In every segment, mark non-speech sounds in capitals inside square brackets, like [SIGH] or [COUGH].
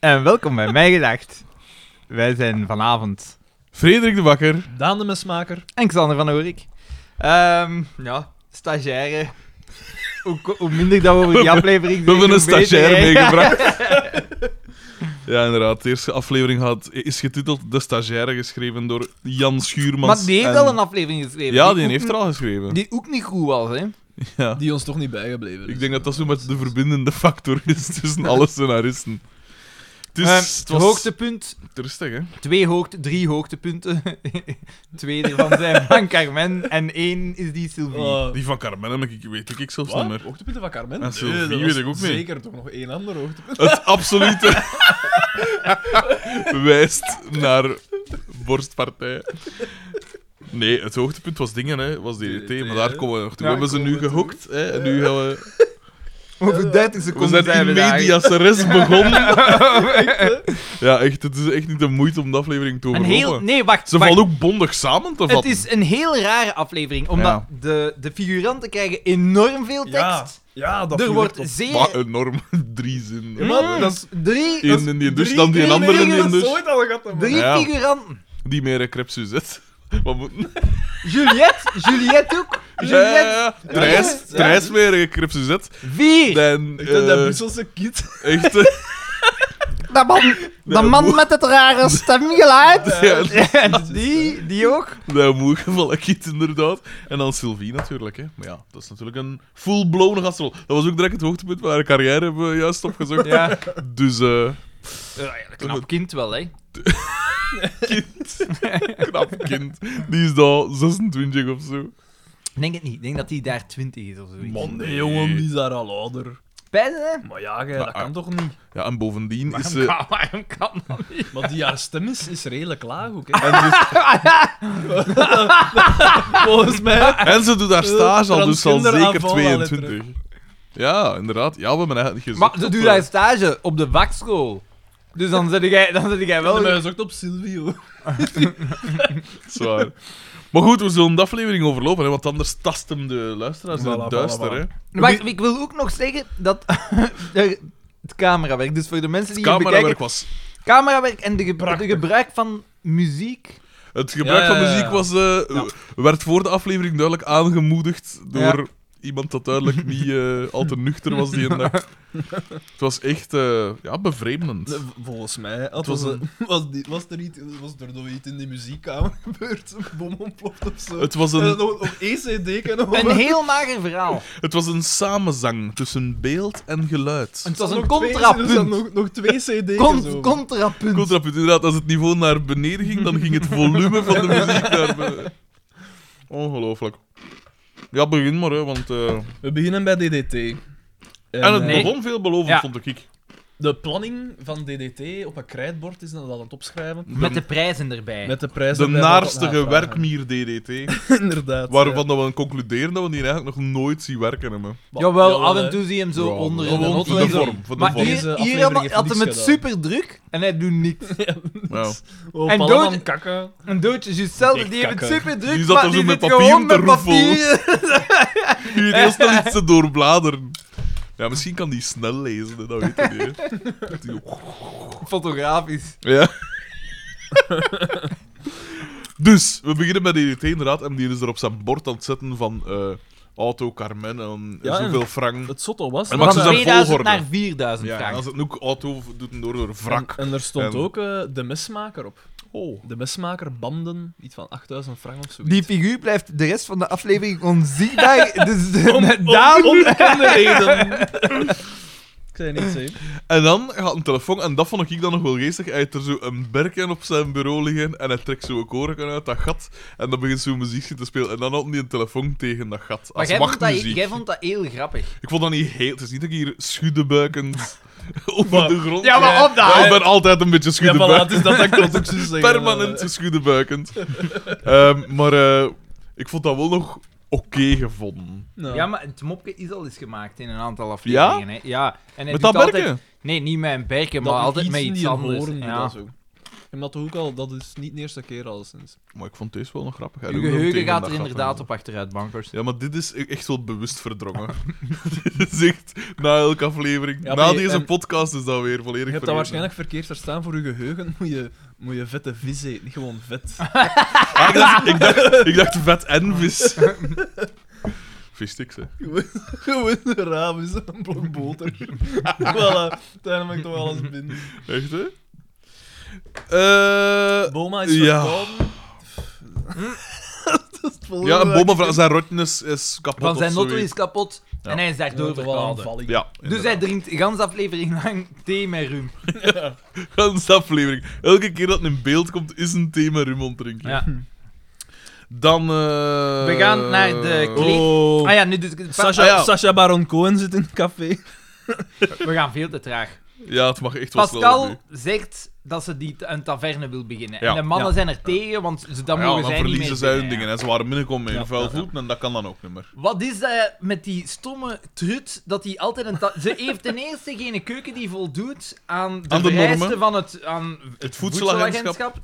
en welkom bij Mij Gedacht. Wij zijn vanavond Frederik de Bakker. Daan de mesmaker. en Xander van Oorik. Ehm, ja, stagiaire. Hoe, ko- hoe minder dat we over [LAUGHS] die aflevering We hebben een hoe beter, stagiair hè? meegebracht. Ja, inderdaad. De eerste aflevering had, is getiteld De Stagiaire, geschreven door Jan Schuurmans. Maar die heeft en- wel een aflevering geschreven. Ja, die ook heeft er al geschreven. niet- Die ook niet goed was, hè. Ja. Die ons toch niet bijgebleven is. Ik denk dat dat zo met de verbindende factor is tussen alle scenaristen. Het, is, Ehm, het was Hoogtepunt, rustig, hè? twee hoogte, drie hoogtepunten. [LAUGHS] Twee ervan [LAUGHS] zijn van Carmen en één is die Sylvie. Eh, Die van Carmen heb ik, weet ik, ik zelfs wat? niet meer. Hoogtepunten van Carmen? En Sylvie dat weet was ik ook niet. Zeker toch nog één ander hoogtepunt. Het absolute [LAUGHS] wijst naar borstpartij. Nee, het hoogtepunt was dingen, hè, was DDT, maar daar komen we nog toe. Ja, we hebben ze komen nu we toe. gehokt, hè, en nu gaan we... Over 30 We seconden zijn in daar. medias [LAUGHS] res begonnen. Ja, echt, het is echt niet de moeite om de aflevering te Een overlopen. heel... Nee, wacht. Ze wacht. valt ook bondig samen te Het vatten. is een heel rare aflevering, omdat Ja. de, de figuranten krijgen enorm veel Ja, tekst. ja, dat er viel wordt echt op. zeer... Wat enorm, [LAUGHS] drie zinnen. Mm, Maar dat drie, dat Eén is in die dus, drie dan die een keer ander meer in die dan Dat is dus. ooit al gehad, man. drie Ja. figuranten. Die meer een crepes Suzette. [LAUGHS] Wat moeten... Juliette, Juliette ook. Juliette, Ja, Drijs, Ja. Drijs meer een crepes Suzette. vier. Dan, Ik denk dat eh, Brusselse kid. echt... eh, Dat man, dat man met het rare stemgeluid. ja, En die, die ook. [LAUGHS] dat moe geval Akiet, inderdaad. En dan Sylvie natuurlijk, hè. Maar ja, dat is natuurlijk een full-blown gastrol. Dat was ook direct het hoogtepunt van haar carrière, hebben we juist opgezocht. Ja. Dus, eh... Knap kind wel, hè. kind. Knap kind. Die is daar 26 of zo. Ik denk het niet. Ik denk dat die daar 20 is of oh, zoiets. Man, nee, jongen, die is daar al ouder. Pijzen, hè? Maar ja, gij, Maar, dat kan ah. toch niet? Ja, en bovendien is ze... Kan- Waarom kan dat niet? Maar die haar stem is, is redelijk laag ook, hè. En, dus- [LAUGHS] Volgens mij... [LAUGHS] en ze doet haar stage al, dus al Transgender zeker aanval, 22. Ja, inderdaad. Ja, we hebben eigenlijk gezocht. Maar ze op, doet eh, daar stage op de vakschool. Dus dan zit jij, dan zit jij Wel, wel... mij gezocht op Silvio. eh, Zwaar. Maar goed, we zullen de aflevering overlopen, hè, want anders tast hem de luisteraars in Voilà, het voilà, duister. voilà. Hè. Maar ik, ik wil ook nog zeggen dat [LAUGHS] er- het camerawerk, dus voor de mensen die hier Camerawerk bekijken, was. camerawerk en de, ge- Prachtig. de gebruik van muziek. Het gebruik Ja, ja, van ja. muziek was, eh, werd voor de aflevering duidelijk aangemoedigd door iemand dat duidelijk niet eh, al te nuchter was die een dag. Het was echt eh, ja, bevreemdend. Nee, v- Volgens mij had was was, een... [LAUGHS] was, die, was, er iets, was er nog iets in die muziekkamer [LAUGHS] gebeurd. Een bom ontploft of zo. Het was En dan een, nog op ECD kunnen Een heel mager verhaal. het was een samenzang tussen beeld en geluid. Het was een contrapunt. Nog, nog [LAUGHS] twee CD's. Con- contrapunt. Contrapunt, inderdaad, als het niveau naar beneden ging, dan ging het volume van de muziek naar beneden. Ongelooflijk. Ja, begin maar, hè, want... eh, We beginnen bij DDT. En, En het eh, Ah, Nee. begon veelbelovend, Ja. vond ik. De planning van DDT op een krijtbord is dat al aan het opschrijven. Met de prijzen erbij. Met de prijzen. Ah, De bij wat naarstige navragen. werkmier DDT. [LAUGHS] Inderdaad. Waarvan dat we concluderen dat we die eigenlijk nog nooit zien werken hebben. ja. Jawel, af hè. en toe zie je hem zo Ja, onder gewoon een voor de hotline. vorm, voor de Maar vorm. Deze hier, hier aflevering had, heeft had hem niks het gedaan. super druk en hij doet niks. Ja. Oh, En en dood- dood... kakken. En Doodje Giselle, Echt die heeft het kakker. super druk, Die zat maar er zo die met zit papier gewoon te met roffelen. papieren. Hier heel snel iets te doorbladeren. Ja, misschien kan die snel lezen, hè, dat weet ik niet. hè. Die- [LAUGHS] Fotografisch. Ja. [LAUGHS] dus, we beginnen met DDT inderdaad. En die is er op zijn bord aan het zetten van eh, Auto Carmen en Ja, en- zoveel frank. Het zotte was... En dat Max Van is een 2000 volgorde. naar 4000 Ja, en frank. als het ook auto doet een door door wrak. En, en er stond En- ook eh, de mesmaker op. Oh. De mesmaker banden, iets van 8000 frank of zo. Die figuur blijft de rest van de aflevering [LAUGHS] onzichtbaar. Dus eh, Om- om- Daan, [LAUGHS] onbekende reden. Ik zei niks, hè. En dan gaat een telefoon, en dat vond ik dan nog wel geestig. Hij heeft er zo een berken op zijn bureau liggen en hij trekt zo een koren uit dat gat. En dan begint zo'n muziekje te spelen. En dan had hij een telefoon tegen dat gat. maar Als jij vond, dat, wachtmuziek. jij vond dat heel grappig. Ik vond dat niet heel. Het is niet dat ik hier [LAUGHS] schuddebuikend op de grond. Ja, maar op de Ja, ik hand. ben altijd een beetje Ja, voilà, schuddebuikend. het is dat ik dat ook [LAUGHS] zo zeggen. Permanent Eh, schuddebuikend. [LAUGHS] Ehm, maar eh, ik vond dat wel nog oké gevonden. nou. Ja, maar het mopje is al eens gemaakt in een aantal afleveringen. Hè? Ja. En hij Met doet dat altijd- berken? Nee, niet met een berken, Dat maar altijd iets met in iets die anders. horen, ja. dat zo. En hem dat toch ook al, dat is niet de eerste keer alleszins. Maar ik vond deze wel nog grappig. Hij Uw doet ook geheugen tegen gaat dat er gat inderdaad en- op achteruit, bankers. Ja, maar dit is e- echt wel bewust verdrongen. [LAUGHS] dit is echt na elke aflevering. Ja, maar na je- deze en- podcast is dat weer Je volledig hebt dat vergeten. waarschijnlijk verkeerd verstaan voor je geheugen. [LAUGHS] Moet je, moet je vette vis eten, niet gewoon [LAUGHS] vet. Ah, ik, dacht, ik, dacht, [LAUGHS] ik dacht vet en [LAUGHS] vis. Vissticks, hè. Gewoon een raam is een blok [LAUGHS] boter. voilà, daar heb ik toch alles binnen. Echt, hè? Eh, Boma is Ja. verkouden. dat is het volgende ja, een wat ik- bommen van zijn rotten is, is kapot. Van zijn of notto zoiets. is kapot Ja. en hij is Dat daardoor wordt wel verkouden. aanvallig. Ja, Dus hij drinkt de ganse aflevering lang thee met rum. Gans aflevering. Elke keer dat het in beeld komt, is een thema rum om te drinken. Ja. Dan. eh, We gaan naar de kle- Oh. Ah ja, nu dus ik het Sacha, Ah, ja. Sacha Baron Cohen zit in het café. We gaan veel te traag. Ja, het mag echt wel sneller nu. Pascal zegt dat ze die t- een taverne wil beginnen. Ja. Ah En de mannen Ja. zijn er tegen, want ze, dan Ja, mogen dan zij niet meer verliezen zij hun binnen, dingen. ja. En ze waren binnenkomen in Ja, vuil ja, ja. voet en dat kan dan ook niet meer. Wat is dat met die stomme trut dat die altijd een... ta- Ze heeft ten eerste geen keuken die voldoet aan de, Aan de normen. vereisten van het, aan Het voedselagentschap.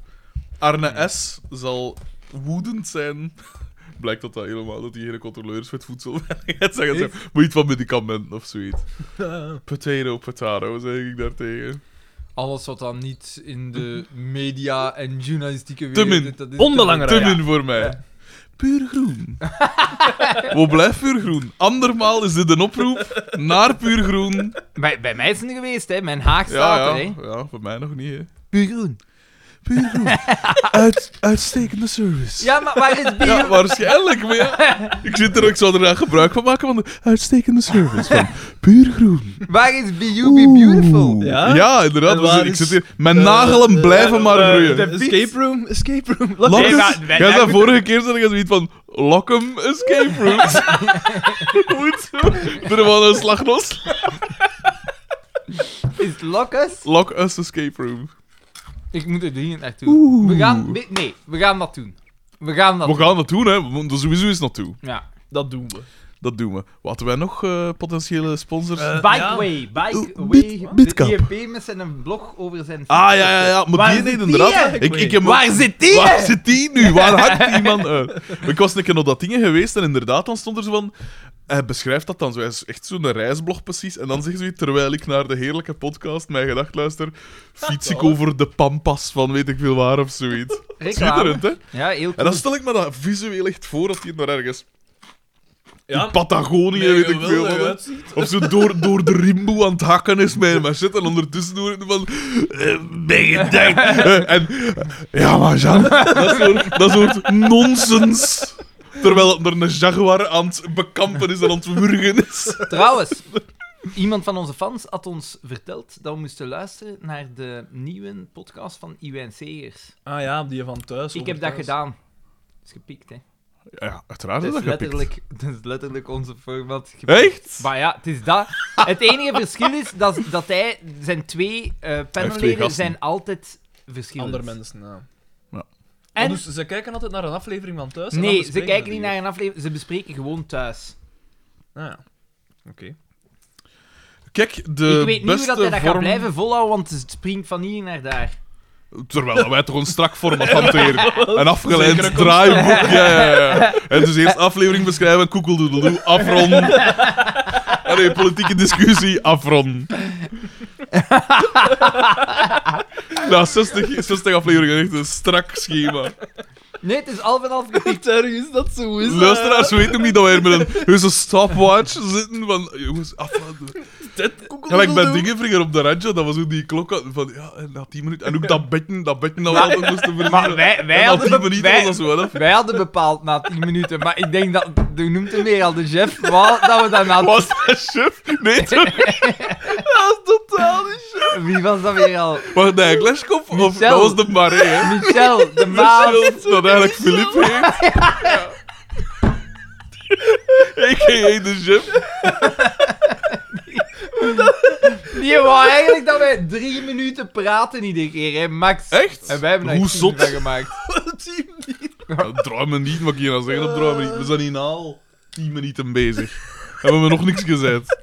Arne S. zal woedend zijn. [LAUGHS] Blijkt dat dat helemaal dat die hele controleur is met voedsel. [LAUGHS] zeggen ze, moet iets van medicamenten of zoiets. [LAUGHS] Potato, potato, zeg ik daartegen. Alles wat dan niet in de media en journalistieke Te min. wereld... dat is Onbelangrijk. Te Ja. min voor mij. Puur groen. [LAUGHS] We blijven puur groen. Andermaal is dit een oproep naar puur groen. Bij, bij mij is het niet geweest, hè. Mijn haag staat Ja, er, hè. ja, ja, voor mij nog niet. Hè. Puur groen. Puur groen. Uit, [LAUGHS] uitstekende service. Ja, maar waar is bier? Ja, waarschijnlijk. Maar ja, ik, zit er, ook- ik zou er graag gebruik van maken van de uitstekende service van Puur Groen. Waar is Be Beautiful? Oeh. Ja? Ja? inderdaad. En waar Dus ik is, zit hier. Mijn eh, nagelen eh, blijven eh, maar eh, groeien. de escape room, escape room. Lock Lockum, Nee, maar wij- jij wij zei moeten- vorige keer zei jij zoiets van Lockum Escape [LAUGHS] Rooms. Goed zo. Doe er wel een slag los. [LAUGHS] Is het Lockes? Lock us Escape Room. Ik moet er dringend naartoe. Oeh. We gaan... we- Nee, we gaan dat doen. We gaan dat We doen. gaan dat doen, hè. We moeten er sowieso eens naartoe. Ja. Dat doen we. Dat doen we. Wat hebben wij nog eh, potentiële sponsors? Eh, Bikeway, Oeh, Bikeway. Bit- Bitcap. De IEP met zijn blog over zijn... Ah, ja, ja, ja. Maar Waar die zit niet die, inderdaad. hè? Ik, ik heb Waar zit die? Waar zit die nu? Waar hangt die man [LAUGHS] uit? Ik was een keer op dat ding geweest en inderdaad, dan stond er zo van... Hij beschrijft dat dan zo. Hij is echt zo'n reisblog precies. En dan zegt hij, terwijl ik naar de heerlijke podcast Mijn Gedacht luister, fiets [LAUGHS] Oh. ik over de pampas van weet ik veel waar of zoiets. Reclame. Schitterend, hè? Ja, heel En cool. dan stel ik me dat visueel echt voor dat hij nog ergens... Ja. in Patagonië, Nee, weet ik veel geweldig wat. hè. uitziet. Of zo door, door de rimboe aan het hakken is met een machette en ondertussen hoor ik van... eh, Ben je tijd? Eh, En... eh, Ja, maar Jean... Dat soort, dat soort nonsens. Terwijl er een jaguar aan het bekampen is en aan het wurgen is. Trouwens, iemand van onze fans had ons verteld dat we moesten luisteren naar de nieuwe podcast van Iwijn Segers. Ah ja, die van thuis. Ik heb dat gedaan. Dat is gepikt, hè. Ja, uiteraard is Dat dat is gepikt. letterlijk, dat is letterlijk onze format gepikt. Echt? Maar ja, het is dat. Het enige verschil is dat, dat hij, zijn twee eh panelleden gasten. zijn altijd verschillend. Andere mensen, ja. Ah, En... En, Dus ze kijken altijd naar een aflevering van thuis? en dan nee, ze bespreken kijken die niet naar een aflevering, ze bespreken gewoon thuis. hier. Ah [LAUGHS] ja. Oké. Kijk, de ik weet niet hoe beste dat hij dat vorm... gaat blijven volhouden, want het springt van hier naar daar. Terwijl wij toch een strak [LAUGHS] format hanteren. Een Zeker afgeleid een draaiboek. Ja, ja, ja. En dus eerst aflevering beschrijven, koekeldoedeldoe, afronden. [LAUGHS] Ah, Nee, politieke discussie, afronden. Na 60, 60 afleveringen echt een strak schema. Nee, het is half en half gepikt. Niet ergens dat zo is. [LAUGHS] Luisteraars weten ook niet dat wij hier met een heuse stopwatch zitten van... Jongens, af... Gelijk bij dingen vroeger op de radio, dat was ook die klok had- van... Ja, en na 10 minuten... En ook dat bedje, dat bedje dat we altijd moesten [LAUGHS] Maar verzinnen. wij, wij, En na 10 hadden, be- minuten was dat wij, zo wel, hè. wij hadden bepaald na 10 minuten, maar ik denk dat, je noemt hem weer al de chef, wou dat we dat na Was dat chef? [LAUGHS] Nee, toch? Dat is totaal niet zo. Wie was dat weer al? Was dat Gleskop? Of Michel. dat was de Marais, hè? Michel, de maat. Michel, dat eigenlijk Filip heet. [LAUGHS] [LAUGHS] Ik heet de chef. Die wou eigenlijk dat wij drie minuten praten iedere keer, hè, Max. Echt? En wij hebben daar Hoe tien zot? van gemaakt. Dat draai me niet, wat ik hier nou zeggen, dat draai me niet. We zijn hier na al 10 minuten bezig. Hebben we nog niks gezegd.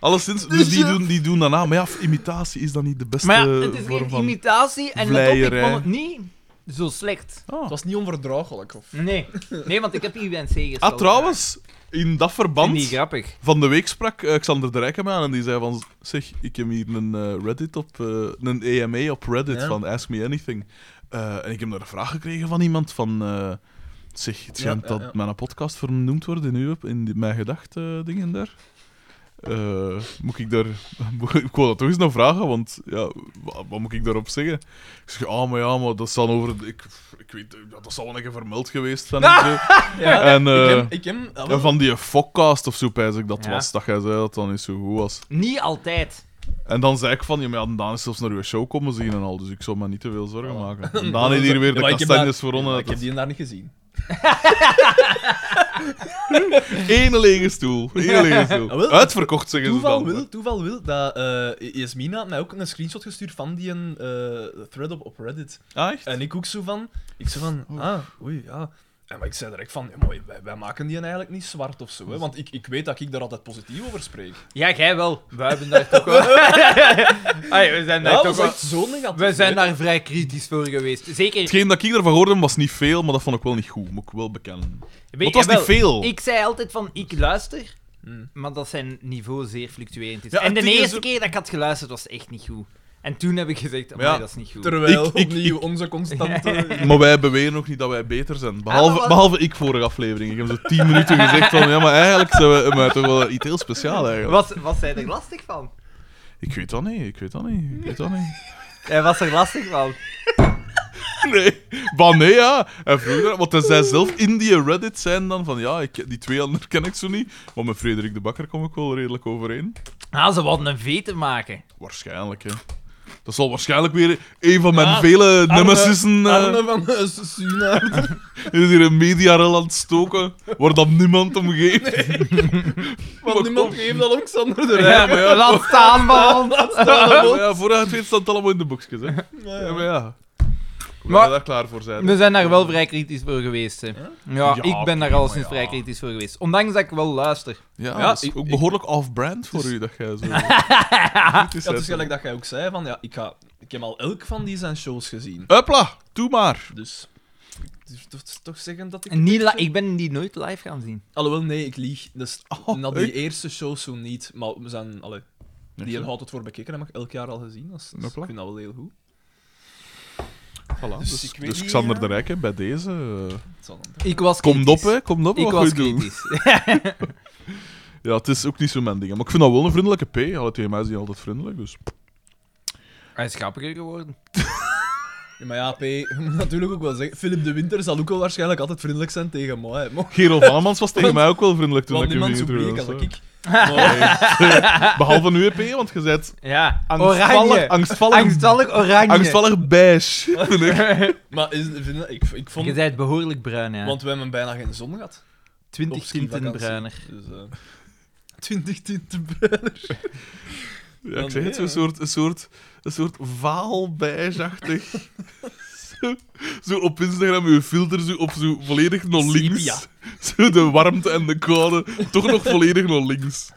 Alleszins, dus die doen, die doen daarna. Maar ja, imitatie is dan niet de beste Maar ja, het is vorm een van... imitatie en let op, ik vleierij. vond het niet zo slecht. Ah. Het was niet onverdraaglijk. Of... Nee, nee want ik heb IWNC gesteld. Ah, trouwens, in dat Ik vind verband... die grappig. Van de week sprak eh, Xander de Rijk hem aan en die zei van... Zeg, ik heb hier een eh, Reddit op... eh, een EMA op Reddit Ja. van Ask Me Anything. Eh, en ik heb daar een vraag gekregen van iemand van... eh, zeg, het Ja, schijnt ja, dat ja. mijn podcast vernoemd wordt in, uw, in die- mijn gedachten dingen daar. Eh, moet ik daar... [LAUGHS] ik wil dat toch eens nog vragen, want ja, wat, wat moet ik daarop zeggen? Ik zeg, ah, maar ja, maar dat zal over... Ik, ik weet, ja, dat zal wel een keer vermeld geweest [LAUGHS] zijn. en zo. Ja, En, eh, ik heb... Ik heb ah, ja, wel. van die fokcast of zo, pijs ik dat Ja. was. Dat jij zei dat dat niet zo goed was. Niet altijd. En dan zei ik van, ja, maar ja, Daan is zelfs naar uw show komen zien en al. Dus ik zou me niet te veel zorgen Voilà. [LAUGHS] maken. En Daan heeft hier weer Oh. Ja, de maar ik heb kastanjes daar- voor Ja, onder. Ik heb die daar niet gezien. Ene lege stoel. Ene lege Ja, Ah, stoel. wel. Uitverkocht, zeggen ze Toeval dan. wil, toeval wil dat eh Yasmina had mij ook een screenshot gestuurd van die een, eh, thread op, op Reddit. Ah, echt? En ik ook zo van, ik zo van, ah, oei, ja. En maar ik zei direct van, ja, maar wij, wij maken die eigenlijk niet zwart of zo, hè, want ik, ik weet dat ik daar altijd positief over spreek. Ja, jij wel. Wij hebben daar toch wel... [LAUGHS] Ai, we zijn daar ja, toch dat is wel... echt zo negatief. We zijn hè. daar vrij kritisch voor geweest. Zeker... Hetgeen dat ik ervan hoorde was niet veel, maar dat vond ik wel niet goed. Moet ik wel bekennen. Weet- Want het was jawel, niet veel. Ik zei altijd van, ik luister, Hmm. maar dat zijn niveau zeer fluctuerend is. Ja, en het de ding is eerste ook- keer dat ik had geluisterd, was het echt niet goed. En toen heb ik gezegd, Maar ja, ja, dat is niet goed. Terwijl Ik- ik- opnieuw onze constante... [LAUGHS] Maar wij beweren ook niet dat wij beter zijn. Behalve, Ah, wat- behalve ik vorige aflevering. Ik heb zo tien minuten gezegd van, ja, maar eigenlijk zijn we maar toch wel iets heel speciaal eigenlijk. Was, was hij er lastig van? Ik weet dat niet, ik weet dat niet, ik weet dat niet. Hij was er lastig van. [LAUGHS] Nee, maar nee, ja. En vroeger, want hij zei zelf in die Reddit zijn dan van, ja, ik, die twee anderen ken ik zo niet. Maar met Frederik de Bakker kom ik wel redelijk overeen. Ah, ze wilden een V te maken. Waarschijnlijk, hè. Dat zal waarschijnlijk weer een van mijn Ja, vele Arne- nemesissen... eh, [LAUGHS] Arne van eh, Suna. is hier een mediarel aan het stoken, waar dan niemand om geeft. Want niemand geeft dat ook Sander de Ja, Rijk. maar ja, [LAUGHS] Laat staan, man. [LAUGHS] Maar [LAUGHS] ja, voordat je het weet staat het allemaal in de boekjes, hè. Ja, Ja, ja. maar ja. We Maar- maar... daar klaar voor zijn. We zijn daar wel vrij kritisch voor geweest. Hè. Ja, Ja? ik ben daar prima, alleszins ja. vrij kritisch voor geweest. Ondanks dat ik wel luister. Ja, Ja, dat is ik- ook ik- behoorlijk off-brand voor Dus- u, dat [LAUGHS] jij zo... Ja, het is gelijk dat jij ook zei, van ja, ik, ga, ik heb al elk van die zijn shows gezien. Hopla, doe maar. Dus ik durf toch- toch zeggen dat ik... En niet li- ik ben die nooit live gaan zien. Alhoewel, nee, ik lieg. Dus Oh, na die ik- eerste show zo niet. Maar we zijn... Allee, die houdt het voor bekeken, heb ik elk jaar al gezien. Dat is- dat is- Hopla. ik vind dat wel heel goed. Voilà, Dus dus, ik weet dus niet, Xander ja. de Rijk, hè, bij deze... eh, Het zal dan- Ik was kritisch. Kom op, hè. Kom op, Ik wat was goed doen. kritisch. Ja, het is ook niet zo mijn ding. hè. Maar ik vind dat wel een vriendelijke P. Alle tegen mij is die altijd vriendelijk, dus... [LAUGHS] Hij is grappiger geworden. Ja, maar ja, P, [LAUGHS] je moet natuurlijk ook wel zeggen... Philip de Winter zal ook wel waarschijnlijk altijd vriendelijk zijn tegen mij. hè, Maar, [LAUGHS] Gerald Vannemans was tegen Want- mij ook wel vriendelijk toen want ik hem niemand zo niet bleek als ik. Behalve nu, P, want je bent Ja. angstvallig... Oranje. Angstvallig... Angstvallig oranje. angstvallig beige. vind ik. [LAUGHS] Maar is, vind, dat- ik, ik vond... Je bent behoorlijk bruin, ja. Want we hebben bijna geen zon gehad. 20 op skivakantie. tinten bruiner. Dus, eh 20 tinten bruiner. Ja, ik Dan zeg het, zo'n nee, soort, een soort, een soort vaalbeigeachtig. [LAUGHS] zo, zo op Instagram, uw filter zo, op zo volledig naar links. Sepia. Zo de warmte en de koude, toch nog volledig naar links.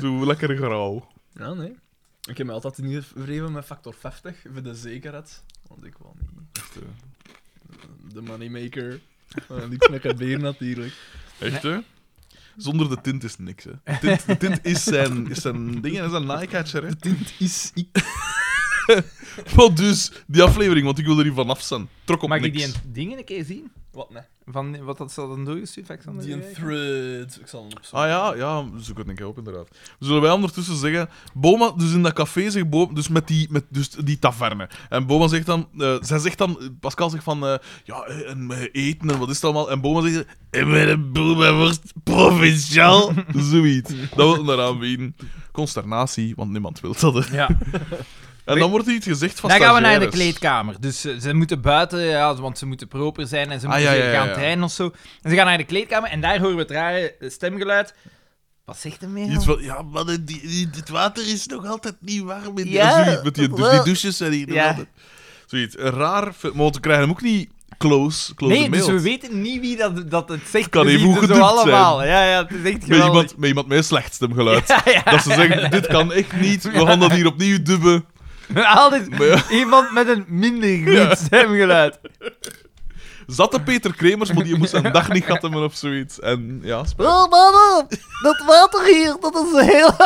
Zo lekker grauw. Ja, nee. Ik heb mij altijd niet vreven met factor 50 voor de zekerheid. Want ik wil niet. eh, Echt, hè? De moneymaker. Eh, niks met kabeer natuurlijk. Echt, hè? Zonder de tint is niks, hè. Tint, de tint is zijn, is zijn ding en is zijn naaikatcher, hè. Tint is ik. [LAUGHS] Maar dus, die aflevering, want ik wil er hier vanaf zijn. Trok op Mag ik niks. die een- dingen een keer zien? Wat nee? Van wat dat ze hadden doorgestuurd, Alexander? Die een thread. Ik zal hem opzoeken. Ah ja, ja, zoek het een keer op, inderdaad. Zullen wij ondertussen zeggen... Boma, dus in dat café zegt Boma... Dus met die, met, dus die taverne. En Boma zegt dan... eh, zij zegt dan... Pascal zegt van... eh, ja, eh, en eh, eten en wat is het allemaal? En Boma zegt... En met een boel bij worst provinciaal. Zoiets. Dat wil hem eraan bieden. Consternatie, want niemand wil dat. hè. [LAUGHS] Ja. En dan wordt er iets gezegd van Dan gaan we naar de stagiaires. kleedkamer. Dus eh, ze moeten buiten, ja, want ze moeten proper zijn en ze Ah, moeten ja, weer ja, gaan ja. trainen of zo. En ze gaan naar de kleedkamer en daar horen we het rare eh, stemgeluid. Wat zegt hem meer? Iets van, ja, man, die, die- het water is nog altijd niet warm. In Ja, ja, zoiets, met die, dus die wel. douches zijn hier nog Ja. altijd. Zoiets, een raar... fi- Maar we krijgen hem ook niet close, close Nee, dus mailed. we weten niet wie dat, dat het zegt. kan We even zien goed ze zo gedubt zijn. allemaal. Ja, ja, het is echt met, geweldig. [LAUGHS] iemand, met iemand met een slecht stemgeluid. Ja, ja. Dat ze zeggen, dit kan echt niet, we gaan dat hier opnieuw dubben. Altijd Maar ja. iemand met een minder goed Ja. stemgeluid. Zat de Peter Kremers, maar die moest een dag niet gatten of zoiets. En ja, sp- Oh, mannen, dat water hier, dat is heel...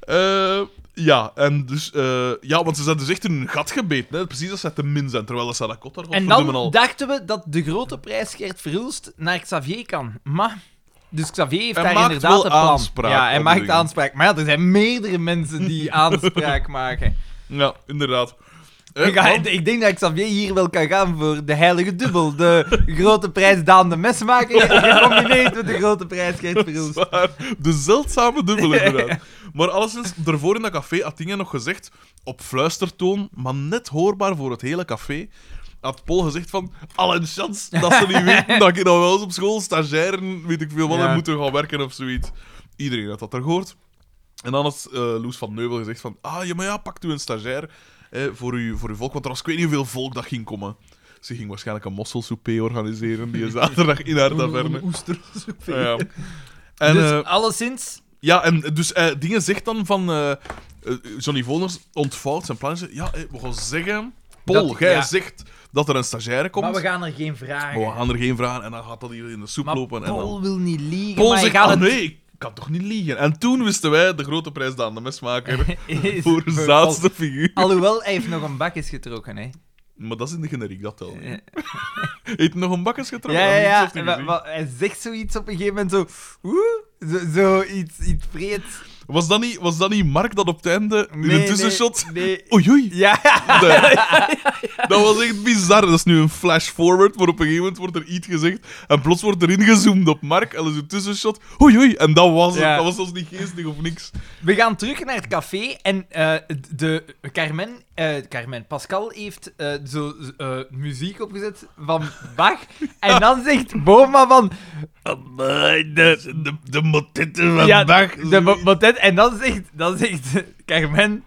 Eh, ja, en dus, eh, ja, want ze zijn dus echt in een gat gebeten, hè. precies als ze te min zijn, terwijl dat ze dat kot daar En godverdomme dan al... dachten we dat de grote prijs Gert Verhulst naar Xavier kan. Maar... Dus Xavier heeft Hij daar maakt inderdaad wel een plan. aanspraak ja, hij op maakt dingen. aanspraak. Maar ja, er zijn meerdere mensen [LAUGHS] die aanspraak maken. Ja, inderdaad. Eh, Ik, ga- want- ik denk dat Xavier hier wel kan gaan voor de heilige dubbel. De grote prijs Daan de [LAUGHS] Mesmaker gecombineerd met de grote prijs Gert Verhulst. Zwaar. De zeldzame dubbele, inderdaad. Maar alleszins, daarvoor in dat café had Dingen nog gezegd, op fluistertoon, maar net hoorbaar voor het hele café, had Paul gezegd van, al een chance dat ze niet weten dat ik nog wel eens op school stagiair, en weet ik veel wat, Ja. en moeten gaan werken of zoiets. Iedereen had dat er gehoord. En dan had eh, Loes van Neuvel gezegd van, ah, ja, maar ja, pakt u een stagiair eh, voor, uw, voor uw volk, want er was ik weet niet hoeveel volk dat ging komen. Ze ging waarschijnlijk een mosselsoupé organiseren die zaterdag in haar taverne. [LAUGHS] Ja, ja. En, dus eh, alleszins... ja, en dus eh, Dingen zegt dan van... eh, eh, Johnny Voners ontvouwt zijn plannetje. Ja, eh, we gaan zeggen... Paul, Dat- jij ja. zegt dat er een stagiaire komt. Maar we gaan er geen vragen. Maar we gaan er geen vragen en dan gaat dat hier in de soep Maar lopen. en Paul dan... wil niet liegen, Paul maar hij zegt, gaat ah het... nee, ik kan toch niet liegen. En toen wisten wij de grote prijs aan de [LAUGHS] mesmaker [LAUGHS] Is- voor de zaadste figuur. Alhoewel, hij heeft nog een bakjes getrokken, hè. Maar dat is in de generiek, dat telt niet. Heeft nog een bakjes getrokken? Ja, ja, Dat ja. heeft hij Wa- gezien. wa- hij zegt zoiets op een gegeven moment, zo... Oeh, zo, zo iets, iets vreeds. Was, dat niet, was dat niet Mark dat op het einde, in een tussenshot... Nee, nee. [LAUGHS] Oei, oei. Ja, [LAUGHS] [LAUGHS] Nee. Dat was echt bizar. Dat is nu een flash forward, maar op een gegeven moment wordt er iets gezegd. En plots wordt er ingezoomd op Mark. En dat is een tussenshot. Oei, oei. En dat was het. Ja. Dat was zelfs niet geestig of niks. we gaan terug naar het café en eh, de Carmen, eh, Carmen Pascal heeft eh, zo eh, muziek opgezet van Bach. [LAUGHS] En dan zegt Boma van... De, de, de motetten van Ja, Bach. De, mo- motet- en dan zegt, dan zegt [LAUGHS] Carmen...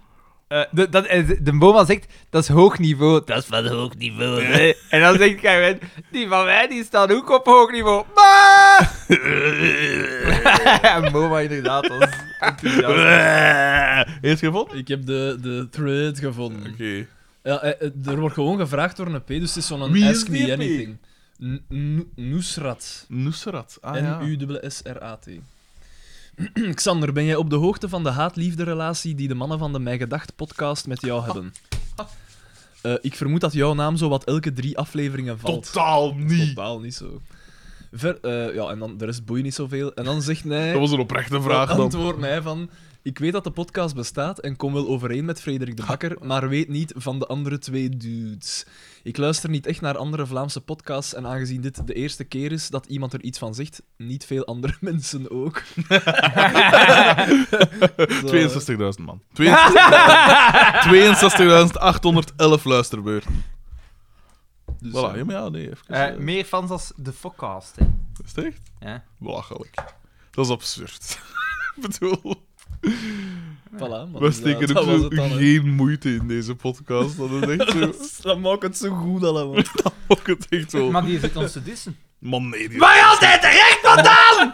eh, de, dat, eh, de Boma zegt, dat is hoog niveau. Dat is van hoog niveau, hè. En dan zegt Carmen, die van mij, die staan ook op hoog niveau. Maar... [LAUGHS] en Boma inderdaad was enthousiast. [LAUGHS] Heeft je gevonden? Ik heb de, de thread gevonden. Oké. Ja, eh, eh, er wordt gewoon gevraagd door een P, dus het is zo'n Wie is Ask die Me P? Anything. N- N- Nusrat. Nusrat. Ah, ja. N-U-S-R-A-T. [CLEARS THROAT] Xander, ben jij op de hoogte van de haat-liefde-relatie die de mannen van de Mij Gedacht podcast met jou hebben? Ah. Eh, ik vermoed dat jouw naam zowat elke drie afleveringen valt. Totaal niet. Totaal niet zo. Ver, eh, ja, en dan, de rest boeit niet zoveel. En dan zegt hij... Dat was een oprechte [LAUGHS] vraag Dan dan. antwoordt mij van... Ik weet dat de podcast bestaat en kom wel overeen met Frederik de Bakker, maar weet niet van de andere twee dudes. Ik luister niet echt naar andere Vlaamse podcasts en aangezien dit de eerste keer is dat iemand er iets van zegt, niet veel andere [LAUGHS] mensen [LAUGHS] ook. Zo. 62.000 man. [LAUGHS] 62.811 luisterbeurten. Dus, Voilà. eh, Ja, maar ja, nee. Even, Eh, eh, meer fans als de Fokcast, hè. Is het echt? Ja. Belachelijk. Dat is absurd. [LAUGHS] Ik bedoel, voilà, maar we dus, eh, steken dat ook was zo het dan, hè. Dus geen moeite in deze podcast. Dat is echt zo. [LAUGHS] Dat maakt het zo goed allemaal. [LAUGHS] Fuck het echt wel. Maar die zit ons te [LAUGHS] dissen. Man, nee. die- Waar gaat hij terecht vandaan?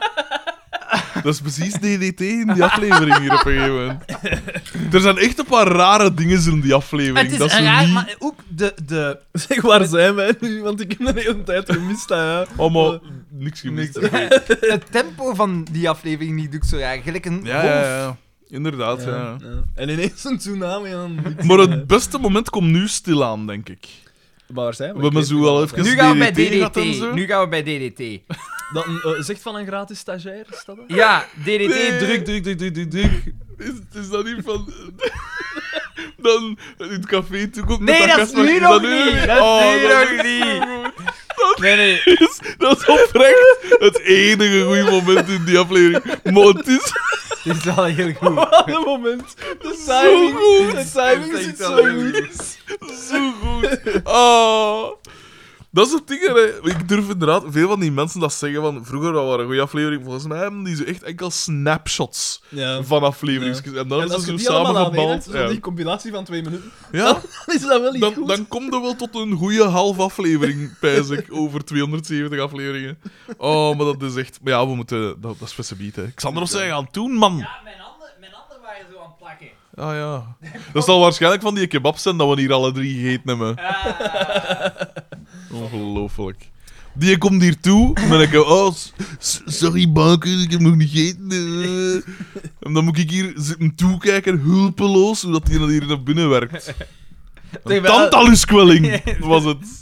Dat is precies DDT in die aflevering hier op een gegeven moment. Er zijn echt een paar rare dingen in die aflevering. Het is dat ze raar, niet... maar ook de... de... Zeg, waar zijn wij nu? Want ik heb de hele tijd gemist, hè. ja. Allemaal niks gemist. Niks. [LAUGHS] Het tempo van die aflevering niet doe ik zo raar. Gelijk een Ja, wolf. ja, ja. Inderdaad, ja. ja. En ineens een tsunami aan... Maar het beste moment komt nu stilaan, denk ik. Maar waar zijn we? We hebben zo wel even Nu gaan we bij DDT gehad DDT. en zo. Nu gaan we bij DDT. Dat een, eh, zegt van een gratis stagiair, is dat het? [LAUGHS] Ja, DDT, Nee. druk, druk, druk, druk, druk, druk. Is, is dat niet van. [LAUGHS] dan in het café toe komt. Nee, dat is nu nog niet. Oh, Dat is nu nog niet. Nee, nee. Dat Oh, is oprecht het enige goede moment in die aflevering. Maar het [LAUGHS] is Dit is wel heel goed. Op een moment. De zo timing, goed. de timing Dat is zit echt zo wel heel goed. Zo goed. Ah. Dat is het ding, hè. ik durf inderdaad veel van die mensen dat zeggen van vroeger dat waren een goede aflevering. Volgens mij hebben die zo echt enkel snapshots Ja. van afleveringen. En dan is als het je zo die allemaal samengebald. aanweegt, Ja, die compilatie van twee minuten, ja dan is dat wel niet dan, goed. dan komt er wel tot een goede half aflevering, pijs ik, over 270 afleveringen. Oh, maar dat is echt... Maar ja, we moeten... Dat, dat is best een hè. Xander, wat zijn we gaan doen, man? Ja, mijn handen, mijn handen waren zo aan het [LAUGHS] plakken. Ah ja. Dat zal waarschijnlijk van die kebab zijn dat we hier alle drie gegeten hebben. Eh, Ongelooflijk. Die komt hier toe en dan denk ik, oh, s- s- sorry banken, ik heb nog niet gegeten. eh. En dan moet ik hier zitten toekijken, hulpeloos, hoe dat die dan hier naar binnen werkt. Een Zeg, maar- tantaluskwelling [LAUGHS] was het.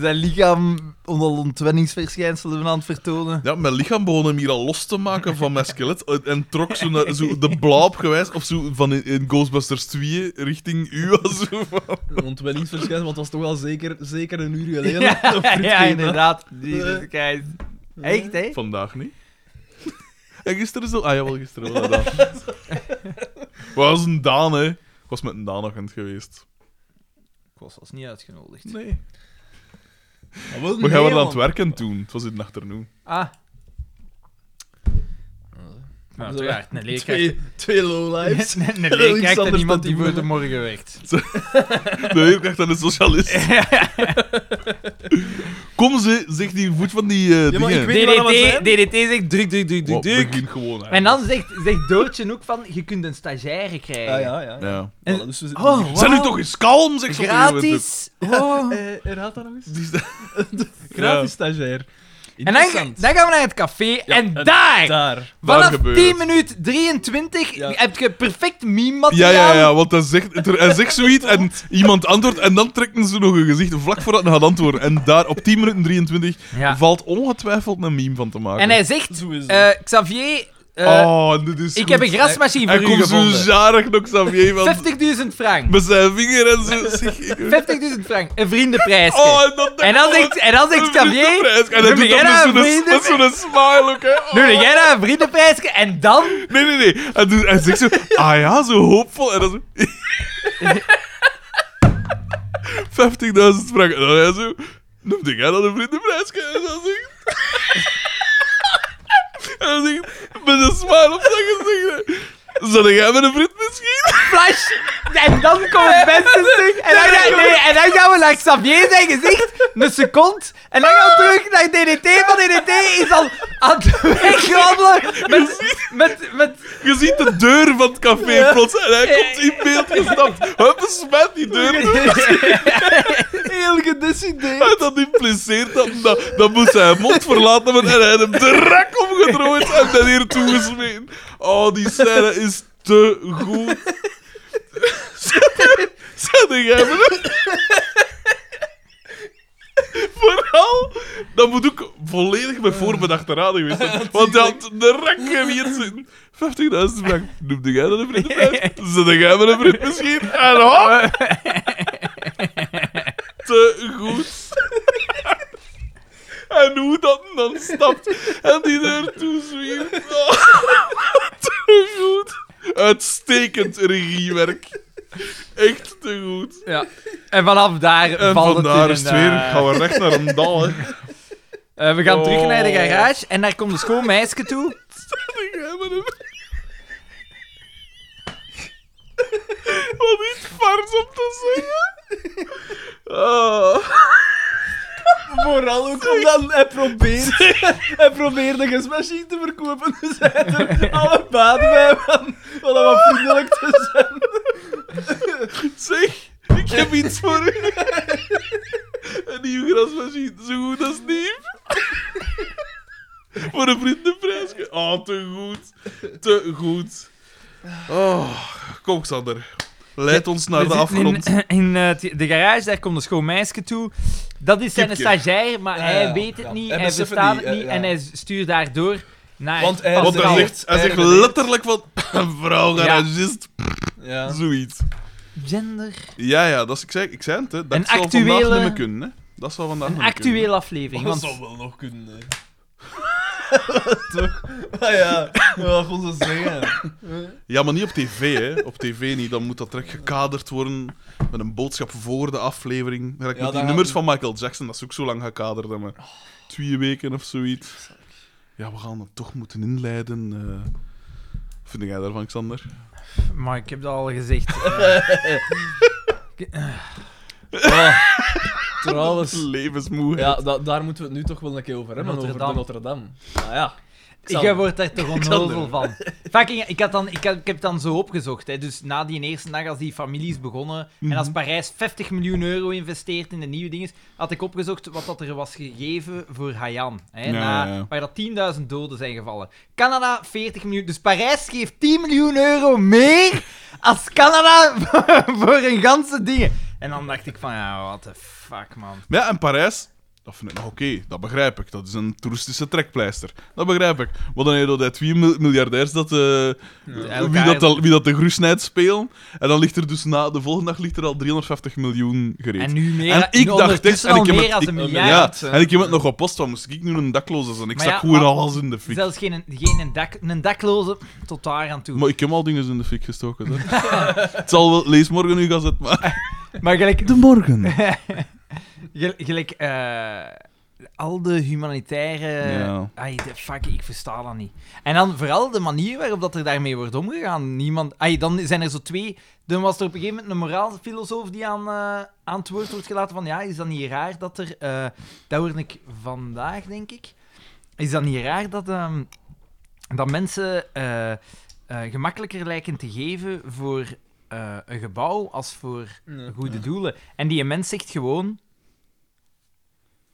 Zijn lichaam onder ontwenningsverschijnselen aan het vertonen. Ja, mijn lichaam begon hem hier al los te maken van mijn skelet eh, en trok zo, naar, zo de blauw gewijs of zo van in, in Ghostbusters 2 richting u. [LAUGHS] Zo van. Want wel iets verschijnen, want het was toch wel zeker, zeker een [LAUGHS] uur geleden. [LAUGHS] Ja, dat Frits ja, Keet, hè? inderdaad. Jezus, kijk. Echt, hè? Vandaag niet. En gisteren zo. Ah ja, wel gisteren wel. Dat was een Daan, hè? Ik was met een Daan-agent geweest. Ik was als niet uitgenodigd. Nee. Maar wel We gaan nee, wel aan het man. werken toen. Het was in de achternoon. Ah. Ja, Nou, uiteraard. Een leerkracht. Twee, twee [LAUGHS] lowlives. Een Iets leerkracht en anders dan iemand die die voor de boeren. morgen werkt. De ik dacht aan een socialist. Kom ze, zegt die voet van die eh maar dingen. ik weet- je wat dat DDT, zijn? DDT zegt druk, druk, druk, Wow, druk, druk. begin gewoon. hè. En dan zegt, zegt Doortje ook van, je kunt een stagiaire krijgen. Ah, ja, ja. ja. Ja. En- Voilà, dus we zitten Oh, hier. wow. Zijn nu toch eens kalm, zegt ze op een gegeven moment ook. Gratis. Oh. Eh, raad dat nog eens? Die is daar- [LAUGHS] Gratis stagiair. En dan, Interessant. dan gaan we naar het café en, en daar, Daar. daar vanaf gebeurt 10 het. minuut 23, Ja. heb je perfect Ja, meme-materiaal. ja, ja, want hij zegt, er- hij zegt zoiets en iemand antwoordt en dan trekken ze nog een gezicht vlak voordat hij gaat antwoorden. En daar op 10 minuten 23 Ja. valt ongetwijfeld een meme van te maken. En hij zegt, Zo is het. eh, Xavier, eh, oh, dit is ik goed. heb een grasmachine Hij voor u komt zo gevonden. jarig nog Xavier van 50.000 frank. met zijn vinger en zo. zeg ik- 50.000 frank. Een vriendenprijsje. Oh, en dan en dan zegt, en dan zegt Xavier, [LAUGHS] En hij noem doet jij dat dat een met zo'n- met vriendenprijs? zo'n smile ook, hè. Oh. Doe jij dat, een vriendenprijsje? En dan... Nee, nee, nee. Hij, doet, hij zegt zo, ah ja, zo hoopvol. En dan zo... 50.000 frank. En dan hij zo, noemde jij dat een vriendenprijsje? En dan zegt... [LAUGHS] en dan zegt, met een smile op zijn gezicht... Zal jij met een vriend misschien? Flash! En dan komt het beste En dan, ga- nee, en dan gaan we naar Xavier zijn gezicht, een seconde. En dan gaan we terug naar DDT, want DDT is al aan het wegrammelen met, met, met... Je ziet de deur van het café plots en hij komt in beeld gestapt. Hup, smet die deur Heel gedecideerd. En dat impliceert dat, dat, dat moest hij zijn mond verlaten hebben en hij had hem direct omgedrooid en dan hier toegesmeten. Oh, die scène is te goed. Zet jij me dat? Vooral, dat moet ook volledig met voorbedacht raden geweest [LAUGHS] zijn. Want hij had direct gewierd zitten. 50.000 frank. Noemde jij dat een [LAUGHS] vriendenprijs? Zet jij me een vriend misschien? En hop! te goed. [LAUGHS] en hoe dat dan stapt en die naartoe [LAUGHS] zwiept. Oh, [LAUGHS] te goed. Uitstekend regiewerk. Echt te goed. Ja. En vanaf daar En valt vandaar het is in het een, weer. eh, Gaan we recht naar een dal, hè. eh, we gaan terug naar de Oh. garage en daar komt een schoon meisje toe. Ik heb hem. Wat is vars om te zeggen? Ah. Vooral ook omdat hij probeert, hij probeert de gasmachine te verkopen. Dus hij had er alle baat bij van, van dat wat vriendelijk te zijn. Zeg, ik heb iets voor u. Een nieuw grasmachine, zo goed als nieuw. voor een vriendenprijs. Oh, te goed. Te goed. Oh, kom, Xander. Leid ons naar We de zitten afgrond. In, [CLEARS THROAT] in, eh, t- de garage, daar komt een schoon meisje toe. Dat is zijn Kipje. stagiair, maar Ja, hij ja, weet het ja. niet, Hij hij, beseft het verstaat niet, het niet eh, en ja. hij stuurt daardoor naar Want hij- Want hij Pascal. zegt, hij zegt Erg bedeerd. letterlijk van... Een vrouw, garagist, Ja. zoiets. Gender. Ja, ja, dat is, ik, zei, ik zei het, hè. Dat Een zal vandaag actuele- niet meer kunnen, hè. Dat zal vandaag Een niet meer kunnen. actuele aflevering. Dat Want zou wel nog kunnen. hè. [LAUGHS] Toch? Ah ja, wat kon ze zeggen? Ja, maar niet op tv, hè. Op tv niet. Dan moet dat direct gekaderd worden met een boodschap voor de aflevering. Gelijk met Ja, dan Oh. die gaat- nummers van Michael Jackson, dat is ook zo lang gekaderd. Hè, maar twee weken of zoiets. Ja, we gaan dat toch moeten inleiden. eh. Wat vind jij daarvan, Xander? Maar ik heb dat al gezegd. Ah, trouwens. Levensmoe. Ja, da- daar moeten we het nu toch wel een keer over hebben, over Rotterdam. de Rotterdam. Nou ja. Ik Xander. word daar toch onnozel van. Fucking, ik, had dan, ik, had- ik heb het dan zo opgezocht. Hè. Dus na die eerste dag, als die families begonnen Mhm. en als Parijs 50 miljoen euro investeert in de nieuwe dingen, had ik opgezocht wat dat er was gegeven voor Hayan. Hè, Ja, na, ja, ja. Waar dat 10.000 doden zijn gevallen. Canada 40 miljoen. Dus Parijs geeft 10 miljoen euro meer als Canada [LAUGHS] voor, voor een ganse dingen. En dan dacht ik van, ja, what the fuck, man. Maar ja, en Parijs, dat vind ik nog oké. Dat begrijp ik. Dat is een toeristische trekpleister. Dat begrijp ik. Want dan heb je dat twee mil- miljardairs dat, eh, wie, elkaar- dat al- wie dat de groesnijd spelen. En dan ligt er dus na de volgende dag ligt er al 350 miljoen gereed. En nu meer. En ik dacht echt, ondertussen en ik al heb meer het- als ik- een ja, miljard. ja, en ik heb het nog op post van moest ik nu een dakloze zijn. Ik Maar zak ja, gewoon maar- alles in de fik. Zelfs geen, geen een, dak, een dakloze tot daar aan toe. Maar ik heb al dingen in de fik gestoken. [LAUGHS] Hè. het zal wel, lees morgen uw gazet maar. Maar gelijk, De [LAUGHS] morgen. gel- gelijk eh, al de humanitaire... Ja. Ai, de, fuck, ik versta dat niet. En dan vooral de manier waarop dat er daarmee wordt omgegaan. Niemand... Ai, dan zijn er zo twee... Dan was er op een gegeven moment een moraalfilosoof die aan, eh, aan het woord wordt gelaten van ja, is dat niet raar dat er... eh, dat hoorde ik vandaag, denk ik. Is dat niet raar dat, ehm, dat mensen eh, eh, gemakkelijker lijken te geven voor eh, een gebouw als voor goede doelen. En die mens zegt gewoon...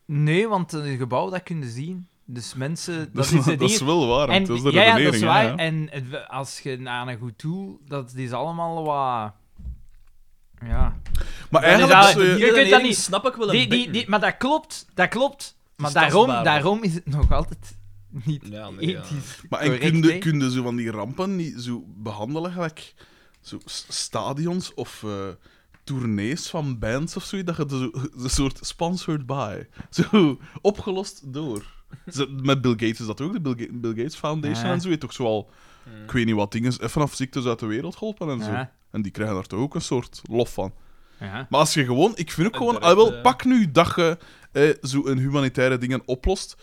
Nee, want een gebouw, dat kun je zien. Dus mensen... Dat, Dat, is is, het dat is ding. wel waar. en, want Dat is de ja, ja, dat is redenering, waar. hè, ja. En het- we- als je naar een goed doel... Dat is allemaal wat... Ja. Maar Dat is eigenlijk eigenlijk- zou je- kunt dat redenering niet- snap ik wel een Die, die, beetje. die, maar dat klopt. Dat klopt. Maar is daarom, tastbaar. daarom is het nog altijd niet Ja, nee, ja. ethisch. Maar en Correct, kun je, hè? kun je zo van die rampen niet zo behandelen, gelijk zo s- stadions of eh tournees van bands of zoiets, dat je de, zo- [LAUGHS] een soort sponsored by, zo opgelost door. Zo, Met Bill Gates is dat ook, de Bill, Ga- Bill Gates Foundation Ja. en zo, heeft toch zoal, ik weet niet wat dingen, eh, vanaf ziektes uit de wereld geholpen en zo. Ja. En die krijgen daar toch ook een soort lof van. Ja. Maar als je gewoon, ik vind ook En gewoon, ah, terecht, wel, eh. pak nu dat je eh, zo'n humanitaire dingen oplost.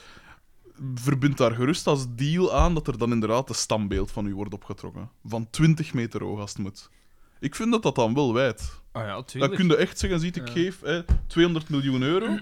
Verbind daar gerust als deal aan dat er dan inderdaad een standbeeld van u wordt opgetrokken. Van 20 meter hoog als het moet. Ik vind dat dat dan wel wijd. Oh ja, Dan tuurlijk. kun je echt zeggen: ziet, ik Ja. geef eh, 200 miljoen [CLEARS THROAT] euro.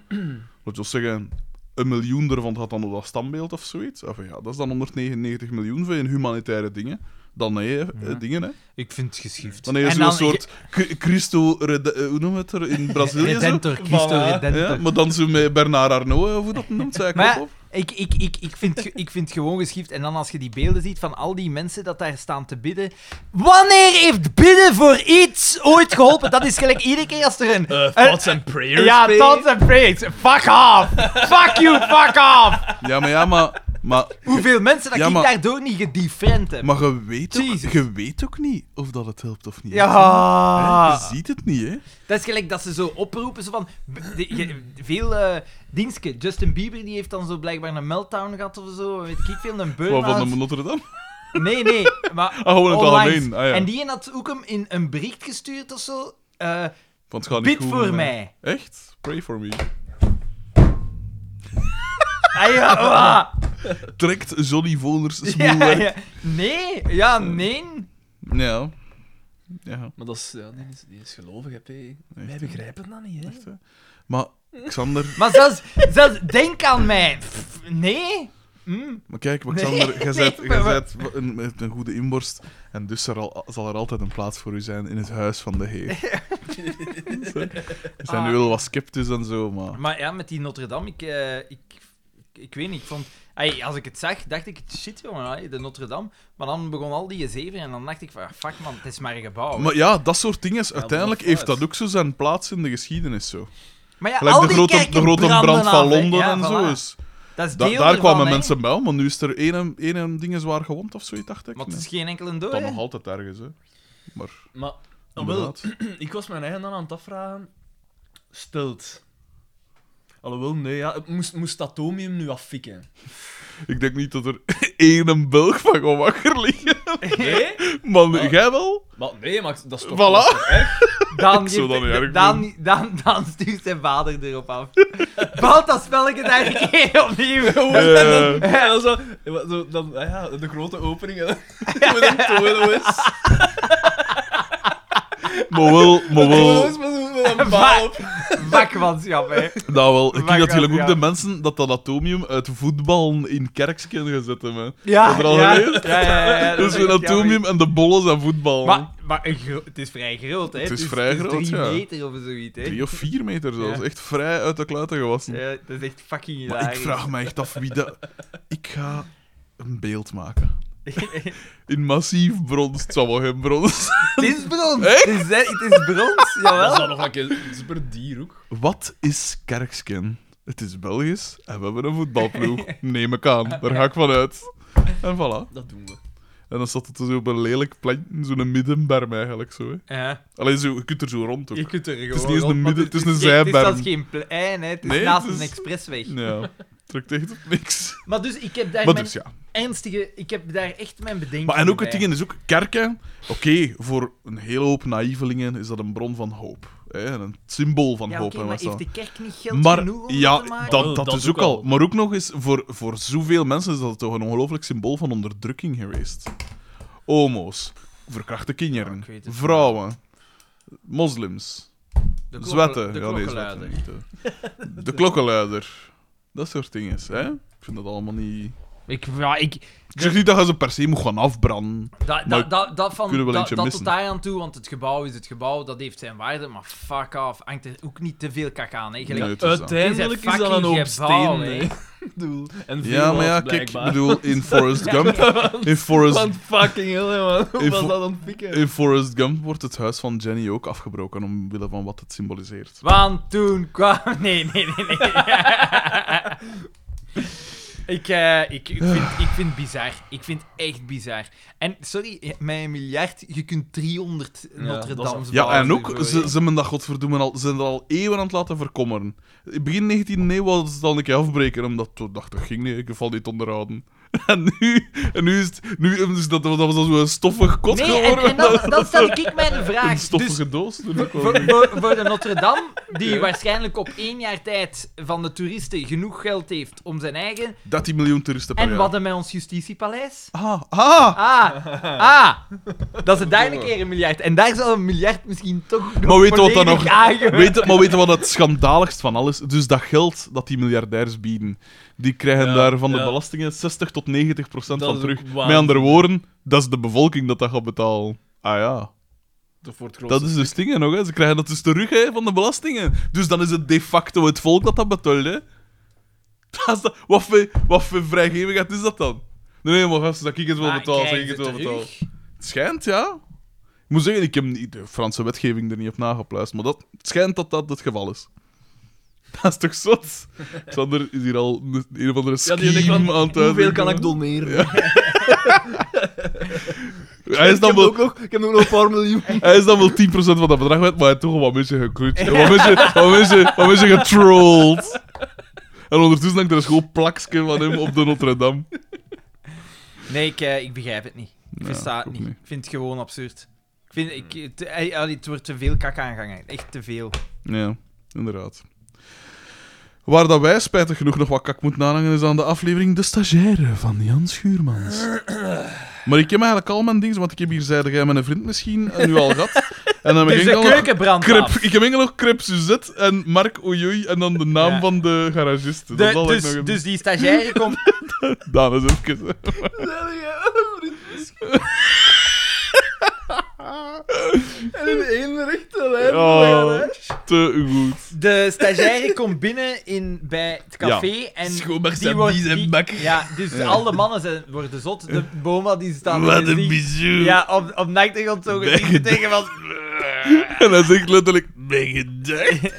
Dat wil zeggen, een miljoen ervan gaat dan op dat standbeeld of zoiets. Of ja, dat is dan 199 miljoen voor in humanitaire dingen. Dan nee, eh, Ja. dingen, hè. Ik vind het geschift. Dan heb je En zo'n dan- soort Cri- Christo... Rede- eh, Hoe noemen we het er? In Brazilië zo? Redentor, Christo Voilà. Redentor. Ja, maar dan zo met Bernard Arnault, of hoe dat noemt, zei ik Maar ja, op. ik, ik, ik, ik, vind, ge- ik vind gewoon geschift. En dan als je die beelden ziet van al die mensen dat daar staan te bidden. Wanneer heeft bidden voor iets ooit geholpen? Dat is gelijk iedere keer als er een... Eh, een- thoughts and prayers. ja, babe. thoughts and prayers. Fuck off. Fuck you, fuck off. Ja, maar ja, maar... Maar, Hoeveel mensen dat Ja, ik maar- daardoor niet gedifferent heb. maar je, weet ook, Jezus. je weet ook niet of dat het helpt of niet. Hè, ja. dus- Je ziet het niet, hè. Dat is gelijk dat ze zo oproepen, zo van... b- de- je- veel eh dienstje. Justin Bieber die heeft dan zo blijkbaur een meltdown gehad of zo. Weet ik veel, een burn Waarvan de Notre Dame? Nee, nee. Maar Ah, gewoon in het online. algemeen. Ah, ja. En die een had ook hem in een bericht gestuurd of zo. eh, Want het gaat bid niet goed voor hè. mij. Echt? Pray for me. Ah, ja, ah. [LAUGHS] Trekt Johnny Voners [LAUGHS] smoel Ja, weg. ja. Nee, ja, nee. Ja. Ja, Maar dat is, ja, die, is, die is gelovig, hè, P. Wij Echt, begrijpen dat niet, hè. echt, hè. Maar, Xander... Maar zelfs, zelfs denk aan mij. Pff, Nee. Hm. Maar kijk, Nee, [LAUGHS] Alexander, jij nee, bent, maar- jij maar- bent een, met een goede inborst. En dus er al, zal er altijd een plaats voor u zijn in het huis van de [LAUGHS] Heer. [LAUGHS] We zijn nu wel wat sceptisch en zo, maar. Maar ja, met die Notre Dame, ik, eh, ik, ik, ik weet niet, ik vond... Ai, als ik het zag, dacht ik, shit, jongen, ai, de Notre Dame. Maar dan begon al die zeven en dan dacht ik van, ah, fuck man, het is maar een gebouw. hè. Maar ja, dat soort dingen, is- dat uiteindelijk is heeft fout. dat ook zo zijn plaats in de geschiedenis. Zo. Maar ja, Gelijk al de die grote, de kerken grote branden brand van af, hè. Londen Ja, en voilà. zo is. Dat is Da- deel daar kwamen ervan, hè. mensen bij, maar nu is er één, één, één ding zwaar gewond of zoiets, dacht ik. Maar het Nee. is geen enkele door, Dat hè. nog altijd ergens, hè. Maar, Maar, ah, wel, [CLEARS THROAT] inderdaad. ik was mijn eigen dan aan het afvragen. Stelt. Alhoewel, nee, ja. het Moest, moest het atomium nu affikken? [LAUGHS] Ik denk niet dat er [LAUGHS] één Belg van gaat wakker liggen. Nee? Man, Ah. jij wel? Maar, nee, maar dat is toch... Voilà. dat is toch [LAUGHS] erg? Dan, Ik zou dat niet erg dan, dan, dan stuurt zijn vader erop af. Bouwt dat spelletje [LAUGHS] daar een keer opnieuw. Eh. En dan zo... en dan zo- Dan, ah ja, de grote opening. en dan- [LAUGHS] Met een [LAUGHS] torenhoes. Maar wel, maar wel. [LAUGHS] Torenhoes met een- [LAUGHS] met een baal op. Vakmanschap, hè. Nou wel, ik Maar ken natuurlijk gaat, ook ja. de mensen dat dat atomium uit voetballen in kerks kunnen gezet hebben. Ja, Heb je dat al ja, geleerd? ja, ja, ja, ja, dat Dus is een echt jammer. atomium en de bollen zijn voetbal. Maar, maar een gro- het is vrij groot, hè. Dus Het is vrij groot, drie ja. meter of zoiets, hè. Drie of vier meter zelfs. Ja. Echt vrij uit de kluiten gewassen. Ja, dat is echt fucking maar hilarisch. ik [LAUGHS] vraag me echt af wie dat... Ik ga een beeld maken. [LAUGHS] In massief brons. Het zal wel geen brons. Het is brons. Het is, het is [LAUGHS] brons, Dat is jawel. dan nog een keer super dier ook. Wat is kerksken? Het is Belgisch en we hebben een voetbalploeg. Neem ik aan. Daar ga ik van uit. En voilà. Dat doen we. En dan zat het dus op een lelijk plantje, zo'n middenberm eigenlijk zo. Hè. Ja, Alleen zo, je kunt er zo rond ook. je kunt er gewoon niet eens rond, een maar midden- het is een geen- Het zijberm. is zelfs geen plein, hè. Het is Nee, het naast is- een expressweg. Ja, trekt echt op niks. Maar dus, ik heb daar Maar mijn dus ja. ernstige... Ik heb daar echt mijn bedenkingen Maar en ook het bij. ding is ook, kerken, oké, voor een hele hoop naïvelingen is dat een bron van hoop. Hè? en Een symbool van Ja, hoop. oké, hè, maar wat is heeft dat? de kerk niet geld Maar genoeg om ja, dat te maken? dat, Oh, dat dat is ook ook al. al. Maar ook nog eens, voor, voor zoveel mensen is dat toch een ongelooflijk symbool van onderdrukking geweest. Homo's, verkrachte kinderen, Ja, Oh, ik weet het. vrouwen, moslims, De klok- zwetten. de Ja, nee, klokkenluider. zwetten niet, [LAUGHS] hè. De klokkenluider. Dat soort dingen, hè. Ik vind dat allemaal niet... Ik, ja, ik, Ik zeg niet dat je ze per se moet gaan afbranden. Da, da, Maar da- dat van, kunnen we wel da- eentje dat missen? tot daar aan toe, want het gebouw is het gebouw, dat heeft zijn waarde, maar fuck off, hangt er ook niet te veel kak aan. Hè. Gelijk- Nee, het is dat. Uiteindelijk Het is is een dat een hoop fucking gebouw, steen. hè. hè. [LAUGHS] Doel. En Ja, maar ja, veelal, kijk, ik blijkbaar. bedoel, [LAUGHS] in Forrest Gump... In Forrest, Want fucking hell, hè, man. Hoe Ik was vo- dat aan het pikken? in Forrest Gump wordt het huis van Jenny ook afgebroken omwille van wat het symboliseert. Want toen kwam... [LAUGHS] Nee, nee, nee, [LAUGHS] nee. ik, eh, ik, ik, vind, ik vind het bizar. Ik vind het echt bizar. En sorry, met een miljard, je kunt 300 Ja, Notre dat is Dame's een- Ja, en bouwen ook, ervoor, ze, hè. ze men dat godverdomme al, ze zijn er al eeuwen aan het laten verkommeren. Begin 19e eeuw was het al een keer afbreken, omdat toen dacht, dat ging niet, ik val niet onderhouden. [LAUGHS] En nu, en nu is het, nu, dus dat, dat was al zo'n stoffig kot Nee, en, geworden. en dan, dan stel ik [LAUGHS] mij een Ah, een vraag. Dus stoffige doos. toen ik voor, kwam. voor, voor de Notre Dame, die waarschijnlijk op één jaar tijd van de toeristen genoeg geld heeft om zijn eigen. 13 miljoen toeristen per En jaar. wat dan met ons justitiepaleis? Ah, ah! Ah, ah, dat is daar een keer een miljard. En daar zal een miljard misschien toch nog Maar weet je wat dan volledig nog- aangewerkt- [LAUGHS] Weet, je- maar weet je wat het schandaligst van alles? Dus dat geld dat die miljardairs bieden, die krijgen Ja, daar van de ja. belastingen 60 tot 90 procent Dat van is terug. ook Met waanzin. andere woorden, dat is de bevolking dat dat gaat betalen. Ah ja. Dat wordt groot. Dat is dus dingen nog, hè. Ze krijgen dat dus terug, hè, van de belastingen. Dus dan is het de facto het volk dat dat betaalt, hè. Dat is dat- Wat voor, wat voor vrijgevigheid is dat dan? Nee, nee, maar gasten, dat ik het wel Maar betaal, zeg krijgen ik het ze wel terug? betaal. Het schijnt, ja. Ik moet zeggen, ik heb niet de Franse wetgeving er niet op nagepluist, maar dat, het schijnt dat dat het geval is. [LAUGHS] Dat is toch zot? Xander is hier al een, een of andere Ja, scheme die denkt van, aan het hoeveel kan uitdenken. ik doneren? Hij is dan wel ook nog, ik heb nog een paar [LAUGHS] miljoen. Hij is dan wel 10% van dat bedrag kwijt, maar hij heeft toch wel een beetje geklut. En Wat mensen, [LAUGHS] wat mensen, wat mensen getrolled. En ondertussen hangt er een school plaksken van hem op de Notre Dame. Nee, ik, eh, ik begrijp het niet. Ik Ja, versta het ik ook niet. niet. Ik vind het gewoon absurd. Ik vind, ik, het, eh, allee, het wordt te veel kak aangehangen. Echt te veel. Ja, inderdaad. Waar dat wij spijtig genoeg nog wat kak moeten aanhangen, is aan de aflevering De Stagiaire van Jan Schuurmans. Maar ik heb eigenlijk al mijn dingen, want ik heb hier, zeide jij, mijn vriend misschien, en nu al gehad. En dan Er is heb ik een enkel nog keukenbrand Krip, af. ik heb enkel nog Krip Suzette en Mark Ojoei en dan de naam Ja. van de garagist. [LAUGHS] Dat De- zal ik nog dus, even- dus die stagiaire komt... [LAUGHS] Daan is even kussen. Oh, [LAUGHS] En in één rechte lijn. Oh, te goed. De stagiaire komt binnen in, bij het café en... Schoonmaak Die zijn wordt- bies en die- bak. Ja, dus alle mannen zijn, worden zot. [LAUGHS] De boma die staat er Wat een gezien. bijzonder. [LAUGHS] Ja, op, op nachtgrond zo gezien Weg. tegen van... En hij zegt letterlijk, ben je deugd?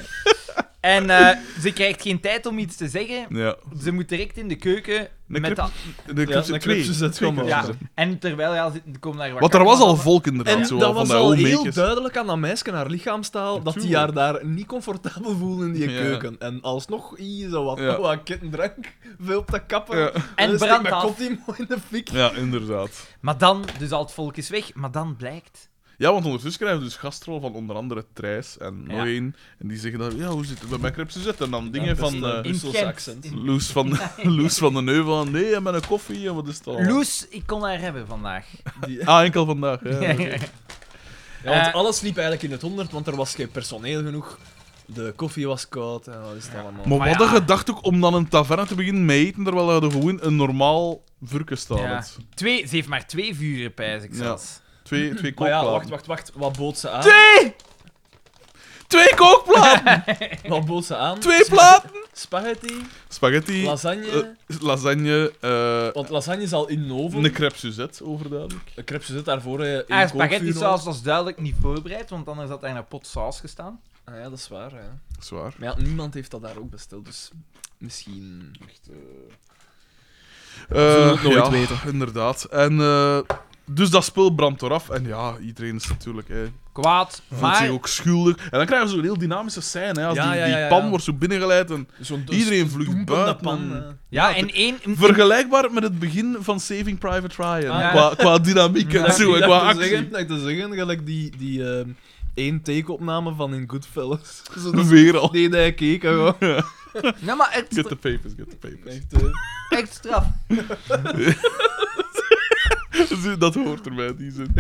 En eh, ze krijgt geen tijd om iets te zeggen. Ja. Ze moet direct in de keuken. Een met knip- dat- De club dan zit knipsen twee. ze het Twee gewoon clubs ja. zitten. En terwijl ja, ze komen daar wat Want er was al karnavallen. volk inderdaad. En zo, dat van was die al oude heel meekjes. duidelijk aan dat meisje, haar lichaamstaal, dat die haar Natuurlijk. daar niet comfortabel voelde in die Ja. keuken. En alsnog, hier zo wat, Ja. wat kittendrank, veel op de kappen. Ja. En dan steek brandt mijn af. kot die mooi in de fik. Ja, inderdaad. Maar dan, dus al het volk is weg, maar dan blijkt. Ja, want ondertussen krijgen we dus gastrol van onder andere Thijs en nog Ja. één. En die zeggen dan, ja, hoe zit het bij Macrepse zit? En dan dingen Ja, van best, eh, eh In Brussels Gent. accent. In- Loes van, [LAUGHS] Loes van de Neuvel. en Nee, en met een koffie en wat is het allemaal? Loes, ik kon haar hebben vandaag. Die- Ah, enkel vandaag. [LAUGHS] Ja, oké. Ja, want Eh. alles liep eigenlijk in het honderd, want er was geen personeel genoeg. De koffie was koud en wat is het allemaal. Maar Maar wat ja. een gedachte ook om dan een taverne te beginnen met eten, terwijl er gewoon een normaal vurken staat. Ja. [LAUGHS] Twee, ze heeft maar twee vuren, pijs ik Ja. zelfs. Twee, twee Maar ja, kookplaten. wacht, wacht, wacht. Wat bood ze aan? Twee! Twee [LAUGHS] kookplaten! Wat bood ze aan? twee platen! Spaghetti, Spaghetti, lasagne. eh, lasagne, eh Want lasagne is al in een oven. een Ah, crêpe Suzette, overduidelijk. De crepes zit daarvoor eh, in Haar een spaghetti kookvuur. saus was duidelijk niet voorbereid, want anders had hij een pot saus gestaan. Ah ja, dat is waar. Ja. Zwaar. Maar ja, niemand heeft dat daar ook besteld, dus misschien... eh. zullen het nooit ja, weten. inderdaad. En, eh, dus dat spul brandt eraf. En ja, iedereen is natuurlijk... Hè, Kwaad, voelt zich maar... ook schuldig. En dan krijgen we zo'n heel dynamische scène. Hè, als Ja, die, ja, die ja, ja. pan wordt zo binnengeleid en Zo'n dus iedereen vloeit doempende buiten. pan. en- eh. Ja, en één... Vergelijkbaar met het begin van Saving Private Ryan. Ah, ja. qua, qua dynamiek en Ja, zo, en ik qua dacht te actie. zeggen, dat ik te zeggen, gelijk die, die ehm, één take-opname van in Goodfellas. [LAUGHS] Zo dat Weer al. Nee, nee, keek gewoon. Ja, nou, maar echt, Get stra- the papers, get the papers. Echt, eh, echt straf. [LAUGHS] Zo, Dat hoort erbij, die zin.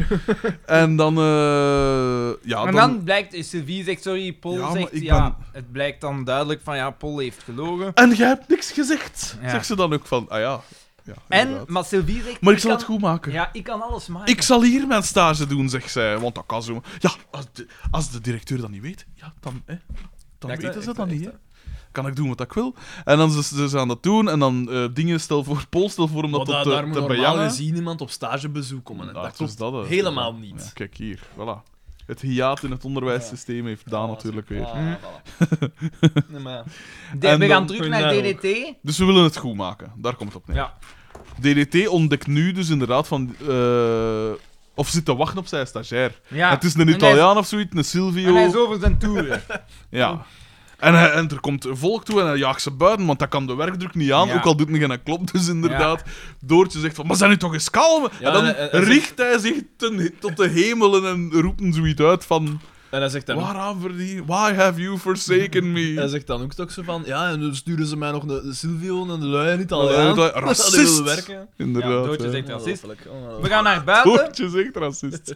En dan... eh, ja, en dan, blijkt, Sylvie zegt sorry, Paul Ja, maar zegt ik ja. Het blijkt dan duidelijk van ja, Paul heeft gelogen. En jij hebt niks gezegd. Ja. Zegt ze dan ook van, ah ja. ja En, inderdaad. maar Sylvie zegt... Maar ik zal kan- het goed maken. Ja, ik kan alles Ah, maken. Ik zal hier mijn stage doen, zegt zij. Want dat kan zo. Ja, als de, als de directeur dat niet weet, ja, dan, hè, dan Echt, hè, weten ze echt, dat hè, niet. echt, hè. Kan ik doen wat ik wil? En dan ze, ze ze aan dat doen. En dan eh, dingen stel voor, [LAUGHS] Paul stel voor om dat want tot daar, daar te, moet te normaal bejagen. gezien iemand op stagebezoek komen. hè. Ja, dat dus klopt hè. helemaal Ja, niet. kijk hier, voilà. Het hiaat in het onderwijssysteem heeft Daan natuurlijk weer. Hm. Ah, voilà. [LAUGHS] nee, maar ja. De- en we dan gaan terug hun naar naam. DDT. Dus we willen het goed maken. Daar komt het op neer. Ja. DDT ontdekt nu dus inderdaad van... eh, of zit te wachten op zijn stagiair. ja. Het is een En hij- Italiaan of zoiets, een Silvio. En hij is over zijn toeren. Ja. En, hij- en er komt volk toe en hij jaagt ze buiten, want dat kan de werkdruk niet aan, Ja. ook al doet men geen klop. Dus inderdaad, Doortje zegt van, maar zijn nu toch eens kalm? Ja, en dan eh, en- en- en- richt hij zich ten- tot de hemelen en roept een zoiets uit van, En hij zegt dan, ook, waaraan verdien, why have you forsaken [LAUGHS] hij me? zegt dan ook toch zo van, ja, en dan sturen ze mij nog de, de Silvio en de lui in Ja, dat- Italiaan. [LAUGHS] Dat die willen racist. werken. Inderdaad. Ja, Doortje hè. zegt racist. Ongelooflijk, ongelooflijk. We gaan naar buiten. Doortje zegt [LAUGHS] racist.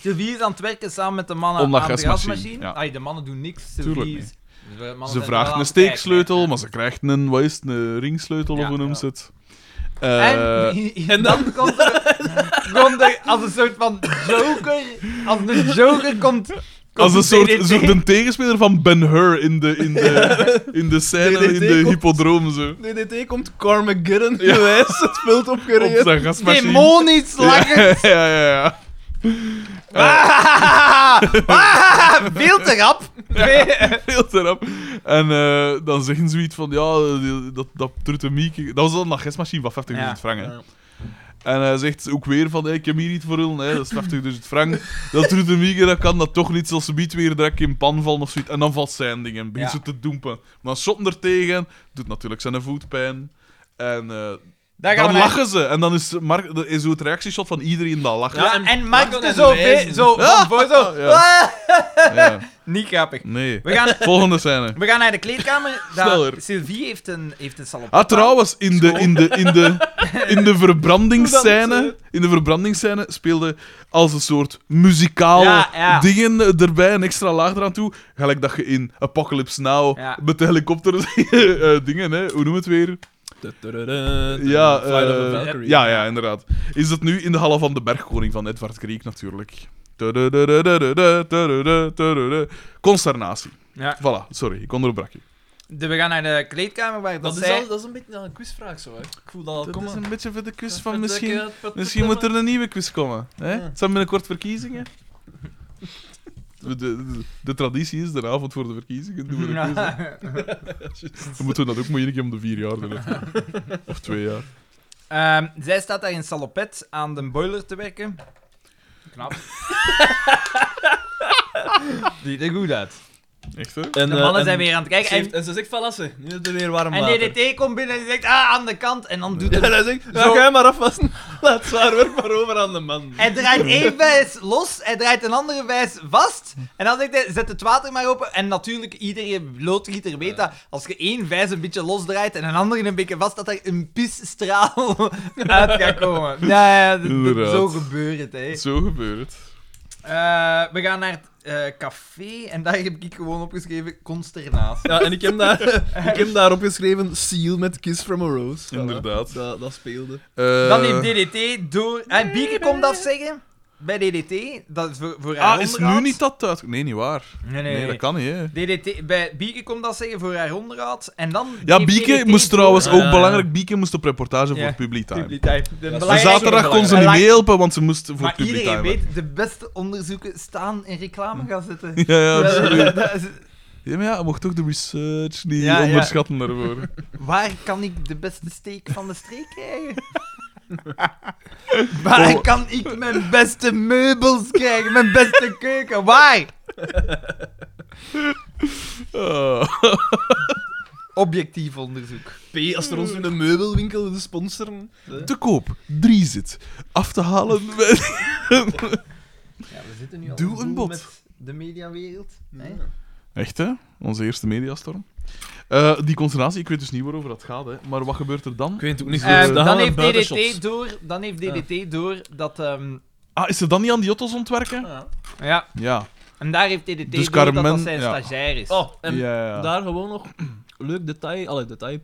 Sylvie is aan het werken samen met de mannen Om dat aan de gasmachine, gasmachine. ja. Ai, de mannen doen niks. Tuurlijk Sylvie niet. is- dus de mannen Ze zijn wel vraagt aan een het kijken, steeksleutel, hè. maar ze krijgt een, wat is het, een ringsleutel Ja, of hoe ja. noemt ze het? Eh, [LAUGHS] en, en [LAUGHS] dan komt er, komt er als een soort van joker, als een joker komt... komt Als een soort, DDT. soort de tegenspeler van Ben Hur in de, in de, in de scène, DDT in de komt- hippodroom zo. DDT komt Carmageddon, gewijs, het veld Op opgereden. zijn gasmachine. Demonisch lachen! [LAUGHS] ja, [LAUGHS] ja, ja, ja. Ah, ah, veel te rap! Veel- Heel te rap. En eh, dan zeggen ze iets van, ja, die- dat, dat truttemieke... Dat was dan een gasmachine van 50.000 Ja. frank, hè. Ja. En hij zegt ook weer van, hey, ik heb hier niet voor hun, hè, dat is 50.000 frank. Dat truttemieke, dat kan dat toch niet, zoals ze biedt weer direct in pan vallen of zoiets. En dan valt zijn ding en begint Ja. ze te doempen. Maar dan shotten er tegen, doet natuurlijk zijn voet pijn. En... eh, Daar gaan dan we naar- lachen ze. En dan is, Mark, is zo het reactieshot van iedereen dat lacht. Ja, Ja, en en Marco Mark en er zo, Wijzen. bij- zo van voor zo... Ja. Ah, Ja. Niet grappig. Nee. We gaan, Volgende scène. we gaan naar de kleedkamer. Daar, Sneller. Sylvie heeft een, heeft een salopette aan. Ah, trouwens, in de, in de, in de, in de verbrandingsscène... Hoe In de verbrandingsscène speelde als een soort muzikale Ja, ja. dingen erbij, een extra laag eraan toe. Gelijk dat je in Apocalypse Now Ja. met de helikopter [LAUGHS] eh, dingen, hè, hoe noem het weer? Ja, Flight of eh, the Valkyrie. ja, ja, inderdaad. Is dat nu in de Halle van de Bergkoning van Edvard Griek natuurlijk. Tududududududu, tududu, tududu. Consternatie. Ja. Voilà, sorry, ik onderbrak je. De- we gaan naar de kleedkamer waar Dat, dat is zij... al, dat is een beetje een quizvraag zo, hè. Ik voel dat al Dat is komen. een beetje voor de kus van misschien... Misschien moet er een nieuwe quiz komen. Hè? Ja. Het zijn binnenkort verkiezingen. de, de, de traditie is, de avond voor de verkiezingen doen we de quiz. hè. Ja. [LAUGHS] Dan moeten we dat ook maar één keer om de vier jaar doen. hè. Of twee jaar. Ehm, zij staat daar in salopet aan de boiler te werken. Knap. [LAUGHS] Ziet er goed uit. Echt, hè? En, De eh, mannen en zijn weer aan het ze kijken. heeft- En, en ze zegt, valassen, nu is het weer warm en water. DDT komt binnen en die zegt, ah, aan de kant. En dan [LAUGHS] doet En het... hij zegt, Zo. ja, ga je maar afwassen. Laat zwaar werk maar over aan de man. Hij draait één vijs los, hij draait een andere vijs vast. En dan zegt hij, zet het water maar open. En natuurlijk, iedere loodgieter weet dat. Als je één vijs een beetje losdraait en een andere een beetje vast, dat er een pisstraal [LAUGHS] uit gaat komen. Ja, ja, d- d- Inderdaad. zo gebeurt het, hè. Zo gebeurt het. Eh, we gaan naar het eh, café en daar heb ik gewoon opgeschreven consternatie. Ja, en ik heb, daar, ik heb daarop geschreven Seal met Kiss from a Rose. Voilà. Inderdaad. Dat, dat speelde. Eh, Dan heeft DDT door... En Bieke komt afzeggen bij DDT. Dat is voor, voor haar Ah, is nu onderhoud. niet dat uit? Nee, niet waar. Nee, nee, Nee, dat kan niet, hè. DDT, bij Bieke komt dat zeggen voor haar onderhoud. En dan Ja, geeft Bieke DDT moest door- trouwens ook Ah. belangrijk. Bieke moest op reportage Ja, voor Publitime. Publiteit. eh, De En belangrijkste- zaterdag kon ze niet Belang- mee helpen, want ze moest voor Maar iedereen Publitime. weet, de beste onderzoeken staan in reclamegazetten. [LAUGHS] Ja, ja, Dat- absoluut. dat is- Ja, maar ja, je mocht toch de research niet Ja, ja. onderschatten daarvoor. Waar kan ik de beste steek van de streek [LAUGHS] krijgen? Waar Oh. kan ik mijn beste meubels krijgen? Mijn [LAUGHS] beste keuken? Waar? Ah. Objectief onderzoek. P, als er ons in een meubelwinkel willen sponsoren. hè. Te koop, drie zit. Af te halen. [LAUGHS] bij- Ja, we zitten nu al Doe een vol bot. met met de mediawereld. Echt, hè? Onze eerste mediastorm. Eh, die consternatie, ik weet dus niet waarover dat gaat, hè. maar wat gebeurt er dan? Ik weet het ook niet Eh, goed. Ehm, dan, gaan we heeft buitenshots. DDT door, dan heeft DDT door dat... ehm, Ah, is ze dan niet aan die auto's ontwerken? Ja. ja, Ja. en daar heeft DDT Dus door dat dat Carmen- zijn ja. stagiair is. Oh, en ja, ja. daar gewoon nog leuk detail. Allee, detail.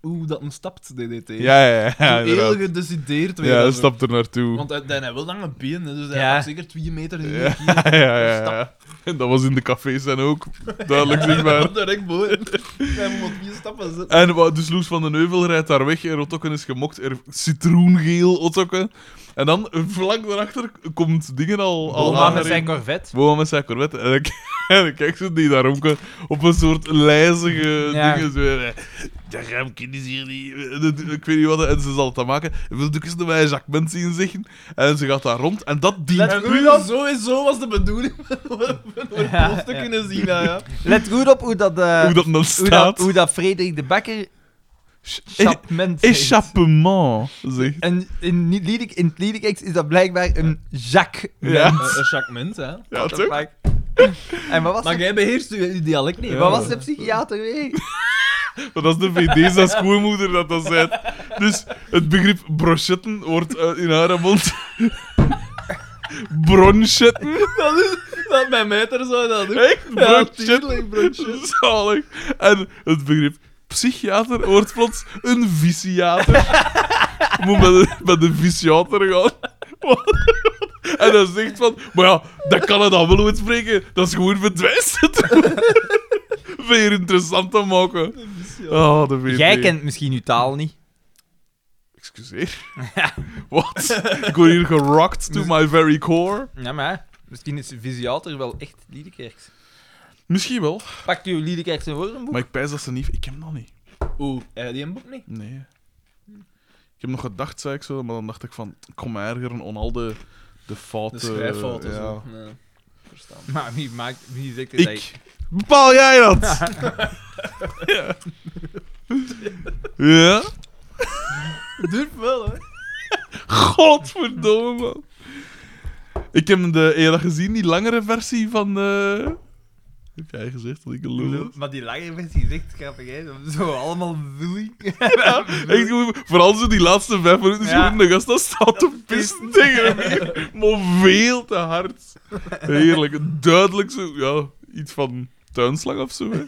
Hoe dat een stapt, DDT. Ja, ja, ja, ja, heel inderdaad. gedecideerd weer. Ja, dat hij zo. stapt er naartoe. Want hij, hij heeft wel lange benen, dus hij Ja. had zeker twee meter in Ja, de [LAUGHS] ja, ja, ja, Stap. En dat was in de cafés en ook duidelijk zichtbaar. Direct boven. Hij moet vier stappen zetten. En wa- dus Loes van den Heuvel rijdt daar weg en Rotokken is gemokt. Er citroengeel Rotokken. En dan vlak daarachter komt dingen al, al Oma met aangereden. zijn Corvette. Boa met zijn Corvette. En ik, [LAUGHS] en ik kijk zo die daar omke- op een soort lijzige Ja. dingen. Zo, eh, de remken is hier niet... eh, dat- Ik weet niet wat. En ze zal het dan maken. Wil ik eens naar mijn Jacques zien zeggen? En ze gaat daar rond. En dat dient... Let- En nu dan sowieso was de bedoeling om een [LAUGHS] Ja, post te ja. kunnen zien. Ja, ja. Let goed op hoe dat, eh, hoe dat hoe dan dat, staat. hoe dat Frederik de Bakker Eh, chapment heet. Échappement, zegt. En in, niet Liedek, in het Liedekex is dat blijkbaar een Jacques. Ja. Een een chakment, hè. Ja, What the toch? fuck? En wat was, Maar de, jij beheerst je je dialect niet. Ja. [LAUGHS] wat was de psychiater weer? Maar dat is de VD's, dat is schoonmoeder dat dat zei. Dus het begrip brochetten wordt eh, in haar mond... [LAUGHS] bronchetten. Dat is dat mijn meter zou dat doen. Echt? Ja, Bronchetten. tuurlijk, broodje. Zalig. En het begrip psychiater wordt plots een [LAUGHS] viciater. Moet bij de, bij de viciater gaan. [LAUGHS] En dan zegt van, maar ja, dat kan het dan wel uitspreken. Dat is gewoon verdwijst. [LAUGHS] Weer interessant te maken. Oh, de VD. Jij kent misschien uw taal niet. Excuseer. Wat? Ik word hier gerocked to my very core. Ja, maar misschien is Visiater wel echt Liedekerks. Misschien wel. Pakt u Liedekerks een woordenboek? Maar ik pijs dat ze niet... Ik heb hem nog niet. Oeh, heb je die een boek niet? Nee. Ik heb nog gedacht, zei ik zo, maar dan dacht ik van... Kom me ergeren aan al de, de De fouten. schrijffouten. Eh, ja. zo. Nee, Verstaan. [LAUGHS] Maar wie, maakt, wie zegt het dat je- Ik. Bepaal jij dat? [LAUGHS] ja. ja? Durf wel, hè. Godverdomme, man. Ik heb de... Heb je dat gezien? Die langere versie van... eh Heb jij gezegd dat ik een lul was? Maar die lange versie is echt grappig, hè? Zo allemaal [LAUGHS] [LAUGHS] woelie. Echt, gewoon- vooral zo die laatste vijf minuten is Ja. gewoon de gast dat staat te pissen tegen hem. Maar veel te hard. Heerlijk. Duidelijk zo, ja, iets van tuinslang of zo. Hè.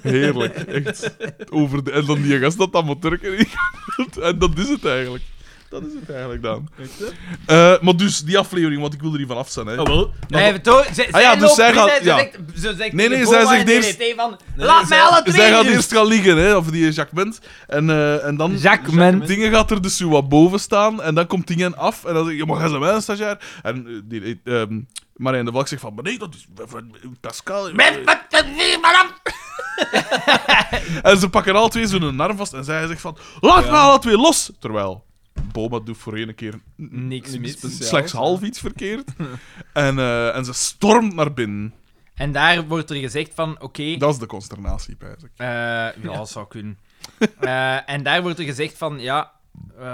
Heerlijk, echt. Over de, en dan die gast dat aan moet turken. [LAUGHS] En dat is het eigenlijk. Dat is het eigenlijk dan. Echt, hè? Eh, maar dus, die aflevering, want ik wil er niet van af zijn. Hè. Oh, Ah, wel. Nee, even door. Zij, Ah ja, zij dus loopt zij binnen, gaat- ze ja. zegt, ze zegt Nee, nee, tegen zij Boma zegt en eerst- DDT van, nee, laat zij- mij alle twee Zij gaat dus nu." eerst gaan liggen, hè, of die Jacques Bent. En, eh, en dan... Jacques Ment. Dingen gaat er dus zo wat boven staan en dan komt Dingen af en dan zeg je, maar jij bent wel een stagiair. En eh, die, eh, ehm, Marijn de Valk zegt van, maar nee, dat is Pascal. eh, En ze pakken al twee zo'n arm vast en zij zegt van, laat me alle twee los. Terwijl Boma doet voor één keer Niks mis. speciaals. slechts half iets verkeerd. [LAUGHS] en, eh, en ze stormt naar binnen. En daar wordt er gezegd van, oké... Dat is de consternatie, pijs ik. Eh, ja, dat zou kunnen. Eh, en daar wordt er gezegd van, ja, eh,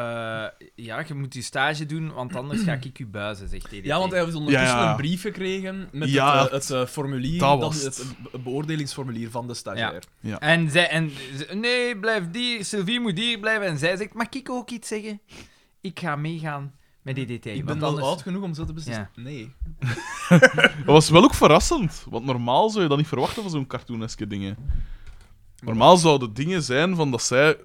ja, je moet je stage doen, want anders ga ik je buizen, zegt DDT. Ja, want hij heeft ondertussen Ja, ja. een brief gekregen met Ja, het, eh, het, eh, formulier, dat dat was het be- beoordelingsformulier van de stagiair. En zij, en ze- nee, blijf hier, Sylvie moet hier blijven. En zij zegt, mag ik ook iets zeggen? Ik ga meegaan met DDT. Ik ben want wel anders- oud genoeg om zo te beslissen. Nee. Dat was wel ook verrassend, want normaal zou je dat niet verwachten van zo'n cartooneske dingen. Normaal zouden dingen zijn van dat zij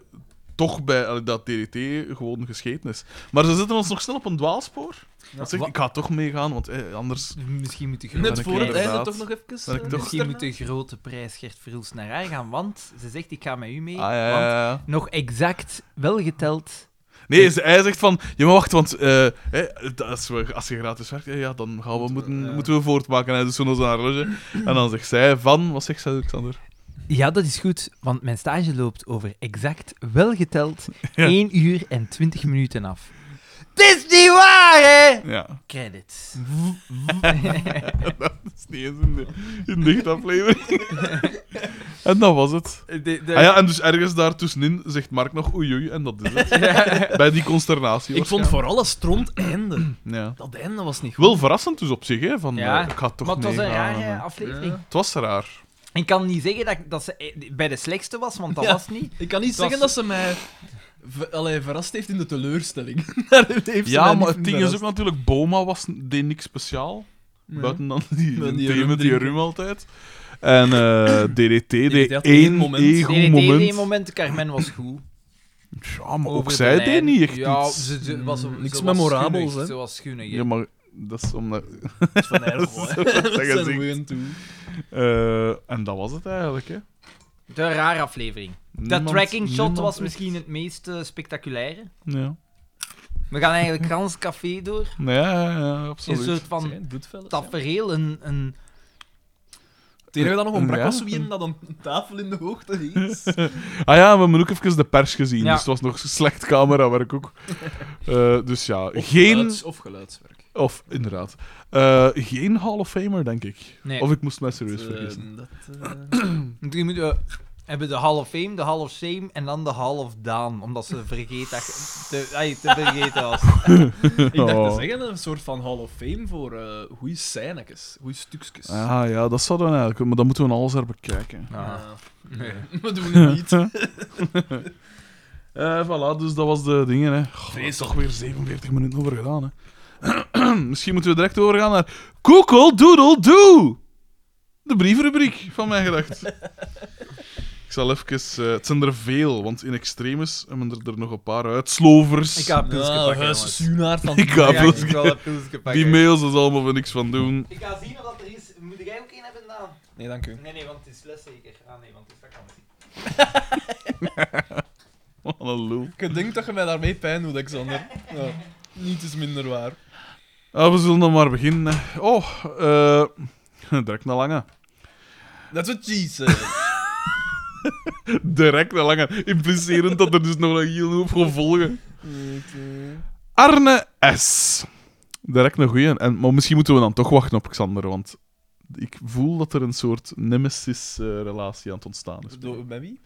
toch bij allee, dat DDT gewoon gescheten is. Maar ze zetten ons nog snel op een dwaalspoor. dat zegt, wa- ik ga toch meegaan, want eh, anders... Misschien moet de grote, ben Net ik voor het einde inderdaad- toch nog even. ben ik eh, toch- misschien moet externe- de grote prijs Gert Verhulst naar haar gaan, want ze zegt, ik ga met u mee. Ah, ja, ja, want ja. nog exact, wel geteld... Nee, ze- hij zegt van, je mag wachten, want eh, eh, dat als, we, als je gratis werkt, eh, ja, dan gaan we, Moeten we, moeten, ja. moeten we voortmaken. En hij doet zo naar zijn horloge. En dan zegt zij van, wat zegt zij, Alexander? Ja, dat is goed, want mijn stage loopt over exact, wel geteld, [LAUGHS] Ja. 1 uur en 20 minuten af. Het is niet waar, hè? Ja, [LAUGHS] Credits. dat is niet eens in de, in de [LAUGHS] dichtaflevering. en dat was het. eh, Ah ja, en dus ergens daartussenin zegt Mark nog oei oei, en dat is [LAUGHS] het. Bij die consternatie. Ik vond waarschijnlijk. vooral een stront einde. Ja. Dat einde was niet goed. Wel verrassend dus op zich, hè? Van, Ja, eh, ik ga toch maar het was een meegaan. rare aflevering. Ja. Het was raar. Ik kan niet zeggen dat, dat ze eh, bij de slechtste was, want dat Ja. was niet. Ik kan niet Dat zeggen dat was- ze mij ver- allee, verrast heeft in de teleurstelling. [LAUGHS] Daar heeft ze mij Ja, niet maar in het ding is ook verrast. natuurlijk, Boma was, deed niks speciaal. Ja. Buiten dan die, Met die thee rum met die drinken. rum altijd. En [LAUGHS] eh, DDT deed had één één moment. Nee, ego nee, nee, moment. nee, moment, Carmen was goed. Ja, maar ook Over de zij lijn. deed niet echt ja, iets. Ze, ze was, Mm, ze niks was memorabels, schunnig, hè. Ze was schunnig, hè. Ja, maar dat [LAUGHS] is omdat... Dat is van Ergo, hè. Dat Dat zeggen zijn ze niet. goeien toe. Eh, en dat was het eigenlijk, hè. De rare aflevering. Dat Niemand- tracking shot niemand was echt. misschien het meest eh, spectaculaire. Ja, We gaan eigenlijk Gans Café door. ja, ja, ja, Een absoluut. soort van Zijn goodfellas, ja. tafereel, een, een... Het enige dat nog ontbrak Ja. was wie hem dat een tafel in de hoogte is. Ah ja, we hebben ook even de pers gezien, Ja. dus het was nog slecht camerawerk ook. Eh, dus ja, geen... geluids- of geluidswerk. Of, inderdaad. Eh, geen Hall of Famer, denk ik. Nee. Of ik moest mij serieus Eh, vergissen. dat, eh, Want je moet, eh, hebben de Hall of Fame, de Hall of Shame en dan de Hall of Daan, omdat ze vergeten dat je- te, ai, te vergeten was. ik dacht Oh. te zeggen, een soort van Hall of Fame voor eh goede scènekes, goede stukjes. Ah ja, dat zouden we eigenlijk... Maar dan moeten we alles er bekijken. Ah. [LAUGHS] Ah. We doen het niet. Eh voilà, dus dat was de dingen, hè. Goh, Vreselijk. toch weer 47 minuten over gedaan, hè. [CLEARS THROAT] Misschien moeten we direct overgaan naar... Google Doodle Doo! De brievenrubriek van mijn gedacht. ik zal even... eh, het zijn er veel, want in extremis hebben we er, er nog een paar uitslovers. Ik ga een pilsje Nou, pakken, Huis jongens. Suunaard van Ik ga Ja, pilsje- ik wil een pilsje pakken. Die mails, daar zal me niks van doen. [LAUGHS] Ik ga zien of dat er is. Moet jij ook één hebben dan? Nee, dank u. Nee, nee, want het is les zeker. Ah nee, want het is vakantie. Wat een lul. Ik denk dat je mij daarmee pijn doet, Alexander. Ja. Niet is minder waar. Ah, we zullen dan maar beginnen. hè. Oh, eh... [LAUGHS] Direct naar Lange. [LAUGHS] That's what she said. Direct naar Lange. Implicerend dat er dus nog een heel hoop gevolgen. Arne S. Direct een goeie. En, maar misschien moeten we dan toch wachten op Xander, want ik voel dat er een soort nemesis-relatie aan het ontstaan is. Door- Bij wie?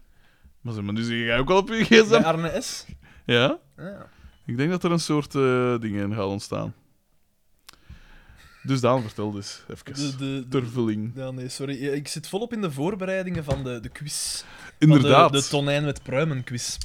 Maar zeg maar, nu zie jij ook al op je Bij gsm. Arne S. Ah, Ja? Ja. Ik denk dat er een soort eh dingen in gaat ontstaan. Dus Daan, vertel dus De, even. de, Ter vulling. ja, nee, sorry. Ja, Ik zit volop in de voorbereidingen van de, de quiz. Van Inderdaad. De, de tonijn met pruimen quiz.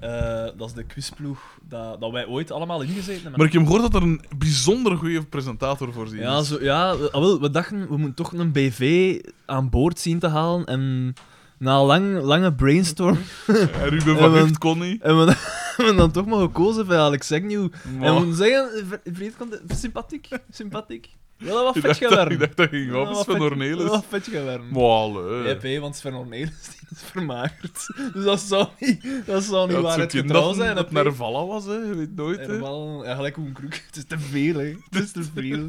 Eh, dat is de quizploeg dat, dat wij ooit allemaal ingezeten hebben. Maar ik heb gehoord dat er een bijzonder goede presentator voorzien is. Ja, zo, ja we, ah, wel, we dachten, we moeten toch een BV aan boord zien te halen. En na lang, lange brainstorm [LAUGHS] [LAUGHS] En Ruben En van dan- Ucht kon niet. hebben we, hebben we dan toch maar gekozen voor Alex Agnew. En we Maar- moeten zeggen, Vre- Vreed komt sympathiek, sympathiek. Wel wat Ik vet dacht, dat, ik gewerkt. dacht dat ging op, is van Wel Ornelis. wat vet gewerkt. Maar allee. Yep, hé, want Sven Ornelis die is vermagerd. Dus dat zou niet, dat zou niet Ja, waar het het zou getrouw kunnen zijn. dat hè, het P. Nervala was, hè. Je weet nooit, Er hè. [LAUGHS] wel, ja, gelijk hoe een kroek. Het is te veel, hè. Het is te veel.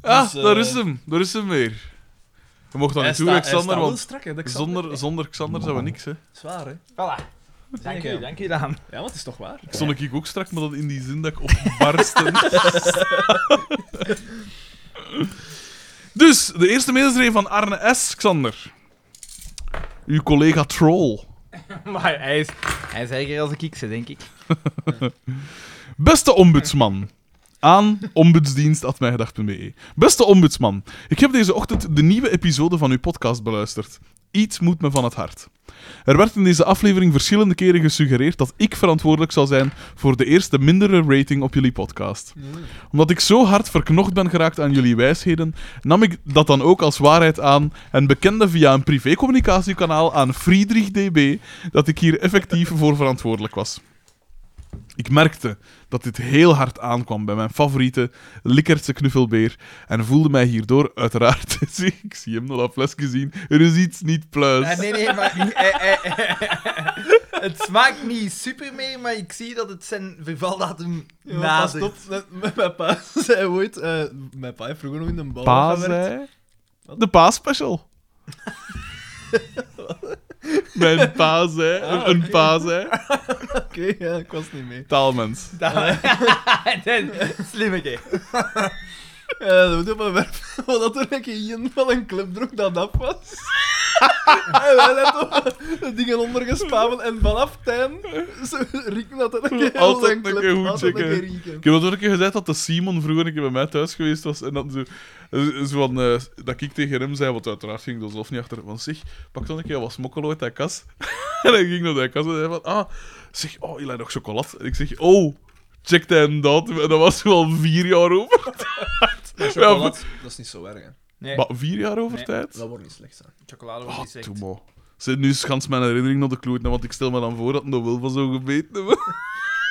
Ah, Dus, eh, daar is hem. Daar is hem weer. Je mocht dan Hij niet toe, sta- hij Alexander, staat wel want strak, hè, dat Xander. zonder, zonder Xander zijn we niks, hè. Zwaar, hè? Voilà. Dank Ja. u, dank u dan. Ja, want het is toch waar? Ik stond ik ook strak, maar dat in die zin dat ik [LAUGHS] opbarsten. dus, de eerste mail is er een van Arne S. Xander. Uw collega Troll. [LAUGHS] Maar hij is, hij is erger als een kiekse, denk ik. Beste ombudsman. Aan ombudsdienst.mijgedacht.be. E. Beste ombudsman, ik heb deze ochtend de nieuwe episode van uw podcast beluisterd. Iets moet me van het hart. Er werd in deze aflevering verschillende keren gesuggereerd dat ik verantwoordelijk zou zijn voor de eerste mindere rating op jullie podcast. Omdat ik zo hard verknocht ben geraakt aan jullie wijsheden, nam ik dat dan ook als waarheid aan en bekende via een privécommunicatiekanaal aan Friedrich DB dat ik hier effectief voor verantwoordelijk was. Ik merkte dat dit heel hard aankwam bij mijn favoriete Likkertse knuffelbeer en voelde mij hierdoor uiteraard... [LAUGHS] ik zie hem nog dat flesje zien. Er is iets niet pluis. Ah, nee, nee, maar... [LAUGHS] eh, eh, eh, het smaakt niet super meer, maar ik zie dat het zijn vervaldatum Ja, maar pas [LAUGHS] nadert. op, [LAUGHS] met- met mijn pa zei ooit... eh, mijn pa heeft vroeger nog in een bal Paas, gewerkt. hè? De paasspecial. [LAUGHS] Mijn paas, hè? Een- Ah, Een paas, hè? Oké, ja, ik was niet mee. Taalmens. Slimmeke. Eh, dat moet op een [LAUGHS] werf, omdat er een keer iemand van een club droeg dat af was. [LAUGHS] en wij net op de dingen ondergespameld en vanaf tijn [LAUGHS] ze rieken dat er een keer Altijd zijn een club keer goed was, altijd checken. een keer rieken. Ik heb dat ook een keer gezegd dat de Simon vroeger een keer bij mij thuis geweest was. En dan zo, zo van, eh, dat ik tegen hem zei, want uiteraard ging ik er zelf niet achter. Van zeg, pak dan een keer wat smokkel uit die kas. [LAUGHS] en hij ging naar die kas en zei van, ah, zeg, oh, je lijkt nog chocolade. En ik zeg, oh, check die dat. En dat was wel vier jaar over. [LAUGHS] chocolade, dat is niet zo erg, hè. Nee, Maar vier jaar over Nee. tijd? Dat wordt niet slecht, hè. chocolade wordt Ah, niet slecht. toe, maar. Zit nu schans mijn herinnering naar de kloot, want ik stel me dan voor dat nog wel van zo [LAUGHS] gebeten wordt.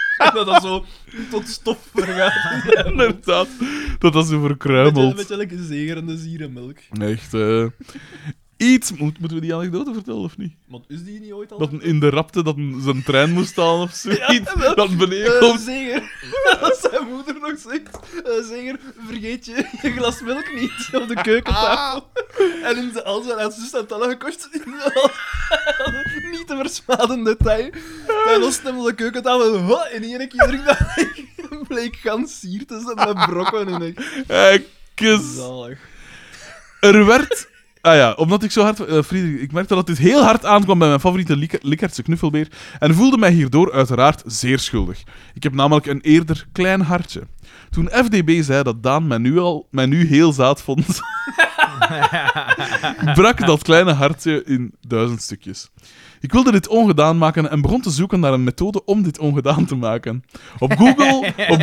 [LAUGHS] dat dat zo tot stof vergaat. Inderdaad, dat dat zo Een verkruimelt. beetje lekker zegerende zierenmelk. Echt, eh, iets. Moet, moeten we die anekdote vertellen of niet? Want is die niet ooit al? Dat een in de rapte dat een, zijn trein moest halen [LAUGHS] of zoiets. dat, beneden Eh, komt. zeger. [LAUGHS] Als zijn moeder nog zegt, eh, zeger, vergeet je je glas melk niet op de keukentafel. Ah. En in de als en haar zus had dat [LAUGHS] gekost. niet te versmaden detail. Hij lost hem op de keukentafel en, ho, in één keer druk dat [LAUGHS] bleek gansier te zijn met brokken in de Eh, kus. Zalig. Er werd. Ah ja, omdat ik zo hard. eh, Friedrich, ik merkte dat dit heel hard aankwam bij mijn favoriete Lik- Likkertse knuffelbeer. En voelde mij hierdoor uiteraard zeer schuldig. Ik heb namelijk een eerder klein hartje. Toen FDB zei dat Daan mij nu, al, mij nu heel zaad vond. [LAUGHS] brak dat kleine hartje in duizend stukjes. Ik wilde dit ongedaan maken en begon te zoeken naar een methode om dit ongedaan te maken. Op Google, op,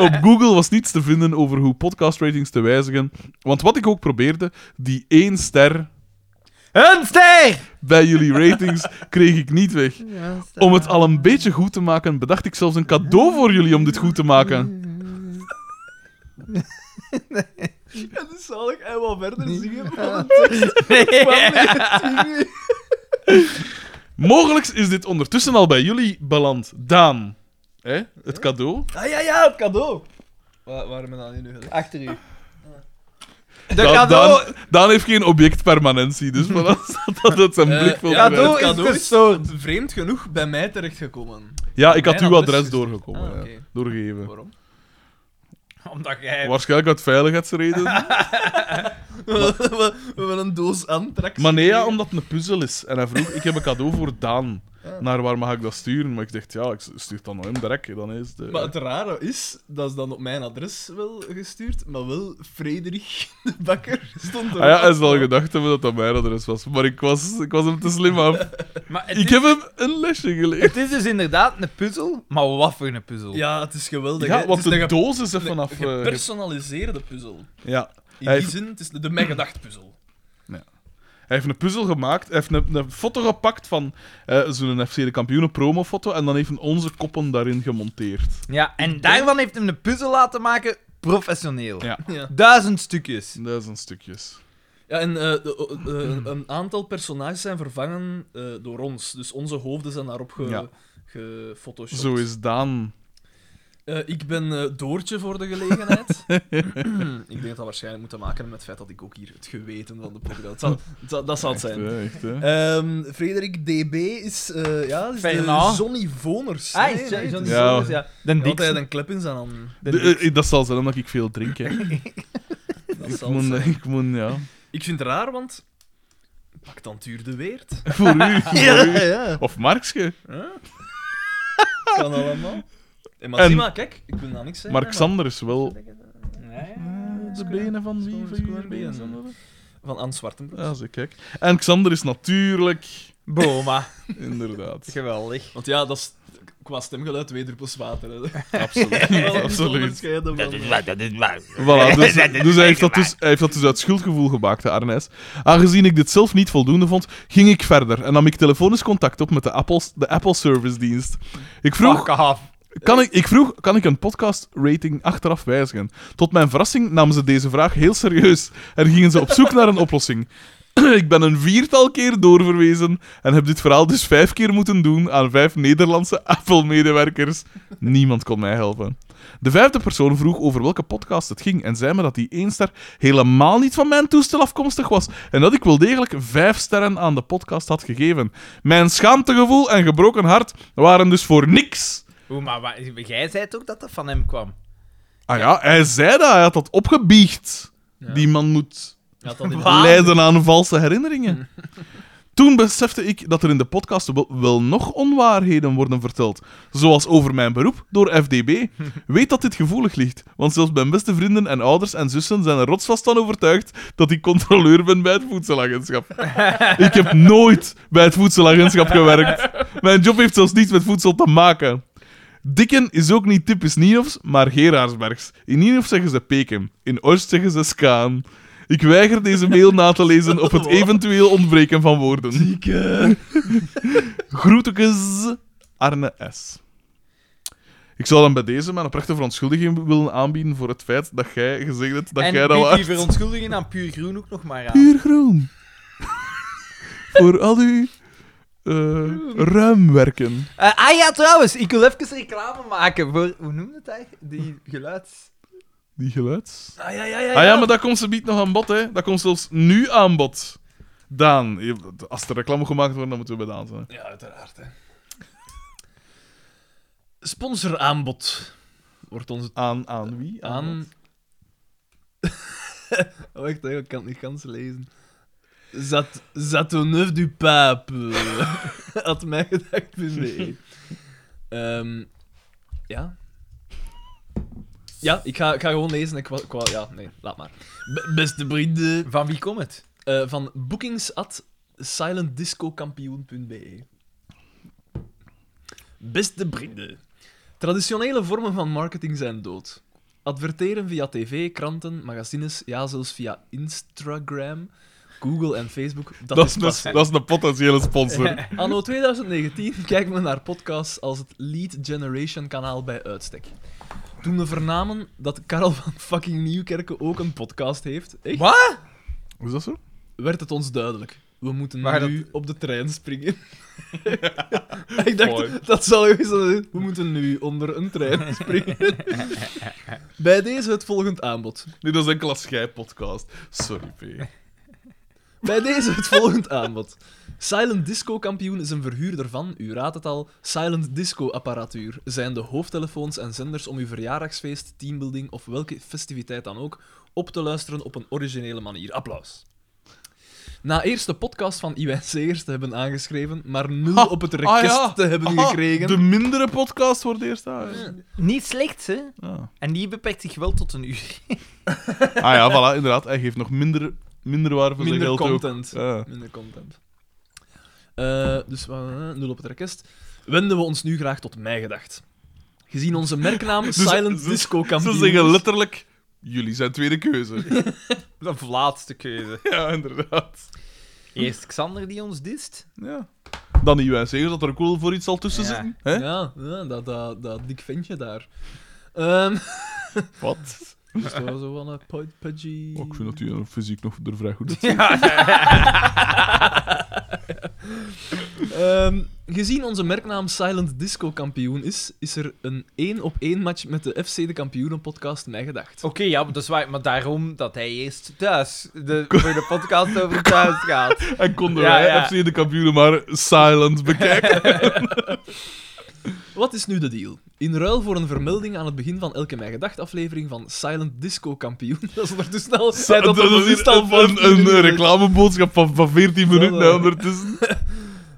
op Google was niets te vinden over hoe podcastratings te wijzigen. Want wat ik ook probeerde, die één ster Een ster! bij jullie ratings kreeg ik niet weg. Om het al een beetje goed te maken, bedacht ik zelfs een cadeau voor jullie om dit goed te maken. En dus zalig, hij wou verder zingen. maar Nee. het ging niet. Mogelijk is dit ondertussen al bij jullie beland. Daan, hè? het cadeau. Ah ja, ja, het cadeau. Waar, waarom ben dan nu gelegd? Achter u. De Daan, cadeau, Daan, Daan heeft geen objectpermanentie, dus maar dat, dat, dat zijn Eh, blik veel ja, verwijt. cadeau Het cadeau is is- gestoord. Vreemd genoeg bij mij terechtgekomen. Ja, ik had Mijn uw adres adres gestuurd. doorgekomen. Ah, ja. oké. Doorgegeven. Waarom? Omdat jij... Waarschijnlijk uit [LAUGHS] veiligheidsredenen. we, we hebben een doos antrax. Maar nee, ja, omdat het een puzzel is. En hij vroeg, ik heb een cadeau voor Daan. Naar waar mag ik dat sturen? Maar ik dacht, ja, ik stuur het dan naar hem direct. Dan is de... Maar het rare is, dat is dan op mijn adres wel gestuurd, maar wel Frederik [LAUGHS] de Bakker stond er. Ah ja, hij zal gedacht hebben dat dat mijn adres was. Maar ik was, ik was hem te slim [LAUGHS] af. Maar het, is, Ik heb hem een lesje geleerd. het is dus inderdaad een puzzel, maar wat voor een puzzel. Ja, het is geweldig. hè. Ja, [LAUGHS] Het want is de een ge- doos is er vanaf... Een eh, gepersonaliseerde puzzel. ja. In Hij die heeft- zin, het is de, de mij gedacht puzzel. Hij heeft een puzzel gemaakt, hij heeft een, een foto gepakt van eh, zo'n FC de Kampioenen promofoto en dan heeft hij onze koppen daarin gemonteerd. Ja, en daarvan heeft hem een puzzel laten maken, professioneel. Ja. Ja. Duizend stukjes. Duizend stukjes. Ja, en eh, de- o- o- eh, een- een aantal personages zijn vervangen eh, door ons. Dus onze hoofden zijn daarop ge, Ja. gefotoshopt. Zo is Daan Eh, ik ben eh, Doortje voor de [LAUGHS] gelegenheid. [CLEARS THROAT] ik denk dat dat waarschijnlijk moet te maken hebben met het feit dat ik ook hier het geweten van de podcast... Dat zal, het zal- [LAUGHS] dat zal het zijn. Ja, echt, hè. Ehm, Frederik DB is, eh ja, is de Fernand. Johnny Voners. Ah, Nee, is- nee, is- het is- is- Ja. is- ja. Den Ja, want hij had Dixon. een klep in zijn hand. Den De- Dixon. eh, dat zal zijn omdat ik veel drink. Hè. [LAUGHS] Dat ik, zal het moet, eh, zijn. ik moet, ja. Ik vind het raar, want... Pak dan Tuur de Weert. Voor u. voor u. [LAUGHS] ja. Of Marksje. Kan allemaal. En Maxima, kijk, ik wil nou niks zeggen. Maar hè, Xander is wel. eh, Ja, ja. De benen van wie? Van jullie benen? Xander? Van Anne Zwartenbroek. Ja, ze kijk. En Xander is [LAUGHS] natuurlijk. Boma. Inderdaad. Geweldig. Want ja, dat is qua stemgeluid twee druppels water. Hè. [LAUGHS] Absoluut. Absoluut. Dat is waar, Ah, dat is waar. [LAUGHS] Voilà, dus, Dat is dus hij, heeft dat zeker dus, hij heeft dat dus uit schuldgevoel gemaakt, de Arnijs. Aangezien ik dit zelf niet voldoende vond, ging ik verder en nam ik telefonisch contact op met de Apple, de Apple Service Dienst. Ik vroeg, Fuck off. kan ik, ik vroeg, kan ik een podcast rating achteraf wijzigen? Tot mijn verrassing namen ze deze vraag heel serieus en gingen ze op zoek naar een oplossing. [CLEARS THROAT] Ik ben een viertal keer doorverwezen en heb dit verhaal dus vijf keer moeten doen aan vijf Nederlandse [LAUGHS] Apple-medewerkers. Niemand kon mij helpen. De vijfde persoon vroeg over welke podcast het ging en zei me dat die één ster helemaal niet van mijn toestel afkomstig was en dat ik wel degelijk vijf sterren aan de podcast had gegeven. Mijn schaamtegevoel en gebroken hart waren dus voor niks. Oeh, maar wa- jij zei toch dat dat van hem kwam? Ah ja, hij zei dat. Hij had dat opgebiecht. Ja. Die man moet Ja, dat is- Wat? Ah. lijden aan valse herinneringen. Toen besefte ik dat er in de podcast wel, wel nog onwaarheden worden verteld. Zoals over mijn beroep door FDB. Weet dat dit gevoelig ligt, want zelfs mijn beste vrienden en ouders en zussen zijn er rotsvast van overtuigd dat ik controleur ben bij het voedselagentschap. ik heb nooit bij het voedselagentschap gewerkt. Mijn job heeft zelfs niets met voedsel te maken. Dikken is ook niet typisch Nienhofs, maar Geraarsbergs. In Nienhof zeggen ze Pekem, in Oost zeggen ze Skaan. Ik weiger deze mail na te lezen op het eventueel ontbreken van woorden. [LAUGHS] Groetekes, Arne S. Ik zou dan bij deze maar een prachtige verontschuldiging willen aanbieden voor het feit dat jij gezegd hebt dat en jij dat biedt die was. verontschuldiging aan Puur Groen ook nog maar aan. Puur groen. [LAUGHS] voor al uw eh, ruim werken. Eh, ah ja, trouwens, ik wil even reclame maken voor... Hoe noemde het eigenlijk? Die geluids... Die geluids. Ah, ja, ja, ja. Ah ja, maar dat komt ze biedt nog aan bod, hè. Dat komt zelfs nu aan bod. Daan, je- als er reclame gemaakt wordt, dan moeten we bij Daan zijn. Ja, uiteraard. Hè. Sponsoraanbod wordt ons Aan, aan wie? aan. [LAUGHS] oh, echt, hè, ik kan het niet kans lezen. Zat, Zatonneuf du Pape. [LAUGHS] Had mij gedacht, dus nee. Ehm, ja. Ja, ik ga, ik ga gewoon lezen. Ik, wa- ik wa- ja, nee, laat maar. B- beste vrienden. Van wie komt het? eh, van bookings at silentdiscokampioen.be. Beste vrienden. Traditionele vormen van marketing zijn dood. Adverteren via tv, kranten, magazines, ja zelfs via Instagram, Google en Facebook. Dat, Dat, is is pas. een, dat is een potentiële [LAUGHS] sponsor. Anno 2019 kijken we naar podcasts als het Lead Generation kanaal bij uitstek. Toen we vernamen dat Karel van fucking Nieuwkerken ook een podcast heeft, echt? Wat? Is dat zo? werd het ons duidelijk. We moeten Maar dat- nu op de trein [LAUGHS] springen. ik dacht, Mooi. dat zal eens zijn. We moeten nu onder een trein [LAUGHS] springen. Bij deze het volgend aanbod. Nee, dat is enkel als jij podcast. Sorry, [LAUGHS] P. Bij deze het volgend aanbod. Silent Disco Kampioen is een verhuurder van, u raadt het al, Silent Disco apparatuur. Zijn de hoofdtelefoons en zenders om uw verjaardagsfeest, teambuilding of welke festiviteit dan ook op te luisteren op een originele manier. Applaus. Na eerst de podcast van Iwijn Segers te hebben aangeschreven, maar nul op het request te hebben Ah, gekregen. De mindere podcast wordt eerst daar. Niet slecht, hè? Ah. En die beperkt zich wel tot een [LAUGHS] uur. ah ja, voilà, inderdaad. Hij geeft nog minder, minder waar voor Minder zijn geld content. ook. Ja. Minder content. Eh, dus eh, nul op het request. Wenden we ons nu graag tot mij gedacht. Gezien onze merknaam [LAUGHS] Silent ze- Disco Dus- Ze Kampioen. zeggen letterlijk, jullie zijn tweede [LAUGHS] keuze. De laatste keuze. ja, inderdaad. Eerst Xander die ons dist. Ja. Dan die wij zeggen dat er ook wel voor iets zal tussen Ja. zitten. Hè? Ja, ja, dat, dat, dat dik ventje daar. Ehm [LAUGHS] Wat? is dat wel zo van een pud- pudgy... Oh, ik vind dat u [LAUGHS] eh, fysiek nog er vrij goed uit ziet. Ja. Ehm, gezien onze merknaam Silent Disco kampioen is, is er een 1 op 1 match met de FC de Kampioenen podcast Mij Gedacht. Oké, ja, maar dat is waar. Maar daarom dat hij eerst thuis [LAUGHS] de, voor de podcast over thuis gaat. En konden Ja, wij ja. FC de kampioenen maar [LAUGHS] silent bekijken. Wat is nu de deal? In ruil voor een vermelding aan het begin van elke Mij Gedacht aflevering van Silent Disco kampioen, [LAUGHS] dat is ondertussen al... zij dat, er is bewust hier al een, voor een, vier een uur is. reclameboodschap van, van 14 minuten Voilà. eh, hè, ondertussen.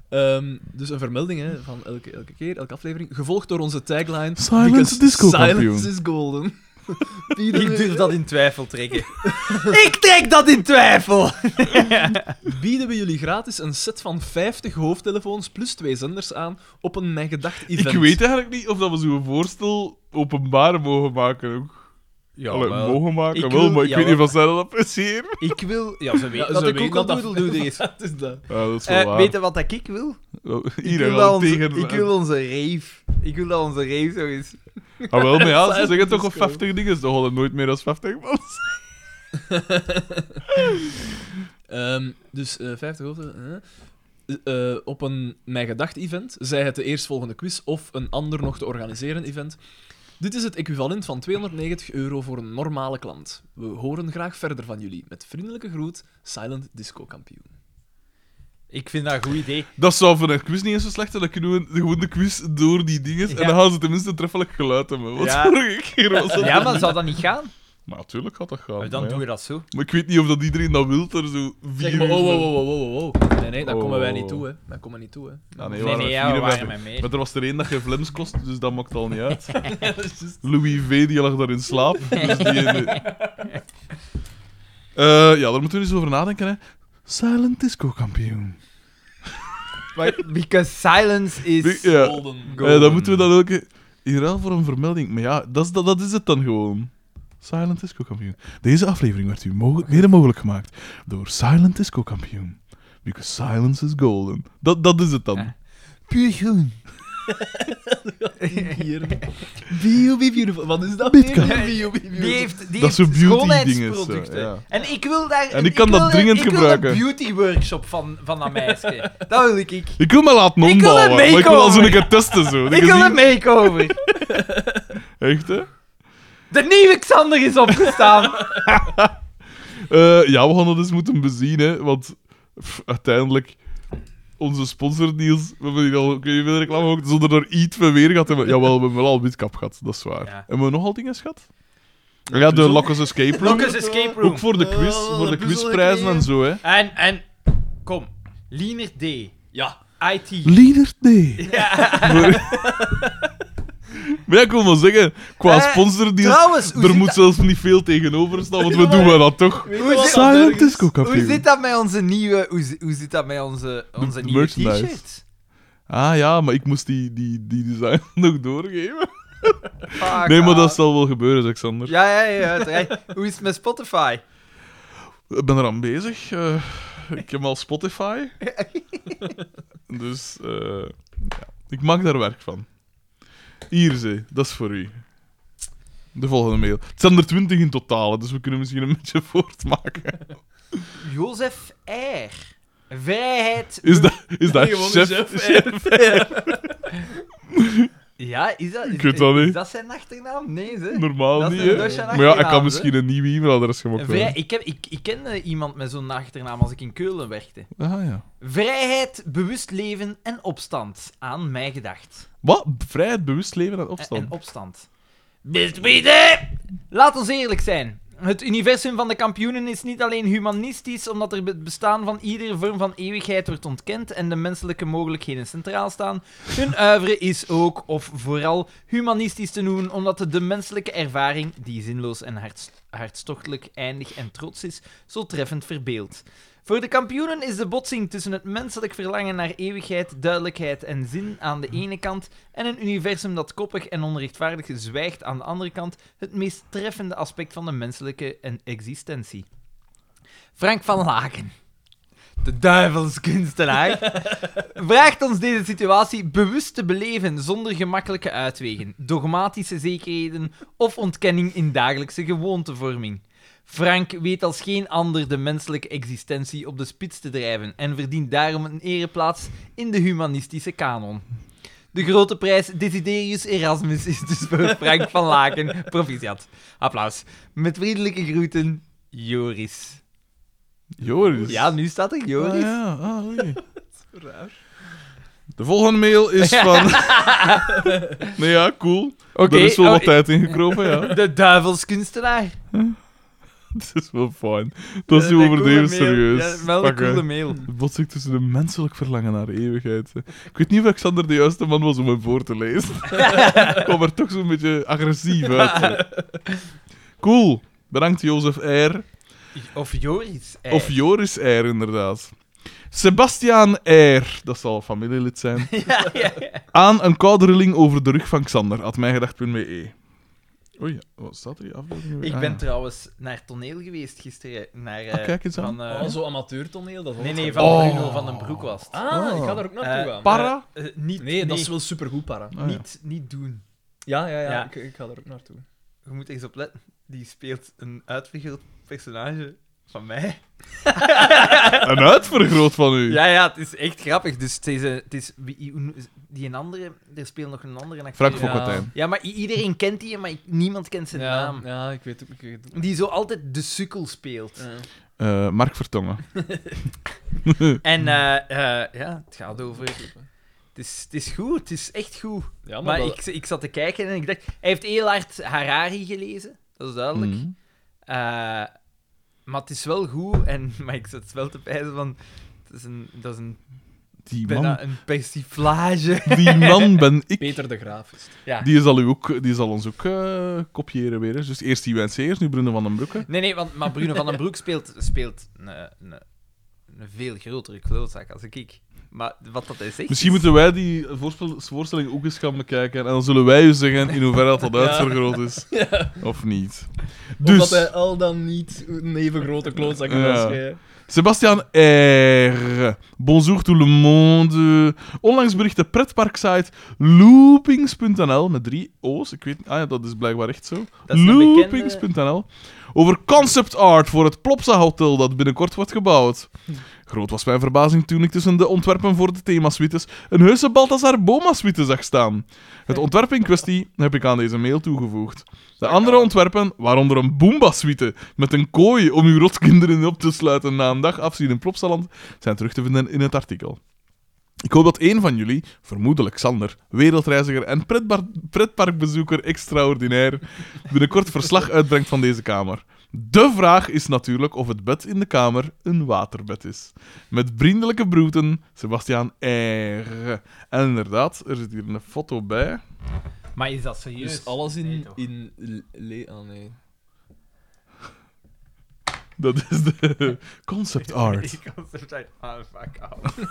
Ehm, dus een vermelding hè, van elke, elke keer, elke aflevering, gevolgd door onze tagline... Silence "Because Disco Silence Kampioen." is golden. Ik durf dat in twijfel [LAUGHS] trekken. Ik trek dat in twijfel! bieden we jullie gratis een set van 50 hoofdtelefoons plus twee zenders aan op een Mijn Gedacht Ik event. weet eigenlijk niet of dat we zo'n voorstel openbaar mogen maken ook. Ja, Allee, mogen maken Ik wel, wil- maar ik weet jawel. niet of zij dat appreciëren. Ik wil... Ja, [LAUGHS] ze weten Ja, dat ze ik ook weten al [LAUGHS] dat- doedeldoeder [LAUGHS] is. Het is dat. Ja, dat is wel Eh, waar. weet je wat dat ik wil? Ik Hier wil, en dat wel onze, tegen... ik wil onze rave. Ik wil dat onze rave zo is. Ah, wel, maar [LAUGHS] ja, ze zeggen Silent toch al disco. 50 dingen, ze hadden nooit meer dan 50 man. [LAUGHS] Ehm, dus eh 50 hoofden. eh. Eh, eh, op een Mijn Gedacht event, zij het de eerstvolgende quiz of een ander nog te organiseren event. Dit is het equivalent van 290 euro voor een normale klant. We horen graag verder van jullie. Met vriendelijke groet, Silent Disco Kampioen. Ik vind dat een goed idee. Dat zou voor een quiz niet eens zo slecht zijn. Dan kunnen we gewoon de quiz door die dingen. Ja. En dan gaan ze tenminste treffelijk geluid hebben. Wat Ja. vorige keer was dat. Ja, [LAUGHS] maar zou dat niet gaan? Maar natuurlijk gaat dat gaan. Maar dan maar, Oh, ja. doen we dat zo. Maar ik weet niet of dat iedereen dat wil. Er zo vier Zeg maar, uur oh, van- oh, oh, oh, oh, oh. Nee, nee, daar komen wij Oh. niet toe, hè. Daar komen we niet toe, hè. Ah, nee, Nee, we nee, waren ja, we vier en waren wij- met meer. Maar er was er één dat geen flems kost, dus dat maakt al niet [LAUGHS] uit. Dat is juist. Louis V. die lag daar in slaap. Dus die, [LAUGHS] Eh, ja, daar moeten we eens over nadenken. Hè. Silent Disco kampioen. Maar- Because silence is... Ja. Golden. Eh, dan moeten we dat ook in ruil voor een vermelding. Maar ja, dat is, dat, dat is het dan gewoon. Silent Disco Kampioen. Deze aflevering werd u moge- mede mogelijk gemaakt door Silent Disco Kampioen. Because silence is golden. Dat, dat is het dan. Ja. Puur groen. Hier. Bio, be beautiful. Wat is dat? Bitka. weer? [LAUGHS] Bio, be beautiful. Die heeft, die Dat heeft is een beauty ding is, schoonheidsproducten. eh, ja. En ik wil daar... En ik kan dat wil een- dringend Ik gebruiken. wil een beauty workshop van, van dat [LAUGHS] meisje. dat wil ik. Ik, Ik wil me laten Ik wil ombouwen, een maar ik wil al zo'n makeover. keer testen. Zo. Dat ik je wil ziet- een makeover. Echt, hè? De nieuwe Xander is [LAUGHS] opgestaan. Eh, ja, we gaan dat eens moeten bezien, hè. Want pff, uiteindelijk... Onze sponsordeals, we hebben hier al ik weet niet hoeveel reclame gemaakt, zonder er iets van weer gehad te hebben. Jawel, we hebben wel al witkap gehad, dat is waar. Ja. Hebben we nogal dingen gehad? Ja, de Lockers Escape Room. Blokkers Escape Room. Eh, Ook voor de quiz, Oh, voor de de puzzel quizprijzen en zo, hè. En, en... Kom. Liener D. Ja. IT. Leader D. Ja. Maar, maar ja, ik wil maar zeggen, qua Eh, sponsordeals, Trouwens, hoe er zit moet dat- zelfs niet veel tegenover staan, want we doen wel dat toch. Weet je Hoe wat zit- dat Silent ergens- Disco Hoe Kampioen. zit dat met onze nieuwe, hoe, zi- hoe zit dat met onze, onze de nieuwe merchandise. t-shirt? Ah ja, maar ik moest die, die, die design [LAUGHS] nog doorgeven. Fuck Nee, maar off. dat zal wel gebeuren, Alexander. Ah, Ja, ja, ja. uiteraard. [LAUGHS] Hoe is het met Spotify? Ik ben eraan bezig. eh, ik heb al [LAUGHS] Spotify. dus eh, ja. ik maak daar werk van. Hier, ze, dat is voor u. De volgende mail. Het zijn er 20 in totaal, dus we kunnen misschien een beetje [LAUGHS] voortmaken. Jozef R. Vrijheid. Is dat, is [LAUGHS] dat Nee, gewoon chef? een chef, chef? Ja, is dat, is, Ik weet dat is niet. dat zijn achternaam? Nee, ze. Normaal Dat is niet, een hè? dosje aan Maar ja, ik achternaam, kan hè? misschien een nieuwe e-mailadres gemaakt Vrij, hebben. ik, heb, ik, ik kende iemand met zo'n achternaam als ik in Keulen werkte. Ah ja. Vrijheid, bewust leven en opstand. Aan mij gedacht. Wat? Vrijheid, bewust leven en En- opstand. En opstand. Bestbieden! Laat ons eerlijk zijn. Het universum van de kampioenen is niet alleen humanistisch, omdat er het bestaan van iedere vorm van eeuwigheid wordt ontkend en de menselijke mogelijkheden centraal staan. Hun uivre is ook, of vooral, humanistisch te noemen, omdat het de menselijke ervaring, die zinloos en harts- hartstochtelijk, eindig en trots is, zo treffend verbeeldt. Voor de kampioenen is de botsing tussen het menselijk verlangen naar eeuwigheid, duidelijkheid en zin aan de ene kant en een universum dat koppig en onrechtvaardig zwijgt aan de andere kant het meest treffende aspect van de menselijke en existentie. Frank van Laken, de duivelskunstenaar, vraagt ons deze situatie bewust te beleven zonder gemakkelijke uitwegen, dogmatische zekerheden of ontkenning in dagelijkse gewoontevorming. Frank weet als geen ander de menselijke existentie op de spits te drijven en verdient daarom een ereplaats in de humanistische kanon. De grote prijs Desiderius Erasmus is dus voor Frank van Laken. Proficiat. Applaus. Met vriendelijke groeten, Joris. Joris. Ja, nu staat er Ah, Joris. ja. Ah, [LAUGHS] oei. Raar. De volgende mail is van... [LAUGHS] nee, ja, cool. Oké, er is wel oh, wat tijd ingekropen, ja. [LAUGHS] De duivelskunstenaar. Het is wel fijn. Dat is nu Een coole overdreven mail. serieus. Ja, wel een Pakken. coole mail. De botsing tussen de menselijk verlangen naar eeuwigheid. Ik weet niet of Alexander de juiste man was om hem voor te [LAUGHS] lezen. Ik kwam er toch zo'n beetje agressief uit. Cool. Bedankt, Jozef R. Of Joris. eh. Of Joris R, inderdaad. Sebastiaan R. Dat zal een familielid zijn. [LAUGHS] ja, ja, ja. Aan een koude rilling over de rug van Xander. At mijgedacht.be. e. Oei, wat staat er hier? Afbeeldingen weer? Ik Ah, ben ja. trouwens naar toneel geweest gisteren. Naar, eh, Ah, kijk eens aan. van, eh, oh, zo amateurtoneel, dat nee, nee, hoort. van Oh. Bruno van den Broek was het. Ah, Oh. ik ga daar ook naartoe Eh, gaan. Para? Eh, niet, Nee, dat is wel supergoed, para. Ah, ja. Eh, niet, niet doen. Ja, ja, ja, Ja. Ik, ik ga daar ook naartoe. Je moet eens op letten. Die speelt een uitvergroot personage van [LAUGHS] mij. Ah, Een uitvergroot van u. Ja, ja, het is echt grappig. Dus het is, eh, het is wie- hoe noem- die een andere, er speelt nog een andere acteur. Frank Ja. Fokkentijn. Ja, maar i- iedereen kent die, maar ik- niemand kent zijn Ja, naam. ja, ik weet ook. Ik weet ook. Die zo altijd de sukkel speelt. Eh. Eh, Mark Vertongen. En eh, eh, ja, het gaat over... Het is, het is goed, het is echt goed. Ja, maar, maar dat- ik, ik zat te kijken en ik dacht... Hij heeft heel hard Harari gelezen, dat is duidelijk. Mhm. Eh, maar het is wel goed, en, [LAUGHS] maar ik zat wel te pijzen van... Het is een, dat is een, Die man. bijna een persiflage. Die man ben ik. Peter de Graaf is. het. Ja. Die zal, u ook, die zal ons ook eh, kopiëren weer. Hè. Dus eerst die Wenseers, nu Bruno van den Broeke. Nee, nee, want, maar Bruno van den Broek speelt, speelt een, een, een veel grotere klootzak als ik. Maar wat dat hij zegt... Misschien is- moeten wij die voorspel- voorstelling ook eens gaan bekijken. En dan zullen wij u zeggen in hoeverre dat, dat uitvergroot is. Of niet. Omdat hij Dus, al dan niet een even grote klootzak Ja. was. jij. Sebastian R. Bonjour tout le monde. Onlangs berichtte pretparksite loopings.nl met drie O's. Ik weet, ah ja, dat is blijkbaar echt zo. Dat is een bekende- Loopings.nl. Over concept art voor het Plopsa Hotel dat binnenkort wordt gebouwd. Groot was mijn verbazing toen ik tussen de ontwerpen voor de themasuites een heuse Balthazar Boma-suite zag staan. Het ontwerp in kwestie heb ik aan deze mail toegevoegd. De andere ontwerpen, waaronder een Boomba-suite met een kooi om uw rotkinderen in op te sluiten na een dag afzien in Plopsaland, zijn terug te vinden in het artikel. Ik hoop dat één van jullie, vermoedelijk Sander, wereldreiziger en pretbar- pretparkbezoeker extraordinair, binnenkort verslag uitbrengt van deze kamer. De vraag is natuurlijk of het bed in de kamer een waterbed is. Met vriendelijke broeten, Sebastiaan R. En inderdaad, er zit hier een foto bij. Maar is dat serieus? Dus alles in. Nee, toch? in le- le- ah, nee. Dat is de concept art. Ik kan zo zijn, ah, fuck off.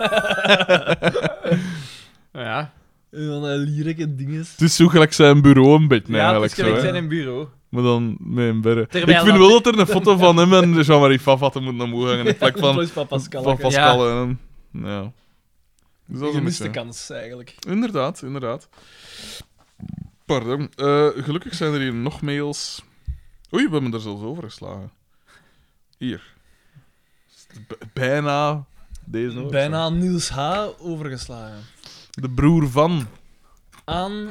ja. En dan eh, lierlijke dinges. Het is zo gelijk zijn bureau een ja, beetje het eigenlijk is zo, gelijk hè. zijn in bureau. Maar dan met een berre. Terwijl ik vind dat- wel dat er een [LAUGHS] foto van hem en Jean-Marie Favat moet naar moe hangen. In plek van, Plus van Pascal. van Pascal. Pascal en... Ja. Dus dat is Je een mist de beetje- kans eigenlijk. Inderdaad, inderdaad. Pardon. Eh, gelukkig zijn er hier nog mails. Oei, we hebben er zelfs over geslagen. Hier. B- bijna deze nog. Bijna Niels H. overgeslagen. De broer [LAUGHS] van. Aan.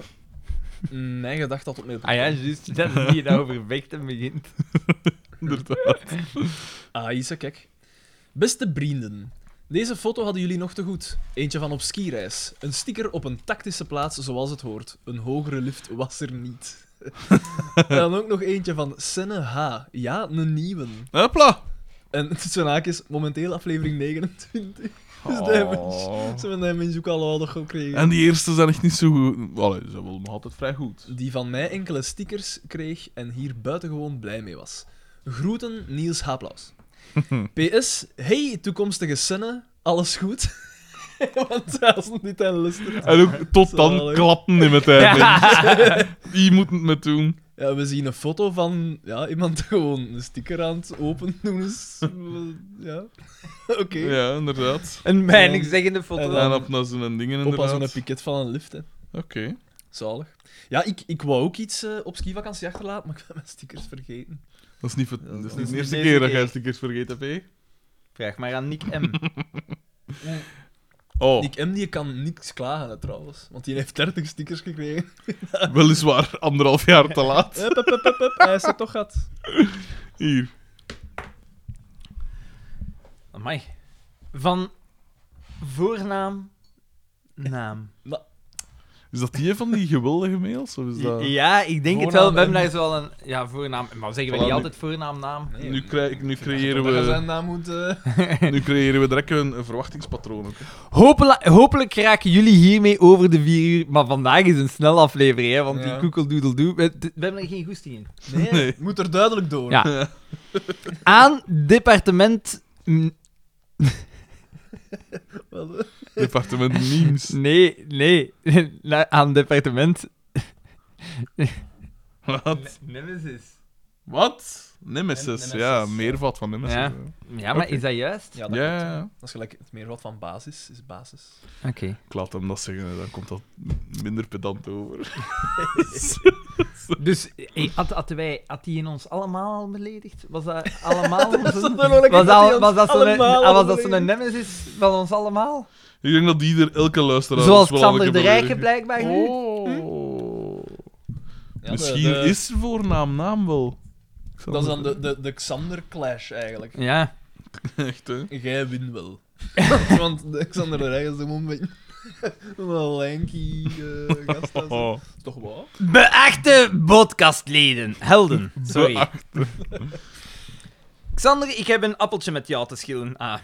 Nee, gedacht dat op mail. Ah ja, juist. Dat is die dat over vechten [LAUGHS] begint. Inderdaad. Ah, Isa, kijk. Beste vrienden, deze foto hadden jullie nog te goed. Eentje van op skireis. Een sticker op een tactische plaats zoals het hoort. Een hogere lift was er niet. [LAUGHS] en dan ook nog eentje van Senne H. Ja, een nieuwe. Hopla. En [LAUGHS] tussen haakjes, momenteel aflevering 29. Dus die hebben Oh. ze hebben die mensen ook al ouder gekregen. En die eerste zijn echt niet zo goed. Allee, ze zijn wel nog altijd vrij goed. Die van mij enkele stickers kreeg en hier buitengewoon blij mee was. Groeten, Niels Haplaus. PS, hey toekomstige Senne, alles goed? [LAUGHS] Want als het niet aan luistert. En ook tot dan Zalig. klappen in mijn tijd. [LAUGHS] Die moet het met doen. Ja, we zien een foto van ja, iemand [LAUGHS] die gewoon een sticker aan het open doen is. Ja, [LAUGHS] oké. Ja, inderdaad. Een mening zeggende foto. En En dan. op naar zo'n dingen Op als een inderdaad. Oké. piket van een lift, hè. Zalig. Ja, ik, ik wou ook iets eh, op skivakantie achterlaten, maar ik ben mijn stickers vergeten. Dat is niet, ver- dat is niet de niet eerste de keer dat eerste jij stickers vergeten hebt, hè? Vraag maar aan Nick M. Oh, Nick M. die kan niks klagen, hè, trouwens. Want die heeft 30 stickers gekregen. weliswaar anderhalf jaar te laat. [LAUGHS] Hup, hup, hup, hup, hup, Hij is er toch gehad. Hier. Amai. Van voornaam, naam. Is dat die van die geweldige mails? Of is dat... Ja, ik denk het Voornaam wel. We hebben en- daar zo wel een ja, voornaam. Maar zeggen Voilà, we niet nu- altijd voornaam, naam? Nee, Nu, krijg, ik- nu, creëren Dat je we, zijn naam moet... eh, nu creëren we direct een, een verwachtingspatroon. Ook, hè. Hopela- hopelijk raken jullie hiermee over de vier uur. Maar vandaag is een snelle aflevering, hè, want Ja. die koekeldoedeldoe. We, we hebben er geen goesting in. [LAUGHS] Nee, Nee. moet er duidelijk door. Ja. Aan departement. mm, Wel, eh, Departement memes. Nee, nee. [LAUGHS] Na- Aan departement. Wat? Nemesis. Wat? Nemesis, Nemesis, ja, ja. meervat van Nemesis. Ja. Ja, Ja, maar Oké. is dat juist? ja, dat ja, klopt, ja. hè. Dat is gelijk het meervoud van basis, is basis. Oké. [LAUGHS] ik laat hem dat zeggen, eh, dan komt dat minder pedant over. Dus eh, had, had, wij, had die in ons allemaal al beledigd? Was [LAUGHS] dat allemaal zo'n... Was Was dat, was dat zo'n ah, was dat zo'n nemesis van ons allemaal? Ik denk dat die er elke luisteraar Zoals ons wel aan Xander de keer Rijke beledigt. blijkbaar nu. Oh. Misschien is voornaam naam wel. Dat is dan de, de, de Xander Clash eigenlijk. Ja. [LAUGHS] Echt, hè? Jij wint [LAUGHS] wel. Want- Want de Xander de Rij is een moment. [LAUGHS] Een lanky eh, gast. dat is- Oh. is Toch waar? Beachte podcastleden. Helden. Sorry. Beacht- Xander, ik heb een appeltje met jou te schillen. Ah.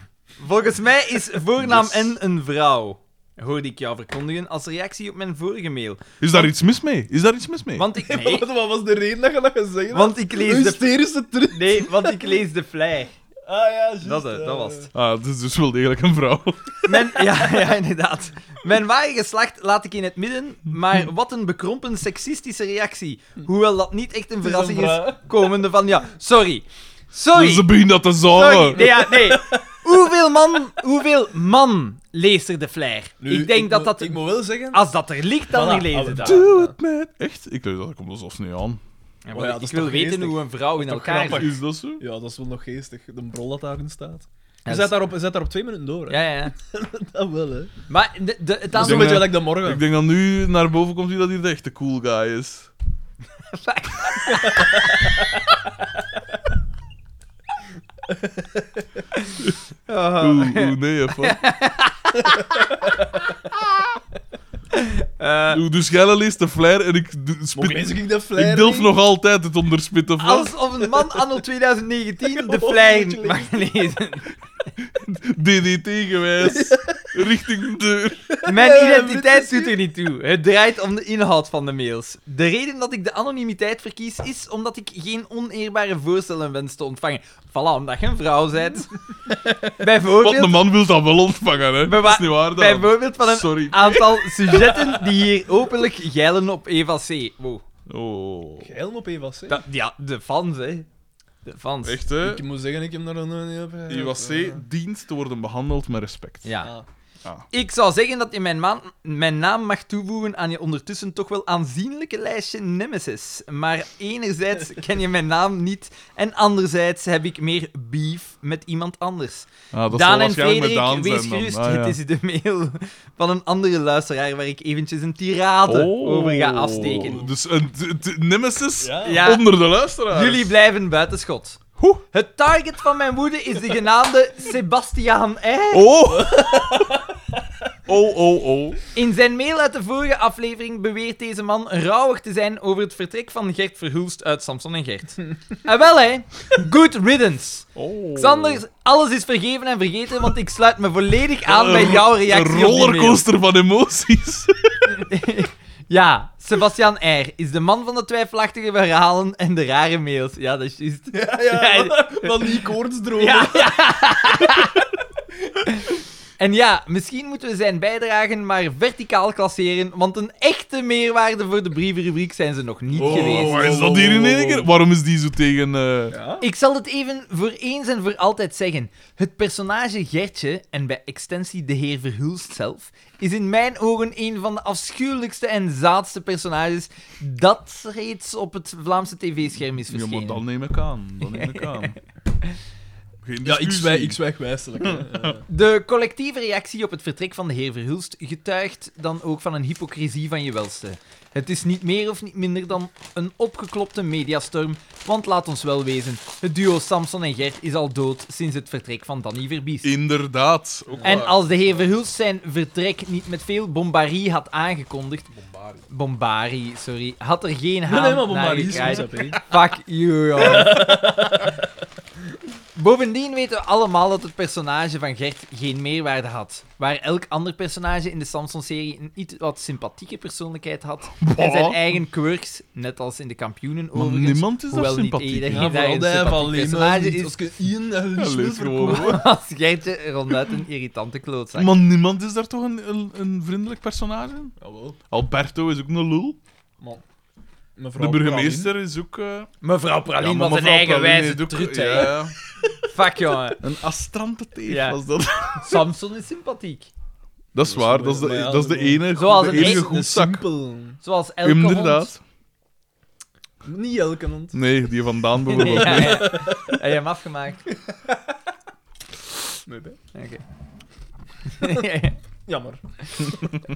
Volgens mij is voornaam Yes. en een vrouw. Hoorde ik jou verkondigen als reactie op mijn vorige mail. Is daar iets mis mee? Is daar iets mis mee? Want ik... Nee, [LAUGHS] Wat, wat was de reden dat je dat gezegd hebt? want ik lees Een de... hysterische truc. Nee, want ik lees de fly. Ah ja, juist, Dat, eh, dat ja, was ja. het. Ah, het is dus wel degelijk een vrouw. [LAUGHS] Mijn, ja, ja, inderdaad. Mijn ware geslacht laat ik in het midden, maar wat een bekrompen seksistische reactie. Hoewel dat niet echt een is verrassing een is, vraag. komende van... Ja, sorry. Dus ze Sorry. beginnen dat te Sorry. zagen. Nee, ja, nee. Oh. [LAUGHS] Hoeveel man, hoeveel man leest er de flair? Nu, ik denk dat moet- dat... Ik moet wel zeggen... Als dat er ligt, dan Voilà, niet lezen ah, dat. tuurlijk. Doe het, man. Echt? Ik lees dat, dat komt ons of niet aan. Ja, Oh ja, maar dat ik is wil toch weten geestig? hoe een vrouw in Dat is toch elkaar grappig? zit. Is dat zo? Ja, dat is wel nog geestig. De brol dat daarin staat. Ja, dus- Je dat zet daar, op, je zet daar op twee minuten door, hè? Ja, ja, ja. Dat wel, hè? Maar de, de, het Dat is een aantal... denk beetje dat- gelijk de morgen. Ik denk dat nu naar boven komt wie dat hier de echte cool [LAUGHS] guy is. Ah. Oeh, oeh, nee, hè, fuck. [LAUGHS] Eh, Oeh, dus jij leest de flair en ik d- Mocht spit... lees Ik ik dat flair durf niet? nog altijd het onderspitten van. Alsof een man anno [LAUGHS] 2019 de Oh, moet fly je mag lezen. [LAUGHS] [LAUGHS] DDT-gewijs. Richting de deur. Mijn Eh, identiteit dit is- doet er niet toe. Het draait om de inhoud van de mails. De reden dat ik de anonimiteit verkies is omdat ik geen oneerbare voorstellen wens te ontvangen. Voilà, omdat je een vrouw [LAUGHS] bent. Wat een Bijvoorbeeld, man wil dat wel ontvangen, hè. Dat is niet waar, dan. bijvoorbeeld van een Sorry. [LAUGHS] aantal sujetten die hier openlijk geilen op Eva C. Wow. Oh. Geil op Eva C. Dat- ja, de fans, hè. De fans. Echt, hè? Ik moet zeggen, ik heb daar nog nooit op. Die was C, Ja. dienst te worden behandeld met respect. Ja. Ah. Ik zou zeggen dat je mijn, maan- mijn naam mag toevoegen aan je ondertussen toch wel aanzienlijke lijstje Nemesis. Maar [LAUGHS] enerzijds ken je mijn naam niet en anderzijds heb ik meer beef met iemand anders. Ah, dat zal Daan en waarschijnlijk met Frederik, Daan wees zijn dan. gerust, Ah, ja. het is de mail van een andere luisteraar waar ik eventjes een tirade Oh. over ga afsteken. Dus een t- t- nemesis Ja. Ja. onder de luisteraars. Jullie blijven buitenschot. Hoe? Het target van mijn woede is de genaamde Sebastiaan R. [LAUGHS] Oh! oh, oh, oh. In zijn mail uit de vorige aflevering beweert deze man rouwig te zijn over het vertrek van Gert Verhulst uit Samson en [LAUGHS] Gert. en wel hè, good riddance. oh. Xander, alles is vergeven en vergeten, want ik sluit me volledig aan bij jouw reactie. Een op die mail. rollercoaster van [LAUGHS] emoties. Ja, Sebastian R. is de man van de twijfelachtige verhalen en de rare mails. Ja, dat is juist. [LAUGHS] [LAUGHS] Ja, ja, van die koortsdroom. Ja, ja. En ja, misschien moeten we zijn bijdragen maar verticaal klasseren, want een echte meerwaarde voor de brievenrubriek zijn ze nog niet Oh, geweest. waar is dat hier in één keer? Waarom is die zo tegen... eh, Ik zal het even voor eens en voor altijd zeggen. Het personage Gertje, en bij extensie de heer Verhulst zelf, is in mijn ogen een van de afschuwelijkste en zaadste personages dat reeds op het Vlaamse tv-scherm is Ja, maar verschenen. dan neem ik aan. Dan neem ik [LAUGHS] aan. Geen Ja, ik discussie. zwijg, ik zwijg wijselijk. hè. Eh, De collectieve reactie op het vertrek van de heer Verhulst getuigt dan ook van een hypocrisie van je welste. Het is niet meer of niet minder dan een opgeklopte mediastorm, want laat ons wel wezen, het duo Samson en Gert is al dood sinds het vertrek van Danny Verbies. Inderdaad. Ook En waar. als de heer Verhulst zijn vertrek niet met veel bombarie had aangekondigd... Bombari. Bombari, sorry. Had er geen Nee, haan Nou, nee, naar maar Bombari is gekraaid. goed, hè, P. Fuck you, joh. [LAUGHS] Bovendien weten we allemaal dat het personage van Gert geen meerwaarde had. Waar elk ander personage in de Samson-serie een iets wat sympathieke persoonlijkheid had. En zijn Bah. eigen quirks, net als in de kampioenen Maar overigens. niemand is daar hoewel niet sympathiek. iedereen- in. Ja, vooral een de sympathiek van Leeman. personage is. Als je Ian eh, en Ja, Liesbeth lees gewoon. verkoopt. [LAUGHS] Als Gertje ronduit een irritante klootzak. Maar niemand is daar toch een, een, een vriendelijk personage? Jawel. Alberto is ook een lul. Man. De Mevrouw burgemeester is ook... eh Mevrouw ja, Praline maar was een mevrouw Pauline eigenwijze heeft ook- trut, ja, hè. ja. Fuck, jongen. Een astrante teef Ja. was [LAUGHS] dat. Samson is sympathiek. Dat is eh, Dat is waar, mooi, dat is maar de, e- ja, dat is de dat is enige, Zoals de een enige echte Een goed zak. simpel. Zoals elke hond. Inderdaad. Niet elke hond. Nee, die [LAUGHS] van Daan Nee, bijvoorbeeld. ja, ja. Heb je hem afgemaakt? [LAUGHS] Nee, nee. Oké. Jammer.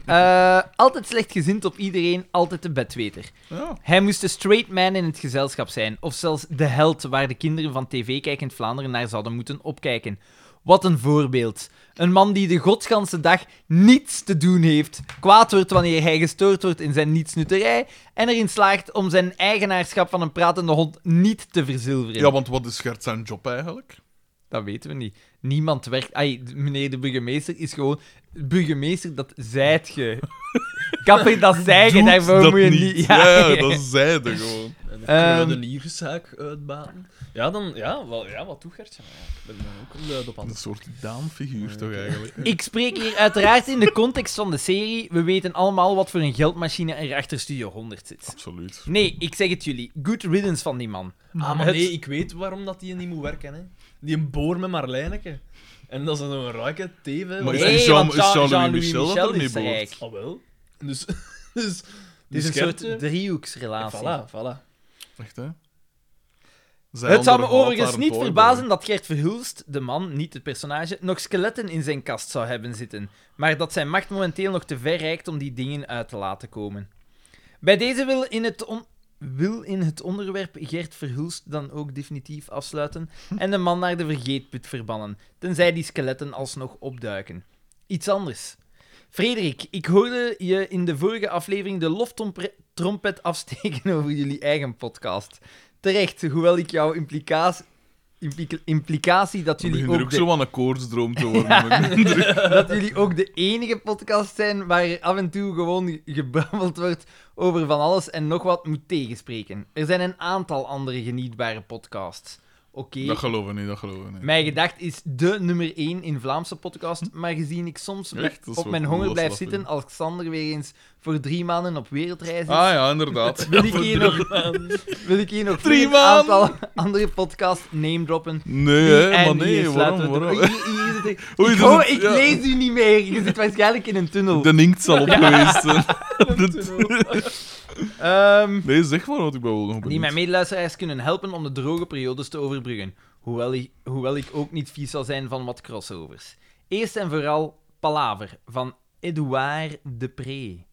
Eh, altijd slechtgezind op iedereen, altijd de bedweter. Ja. Hij moest de straight man in het gezelschap zijn, of zelfs de held waar de kinderen van tv-kijkend Vlaanderen naar zouden moeten opkijken. Wat een voorbeeld. Een man die de godsganse dag niets te doen heeft, kwaad wordt wanneer hij gestoord wordt in zijn nietsnutterij en erin slaagt om zijn eigenaarschap van een pratende hond niet te verzilveren. ja, want wat is Gert zijn job eigenlijk? Dat weten we niet. Niemand werkt. Ai, d- meneer de burgemeester is gewoon. Burgemeester, dat zijt [LAUGHS] je. Kapper, dat zei je. Doet Daarvoor dat moet je niet. niet. [LAUGHS] Ja, ja, dat zeiden gewoon. En een Ehm. kruidenierszaak uitbaten. Ja, dan... Ja, wel, ja wat doet Gertje? nou Ja, ik ben er ook luid op aan Een het soort daamfiguur toch eigenlijk. Ik spreek hier uiteraard in de context van de serie. We weten allemaal wat voor een geldmachine er achter Studio 100 zit. Absoluut. Nee, ik zeg het jullie. Good riddance van die man. Ah, maar Het- nee, ik weet waarom dat die niet moet werken, hè. Die een boor met Marlijneke. En dat is dan een ruike TV. Maar is Nee, die Jean- want is Jean-Louis Jean-Louis Michel dat daarmee is behoort? rijk. Ah, wel. Dus... [LAUGHS] dus Dit is dus een soort Gertje- Ah, driehoeksrelatie. Voilà, voilà. Echt, hè? Zij Het zou me ondervalt overigens haar niet boy verbazen dat Gert Verhulst, de man, niet het personage, nog skeletten in zijn kast zou hebben zitten. Maar dat zijn macht momenteel nog te ver reikt om die dingen uit te laten komen. Bij deze wil in het, on- wil in het onderwerp Gert Verhulst dan ook definitief afsluiten en de man naar de vergeetput verbannen, tenzij die skeletten alsnog opduiken. Iets anders. Frederik, ik hoorde je in de vorige aflevering de loftrompet afsteken [LAUGHS] over jullie eigen podcast. Terecht, hoewel ik jouw implicatie, implicatie dat boy. Ik jullie begin er ook ook de zo aan een koortsdroom te worden. heb ik de indruk. [LAUGHS] dat jullie ook de enige podcast zijn waar er af en toe gewoon ge- gebrabbeld wordt over van alles en nog wat moet tegenspreken. Er zijn een aantal andere genietbare podcasts. Oké, Dat geloof ik niet, dat geloof ik niet. mijn gedacht is de nummer 1 in Vlaamse podcast, maar gezien ik soms Hm? Echt? met- Dat is op wel mijn cool, honger dat is blijf lastig. zitten als Xander weer eens voor drie maanden op wereldreis is, Ah ja, inderdaad. wil, ik hier nog, [LAUGHS] wil ik hier nog Drie een maanden! aantal andere podcasts name droppen. Nee, Die- hè, maar en hier nee, sluiten waarom? we het waarom? op. Hier- hier zit ik- Oei, ik dat is hoor- het- ik ja. lees u niet meer. Je zit waarschijnlijk in een tunnel. De inkt zal op geweest zijn. Ehm, Nee, zeg maar, want ik ben wel nog die benieuwd. mijn medeluisteraars kunnen helpen om de droge periodes te overbruggen. Hoewel ik, hoewel ik ook niet vies zal zijn van wat crossovers. Eerst en vooral Palaver van Edouard Depré.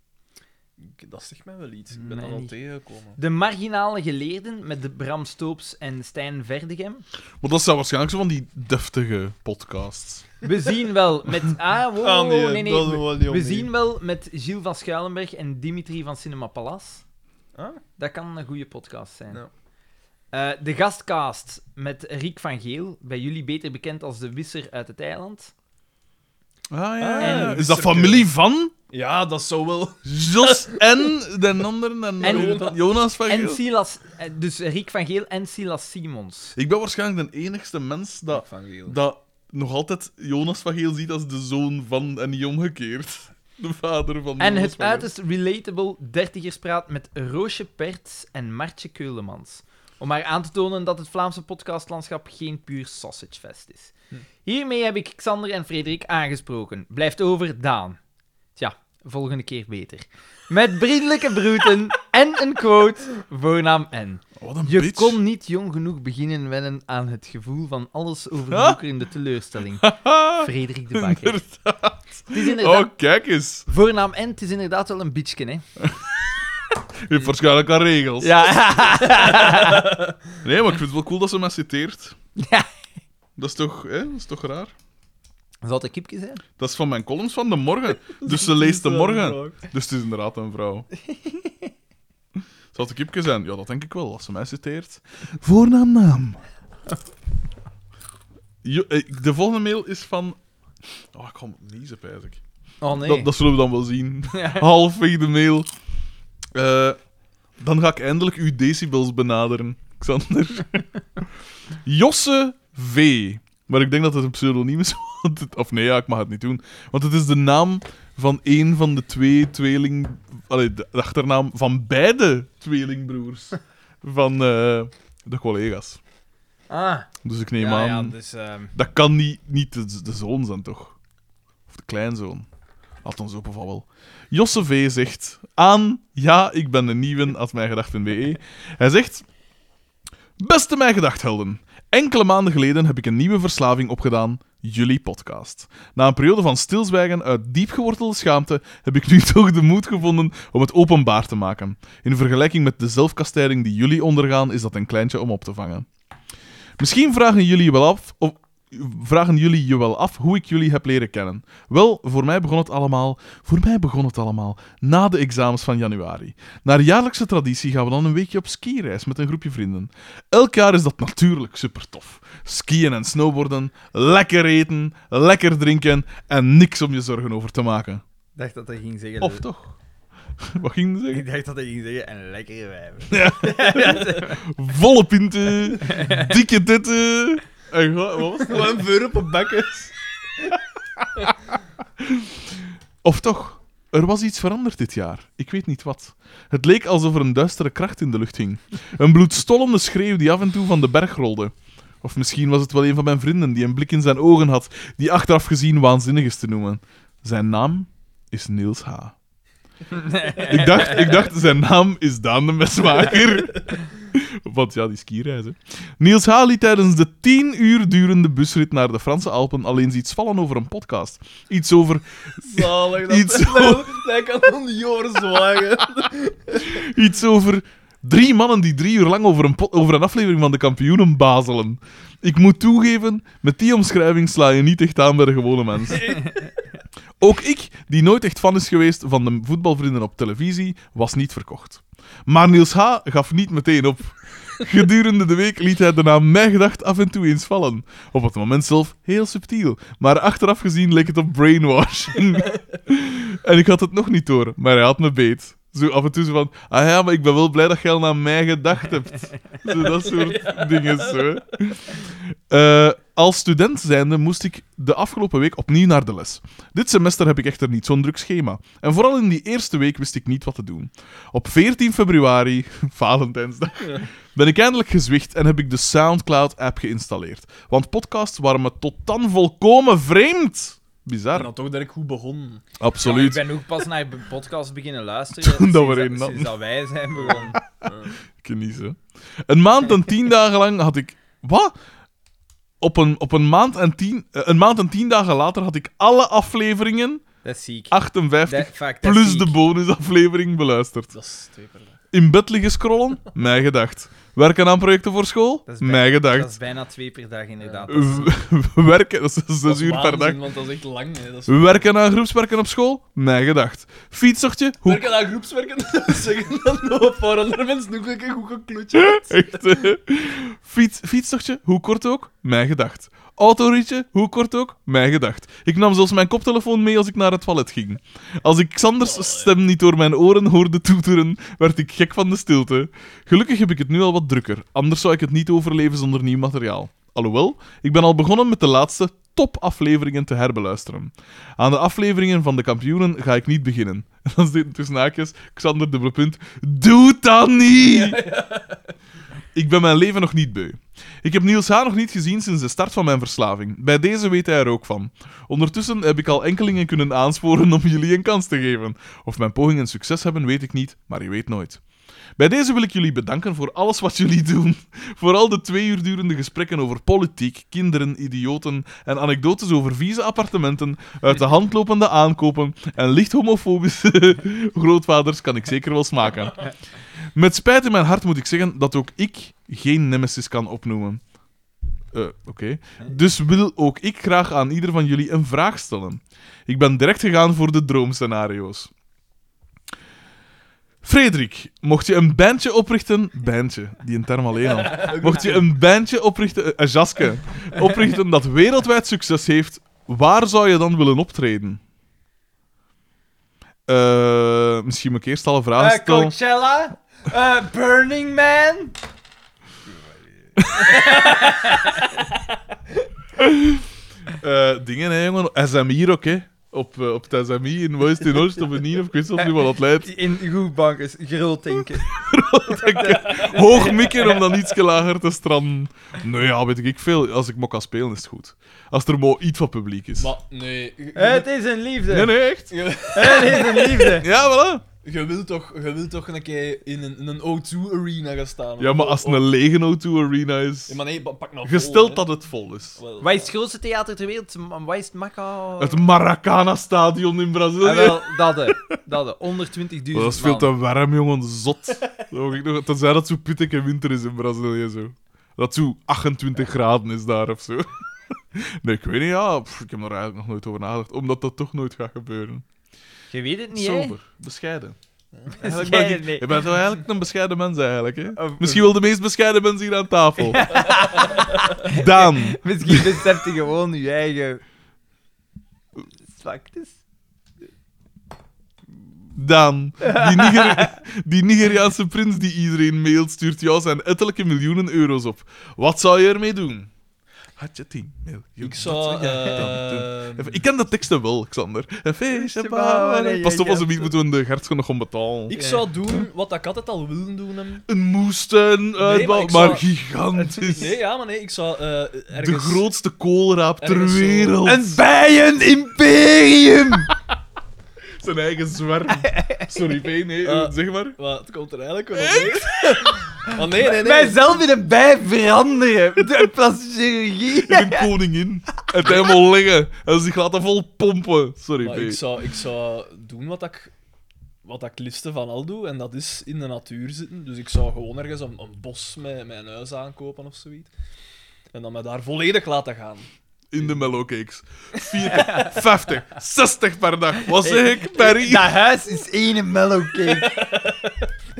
Ik- Dat zegt mij wel iets. Ik ben Nee, dat al niet. tegengekomen. De marginale geleerden met de Bram Stoops en Stijn Verdegem. Maar dat zijn waarschijnlijk zo van die deftige podcasts. We zien wel met... [LAUGHS] Ah, wow, Ah, nee, nee, nee. dat we- wil niet We opnieuw. zien wel met Gilles van Schuilenberg en Dimitri van Cinema Palace. Ah. Dat kan een goede podcast zijn. Ja. Eh, de gastcast met Riek van Geel, bij jullie beter bekend als de Wisser uit het eiland. Ah ja, En- ja. Is dat familie van Ja, dat zou wel... [LAUGHS] Jos en den anderen en, En- Jonas- Jonas van En Geel? Silas, eh, dus Riek van Geel en Silas Simons. Ik ben waarschijnlijk de enigste mens dat, Van Geel. dat nog altijd Jonas van Geel ziet als de zoon van en niet omgekeerd. De vader van En Jonas het van Geel. uiterst relatable dertigerspraat met Roosje Perts en Martje Keulemans. Om maar aan te tonen dat het Vlaamse podcastlandschap geen puur sausagefest is. Hm. Hiermee heb ik Xander en Frederik aangesproken. Blijft over Daan. Tja, volgende keer beter. Met vriendelijke groeten en een quote, voornaam N. Wat een Je bitch. [LAUGHS] kon niet jong genoeg beginnen wennen aan het gevoel van alles overwoekerende teleurstelling. Frederik de Bakker. Het is inderdaad... Oh, kijk eens. Voornaam N, het is inderdaad wel een bitchkin, hè. Je hebt waarschijnlijk al [LAUGHS] regels. Ja. Nee, maar ik vind het wel cool dat ze mij citeert. Ja. Dat is toch, hè? Dat is toch raar? Zal het een kipje zijn? Dat is van mijn columns van de [LAUGHS] morgen. Dus ze leest de morgen. Dus het is inderdaad een vrouw. Zou het een kipje zijn? Ja, dat denk ik wel, als ze mij citeert. Voornaam, [LAUGHS] naam. Jo- eh, De volgende mail is van... Oh, ik ga hem niezen, pijs ik. Oh nee. Dat, dat zullen we dan wel [LAUGHS] zien. [LAUGHS] Halfweg de mail. Eh, dan ga ik eindelijk uw decibels benaderen, [LAUGHS] Xander. Josse V. Maar ik denk dat het een pseudoniem is. [LAUGHS] want het- Of nee, ja, ik mag het niet doen. Want het is de naam van één van de twee tweeling... Allee, de de achternaam van beide [LAUGHS] tweelingbroers. Van eh, de collega's. Ah. Dus ik neem ja, aan... ja, dus... ehm, Dat kan niet, niet de, de zoon zijn, toch? Of de kleinzoon. Laat ons op of al wel. Josse V. zegt aan... Ja, ik ben de nieuwe, at mijngedachten.be. E. Hij zegt... Beste mijngedachthelden. Enkele maanden geleden heb ik een nieuwe verslaving opgedaan. Jullie podcast. Na een periode van stilzwijgen uit diepgewortelde schaamte heb ik nu [LAUGHS] toch de moed gevonden om het openbaar te maken. In vergelijking met de zelfkastijding die jullie ondergaan, is dat een kleintje om op te vangen. Misschien vragen jullie wel af of, vragen jullie je wel af hoe ik jullie heb leren kennen. Wel, voor mij begon het allemaal, voor mij begon het allemaal na de examens van januari. Naar jaarlijkse traditie gaan we dan een weekje op skireis met een groepje vrienden. Elk jaar is dat natuurlijk super tof. Skiën en snowboarden, lekker eten, lekker drinken en niks om je zorgen over te maken. Ik dacht dat hij ging zeggen... Of toch? [LAUGHS] Wat ging je zeggen? Ik dacht dat hij ging zeggen, en lekkere wijven. [LAUGHS] Volle pinten, dikke titten. En gewoon- wat was het? Gewoon vuur op een bekkes. Of toch, er was iets veranderd dit jaar. Ik weet niet wat. Het leek alsof er een duistere kracht in de lucht hing. Een bloedstollende schreeuw die af en toe van de berg rolde. Of misschien was het wel een van mijn vrienden die een blik in zijn ogen had, die achteraf gezien waanzinnig is te noemen. Zijn naam is Niels H. Ik dacht, ik dacht, zijn naam is Daan de Mesmaker. Want ja, die skireizen. Niels H. liet tijdens de tien uur durende busrit naar de Franse Alpen alleen eens iets vallen over een podcast. Iets over, Zalig. dat- [LAUGHS] Iets zo. Hij kan dan niet [LAUGHS] overzwagen. iets over drie mannen die drie uur lang over een, po- over een aflevering van de kampioenen bazelen. Ik moet toegeven, met die omschrijving sla je niet echt aan bij de gewone mens. Ook ik, die nooit echt fan is geweest van de voetbalvrienden op televisie, was niet verkocht. Maar Niels H. gaf niet meteen op. Gedurende de week liet hij de naam Mijn Gedacht af en toe eens vallen. Op het moment zelf heel subtiel, maar achteraf gezien leek het op brainwashing. en ik had het nog niet door, maar hij had me beet. Zo af en toe zo van, ah ja, maar ik ben wel blij dat jij al naar mij gedacht hebt. Zo dat soort dingen. Zo. hè. Eh, als student zijnde moest ik de afgelopen week opnieuw naar de les. Dit semester heb ik echter niet zo'n druk schema. En vooral in die eerste week wist ik niet wat te doen. Op 14 februari, [LAUGHS] Valentijnsdag, ben ik eindelijk gezwicht en heb ik de SoundCloud-app geïnstalleerd. Want podcasts waren me tot dan volkomen vreemd. En Bizar. dan toch dat ik goed begon. Absoluut. ik ben ook pas naar je podcast beginnen [LAUGHS] luisteren. Toen dat we sinds erin hadden. sinds dat wij zijn begonnen. Geniezen. Een maand en [LAUGHS] tien dagen lang had ik. Wat? Op een, op een, maand en tien, eh, een maand en tien dagen later had ik alle afleveringen, Dat is ziek. 58 Dat- fuck, dat is Ah, plus ziek. de bonusaflevering, beluisterd. Dat is twee per dag. In bed liggen scrollen? Mijn gedacht. Werken aan projecten voor school? Dat is bij- Mijn Dat gedacht. is bijna twee per dag, inderdaad. Eh, Dat is- [LAUGHS] W- Werken, dat is Dat zes is uur per dag. waanzin, Want dat is echt lang. Hè. Dat is... Werken aan groepswerken op school? Mijn gedacht. Fietsertje? Hoe Werken aan groepswerken [LAUGHS] zeggen dat nog voor andere mensen ook een goed Eh, [LAUGHS] geklutje. Echt, hè? Fiets, fietstochtje, hoe kort ook, mijn gedacht. Autoritje, hoe kort ook, mijn gedacht. Ik nam zelfs mijn koptelefoon mee als ik naar het toilet ging. Als ik Xanders stem niet door mijn oren hoorde toeteren, werd ik gek van de stilte. Gelukkig heb ik het nu al wat drukker, anders zou ik het niet overleven zonder nieuw materiaal. Alhoewel, ik ben al begonnen met de laatste topafleveringen te herbeluisteren. Aan de afleveringen van de kampioenen ga ik niet beginnen. [LAUGHS] En dan zit tussen haakjes Xander dubbele punt. Doe dat niet! Ik ben mijn leven nog niet beu. Ik heb Niels H. nog niet gezien sinds de start van mijn verslaving. Bij deze weet hij er ook van. Ondertussen heb ik al enkelingen kunnen aansporen om jullie een kans te geven. Of mijn pogingen succes hebben, weet ik niet, maar je weet nooit. Bij deze wil ik jullie bedanken voor alles wat jullie doen. Vooral de twee uur durende gesprekken over politiek, kinderen, idioten en anekdotes over vieze appartementen, uit de hand lopende aankopen en licht homofobische [LAUGHS] grootvaders kan ik zeker wel smaken. Met spijt in mijn hart moet ik zeggen dat ook ik geen nemesis kan opnoemen. Eh, Oké. Dus wil ook ik graag aan ieder van jullie een vraag stellen. Ik ben direct gegaan voor de droomscenario's. Frederik, mocht je een bandje oprichten... Bandje, die een term alleen al. Mocht je een bandje oprichten... eh, Een jaske. Oprichten dat wereldwijd succes heeft, waar zou je dan willen optreden? Eh, misschien moet ik eerst al een vraag Eh, stellen. Coachella? Eh, Burning Man? Eh, dingen, hè, jongen. SMI ook, hè. Op, eh, op het SMI in West in Oost of in Nien, of ik weet zelfs niet wat dat [LAUGHS] leidt. In goed is groot denken. Hoog mikken om dan iets lager te stranden. Nou ja, weet ik veel. Als ik mok kan spelen, is het goed. Als er maar iets van publiek is. Maar nee, je- Eh, Het is een liefde. Eh, Nee, nee, echt. je, Het is een liefde. Ja, voilà. je wilt toch, je wilt toch een keer in een, in een O2 arena gaan staan. Ja, maar als het een lege O2 Arena Ja, is... maar nee, pa- pak nou vol, hè. Gesteld dat het vol is. Wel. Wat is het grootste theater ter wereld? M- Wat is het Macau? Het Maracana-stadion in Ah, Brazilië. wel, dat hè. Dat hè. Onder 20.000 Dat is veel man. te warm, jongen. Zot. [LAUGHS] Dat hoor ik nog- Tenzij dat zo pittig en winter is in Brazilië. Zo. Dat zo 28 graden is daar of zo. [LAUGHS] Nee, ik weet niet. Ja, pff, ik heb er eigenlijk nog nooit over nagedacht. Omdat dat toch nooit gaat gebeuren. Je weet het niet, hè? Sober. Bescheiden. Bescheiden, Eigenlijk ben ik, nee. ik ben toch eigenlijk een bescheiden mens, eigenlijk. Hè? Of- Misschien wel de meest bescheiden mens hier aan tafel. Daan. Misschien beseft je gewoon je eigen... zwaktes. Daan, [LAUGHS] die, Niger- die Nigeriaanse prins die iedereen mailt, stuurt jou zijn ettelijke miljoenen euro's op. Wat zou je ermee doen? Had je 10 miljoen? Ik zou... wat je dan doen? ehm, Even- Ik ken de teksten wel, Xander. Een feestje Feestje bouwen. bouwen, Pas op, ja, als ja. een biet moeten we de gertsen nog om betalen. ik zou doen wat ik altijd al wilde doen. hem. Een moestuin uitbouwen, ik maar, zou- gigantisch. Nee, ja, maar nee, ik zou eh, ergens... de grootste koolraap ter ergens zo- wereld. Een bijen-imperium! [LAUGHS] Zijn eigen zwerm. Sorry, P, nee, Eh, zeg maar. Wat, het komt er eigenlijk wel op neer. [LAUGHS] Maar nee, nee, nee. Mijzelf in een bij veranderen. De [LAUGHS] plastische chirurgie. Een koningin. Het helemaal liggen. En zich laten vol pompen. Sorry, Maar P. ik zou, ik zou doen wat ik, wat ik het liefste van al doe, en dat is in de natuur zitten. Dus ik zou gewoon ergens een, een bos met mijn huis aankopen of zoiets. En dan me daar volledig laten gaan. in de mellowcakes. [LAUGHS] 40, 50, 60 per dag. Wat zeg [LAUGHS] ik, Perry? Dat huis is één mellowcake.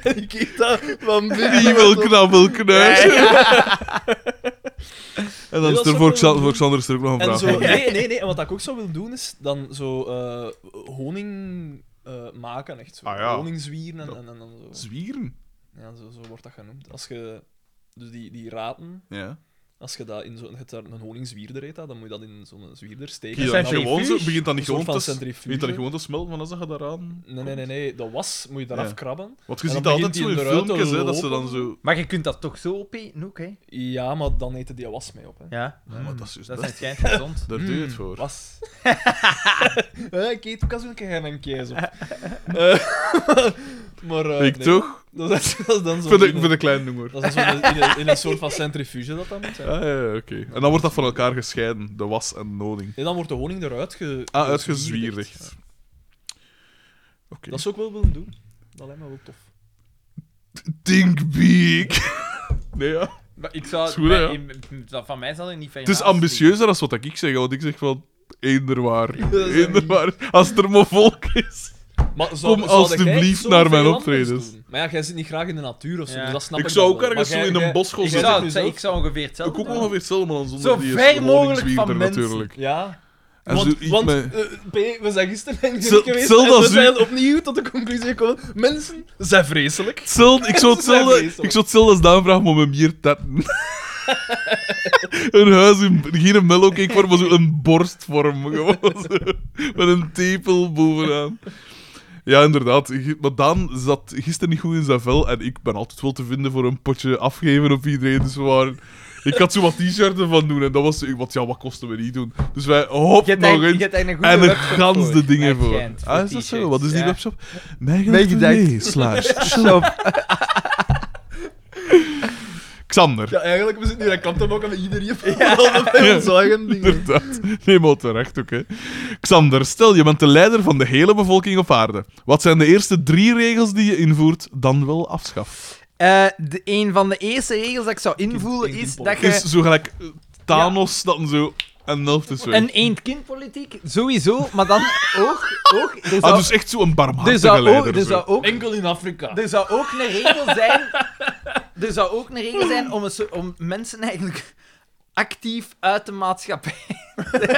En [LAUGHS] ik eet dat van binnen. Die wil knabbel knuis. [LAUGHS] En dan Nee, is dat er zou voor, ik wel Xan- voor Xander is er ook nog een En zo, vraag. nee, nee, nee. En wat ik ook zou willen doen, is dan zo eh, honing eh, maken. Echt zo. Ah, ja. Honing zwieren en, en, en dan zo. Zwieren? Ja, zo, zo wordt dat genoemd. Als je... Dus die, die raten, Ja. als je dat in zo'n... je hebt daar een honingzwierder eet, dat, dan moet je dat in zo'n zwierder steken. Begint dat En niet dan- gewoon zo? Begint dat Een niet soort gewoon van te, centrifuge. begint dat niet gewoon te smelten? Want dan zag je daaraan. Nee, nee, nee, nee. Dat was, moet je daar Ja. afkrabben. Want je En ziet dat dan altijd zo begint in die eruit te filmpjes, hè, dat ze dan lopen. zo... Maar je kunt dat toch zo opeten ook, hè? Ja, maar dan eten die was mee op. Hè. Ja. Ja, maar dat is juist Mm. Dat best. is schijnt gezond. Daar doe je Hmm. het voor. [LAUGHS] Was. Eh, ik eet ook als een keer een kees [LAUGHS] op. Eh, [LAUGHS] maar, eh, Ik nee. toch? Dat is, [LAUGHS] dat is dan zo. Voor de, in voor een- de kleine noemer. Dat is dan zo in, een- in een, in een soort van centrifuge dat dat moet zijn. Ah, ja, ja, oké. En dan wordt dat van elkaar gescheiden, de was en de honing. Nee, dan wordt de honing eruit ge... Ah, gezwierd. uitgezwierdigd. Oké. Dat zou ik wel willen doen. Dat lijkt me wel tof. Think big. [LAUGHS] nee, ja. Maar ik zou... Is goed, hè, ja. in- in- dat van mij zal het niet ver Het is naast ambitieuzer dan wat ik zeg, want ik zeg van... Eender waar. is Eender waar. Als er maar volk is. Maar Kom alstublieft naar mijn optredens. Maar ja, jij zit niet graag in de natuur of zo, Ja. dus dat snap ik Ik zou dan ook wel. ergens Maar zo jij- in een jij- bos gaan liggen. jij Ik zitten. zegt zou, nu het- zelf- ik zou ongeveer hetzelfde Ik ook doen. ongeveer hetzelfde, maar dan zonder Zo die ver mogelijk honingswierder van mensen. natuurlijk. Ja. En want zo iets want met- eh, P, we zijn gisteren [LAUGHS] in Genk Zel- geweest zelfs en we als u- zijn opnieuw tot de conclusie gekomen. Mensen zijn vreselijk. Hetzelfde- ik zou Ze [LAUGHS] zijn hetzelfde, vreselijk. ik zou hetzelfde als Daan vragen, maar met meer tetten. [LAUGHS] Een huis in geen mellowcake vorm, maar zo een borstvorm. Gewoon [LAUGHS] zo, met een tepel bovenaan. Ja, inderdaad. G- Maar Daan zat gisteren niet goed in zijn vel. En ik ben altijd wel te vinden voor een potje afgeven op iedereen. Dus we waren... Ik had zo wat t-shirts van doen. En dat was... zo- Wat, ja, wat kosten we niet doen? Dus wij... Hop, Je hebt nog eigenlijk- eens. je hebt eigenlijk een En goede er webshop gans de voor. dingen Uit voor. Gent, Ah, is dat zo? t-shirts, Wat is die ja. webshop? Meegedekt. Meegedekt. slash [LAUGHS] Stop. Xander. Ja, eigenlijk, we zitten hier aan kant ook aan iedereen van [LAUGHS] ja. ons eigen dingen. Inderdaad. Nee, maar terecht ook, hè. Xander, stel je bent de leider van de hele bevolking op aarde. Wat zijn de eerste drie regels die je invoert, dan wel afschaft? Eh, de, een van de eerste regels dat ik zou invoeren kind- is kind- dat je... Is zo gelijk eh, Thanos dat dan zo en de helft is weg. Een eend-kindpolitiek, sowieso, maar dan ook... ook er zou, Ah, dus echt zo'n barmhartige er zou ook, leider. er zo. zou ook, Enkel in Afrika. er zou ook een regel zijn... Er zou ook een regel zijn om, een soort- om mensen eigenlijk actief uit de maatschappij...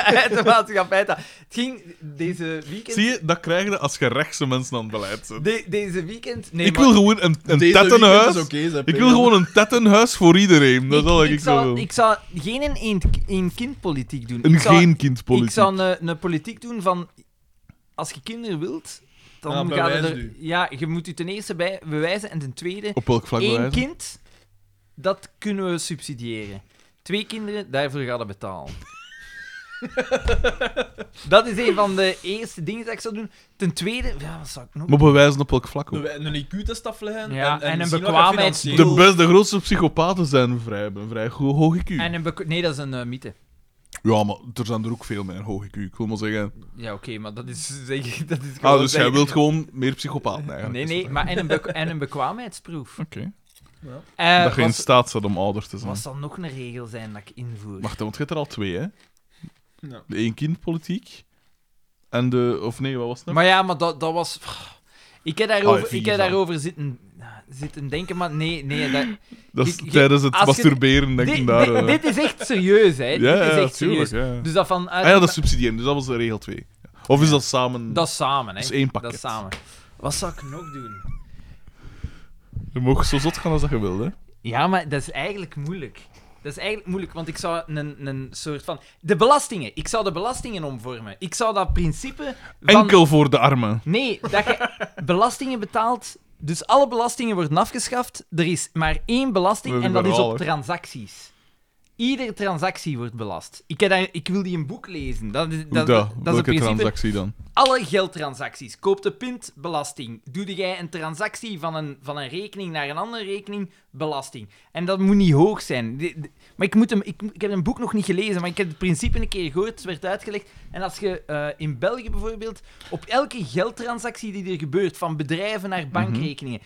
uit de maatschappij te... Het ging deze weekend... Zie je, dat krijg je als je rechtse mensen aan het beleid zet. de- deze weekend... Nee, ik maar- wil gewoon een, een tettenhuis. Ik wil gewoon een tettenhuis voor iedereen. Dat is al wat ik, ik zo zou, wil. ik zou geen een, een kindpolitiek doen. Een ik zou, geen kindpolitiek. Ik zou een, een politiek doen van... Als je kinderen wilt, dan Ah, gaan bewijs er... nu. Ja, je moet je ten eerste bij, bewijzen en ten tweede... Op welk vlak één bewijzen? kind, dat kunnen we subsidiëren. Twee kinderen, daarvoor gaan we [LAUGHS] betalen. dat is een van de eerste dingen dat ik zou doen. Ten tweede... Ja, wat zou ik nog... Maar bewijzen op welk vlak ook? Een IQ-test afleggen Ja, en, en, en een zien wat je bekwaamheid- financieel- De, best, de grootste psychopaten zijn vrij, een vrij go- hoog IQ. En een beko- nee, dat is een eh, mythe. Ja, maar er zijn er ook veel met een hoog IQ. Ik wil maar zeggen. Ja, oké, maar dat is... [LAUGHS] Zeg, dat is Ah, gewoon dus jij zeggen- wilt gewoon meer psychopaten eigenlijk. Nee, is nee, het, maar [LAUGHS] en een, bek- en een bekwaamheidsproef. hè? Oké. Eh, dat je in wat, staat staat om ouder te zijn. wat zal nog een regel zijn dat ik invoer? Wacht, hè, want je hebt er al twee, hè? Ja. De één-kind-politiek. En de... Of nee, wat was het nou? Maar ja, maar dat, dat was... Ik heb daarover, vier ik heb dan. daarover zitten, zitten denken, maar nee, nee. Dat, dat is ik- ik- tijdens het als je- masturberen, denk ik dit, daar... dit- eh. dit is echt serieus, hè. ja, dit is ja, echt serieus. tuurlijk. Ja. Dus dat van... uit- Ah ja, dat is subsidiëren, dus dat was de regel 2. Of is dat samen... dat is samen, hè. dat is één Dat is pakket. samen. Wat zou ik nog doen? Je mag zo zot gaan als dat je wil, hè? Ja, maar dat is eigenlijk moeilijk. Dat is eigenlijk moeilijk, want ik zou een, een soort van... De belastingen. Ik zou de belastingen omvormen. Ik zou dat principe van... Enkel voor de armen. Nee, dat je belastingen betaalt. Dus alle belastingen worden afgeschaft. Er is maar één We belasting en dat is liberalen. op transacties. Iedere transactie wordt belast. Ik, heb daar, ik wil die een boek lezen. Dat is, Hoe dat, dat dat? is Welke een principe. transactie dan? Alle geldtransacties. Koopt de pint, belasting. Doe jij een transactie van een, van een rekening naar een andere rekening, belasting. En dat moet niet hoog zijn. De- de- maar ik, moet hem, ik, ik heb een boek nog niet gelezen, maar ik heb het principe een keer gehoord, het werd uitgelegd. En als je eh, in België bijvoorbeeld, op elke geldtransactie die er gebeurt, van bedrijven Mhm. naar bankrekeningen,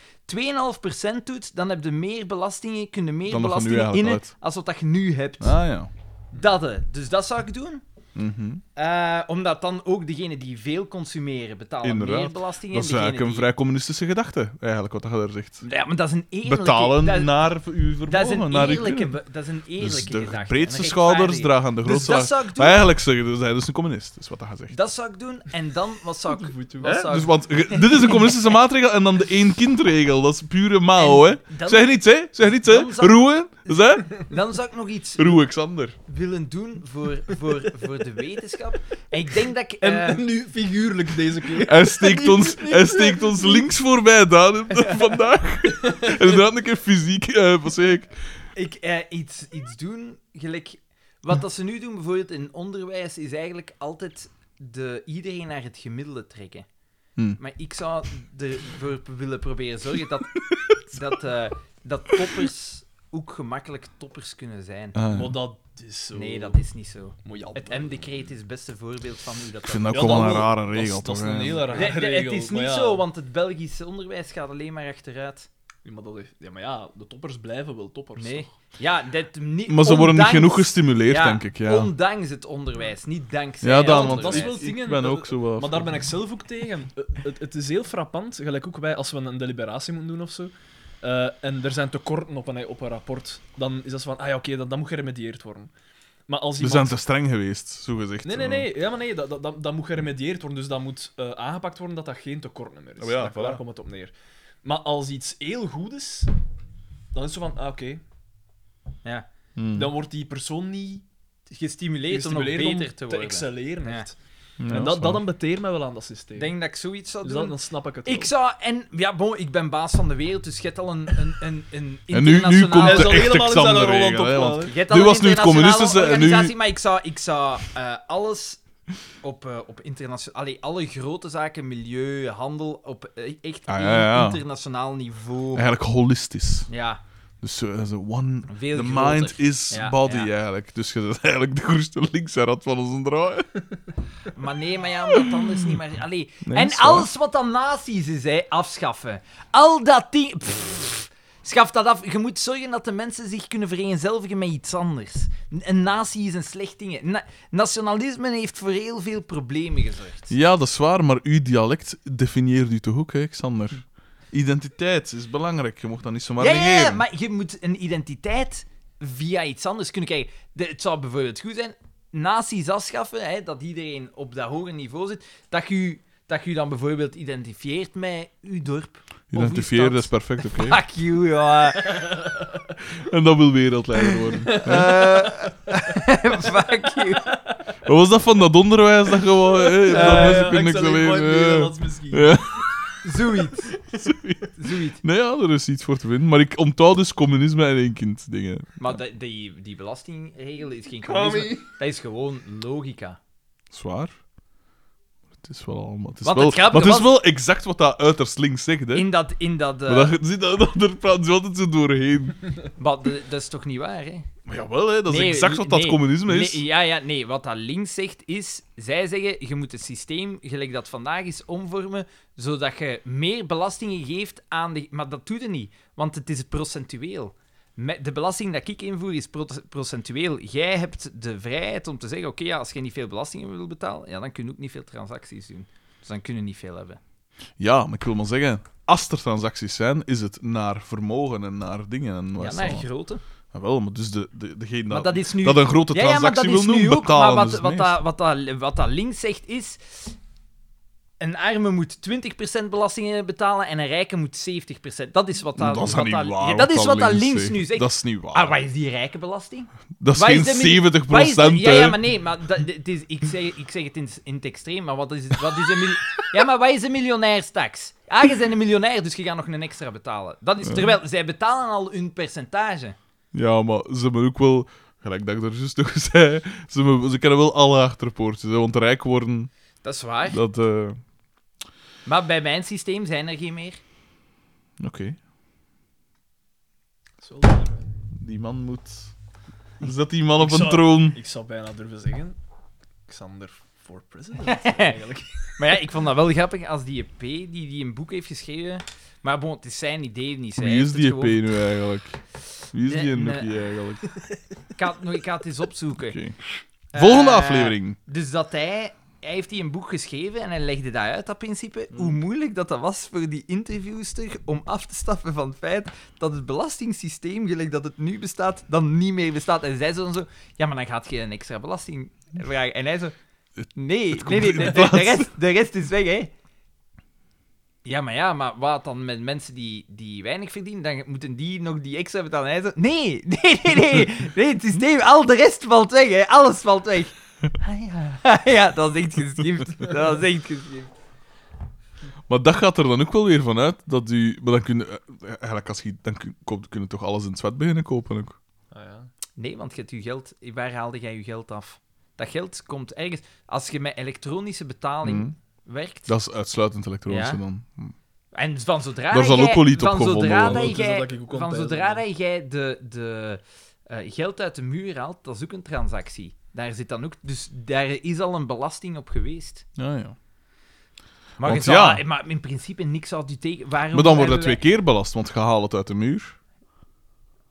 2,5% doet, dan heb je meer belastingen, kun je meer Dan dat je nu belastingen eigenlijk innen uit. als wat dat je nu hebt. Ah ja. Dat, eh, dus dat zou ik doen. Mhm. Eh, omdat dan ook degenen die veel consumeren betalen Inderdaad. meer belasting. en Dat is eh, eigenlijk degenen een vrij communistische gedachte, eigenlijk, wat je daar zegt. die- Ja, maar dat is een eerlijke... Betalen dat, naar uw vermogen, dat is een naar uw eerlijke, kunnen. be- dat is een eerlijke Dus de gedachte, breedste een schouders rechtvaardige. dragen de Dus grootste... dat zou ik doen. Maar eigenlijk zeg je, dus hij is dus een communist, is wat hij zegt. Dat zou ik doen. En dan, wat zou ik... Goed, Wat hoor. zou Dus ik- want, ge- dit is een [LAUGHS] communistische maatregel en dan de één-kindregel. Dat is pure Mao, hè. En dan- Zeg niets, hè. Zeg niets, hè. dan zou- Roe, dus, hè. Dan zou ik nog iets Roe, Xander. willen doen voor, voor, voor de wetenschap. En ik denk dat ik... En, eh, en nu figuurlijk deze [LAUGHS] keer. Hij steekt ons, hij steekt ons links voorbij, Daan, [LAUGHS] vandaag. En inderdaad een keer fysiek, eh wat zeg ik? ik eh, iets, iets doen, gelijk... Wat dat ze nu doen, bijvoorbeeld in onderwijs, is eigenlijk altijd de, iedereen naar het gemiddelde trekken. Hm. Maar ik zou ervoor p- willen proberen zorgen [LAUGHS] dat, dat, eh, dat toppers ook gemakkelijk toppers kunnen zijn. Ah, ja. [LAUGHS] Maar dat is zo... Nee, dat is niet zo. Moet je al- Het M-decreet is het beste voorbeeld van hoe dat... Ik vind dat Ja, ook wel een dat- rare dat is- regel, Dat is toch, een hè. hele rare Nee, nee, regel. het is maar niet ja. zo, want het Belgische onderwijs gaat alleen maar achteruit. Ja, maar, dat is- ja, maar ja, de toppers blijven wel toppers. Nee. Ja, dat niet... Maar ze worden niet ondanks- genoeg gestimuleerd, ja, denk ik. Ja, Ondanks het onderwijs, niet dankzij ja het dan, want onderwijs. dat is wel ik- dingen ik ben dat- ook zo wel... Maar daar ben ik zelf ook tegen. Eh, Het, het is heel frappant, gelijk ook wij als we een deliberatie moeten doen of zo. eh, en er zijn tekorten op een, op een rapport. Dan is dat zo van, ah ja, oké, dat, dat moet geremedieerd worden. Maar als We iemand... zijn te streng geweest, zo gezegd. Nee, nee, nee. Ja, maar nee, dat, dat, dat, dat moet geremedieerd worden. Dus dat moet eh, aangepakt worden dat dat geen tekort meer is. Oh ja, daar, voilà. daar komt het op neer. Maar als iets heel goed is, dan is het zo van, ah, oké. Ja. Hmm. dan wordt die persoon niet Gestimuleerd om nog gestimuleerd om beter te te, worden. excelleren. Ja. echt. Ja, en dat dat, is dat waar. ambeteert mij wel aan dat systeem. Ik denk dat ik zoiets zou dus doen. dan, dan snap ik het ik zou... En ja, bon, ik ben baas van de wereld, dus je hebt al een, een, een, een [LAUGHS] En nu, nu internationale- komt Hij de zal echte helemaal in zijn Xander Roland regel, hè, opvallen. want Je hebt Nu al een was het nu het internationale communistische en nu- organisatie, maar ik zou, ik zou eh, alles op, eh, op internationaal... Allee, alle grote zaken, milieu, handel, op eh, echt Ah, één ja, ja. internationaal niveau. Ja, eigenlijk holistisch. Dus eh, zo one... veel The groter. mind is Ja, body, ja. eigenlijk. Dus je bent [LAUGHS] eigenlijk de grootste linkse rat van ons draai. Maar nee, maar ja, omdat anders niet meer... Allee. Nee, en is waar. alles wat dan nazi's is, hè, afschaffen. Al dat ding... pff, Schaf dat af. Je moet zorgen dat de mensen zich kunnen vereenzelvigen met iets anders. N- Een natie is een slecht ding. Na- nationalisme heeft voor heel veel problemen gezorgd. Ja, dat is waar, maar uw dialect definieert u toch ook, hè, Xander? Identiteit is belangrijk. Je mocht dat niet zomaar ja, ja, negeren. ja, maar je moet een identiteit via iets anders kunnen krijgen. De- het zou bijvoorbeeld goed zijn, naties afschaffen, hè, dat iedereen op dat hoger niveau zit, dat je dat je dan bijvoorbeeld identifieert met uw dorp. uw Identifiëren, stad. dat is perfect, [LAUGHS] oké. Fuck you, ja. En dat wil wereldleider worden. [LAUGHS] Fuck you. Wat was dat van dat onderwijs dat gewoon... Hé, dat Eh, mensen kunnen niks alleen... eh, ja. Zoiets. Zoiets. Nee, ja, er is iets voor te winnen. Maar ik onthoud dus communisme en één kind dingen. Maar dat- die, die belastingregel is geen communisme. Dat is gewoon logica. Zwaar. Het is wel allemaal... Het is, Want wel, het grappige maar het is was- wel exact wat dat uiterst links zegt, hè. In dat... In dat, eh, Maar dat, zie, dat, dat, daar praten ze altijd zo doorheen. maar de- dat is toch niet waar, hè? Maar jawel, hè, dat is Nee, exact wat dat nee, communisme nee, is. ja, ja, nee. Wat dat links zegt is, zij zeggen, je moet het systeem, gelijk dat vandaag is, omvormen, zodat je meer belastingen geeft aan de... Maar dat doet het niet, want het is procentueel. Met de belasting dat ik invoer is pro- procentueel. Jij hebt de vrijheid om te zeggen, oké, ja, als je niet veel belastingen wil betalen, ja, dan kun je ook niet veel transacties doen. Dus dan kun je niet veel hebben. Ja, maar ik wil maar zeggen, als er transacties zijn, is het naar vermogen en naar dingen. En wat Ja, is naar dat? grootte. Jawel, maar dus de, de, degene Maar dat, dat is nu... dat een grote Ja, ja, maar dat transactie is wil nu doen, ook. Maar betalen wat, is het wat, meest. dat, wat, dat, wat dat links zegt is... Een arme moet 20% belastingen betalen en een rijke moet 70%. Dat is wat dat... dat is wat niet dat- waar. ja, dat is wat dat links, zegt. nu zegt. Dat is niet waar. Ah, wat is die rijke belasting? dat is wat geen is de min- 70 Wat is de- procent. ja, ja, maar nee, maar dat, het is, ik, zeg, ik zeg het in, in het extreem, maar wat is, het- wat is een mil- [LAUGHS] Ja, maar wat is een miljonairstax? Ah, je bent een miljonair, dus je gaat nog een extra betalen. Dat is, terwijl, zij betalen al hun percentage. ze hebben ook wel, gelijk dat ik er juist nog [LAUGHS] zei, ze, hebben- ze kennen wel alle achterpoortjes. Hè, want rijk worden, Dat is waar. dat... eh, Oké. Maar bij mijn systeem zijn er geen meer. [LAUGHS] Die man moet... Zet die man op Ik een zou- troon. Ik zou bijna durven zeggen, Xander voor president [LAUGHS] eigenlijk. Maar ja, ik vond dat wel grappig als die EP die die een boek heeft geschreven. Maar bon, het is zijn idee niet. Zij Wie heeft is het die E EP gewoon- nu eigenlijk? Wie is die Eh, NP nee. eigenlijk? Oké. Ik ga, het nog- ik ga het eens opzoeken. Eh, Volgende aflevering. Dus dat hij. Hij heeft die een boek geschreven en hij legde dat uit, dat principe. Hmm. Hoe moeilijk dat dat was voor die interviewster om af te stappen van het feit dat het belastingssysteem, gelijk dat het nu bestaat, dan niet meer bestaat. En zij zo dan zo, ja, maar dan gaat je een extra belasting vragen. En hij zo, nee, nee, nee, in de, de- de rest, de rest is weg, hè. Ja, maar ja, maar wat dan met mensen die, die weinig verdienen? Dan moeten die nog die extra betalen. En hij zo, nee, [LAUGHS] nee, nee, nee, nee, het systeem, al de rest valt weg, hè. Alles valt weg. Ah ja. [LAUGHS] ja, dat is echt geschift. Dat is echt geschift. Maar dat gaat er dan ook wel weer vanuit dat u. Maar dan kun je. eh, Eigenlijk, als je. Dan kun, koopt- kun je toch alles in het zwet beginnen kopen ook. Ah, ja. Nee, want je hebt je geld... Waar haalde jij je geld af? Dat geld komt ergens... Als je met elektronische betaling Mhm. werkt... Dat is uitsluitend elektronisch Ja. dan. En van zodra Daar zal jij- ook wel iets op van gevonden zodra worden. dat Het is jij- dat ik ook aan Van het zodra peilen dat jij de, de eh, geld uit de muur haalt, dat is ook een transactie. Daar zit dan ook... Dus daar is al een belasting op geweest. Ja, ja. Maar, Want je zou, ja. maar in principe niks zou u tegen... Waarom Maar dan wordt dat hebben twee keer belast, want je haalt het uit de muur.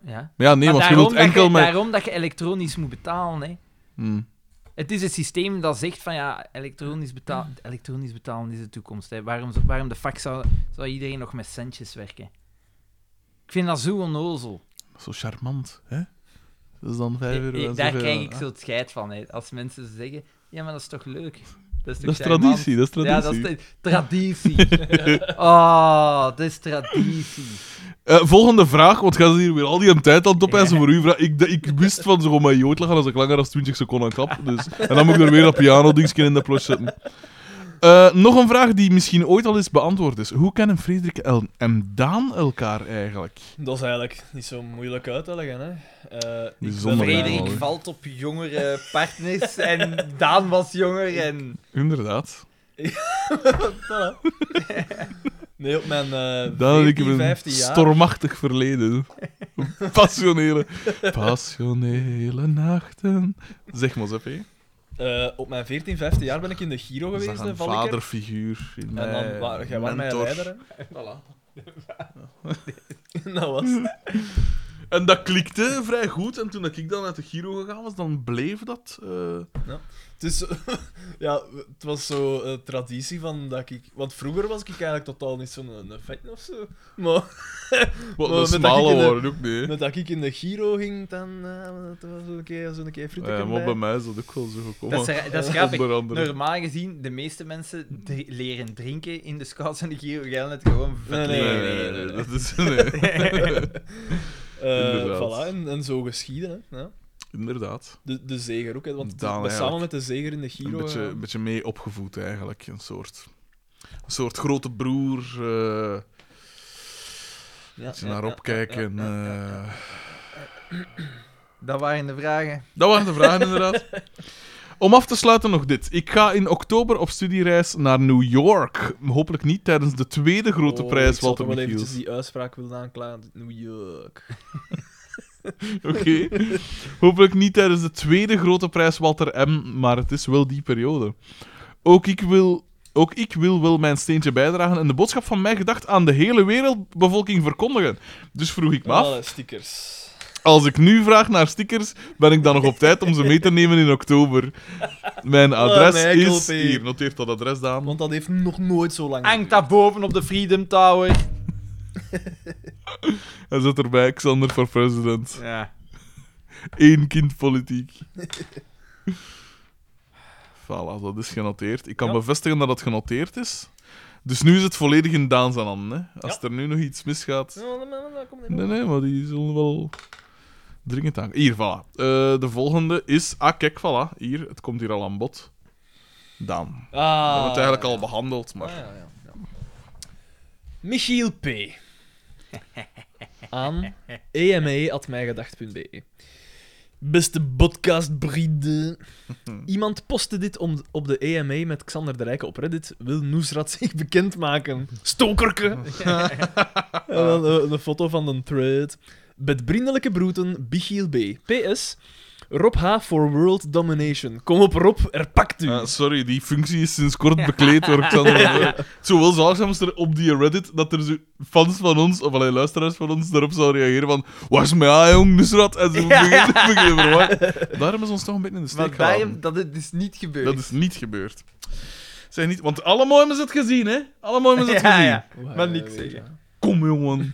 wij- Ja. Maar ja, Maar nee, want je daarom, wilt dat enkel je, met. daarom dat je elektronisch moet betalen, hè. Hmm. Het is een systeem dat zegt van ja, elektronisch, betaal, elektronisch betalen is de toekomst. Hè. Waarom, zo- waarom de fuck zou, zou iedereen nog met centjes werken? Ik vind dat zo onnozel. Zo charmant, hè? Dat is dan Ik- 5 euro. ik- en daar zoveel. krijg ik zo het scheid van. Hè. Als mensen zeggen, ja, maar dat is toch leuk? Dat is, Ah, Dat is toch charmant? traditie, dat is Ja, traditie. dat is tra- traditie. [LAUGHS] oh, dat is traditie. Eh, volgende vraag, want gaan ze hier weer al die tijd aan [LAUGHS] het opeisen voor uw vraag. Ik, de- ik wist van zo om mijn jood lachen als ik langer dan 20 seconden klap. Dus. En dan moet ik er weer dat piano-dingetje in de plots zetten. Eh, nog een vraag die misschien ooit al eens beantwoord is. Hoe kennen Frederik en, en Daan elkaar eigenlijk? Dat is eigenlijk niet zo moeilijk uit te leggen, hè. Eh, ik Bijzonder ben- eigenlijk. Frederik valt op jongere partners en Daan was jonger en... Inderdaad. Voilà. [LAUGHS] Nee, op mijn eh Daan en ik 14, hebben een 15 jaar... stormachtig verleden. [LAUGHS] Een Passionele, passionele nachten. Zeg maar, Zeppé. eh, op mijn 14, 15 jaar ben ik in de Giro Dat is geweest, een hè, Valker. vaderfiguur. in En mij, dan, wa- jij was mijn Eh, mentor. leider, hè. Voilà. [LAUGHS] dat was het. En dat klikte vrij goed. En toen dat ik dan uit de Giro gegaan was, dan bleef dat. eh, Dus, [LAUGHS] ja, het was zo eh, traditie van dat ik... Want vroeger was ik eigenlijk totaal niet zo'n een, vet of zo. [LAUGHS] Maar Wat Maar een met dat smale ik in de- waren ook niet. hè. met dat ik in de Giro ging, dan eh, dat was een keer zo'n keer frietje Oh Ja, maar bij. bij mij is dat ook wel zo gekomen. Dat is, ra- dat is grappig. Onder andere. Normaal gezien, de meeste mensen dr- leren drinken in de scouts en de Giro. Jij hebt het gewoon vet Nee, Nee, leren. nee, nee, nee. dat is. Nee. [LAUGHS] [LAUGHS] Eh, Inderdaad. voilà, en, en zo geschieden, hè. Ja. Inderdaad. De, de zeger ook, hè, want Daan we eigenlijk. samen met de zeger in de Giro... eh, Een beetje, ja. een beetje mee opgevoed eigenlijk. Een soort, een soort grote broer. eh, een Ja, beetje ja, naar ja, opkijken. ja, ja, ja. eh. Dat waren de vragen. Dat waren de vragen, [LAUGHS] inderdaad. Om af te sluiten nog dit. Ik ga in oktober op studiereis naar New York. Hopelijk niet tijdens de tweede grote Oh, prijs, ik zou Walter toch wel eventjes Michiels. die uitspraak willen aanklagen. New York. [LAUGHS] Oké. Hopelijk niet tijdens de tweede grote prijs, Walter M. Maar het is wel die periode. Ook ik wil... Ook ik wil wel mijn steentje bijdragen en de boodschap van mijn gedacht aan de hele wereldbevolking verkondigen. Dus vroeg ik me af, Alle stickers. als ik nu vraag naar stickers, ben ik dan nog op tijd om ze mee te nemen in oktober. Mijn adres Michael is... P. Hier, noteert dat adres, Daan. Want dat heeft nog nooit zo lang Hangt daar boven op de Freedom Tower. Hij zet erbij Xander voor president. Ja. Eén kind politiek. [LAUGHS] voilà, dat is genoteerd. Ik kan Ja. bevestigen dat het genoteerd is. Dus nu is het volledig in Daan zijn handen. Hè? Als Ja. er nu nog iets misgaat. geduurd. Ja, maar- maar- maar kom niet Nee, op. nee, maar die zullen wel dringend aan. Hier, voilà. Eh, de volgende is. Ah, kijk, voilà. Hier, het komt hier al aan bod. Daan. We Ah, hebben het eigenlijk al behandeld, Ah, maar. ja, ja, ja. Michiel P. Aan E ema.mijgedacht.be E. Beste podcastbride. Iemand postte dit om, op de EMA met Xander de Rijke op Reddit. Wil Noesrat zich bekendmaken? Stokerke! En dan eh, een foto van een thread. Met vriendelijke broeten, Michiel B. PS. Rob H. for world domination. Kom op Rob, er pakt u. Eh, sorry, die functie is sinds kort bekleed door [LAUGHS] Xander. Het zou wel zalig zijn er op die Reddit dat er zo fans van ons, of alleen luisteraars van ons, daarop zouden reageren van was mij aan, jong, Nusrat. En ze [LAUGHS] beginnen beginnen verwarren. Daarom is ons toch een beetje in de steek Maar bij gelaten. hem, dat het dus niet gebeurd. Dat is niet gebeurd. Zijn niet, want allemaal hebben ze het gezien, hè? Allemaal hebben ze het [LAUGHS] ja, gezien. ja. Maar niks zeggen. Kom, [LAUGHS] jongen.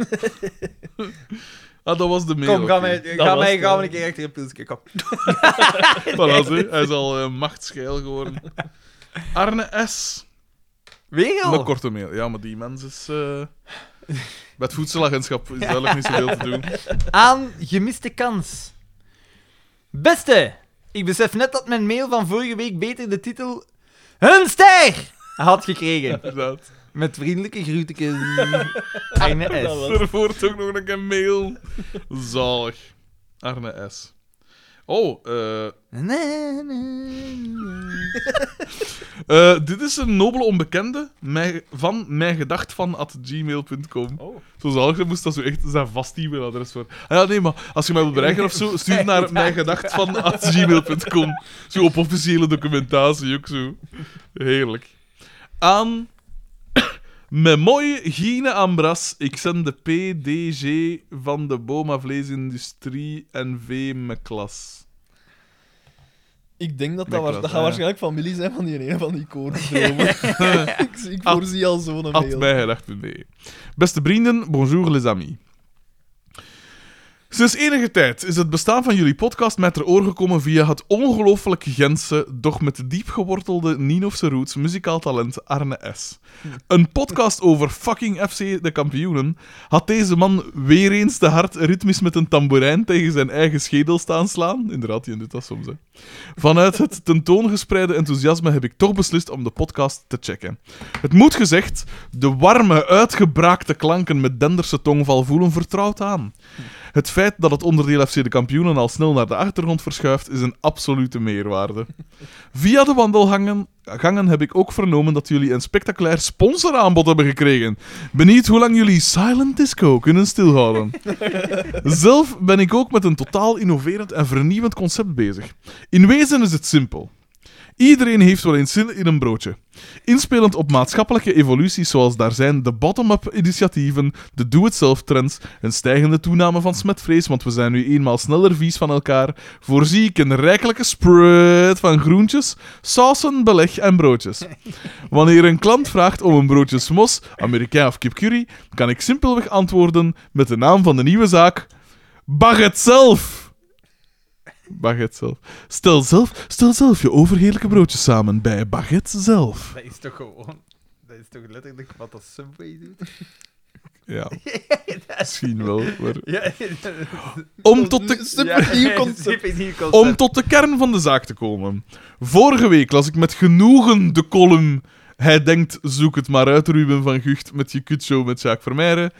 ah, dat was de mail. Kom, ga oké. mij, Dat ga was mij, het, ga hè. mij een keer achter een pilsje. Kom. Voilà, ze. Hij is al eh, machtsgeil geworden. Arne S. Weer Een al? korte mail. Ja, maar die mens is... eh Bij het voedselagentschap is duidelijk niet zoveel te doen. Aan gemiste kans. Beste, ik besef net dat mijn mail van vorige week beter de titel... Een ster! had gekregen. Inderdaad. Met vriendelijke [LAUGHS] groetjes. Arne Dat S. was- Daarvoor ook nog een keer mail. Zalig. Arne S. Oh, eh, Na, na, na. eh, dit is een nobele onbekende mij, van mijngedachtvan.gmail.com. Oh. Zo zalig, dan moest dat zo echt zijn vast e-mailadres voor. Ah ja, nee, maar als je mij wilt bereiken of zo, stuur naar mijngedachtvan.gmail.com. Zo op officiële documentatie ook zo. Heerlijk. Aan [COUGHS] mijn mooie Gine Ambras, ik zend de PDG van de Boma Vleesindustrie NV mijn klas. Ik denk dat dat, Nicolas, waar, dat ja. gaan waarschijnlijk familie zijn van die ene van die koortsdromen. [LAUGHS] ik, ik Ad- voorzie al zo'n At mail. mijgedacht.be. Beste vrienden, bonjour les amis. Sinds enige tijd is het bestaan van jullie podcast mij ter oor gekomen via het ongelooflijk Gentse, doch met diepgewortelde Ninofse roots muzikaal talent Arne S. Een podcast over fucking FC de kampioenen had deze man weer eens te hard ritmisch met een tamboerijn tegen zijn eigen schedel staan slaan. Inderdaad, die doet dat soms, hè. Vanuit het tentoongespreide enthousiasme heb ik toch beslist om de podcast te checken. Het moet gezegd, de warme, uitgebraakte klanken met Denderse tongval voelen vertrouwd aan. Het feit dat het onderdeel FC de kampioenen al snel naar de achtergrond verschuift, is een absolute meerwaarde. Via de wandelgangen gangen heb ik ook vernomen dat jullie een spectaculair sponsoraanbod hebben gekregen. Benieuwd hoe lang jullie Silent Disco kunnen stilhouden. Zelf ben ik ook met een totaal innoverend en vernieuwend concept bezig. In wezen is het simpel. Iedereen heeft wel eens zin in een broodje. Inspelend op maatschappelijke evoluties zoals daar zijn de bottom-up initiatieven, de do-it-self trends, een stijgende toename van smetvrees, want we zijn nu eenmaal sneller vies van elkaar, voorzie ik een rijkelijke spread van groentjes, sausen, beleg en broodjes. Wanneer een klant vraagt om een broodje smos, Amerikaan of kipcurry, kan ik simpelweg antwoorden met de naam van de nieuwe zaak, Baget zelf! Baguette zelf. Stel zelf, stel zelf je overheerlijke broodjes samen bij Baguette zelf. Dat is toch gewoon... Dat is toch letterlijk wat dat Subway doet? Ja, misschien wel. maar- Ja, Om, tot de, [LAUGHS] supernieuw concept. om tot de kern van de zaak te komen. Vorige week las ik met genoegen de column Hij denkt, zoek het maar uit, Ruben van Gucht, met je kutshow met Jacques Vermeijren.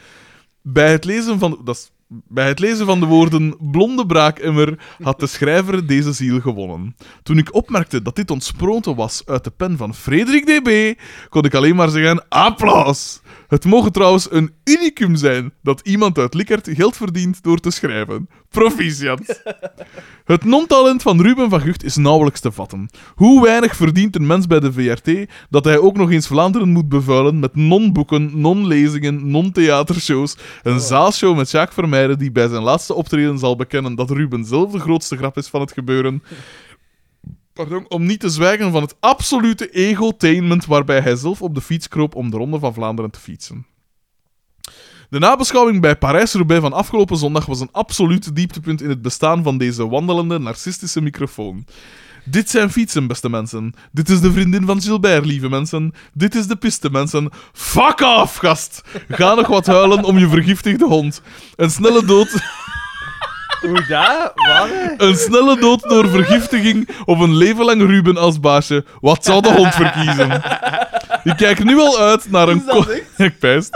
Bij het lezen van... Dat is, bij het lezen van de woorden blonde braakemmer had de schrijver deze ziel gewonnen. Toen ik opmerkte dat dit ontsproten was uit de pen van Frederik DB, kon ik alleen maar zeggen applaus. Het mogen trouwens een unicum zijn dat iemand uit Likert geld verdient door te schrijven. Proficiat. Het non-talent van Ruben van Gucht is nauwelijks te vatten. Hoe weinig verdient een mens bij de VRT dat hij ook nog eens Vlaanderen moet bevuilen met non-boeken, non-lezingen, non-theatershows, een zaalshow met Jacques Vermeijden die bij zijn laatste optreden zal bekennen dat Ruben zelf de grootste grap is van het gebeuren. Pardon, om niet te zwijgen van het absolute egotainment waarbij hij zelf op de fiets kroop om de Ronde van Vlaanderen te fietsen. De nabeschouwing bij Parijs-Roubaix van afgelopen zondag was een absoluut dieptepunt in het bestaan van deze wandelende, narcistische microfoon. Dit zijn fietsen, beste mensen. Dit is de vriendin van Gilbert, lieve mensen. Dit is de piste, mensen. Fuck off, gast! Ga nog wat huilen om je vergiftigde hond. Een snelle dood... [LAUGHS] Hoe dat? Wat? Een snelle dood door vergiftiging of een leven lang Ruben als baasje. Wat zou de hond verkiezen? Ik kijk nu al uit naar een... co- [LAUGHS] Ik pijs.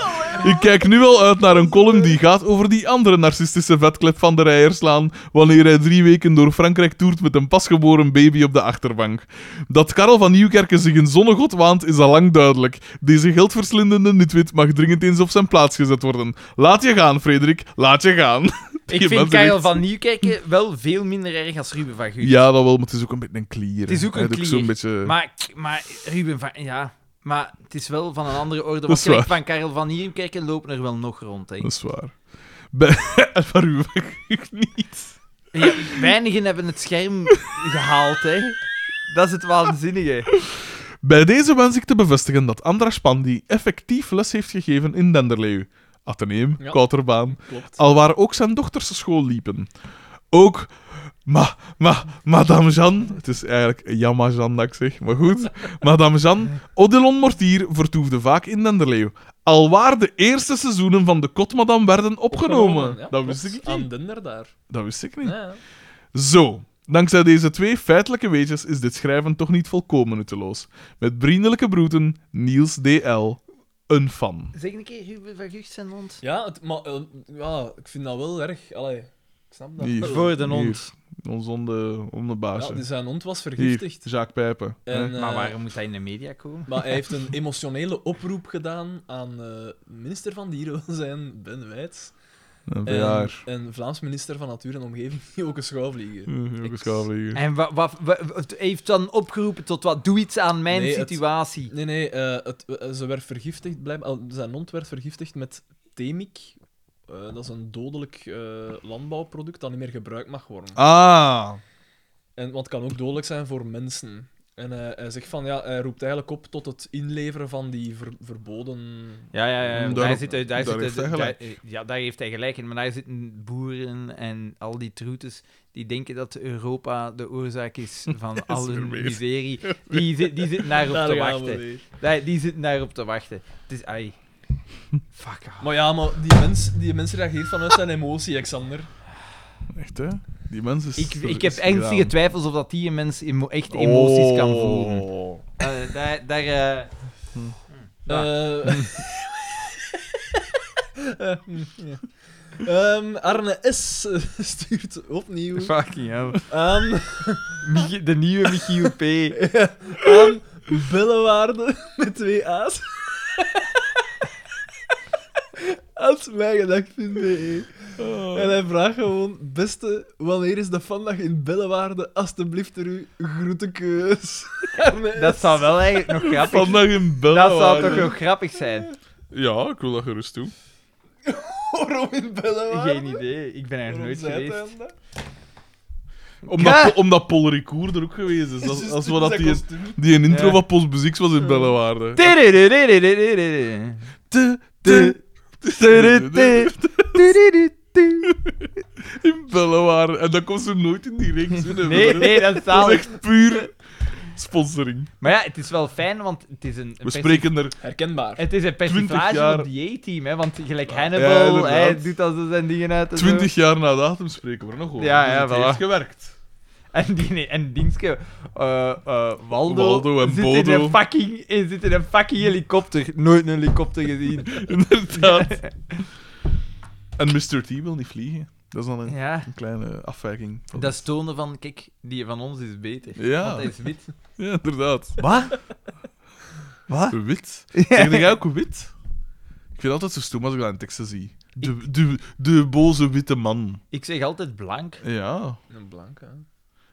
Ik kijk nu al uit naar een column die gaat over die andere narcistische vetklep van de Rijerslaan, wanneer hij drie weken door Frankrijk toert met een pasgeboren baby op de achterbank. Dat Karel van Nieuwkerken zich een zonnegod waant, is al lang duidelijk. Deze geldverslindende nitwit mag dringend eens op zijn plaats gezet worden. Laat je gaan, Frederik. Laat je gaan. Ik Je vind bent Karel echt- van Nieuwkerken wel veel minder erg als Ruben van Gucht. ja, dat wel, maar het is ook een beetje een klier. Het is ook hè. een Hij doet klier, zo'n beetje... Maar, maar Ruben van... Ja, maar het is wel van een andere orde. Dat Want is gelijk van Karel van Nieuwkerken lopen er wel nog rond, denk Dat ik. is waar. Bij... [LAUGHS] Van Ruben van Gucht niet. Ja, weinigen hebben het scherm gehaald, hè. Dat is het waanzinnige. Bij deze wens ik te bevestigen dat Andras Pandi effectief les heeft gegeven in Denderleeuw. Atheneum, Ja. Kouterbaan, Klopt. alwaar ook zijn dochters school liepen. Ook... Ma, ma, Madame Jeanne, het is eigenlijk Jamma Jeanne dat ik zeg, maar [LAUGHS] goed. Madame Jeanne, Odilon Mortier vertoefde vaak in Denderleeuw. Alwaar de eerste seizoenen van de Kot Madame werden [LAUGHS] opgenomen. Ja, dat, klopt. wist ik niet. Aan Dender daar. dat wist ik niet. Ja, ja. Zo, dankzij deze twee feitelijke weetjes is dit schrijven toch niet volkomen nutteloos. Met vriendelijke broeten, Niels DL, een fan. Zeg een keer Ruben van Gucht zijn hond. Ja, het, maar eh, ja, ik vind dat wel erg. Allee, ik snap dat. Hier. wel. Voor de Hier. hond. Ons onde, Ja, onderbaasje. dus zijn hond was Hier, dus- vergiftigd. Jacques Pijpen. En, eh, Maar waarom moet hij in de media komen? maar hij heeft een emotionele oproep gedaan aan eh, minister van [LAUGHS] Dierenwelzijn, Ben Wijts. Een En, VR. en Vlaams minister van Natuur en Omgeving, die ook een schouwvliegen. Ook een schouwvlieger. En wa- wa- wa- het heeft dan opgeroepen tot wat? Doe iets aan mijn Nee, het- situatie. Nee, nee, eh, het, eh, ze werd vergiftigd, blijkbaar, eh, zijn hond werd vergiftigd met temik. Eh, dat is een dodelijk eh, landbouwproduct dat niet meer gebruikt mag worden. Ah, En, want het kan ook dodelijk zijn voor mensen. En eh, hij zegt van, ja, hij roept eigenlijk op tot het inleveren van die ver- verboden... Ja, ja, ja. Daar- maar Daar, zit, daar, daar zit- heeft hij daar- gelijk. daar- ja, daar heeft hij gelijk in. Maar daar zitten boeren en al die troetes die denken dat Europa de oorzaak is van al hun weer. miserie. Die, zit- die zitten daarop Daar te gaan we wachten. weer. Daar- die zitten daarop te wachten. Het is... Ai. Fuck off. Maar ja, maar die mens, die mens reageert vanuit zijn emotie, Alexander. Echt, hè? Die mensen is... Ik, ik heb is gedaan. ernstige twijfels of dat die een mens emo- echt emoties kan Oh. voelen. Eh, daar... daar eh, Ja. Eh, [LAUGHS] [LAUGHS] eh, ja. Ehm, Arne S. [LAUGHS] stuurt opnieuw Ehm, fucking hell. aan, Michi- De nieuwe Michiel P. aan Bellewaarde met twee A's. Als mijgedacht.be. Ah, En hij vraagt gewoon: Beste, wanneer is de vandaag in Bellewaarde? Alsjeblieft, er u [LAUGHS] groetenkeus. Arne Dat S. zou wel eigenlijk nog grappig zijn. Vandaag in België. Dat zou toch nog grappig zijn? Ja, ik wil dat gerust toe. Waarom in Bellewaarde? Geen idee, ik ben er Waarom nooit zei hij geweest. dat? Omdat, Ja. Po- omdat Paul Ricoeur er ook geweest [LAUGHS] is. Als, Juist, als we dus dat hij die, kostuum. die een intro Ja. van Post Muzieks was in Bellewaarde. Tidididididididididi. Te, te, Tidididi. Tidididi. In Bellewaarde. En dat komt ze nooit in die reeks. in, hè, Nee, verder. nee, dat is Dat is [LAUGHS] zalig. echt puur sponsoring. Maar ja, het is wel fijn, want het is een... een We persi- spreken er... Herkenbaar. Het is een 20 persiflage jaar. op die A-team, hè, want gelijk Ja, Hannibal, inderdaad. hij doet al zo zijn dingen uit en zo. Twintig jaar na datum spreken we er nog over. Ja, Dus ja, het voilà. heeft gewerkt. En, die, nee, en Dingske, eh, eh, Waldo, Waldo en zit, In Bodo. een fucking, eh, zit in een fucking helikopter. Nooit een helikopter gezien. [LAUGHS] Inderdaad. En Mr. T wil niet vliegen. Dat is dan een, Ja, een kleine afwijking. van- dat is tonen van, kijk, die van ons is beter. Want Ja, hij is wit. ja, inderdaad. Wat? Wat? Wit. Zeg jij ook wit? Ik vind het altijd zo stoem als ik dat in teksten zie. De, de, de boze witte man. Ik zeg altijd blank. Ja. Een blanke.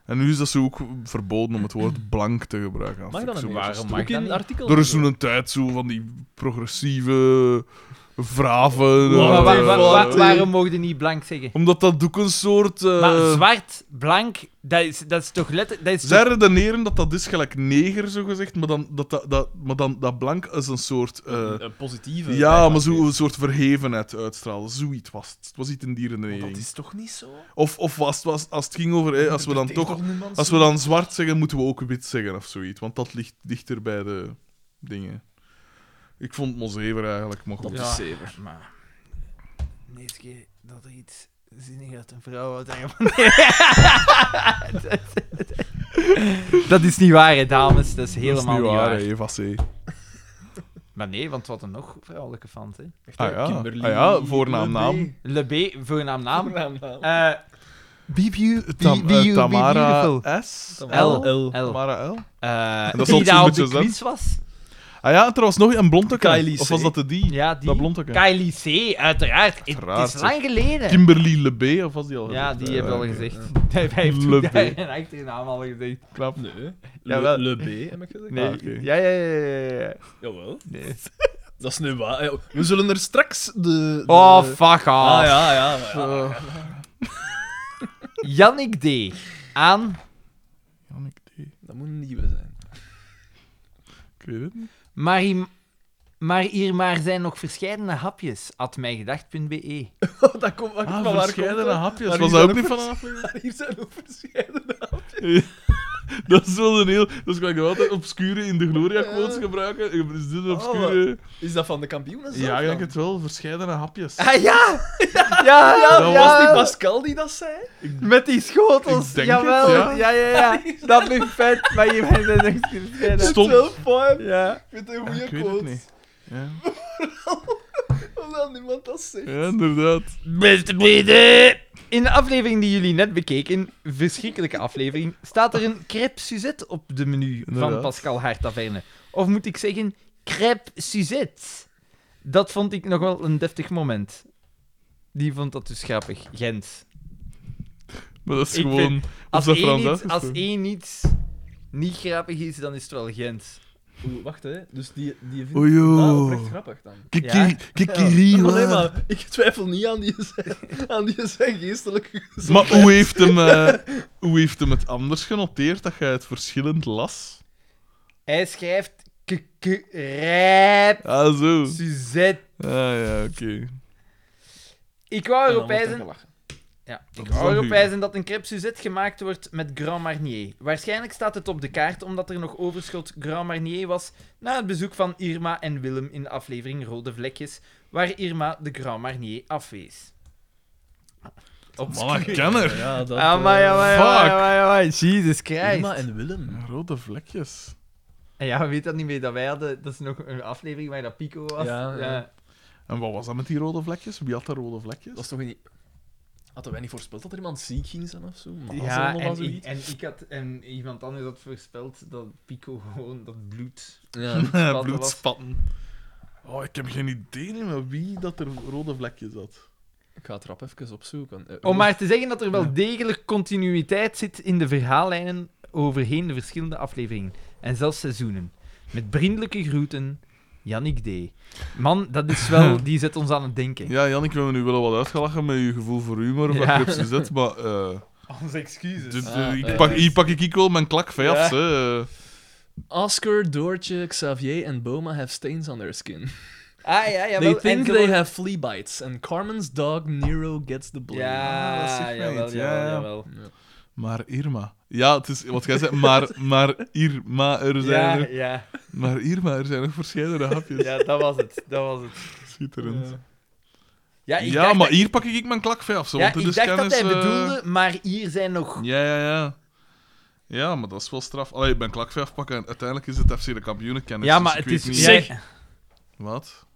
En nu is dat zo ook verboden om het woord [CLEARS THROAT] blank te gebruiken. Dat Mag vind dat ik niet? zo waarom stoem. mag Ook dat in niet? artikels. Er is zo'n tijd zo van die progressieve vraven. Ja, Maar eh, wa- wa- wa- eh, waarom mogen je niet blank zeggen? Omdat dat ook een soort... eh, Maar zwart, blank, dat is, dat is toch letterlijk... Dat is Zij toch- redeneren dat dat is gelijk neger, zo gezegd, maar dan dat, dat, dat, maar dan, dat blank is een soort... eh, Een positieve. ja, maar zo'n soort verhevenheid uitstralen. Zoiets was het. Het was iets in die redenering. toch niet zo? Of, of was, het- was, als het ging over... eh, als we dan toch... niemand Als zo? we dan zwart zeggen, moeten we ook wit zeggen of zoiets. Want dat ligt dichter bij de dingen. Ik vond Mozever eigenlijk, maar goed. Dat Ja. is zever. Maar... De eerste keer dat er iets zinnig uit een vrouw uit [LAUGHS] Dat is niet waar, hè, dames. Dat is helemaal dat niet is waar. hè, Eva C. Maar nee, want wat er nog vrouwelijke fans, hè? Ah ja, ah ja, voornaam, naam. Le B, voornaam [LAUGHS] naam. Voornaam, naam. Eh BBU, Tam- eh, Tamara beautiful. S. L. L. L. L. Tamara L. Eh, En dat zal die het daar zo'n op de beetje zijn. quiz was. Ah ja, en er was nog een blondeke. Kylie C. Of was dat de die? Ja, die. Dat blondeke. Kylie C, uiteraard. Het- Uiteraard, Het is lang geleden. Kimberly Lebe, of was die al? ja, die gezegd? heeft al oké. gezegd. [LAUGHS] Hij heeft toen Lubbe. daar een achternaam al gezegd. Knap. Nee. Jawel. Le, Le B, heb ik gezegd. Ah, Nee. Ah, oké. Ja, ja, ja, ja, ja, ja. Jawel. Nee. Dat is nu waar. Ja, We zullen er straks de... de- Oh, fuck off. Ah ja, ja. maar ja. Eh, Jannik D. Aan Jannik D. Dat moet een nieuwe [LAUGHS] zijn. Ik weet het niet. maar, hier- maar hier maar zijn nog verschillende hapjes. At mijgedacht.be. Oh, dat komt maar Ah, van waar komt verschillende dat? hapjes. Maar was hier dat ook zijn niet ook van af? [LAUGHS] Hier zijn ook verschillende hapjes. [LAUGHS] Dat is wel een heel... Dat is gelijk nog altijd obscure in de Gloria-quotes gebruiken. Is dit Oh, een obscure... Is dat van de kampioenen zelf ja, ik denk dan? het wel. Verscheidene hapjes. Ah ja! Ja, ja, Dat Was die ja. Pascal die dat [LAUGHS] zei? Met die schotels. Ik denk Jawel. het, ja. ja, ja, ja. Dat vind ik vet. Maar hier zijn nog verschillende. Stond- Het is wel fijn. Ja. Ik vind het een Ja, goede ik weet het quote. niet. Ja, Omdat niemand dat zegt. ja inderdaad. Beste vrienden! In de aflevering die jullie net bekeken, een verschrikkelijke aflevering, staat er een crêpe Suzette op de menu van Inderdaad. Pascal Haartaverne. Of moet ik zeggen, crêpe Suzette. Dat vond ik nog wel een deftig moment. Die vond dat dus grappig. Gent. Maar dat is Ik gewoon... vind- of Als dat één, Frans iets, als uitgesproken. één iets niet grappig is, dan is het wel Gent. Oeh, wacht hè. Dus die, die vindt Oei, oei. dat oprecht grappig dan. Ja. Kiki- Kikiri, Ja, maar nee, waar. maar ik twijfel niet aan die [LAUGHS] zijn, aan die zijn geestelijke gezondheid. Maar hoe heeft, hem, eh, hoe heeft hem het anders genoteerd dat jij het verschillend las? Hij schrijft k- k- rijp Ah, zo. Suzette. Ah, ja, oké. Ik wou En erop dan wordt wijzen... Ja, ik is dan wou erop u. wijzen dat een crêpe Suzette gemaakt wordt met Grand Marnier. Waarschijnlijk staat het op de kaart omdat er nog overschot Grand Marnier was na het bezoek van Irma en Willem in de aflevering Rode Vlekjes, waar Irma de Grand Marnier afwees. Op Man, een kenner. Ja, dat... Amai, amai, eh, amai, fuck. amai, amai, Jesus Christ. Irma en Willem. Rode vlekjes. En ja, weet dat niet meer dat wij hadden. Dat is nog een aflevering waar dat Pico was. Ja, ja. En wat was dat met die rode vlekjes? Wie had daar rode vlekjes? Dat is toch niet... Hadden wij niet voorspeld dat er iemand ziek ging zijn of zo? Ja, Mazzel of en, ik, zoiets? en ik had en iemand anders had voorspeld dat Pico gewoon dat bloed. Ja. [LAUGHS] spatten Bloedspatten. Oh, ik heb geen idee niet meer wie dat er rode vlekjes had. Ik ga het rap even opzoeken. Eh, Om Oh, maar te zeggen dat er wel degelijk continuïteit zit in de verhaallijnen overheen de verschillende afleveringen en zelfs seizoenen. Met vriendelijke groeten, Yannick D. Man, dat is [LAUGHS] wel, die zet ons aan het denken. Ja, Jan, ik wil me nu wel wat uitgelachen met je gevoel voor humor of Ja. ja. zet, maar... eh, Onze excuses. dit- Ah, ik eh. pak, hier pak ik ik wel mijn klak van af, Ja. hè. Eh, Oscar, Doortje, Xavier en Boma have stains on their skin. Ah ja, ja, they think they have flea bites. And Carmen's dog Nero gets the blame. Ah, dat zegt Ja, mij jawel, iets, ja, jawel, ja. jawel. Ja. Maar Irma. Ja, het is wat jij zei, maar, maar Irma, er zijn Ja, er, ja, maar Irma, er zijn nog verschillende hapjes. ja, dat was het. Dat was het. Schitterend. Ja, ik Ja, dacht maar dat- hier pak ik ik mijn klak van af, zo, ja, want dit ik is dacht dat kennis, hij eh, bedoelde, maar hier zijn nog... Ja, ja, ja. Ja, maar dat is wel straf. Allee, ik ben klakvee afpakken en uiteindelijk is het FC de kampioenenkennis. Ja, dus maar ik het weet is... Niet... Zeg, [LAUGHS] Wat?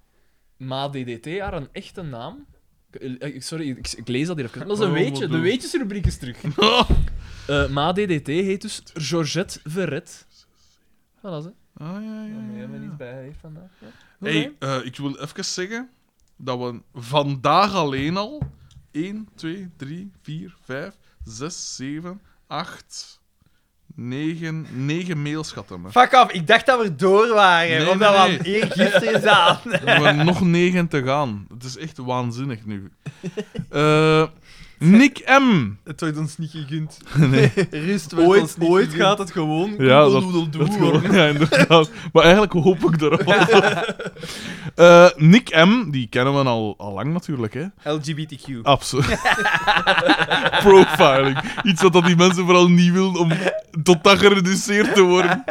Ma DDT, haar een echte naam? Ik- eh, Sorry, ik, ik lees dat hier even. Dat is een Oh, weetje. wat De doe. weetjesrubriek is terug. Ah, Eh, Ma DDT heet dus Georgette Verret. Voilà, ze. Ah, ja, ja. Ja, ja, nee, hebben we ja. niet bij hier vandaag. Ja. Oké. Hey, eh, ik wil even zeggen dat we vandaag alleen al 1, 2, 3, 4, 5, 6, 7, 8, 9, 9 mails gehad hebben. fuck af, ik dacht dat we door waren, Nee, omdat nee, we aan eergisteren zaten. [LAUGHS] We hebben nog 9 te gaan. Het is echt waanzinnig nu. Eh, Nick M. Het wordt ons niet gegund. [LAUGHS] Nee. Rust wordt ons Ooit, niet ooit gegund. gaat het gewoon. Ja, dat- koedeldoedeldoe, Dat hoor. gewoon- [LAUGHS] ja, inderdaad. Maar eigenlijk hoop ik erop. Eh, Nick M, die kennen we al, al lang natuurlijk, hè? LGBTQ. Absoluut. [LAUGHS] Profiling. Iets wat dat die mensen vooral niet willen om tot dat gereduceerd te worden.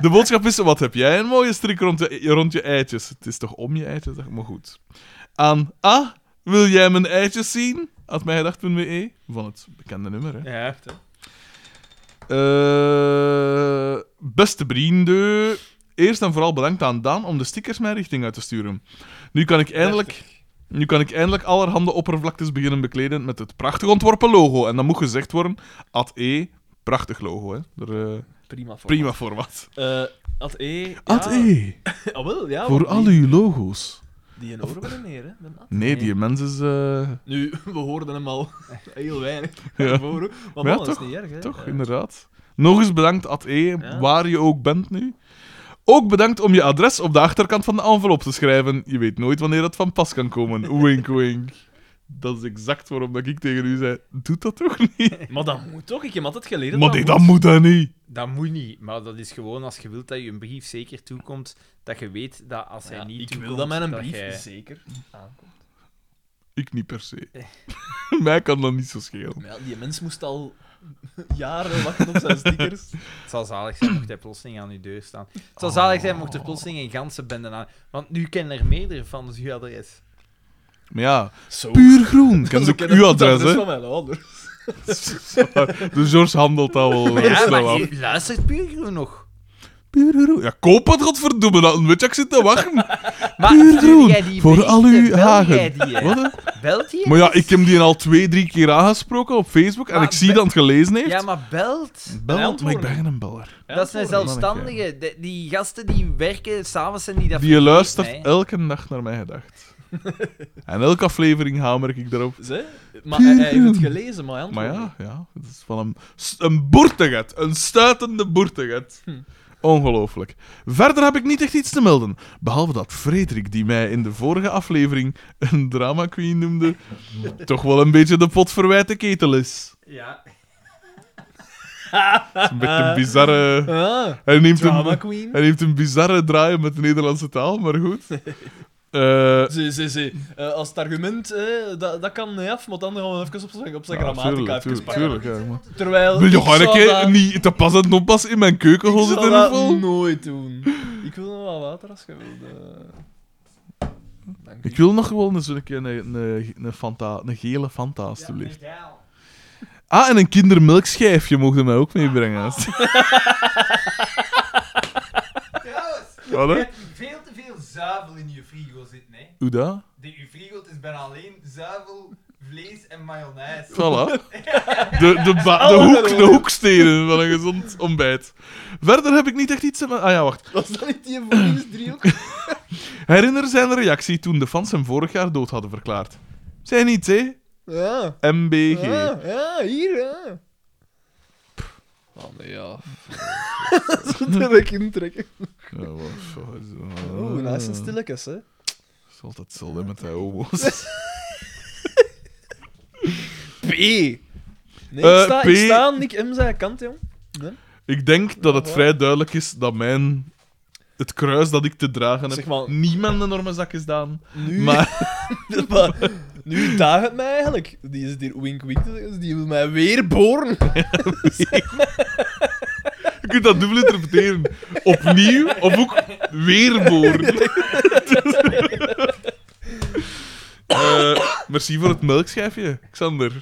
De boodschap is: wat heb jij een mooie strik rond, de- rond je eitjes? Het is toch om je eitjes, zeg maar goed. Aan A, wil jij mijn eitjes zien? Had mijgedacht.be e, van het bekende nummer, hè? Ja. Eh, beste vrienden, eerst en vooral bedankt aan Daan om de stickers mijn richting uit te sturen. Nu kan ik eindelijk, nu kan ik eindelijk allerhande oppervlaktes beginnen bekleden met het prachtig ontworpen logo. En dat moet gezegd worden, at E, prachtig logo, hè. Er, eh, Prima voor. prima format. Eh, Ad E. At E, Ah, wel, ja. voor want al die- uw logo's. Die in oren willen neer, hè. de Ad. Nee, die mens is... eh, Nu, we hoorden hem al [LAUGHS] heel weinig [LAUGHS] ja. daarvoor. hoor. Maar, ja, man, dat is toch, niet erg, hè. Toch, Ja. inderdaad. Nog eens bedankt, Ad E, Ja. waar je ook bent nu. Ook bedankt om je adres op de achterkant van de envelop te schrijven. Je weet nooit wanneer dat van pas kan komen. Wink, wink. Dat is exact waarom dat ik tegen u zei: Doe dat toch niet? [LAUGHS] Maar dat moet toch? Ik heb altijd geleerd dat Maar dat nee, moet. dat moet dat niet. Dat moet niet, maar dat is gewoon als je wilt dat je een brief zeker toekomt, dat je weet dat als hij Ja, niet ik toekomt... wil dat met een brief jij- zeker aankomt. Ik niet per se. [LAUGHS] Mij kan dat niet zo schelen. Maar ja, die mens moest al [LAUGHS] jaren wachten op zijn stickers. Het zal zalig zijn mocht hij plotseling aan je deur staan. Het zal zalig zijn mocht er plotseling een ganse bende aan... Want nu kennen er meerdere van dus uw adres. Maar ja, Zo. puur groen. Ken Ik ze [LAUGHS] ook ken uw het adres, hè? [LAUGHS] van mijn ouders. De George handelt dat wel eh, Ja, snel maar af. je luistert puur groen nog. Puur groen. Ja, koop het, godverdomme. Dan weet je, ik zit te wachten. [LAUGHS] Maar Puur stuur groen, jij die voor berichten? al uw Bel hagen. jij die, hè? Wat? hè? Belt hij? Maar ja, ik heb die al twee, drie keer aangesproken op Facebook en Maar ik zie be- dat het gelezen heeft. Ja, maar belt? Bel, antwoorden. maar ik ben geen beller. dat zijn antwoorden. zelfstandigen. De- die gasten die werken, s'avonds en die dat... Die je luistert Nee. elke dag naar mijn [LAUGHS] gedacht. en elke aflevering hamer ik daarop. Ze? Maar hij, hij heeft het gelezen, maar hij Maar antwoordde ja, ja, het is van een, s- een boerteget. Een stuitende boerteget. Hm. Ongelooflijk. Verder heb ik niet echt iets te melden. Behalve dat Frederik, die mij in de vorige aflevering een drama queen [LAUGHS] noemde, toch wel een beetje de pot verwijte ketel is. Ja. is een beetje een bizarre... [LAUGHS] Ah, Hij neemt, drama een, queen. hij neemt een bizarre draai met de Nederlandse taal, maar [LAUGHS] goed. Eh, Zee, zee, zee. Eh, als het argument, eh, dat, dat kan niet af, maar dan gaan we even op zijn, op zijn ja, grammatica tuurlijk, even tuurlijk, pakken. tuurlijk, ja, maar- Terwijl Wil je ik gewoon een zou dat- keer niet te pas en onpas in mijn keuken Ik gaan zou zitten? dat of wat? nooit doen. Ik wil nog wel water als je wilt. eh. Dank Ik u. wil nog gewoon eens een keer een, een, een, Fanta, een gele Fanta, alstublieft. Ah, en een kindermelkschijfje mogen mij ook meebrengen. Trouwens, [LAUGHS] Wat, je hè? hebt veel te veel zuivel in je frigo zitten, hè. Hoe dat? De, je frigo het is bijna alleen zuivel, vlees en mayonaise. Voilà. De, de, ba- de, hoek, de hoekstenen van een gezond ontbijt. Verder heb ik niet echt iets... aan mijn- Ah ja, wacht. Was dat niet die voedingsdriehoek? Herinner zijn reactie toen de fans hem vorig jaar dood hadden verklaard. Zijn niet, hè? Ja. MBG. Ja, ja, hier, ja. Oh, nee, [LAUGHS] ja. Zo ik intrekken. Ja, Oh, wat- wat is dat? Oeh, nice en stilletjes, hè. Het is altijd hetzelfde met de homo's. P. Nee, Eh, ik sta, ik P. sta aan Nick M. zijn kant, jong. Ik denk dat het vrij duidelijk is dat mijn... Het kruis dat ik te dragen heb, Zeg maar- niemand een enorme zak is daan. Nu, Maar [LAUGHS] maar nu daagt het mij eigenlijk. Die is hier wink wink, te zeggen, die wil mij weer boren. je kunt dat dubbel interpreteren. Opnieuw of ook [LAUGHS] weerboren. Eh merci voor het melkschijfje, Xander.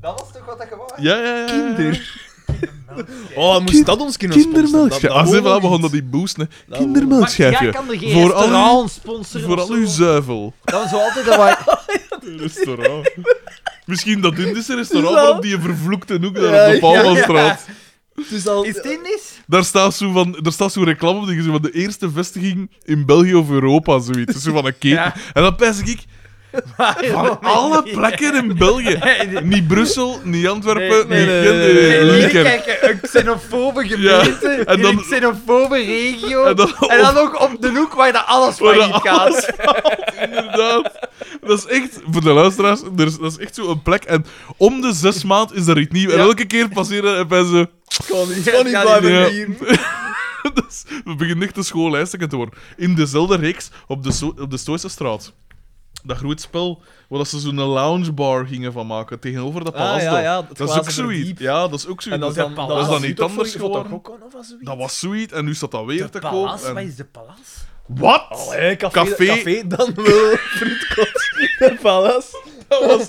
Dat was toch wat dat gewoon Ja, ja, ja. Kinder. Kindermelkschijf. Oh, moest Kind- dat ons kunnen Kindermelkschijfje. Ah, ze we sponsoren? Dat- dat begonnen hoort die boost, hè. hoort Maar jij Kindermelkschijfje. kan er geen Voor al uw- restaurant sponsoren Voor of al uw zo. zuivel. Dat is zo altijd dat wij... Restaurant. Misschien dat Indische restaurant, Is dat? maar op die vervloekte hoek daar Ja, op de ja, Paulmanstraat. niet. Het is al... Is het Indisch? Daar staat zo van, daar staat zo reclame op, die is van de eerste vestiging in België of Europa, zoiets. Dus zo van een cake. Ja. En dan pijs ik, van alle plekken in België. Niet Brussel, niet Antwerpen, Nee, niet nee, Gent, nee, nee, nee, Nee, Lieken. kijk, een xenofobe gemeente, Eh, [LAUGHS] Ja, en in dan- een xenofobe regio, en en dan dan, op- ook op de hoek waar dat alles Waar dat failliet gaat. Inderdaad. Dat is echt, voor de luisteraars, er is- dat is echt zo'n plek. En om de zes maand is er iets nieuws. En Ja. elke keer passeren en pijzen... Kan niet, Ja, kan niet ja, blijven ja. hier. [LAUGHS] Dus we beginnen echt de schoollijsten te worden. In dezelfde reeks op de, Sto- op de Stoïse straat. Dat groeit spel waar dat ze zo'n loungebar gingen van maken tegenover dat Ah, palas. ja, daar. ja, het dat is ook glazen zoiets. verdiep. Ja, dat is ook zoiets. En dan Ah, dat, dan, dat was dan die niet toch anders voor- voor geworden. toch ook al of was zoiets? dat was zoiets en nu staat dat weer te koop. Palas? En... Wat is de palas? Wat? Oh, Allee, Eh, café, Café. café. dan [LAUGHS] wel [LAUGHS] frietkot en palas. dat was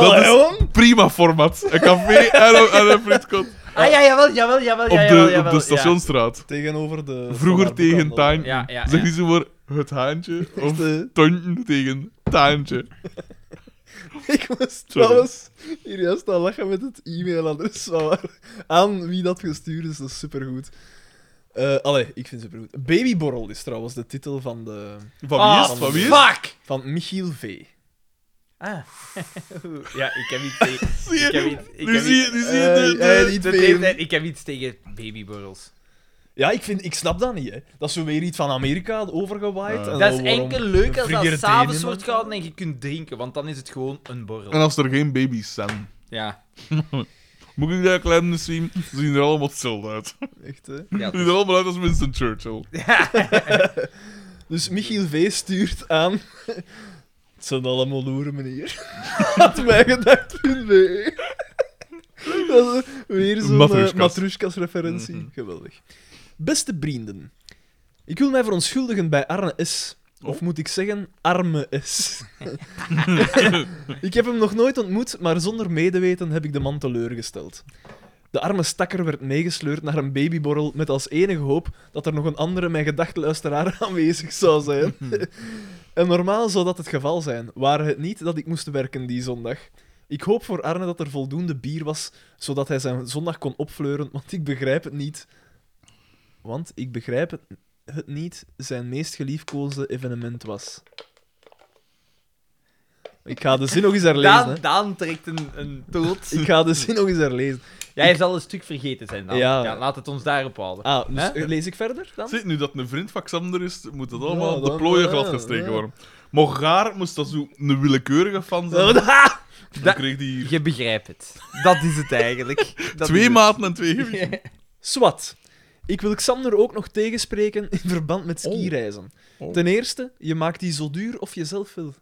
Allee, dat is jong. prima format. Een café en een, en een fritkot. Ah ja, jawel, jawel, jawel. Op ja, de, jawel, op jawel, de ja. stationstraat. Tegenover de... Vroeger tegen Time. Time. Ja, ja, Zeg ja. je zo voor het haantje of Tonten tegen Taantje. Ik was Sorry. trouwens hier juist aan lachen met het e-mailadres [LAUGHS] van waar- aan wie dat gestuurd is. Dat is supergoed. Eh allee, ik vind het supergoed. Babyborrel is trouwens de titel van, de, Van wie is Ah, het? Van wie is het? Fuck! van Michiel V. Ah. ja, ik heb iets tegen... [LAUGHS] Zie je? Ik heb iets... Ik Nu heb zie iets... je, nu zie je Eh, de- de- eh, niet de veel. leeftijd- ik heb iets tegen babyborrels. Ja, ik, vind, ik snap dat niet. Hè. Dat is zo weer iets van Amerika overgewaaid. Ja. en Dat is dan waarom- enkel leuk als dat Frigideer s'avonds wordt thee niemand? gehouden en je kunt drinken, want dan is het gewoon een En borrel. als er geen baby's zijn, Ja. moet ik dat klein eens zien? Ze zien er allemaal hetzelfde uit. Ze Echt, hè. ja zien er allemaal uit als Winston Churchill. Dus Michiel V stuurt aan. [LAUGHS] Het zijn allemaal loeren, meneer. [LAUGHS] Had mij gedacht, [LAUGHS] Dat is weer zo'n Matroeskas. eh, Matrushkas-referentie. Geweldig. Beste vrienden, ik wil mij verontschuldigen bij Arne S. Of Oh. moet ik zeggen, arme S. ik heb hem nog nooit ontmoet, maar zonder medeweten heb ik de man teleurgesteld. De arme stakker werd meegesleurd naar een babyborrel met als enige hoop dat er nog een andere mijn gedachteluisteraar [LAUGHS] aanwezig zou zijn. en normaal zou dat het geval zijn, waren het niet dat ik moest werken die zondag. Ik hoop voor Arne dat er voldoende bier was, zodat hij zijn zondag kon opfleuren, want ik begrijp het niet. Want ik begrijp het, het niet, zijn meest geliefkoosde evenement was. Ik ga de zin nog eens herlezen. hè. Daan, Daan trekt een, een dood. Ik ga de zin nog eens herlezen. Jij zal een stuk vergeten zijn, Daan. Ja. Ja. laat het ons daarop houden. Ah, dus Hè? lees ik verder dan? Zie, nu dat een vriend van Xander is, moet dat allemaal Ja, op de dan- plooien ja, glad gestreken ja. [LAUGHS] worden. Maar gaar moest dat zo een willekeurige fan zijn. Ah, Dan Dat- kreeg die Je begrijpt het. Dat is het [LAUGHS] eigenlijk. Dat is twee het. maten en twee gewichten. Swat. Ik wil Xander ook nog tegenspreken in verband met skireizen. Oh. Ten eerste, je maakt die zo duur of je zelf wil.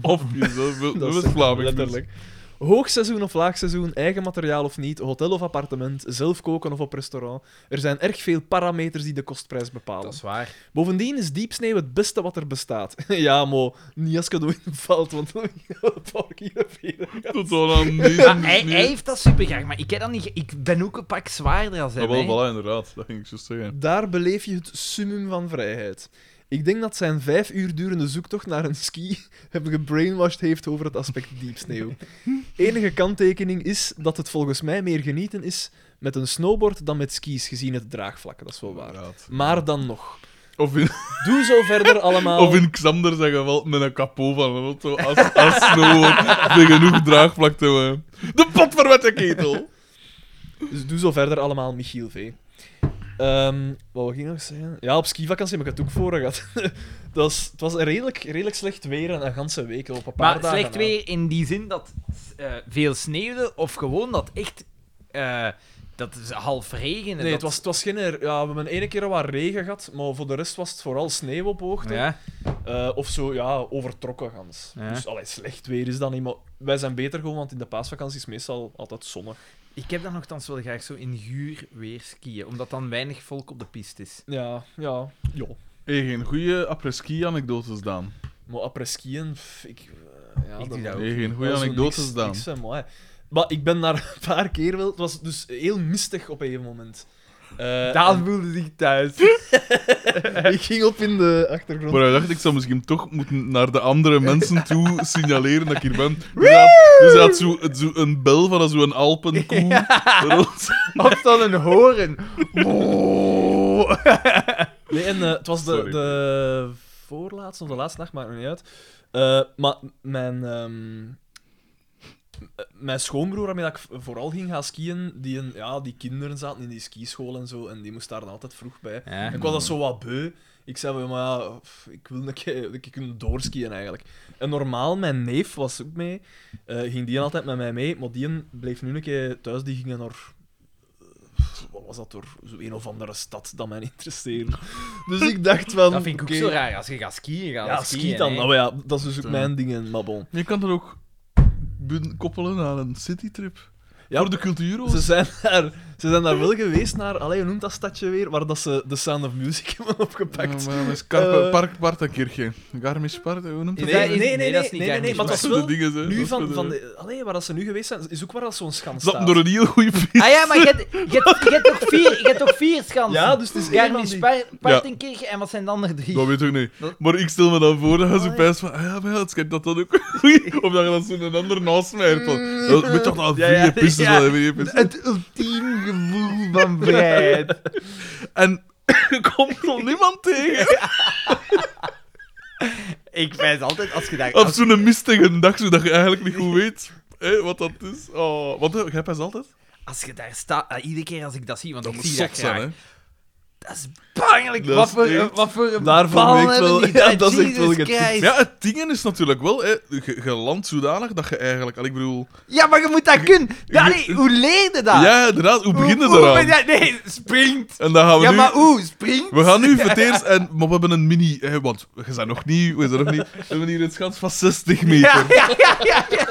Of [LAUGHS] jezelf. We- Dat We is zijn Vlaming. Letterlijk. Hoogseizoen of laagseizoen, eigen materiaal of niet, hotel of appartement, zelf koken of op restaurant. Er zijn erg veel parameters die de kostprijs bepalen. Dat is waar. Bovendien is diepsneeuw het beste wat er bestaat. [LAUGHS] ja, mo, niet als cadeau valt, want [LAUGHS] dan pak je dat weer. Tot dan aan deze. Ja, hij, niet. hij heeft dat super graag, maar ik, heb dat niet, ge- ik ben ook een pak zwaarder als hij. Ah, wel, hè. voilà, inderdaad. Dat ging ik zo zeggen. Daar beleef je het summum van vrijheid. Ik denk dat zijn vijf uur durende zoektocht naar een ski [LAUGHS] hem gebrainwashed heeft over het aspect diepsneeuw. Enige kanttekening is dat het volgens mij meer genieten is met een snowboard dan met skis, gezien het draagvlak. Dat is wel waar. Inderdaad. Maar dan nog. Of in, Doe zo [LAUGHS] verder allemaal. of in Xander zeggen wel met een kapot van een auto. Als, als sneeuwhoorn. [LAUGHS] Met genoeg draagvlak te hebben. De pot met de ketel. Dus doe zo verder allemaal, Michiel V. Ehm, wat wil ik nog zeggen? Ja, op skivakantie heb ik het ook voor gehad. [LAUGHS] dat was, het was een redelijk, redelijk slecht weer en een ganse week op een paar Maar dagen. slecht na. weer in die zin dat eh, veel sneeuwde, of gewoon dat echt... eh, dat is half regen. Nee, het was, het was geen... er- Ja, we hebben ene keer wat regen gehad, maar voor de rest was het vooral sneeuw op hoogte. Ja. Eh, of zo, ja, overtrokken gans. Ja. Dus allee, slecht weer is dan niet, maar wij zijn beter gewoon, want in de paasvakantie is meestal altijd zonnig. Ik heb dan nogthans wel graag zo in guur weer skiën, omdat dan weinig volk op de piste is. Ja, ja, joh. Hey, geen goede apres-ski-anekdotes, Daan. Maar après-skiën, pff, ik... eh, ja, Ik dat- doe dat ook. Hey, geen goede Dat is anekdotes, niks- Daan. niks van mooi. Maar ik ben daar een paar keer wel... Het was dus heel mistig op een gegeven moment. Eh, Daan voelde zich thuis. [LAUGHS] en [LAUGHS] ik ging op in de achtergrond. Maar hij dacht, ik zou misschien toch moeten naar de [LAUGHS] andere mensen toe signaleren dat ik hier ben. Dus hij had, dus hij had zo, zo een bel van zo'n alpenkoe. [LAUGHS] rond. Of dan een horen. Nee, en eh, het was de, Sorry. de voorlaatste of de laatste nacht, maakt me niet uit. Eh, maar mijn, ehm, eh, mijn schoonbroer, waarmee dat ik v- vooral ging gaan skiën, die, een- ja, die kinderen zaten in die skischool en zo, en die moest daar dan altijd vroeg bij. Ja. Ik was dat zo wat beu. Ik zei, wel, maar ja, pff, ik wil een keer, een keer kunnen doorskiën eigenlijk. En normaal, mijn neef was ook mee, eh, ging die altijd met mij mee, maar die bleef nu een keer thuis, die gingen naar... eh, Wat was dat door zo een of andere stad dat mij niet interesseerde? Dus ik dacht van... Dat vind ik ook oké, zo raar. Als je gaat skiën, ga Ja, dan ski skiën, dan. hè. Nou ja, dat is dus ook Ja. mijn ding, maar bon. Je kan er ook bun- koppelen aan een citytrip. Ja, Voor de cultuur, Ze zijn, daar, ze zijn daar wel geweest naar, allee, hoe noemt dat stadje weer, waar dat ze The Sound of Music hebben opgepakt. Ja, maar dat is Karpe- Eh. Park Partenkirche. Garmisch Parten, hoe noemt dat? Nee, nee, nee, dat is niet Garmisch. maar dat Dat is soort wel... dingen, hè. Nu Dat van, soort van dingen. de, allee, waar dat ze nu geweest zijn, is ook waar dat zo'n schans Ze zaten staat. door een heel goede fiets. Ah ja, maar je hebt- je hebt- je hebt toch vier, je hebt toch vier schansen? Ja, dus het is één van Garmisch, die- Par- Partenkirchen en wat zijn de andere drie? Dat weet ik niet. Dat- Maar ik stel me dan voor dat je zo pijst van, ah ja, maar ja, het schijnt dat dat ook [LAUGHS] goeie- Of dat je dat zo'n ander nasmijt. van, Dat moet toch al Mm. Ja, vrije ja, pistes ja. zijn, vrije pistes. Het ultieme gevoel van vrijheid. En [LAUGHS] je komt nog niemand tegen. Ik wijs altijd als je daar... Op zo'n mistige dag, zodat je eigenlijk niet goed weet hè, wat dat is. Oh, want eh, jij pijst altijd? Als je daar staat, ah, iedere keer als ik dat zie, want ik moet zie zot dat graag. hè. Dat is bangelijk. Dat wat, is voor, echt- wat voor een Daarvoor bal weet ik hebben [LAUGHS] wel- die? ja, Ah, dat is echt wel Jesus getipt. Christ. Ja, het ding is natuurlijk wel, hè, je, je landt zodanig dat je eigenlijk... al, Ik bedoel... Ja, maar je moet dat kunnen. Ja, je- nee, hoe leer je dat? Ja, inderdaad, hoe begin je Ah. Hoe- hoe ben eraan? jij- Nee, springt. En dan gaan we Ja, nu... maar hoe? Springt? We [LAUGHS] gaan nu voor het eerst, en, maar we hebben een mini, hè, want we zijn nog niet, we zijn nog niet, we hebben hier een schans van 60 meter. Ja, ja, ja, [LAUGHS] ja, ja.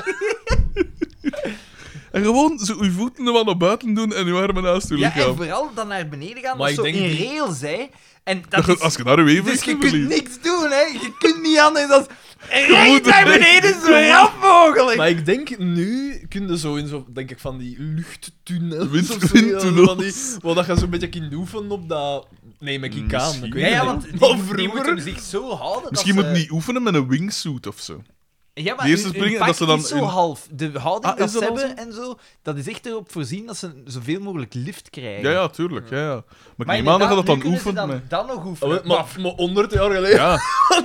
En gewoon zo uw voeten er wel naar buiten doen en uw armen naast uw Ja, en lichaam. vooral dan naar beneden gaan, Maar maar ik zo denk in die- rails, hè. En Dat dat je- is... als je daar uw evenwicht Dus je in kunt verliest. niks doen, hè. Je kunt niet anders dan... moet Rijd naar er- [LAUGHS] beneden zo rap mogelijk. [LAUGHS] Maar ik denk nu kun je zo in zo, denk ik, van die luchttunnels. Wind- of zo, windtunnels. Van die, wat dat je zo'n beetje kunt oefenen op dat. Neem ik ik aan. Misschien. Ik weet Ja, ja, het want niet. die, Maar die vroeger- moeten zich zo houden Misschien dat moet je niet oefenen met een wingsuit of zo. Ja, maar die eerste hun- hun springen en pak dat ze dan is zo hun- half. De houding Ah, dat is dat ze al hebben en zo, dat is echt erop voorzien dat ze zoveel mogelijk lift krijgen. Ja, ja, tuurlijk. Ja, ja. Maar ik neem aan dat je inderdaad, dat dan nu kunnen ze oefent Dan, met... dan nog Oh, oefenen. maar- Maar maar 100 jaar geleden, [LAUGHS] Ja,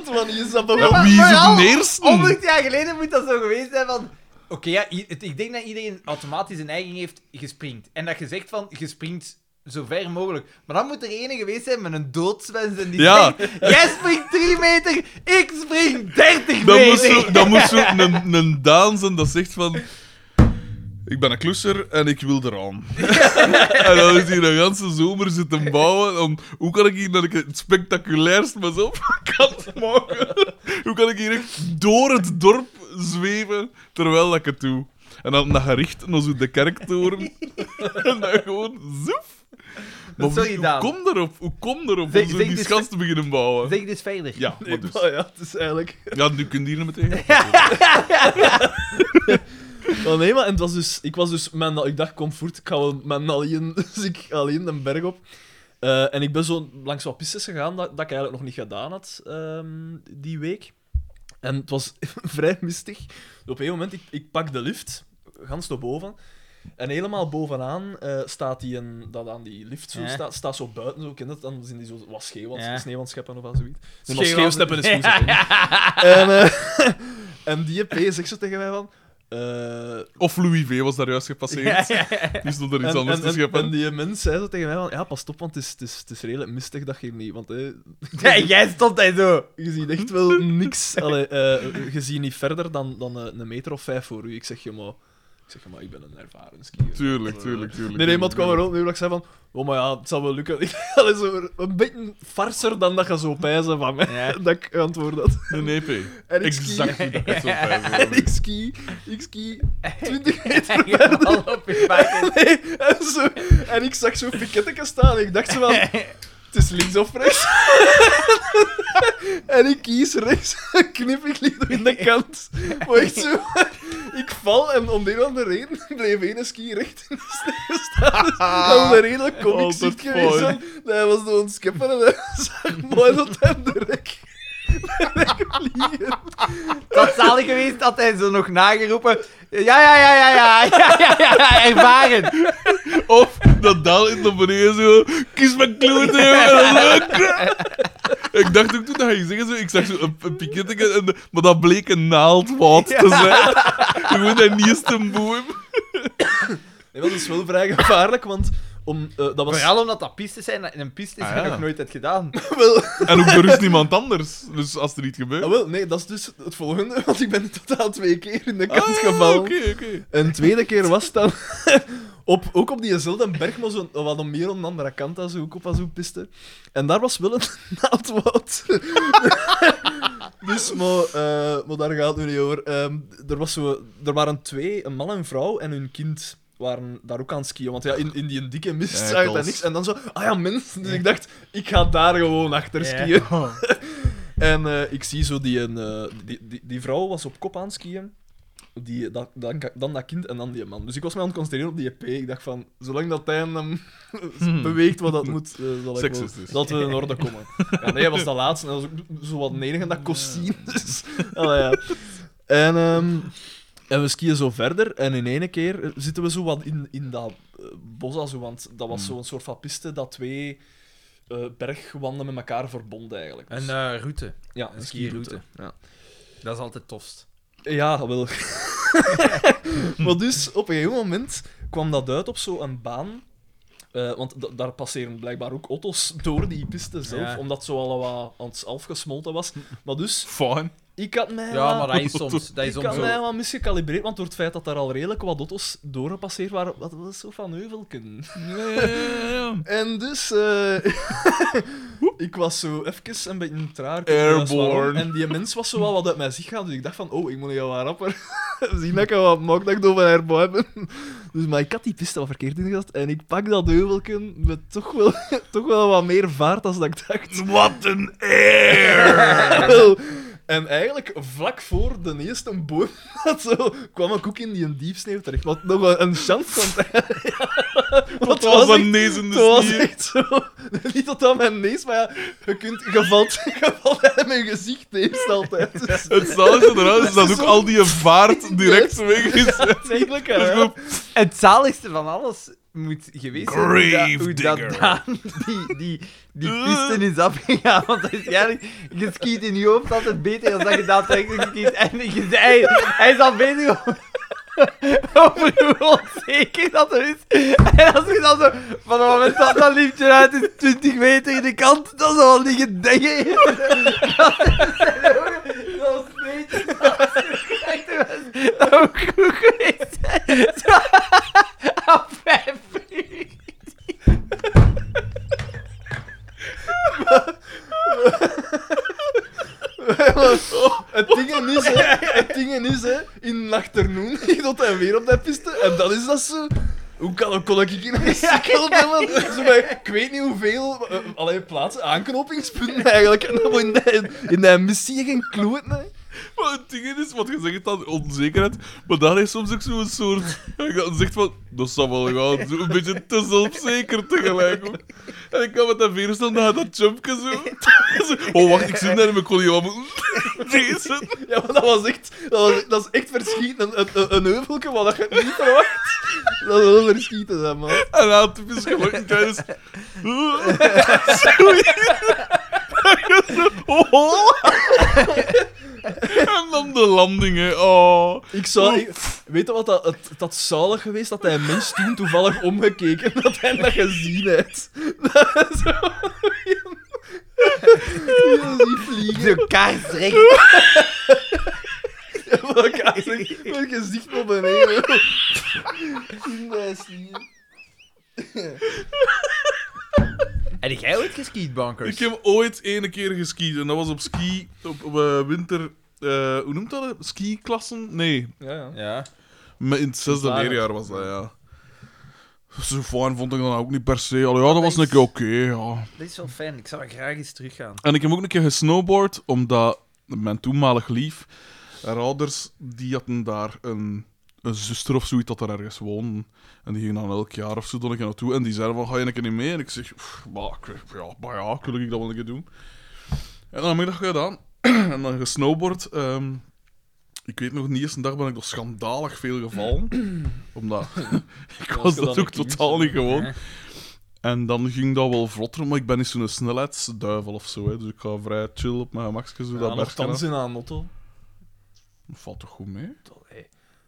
want is dat dan Ja, wel. maar- wie is maar het al- de eerste? 100 jaar geleden moet dat zo geweest zijn van... Oké, ja, i- het- ik denk dat iedereen automatisch een neiging heeft gespringt. En dat je zegt van, je springt zo ver mogelijk. Maar dan moet er ene geweest zijn met een doodswens en die Ja. zegt, jij springt 3 meter, ik spring 30 Dan moest meter. zo- Dan moest zo een, een Daan zijn dat zegt van... Ik ben een klusser en ik wil [LAUGHS] eraan. en dan is hij de hele zomer zitten bouwen. Om, hoe kan ik hier dat ik het spectaculairst mezelf [LAUGHS] kan maken? hoe kan ik hier echt door het dorp zweven terwijl ik het doe? En dan naar gericht naar zo de kerktoren. [LAUGHS] en dan gewoon zoef. Maar Sorry, hoe, Daan. kom erop? Hoe kom erop Zeg- om zo zeg die dus- schans te beginnen bouwen? Zeg dus verder. Ja, maar dus. Maar ja, het is eigenlijk... Ja, nu kun je hier meteen. Maar nee, maar en het was dus, ik was dus, mijn, ik dacht, kom voort, ik ga wel mijn alleen, [LAUGHS] dus ik ga alleen de berg op. Eh, en ik ben zo langs wat pistes gegaan, dat, dat ik eigenlijk nog niet gedaan had ehm, die week. En het was [LAUGHS] vrij mistig. Dus Op een moment, ik, ik pak de lift, gans naar boven. En helemaal bovenaan eh, staat die een, dat aan die lift zo, Ja. staat, staat zo buiten, zo, ken je dat? Dan zijn die zo wat scheel, Ja. sneeuw aan het scheppen of wat zoiets. Nee, maar Schreeuw- schreeuwsteppen is [LAUGHS] Ja. goed. zeg. En, eh, [LAUGHS] en die EP zegt zo tegen mij van... eh, Of Louis V was daar juist [LAUGHS] Ja, gepasseerd. ja, ja. Die stond er iets anders te scheppen. en die mens zei zo tegen mij van, ja, pas op, want het is, het is, het is redelijk mistig dat je niet... [LAUGHS] Want hè, [LAUGHS] Ja, jij stond daar zo. je ziet echt wel niks. Allee, eh, je ziet niet verder dan, dan eh, een meter of vijf voor u. Ik zeg je maar, ik, zeg, je maar, ik ben een ervaren skier. Tuurlijk, tuurlijk, tuurlijk. Nee, nee, maar het kwam er ook nu dat ik zei van, oh, maar ja, het zal wel lukken. [LAUGHS] Allee, zo, een beetje farser dan dat je zo pijzen van mij. Ja. [LAUGHS] Dat ik antwoord had. Een EP. En ik ski, [LAUGHS] Exact. hoe dat zo [LAUGHS] en ik fijn ski, ik ski [LAUGHS] 20 meter En je val op je buik. [LAUGHS] Nee, en, zo, en ik zag zo'n pikettenke staan. Ik dacht zo [LAUGHS] van, het is links of rechts. [LAUGHS] en ik kies rechts [LAUGHS] en knip ik liever in de kant. Maar echt zo, [LAUGHS] ik val en om de een of andere reden [LAUGHS] bleef één ski recht in de sneeuw [LAUGHS] staan. Dus dat was een redelijk comic Altijd ziet geweest. mooi. zijn. Dat Hij was door ons skippen en hij [LAUGHS] zag mooi dat hem de rek... [LAUGHS] de rek [LAUGHS] vliegen. Het was zalig geweest dat hij zo nog nageroepen. Ja, ja, ja, ja, ja, [LAUGHS] ja, ja, ja, ja, ervaren. Of dat Daal in de beneden zo... Kies mijn klote, jongen. En dan zo- Ik dacht ook toen dat hij zeggen zo... Ik zag zo een, een piketje, en de- maar dat bleek een naaldwoud te zijn. Gewoon dat nieuwste boem. Nee, maar dat is dus wel vrij [LAUGHS] gevaarlijk, want... Om, eh, dat was... Vooral omdat dat pistes zijn. En een piste is Ah, hij ja. nog nooit hebt gedaan. wel- En ook er is niemand anders. Dus als er iets Ah, gebeurt... wel, nee, dat is dus het volgende, [LAUGHS] want ik ben in totaal twee keer in de kant Ah, gevallen. Oké, oké. Een tweede keer was het dan [LAUGHS] op, ook op diezelfde berg, maar zo, wat dan meer aan de andere kant, dan zo, ook op zo'n piste. En daar was wel een [LAUGHS] naaldwoud. [LAUGHS] dus, maar, eh, maar daar gaat het nu niet over. Ehm, er, was zo, er waren twee, een man en een vrouw, en hun kind waren daar ook aan het skiën. Want ja, in, in die dikke mist Ja, zag je klopt. daar niks. En dan zo, ah ja, mensen. Dus ik dacht, ik ga daar gewoon achter Ja. skiën. En eh, ik zie zo die, een, eh, die, die, die vrouw was op kop aan het skiën. Die, dat, dan, dan dat kind en dan die man. Dus ik was mij aan het concentreren op die EP. Ik dacht van, zolang dat hij [LAUGHS] hem beweegt wat dat moet, eh, zal ik wel, Seksistisch. dat we in orde komen. Ja, nee, hij was de laatste en dat was ook zo wat nederig en dat kost zien. [LAUGHS] Dus, allee, ja. En, ehm, en we skiën zo verder en in ene keer eh, zitten we zo wat in, in dat eh, bos, al zo, want dat was zo'n soort van piste dat twee eh, bergwanden met elkaar verbonden eigenlijk. Dus- eh, route. ja, Een skiroute. Ja. Dat is altijd tofst. ja, wel. [LAUGHS] maar dus, op een gegeven moment kwam dat uit op zo'n baan. Eh, want da- daar passeren blijkbaar ook auto's door die piste zelf, Ja. omdat zo al wat aan het afgesmolten was. Maar dus, Fijn. ik had mij Ja, maar wat- dat is soms. Dat is ik soms had zo. mij wat misgecalibreerd, want door het feit dat daar al redelijk wat auto's door gepasseerd waren, wat was een soort van heuvelken. En dus, eh, [LAUGHS] ik was zo even een beetje traag. ik weet niet juist waarom. Airborne. En die mens was zo wel wat uit mijn zicht gaan, dus ik dacht van, oh, ik moet jou wat rapper [LAUGHS] zien dat ik wat maak dat ik door mijn airborne ben. [LAUGHS] Dus, maar ik had die piste wat verkeerd ingezet en ik pak dat heuvelken met toch wel, [LAUGHS] toch wel wat meer vaart dan dat ik dacht. Wat een eer! Wel, [LAUGHS] En eigenlijk vlak voor de eerste boom [LAUGHS] dat zo, kwam ik ook in die diepsneeuw terecht. Wat nog wel een chance want [LAUGHS] Wat Wat was was ik? een nezende Het was stier. echt zo. [LAUGHS] Niet tot aan mijn neus, maar ja, je, kunt, je valt, [LAUGHS] je valt met mijn gezicht tegen [LAUGHS] altijd. Dus, Het zaligste eraan is dat is ook zo- al die vaart direct [LAUGHS] Ja. weg is. Dat eigenlijk, is gewoon- Het zaligste van alles moet geweest zijn hoe dat- hoe dat Gravedigger. Daan die, die, die piste is afgegaan. Want waarschijnlijk, je skiet in je hoofd altijd beter dan dat je daadwerkelijk skiet. En je, hij, hij is al bezig om, over hoe onzeker dat er is. En als je dan zo, van het moment dat dat liefje uit is, 20 meter in de kant, dan zal wel liggen denken. Dat is zo smeet. Dat ook goed geweest. Zo, aan vijf uur. Het ding is, hè, het ding is, hè, in de achternoen [LAUGHS] ging dat hij weer op dat piste. En dan is dat zo... Hoe kan, kon ik in een sikkel bellen? Zo bij, ik weet niet hoeveel eh, allerlei plaatsen, aanknopingspunten eigenlijk. En dan in de, in de missie geen kloot, nee. Maar het ding is, want je zegt dan onzekerheid, maar daar is soms ook zo'n soort... Je dan zegt van, dat zal wel gaan, zo een beetje te zelfzeker tegelijk ook. En ik kan met dat virus dan naar dat jumpje zo. [LAUGHS] Zo, Oh, wacht, ik zit daar in mijn collie, [LAUGHS] wat moet- Deze. Ja, maar dat was echt, dat was, dat is echt verschieten. Een, een, een heuvelke, wat je niet verwacht. Dat is wel verschieten, zeg maar. En aan het is gewoon tijdens... Oh. En dan de landing, hè. Oh. Ik zou... ik- weet je wat? Dat, het, dat zalig geweest dat hij een mens toen toevallig omgekeken en dat hij dat gezien heeft. [LAUGHS] Dat is zo... Ja, Die vliegen Zo kaarsrecht. op elkaar. zeg. Mijn gezicht op en neer. Dat is niet... En jij ooit geskiet, bankers? Ik heb ooit ene keer geskiet en dat was op ski, op, op, eh, winter, eh, hoe noemt dat? hè? Skiklassen? Nee, Ja, ja. Ja. me- in het zesde Zware. leerjaar was dat, ja. Zo fijn vond ik dan ook niet per se. Allee, ja, dat was een keer oké, ja. Dit is wel fijn, ik zou er graag eens teruggaan. En ik heb ook een keer gesnowboard, omdat mijn toenmalig lief, haar ouders, die hadden daar een, een zuster of zoiets dat er ergens woonde. En die gingen dan elk jaar of zo dan ik naartoe. En die zeiden van, ga je een keer niet mee? En ik zeg, "Pff, maar ik weet- ja, maar ja, kun ik dat wel een keer doen? En dan heb ik dat gedaan. [CLEARS THROAT] en dan gesnowboard. ehm, ik weet nog niet eens een dag ben ik nog schandalig veel gevallen. omdat [LAUGHS] ik was je dan dat een ook kieuze, totaal niet gewoon. En dan ging dat wel vlotter, maar ik ben niet zo'n snelheidsduivel of zo. Hè. Dus ik ga vrij chill op mijn gemakje zo dat bergje Nogthans af. in aan motto. Dat valt toch goed mee?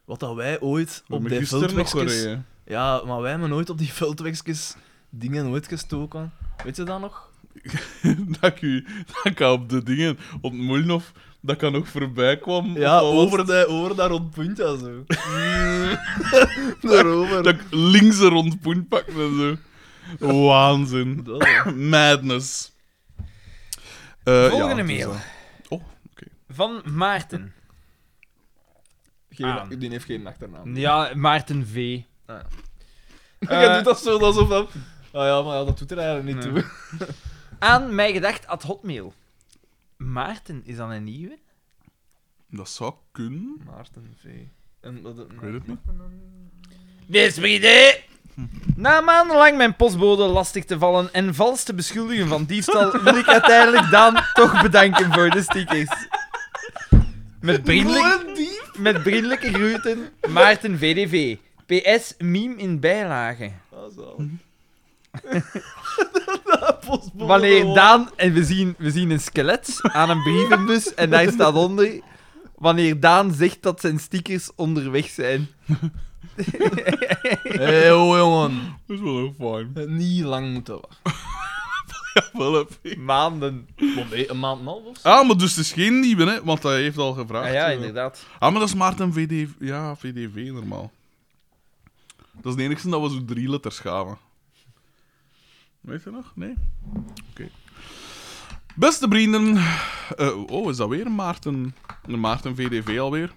Wat dat wij ooit Op op de die gisteren nog veldwegjes... gereden. [LAUGHS] Ja, maar wij hebben nooit op die veldwegjes dingen nooit gestoken. Weet je dat nog? dat, ik u, dat ik op de dingen, op het Moelenhof, dat ik dan nog voorbij kwam. Ja, of wat was over, de, over dat rond puntje en [LAUGHS] zo. Daarover. het? Dat ik links een rond poen pakte en zo. Waanzin. Dat, hè. Madness. Eh, Volgende het is mail. dat. Oh, oké. Van Maarten. Geen, Aan. Die heeft geen achternaam. Ja, Maarten V. Ah. Eh, [LAUGHS] Je doet dat zo alsof dat... Ah ja, maar ja, dat doet er eigenlijk niet Nee. [LAUGHS] toe. aan mij gedacht at hotmail. Maarten is dan een nieuwe? Dat zou kunnen. Maarten V. En dat, Ik weet het niet. Dit is mijn idee! Na maandenlang mijn postbode lastig te vallen en vals te beschuldigen van diefstal, wil ik uiteindelijk Daan toch bedanken voor de stickers. Met, vriendelijk, met vriendelijke groeten, Maarten VDV. PS, meme in bijlage. Ah, [LAUGHS] zalig. dat postbode Wanneer wel. Daan, en we zien, we zien een skelet aan een [LAUGHS] brievenbus en daar staat onder. Wanneer Daan zegt dat zijn stickers onderweg zijn. Hé, hey, jongen. Dat is wel heel fijn. Niet lang moeten wachten. Wel heb ik. Maanden. Maar nee, een maand en een half of zo? Ah, maar dus het is geen nieuwe, hè? Want hij heeft al gevraagd. Ah ja, eh. inderdaad. Ah, maar dat is Maarten VD... Ja, VDV normaal. Dat is de enige dat we zo drie letters gaven. Weet je nog? Nee? Oké. Beste vrienden. Eh, oh, is dat weer een Maarten? Een Maarten VDV alweer?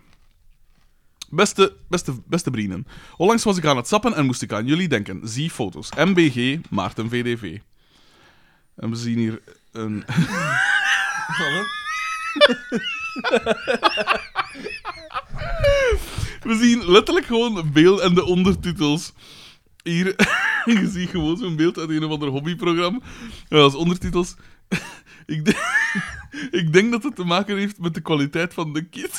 Beste, beste, beste vrienden. Onlangs was ik aan het sappen en moest ik aan jullie denken. Zie foto's. MBG, Maarten VDV. En we zien hier een... [LAUGHS] We zien letterlijk gewoon beeld en de ondertitels. Hier, [LAUGHS] je ziet gewoon zo'n beeld uit een of ander hobbyprogramma. En als ondertitels. [LAUGHS] Ik, denk- [LAUGHS] ik denk dat het te maken heeft met de kwaliteit van de kit.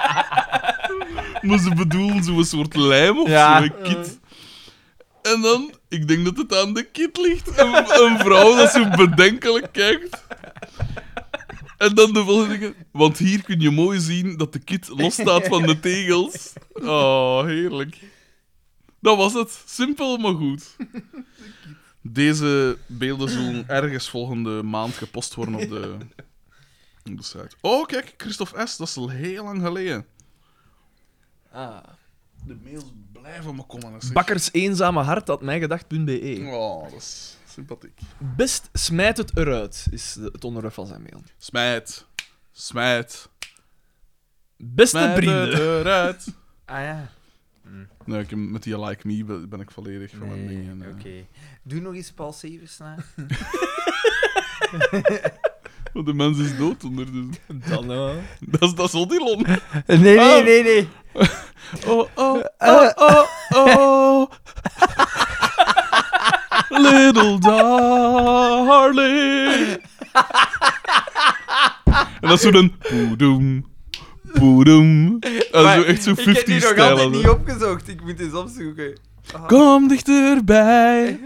[LAUGHS] maar ze bedoelen zo'n soort lijm of Ja. zo'n kit. En dan, ik denk dat het aan de kit ligt. Een, een vrouw dat zo bedenkelijk kijkt. En dan de volgende. Want hier kun je mooi zien dat de kit losstaat van de tegels. Oh, heerlijk. Dat was het. Simpel, maar [LAUGHS] goed. Deze beelden zullen ergens volgende maand gepost worden op [LAUGHS] de, op de site. Oh, kijk, Christophe S., dat is al heel lang geleden. Ah. De mails blijven maar komen. hè, zeg. Bakkers eenzame hart at mijgedacht.be. Oh, dat is sympathiek. Best smijt het eruit, is de- het onderwerp van zijn mail. Smijt. Smijt. Beste Smijt het vrienden. eruit. Ah ja, Nee, ik, met die Like Me ben- ben ik volledig van mijn nee, ding. en, oké. eh. Doe nog eens Paul Severs na. Want de mens is dood onder de... [LAUGHS] Dan, eh, Dat is, dat is Odilon. [LAUGHS] Nee, nee, Oh. nee, nee. Oh, Eh, oh, oh, oh, oh. Little darling. En dat is zo een... Boedoem. Boedoem. Dat is Maar zo echt zo 50 Ik heb die nog altijd niet stijl. opgezocht. Ik moet eens opzoeken. Kom [LAUGHS] dichterbij.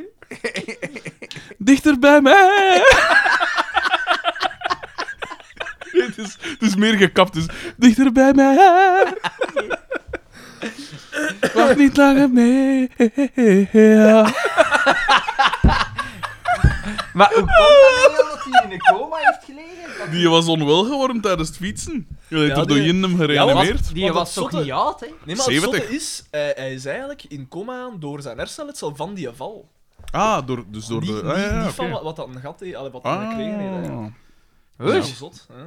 Dichter bij mij. Nee, het, is, het is meer gekapt, dus dichter bij mij. Wacht niet langer mee. Maar hoe komt dat nou wel dat hij in een coma heeft gelegen? Dat- Die was onwel geworden tijdens het fietsen. Je hebt Ja, er door die- Jindem Ja, gereanimeerd. Die Want was dat toch zotte- niet oud, hè? Nee, maar het 70. zotte is, hij, hij is eigenlijk in coma door zijn hersenletsel van die val. Ah, door, dus door Niet, de... niet, Ah, ja, niet oké. van wat, wat dat een gat heeft, allee, wat hij gekregen heeft. Ah. eigenlijk. Huh? Dat is wel zot, hè? Een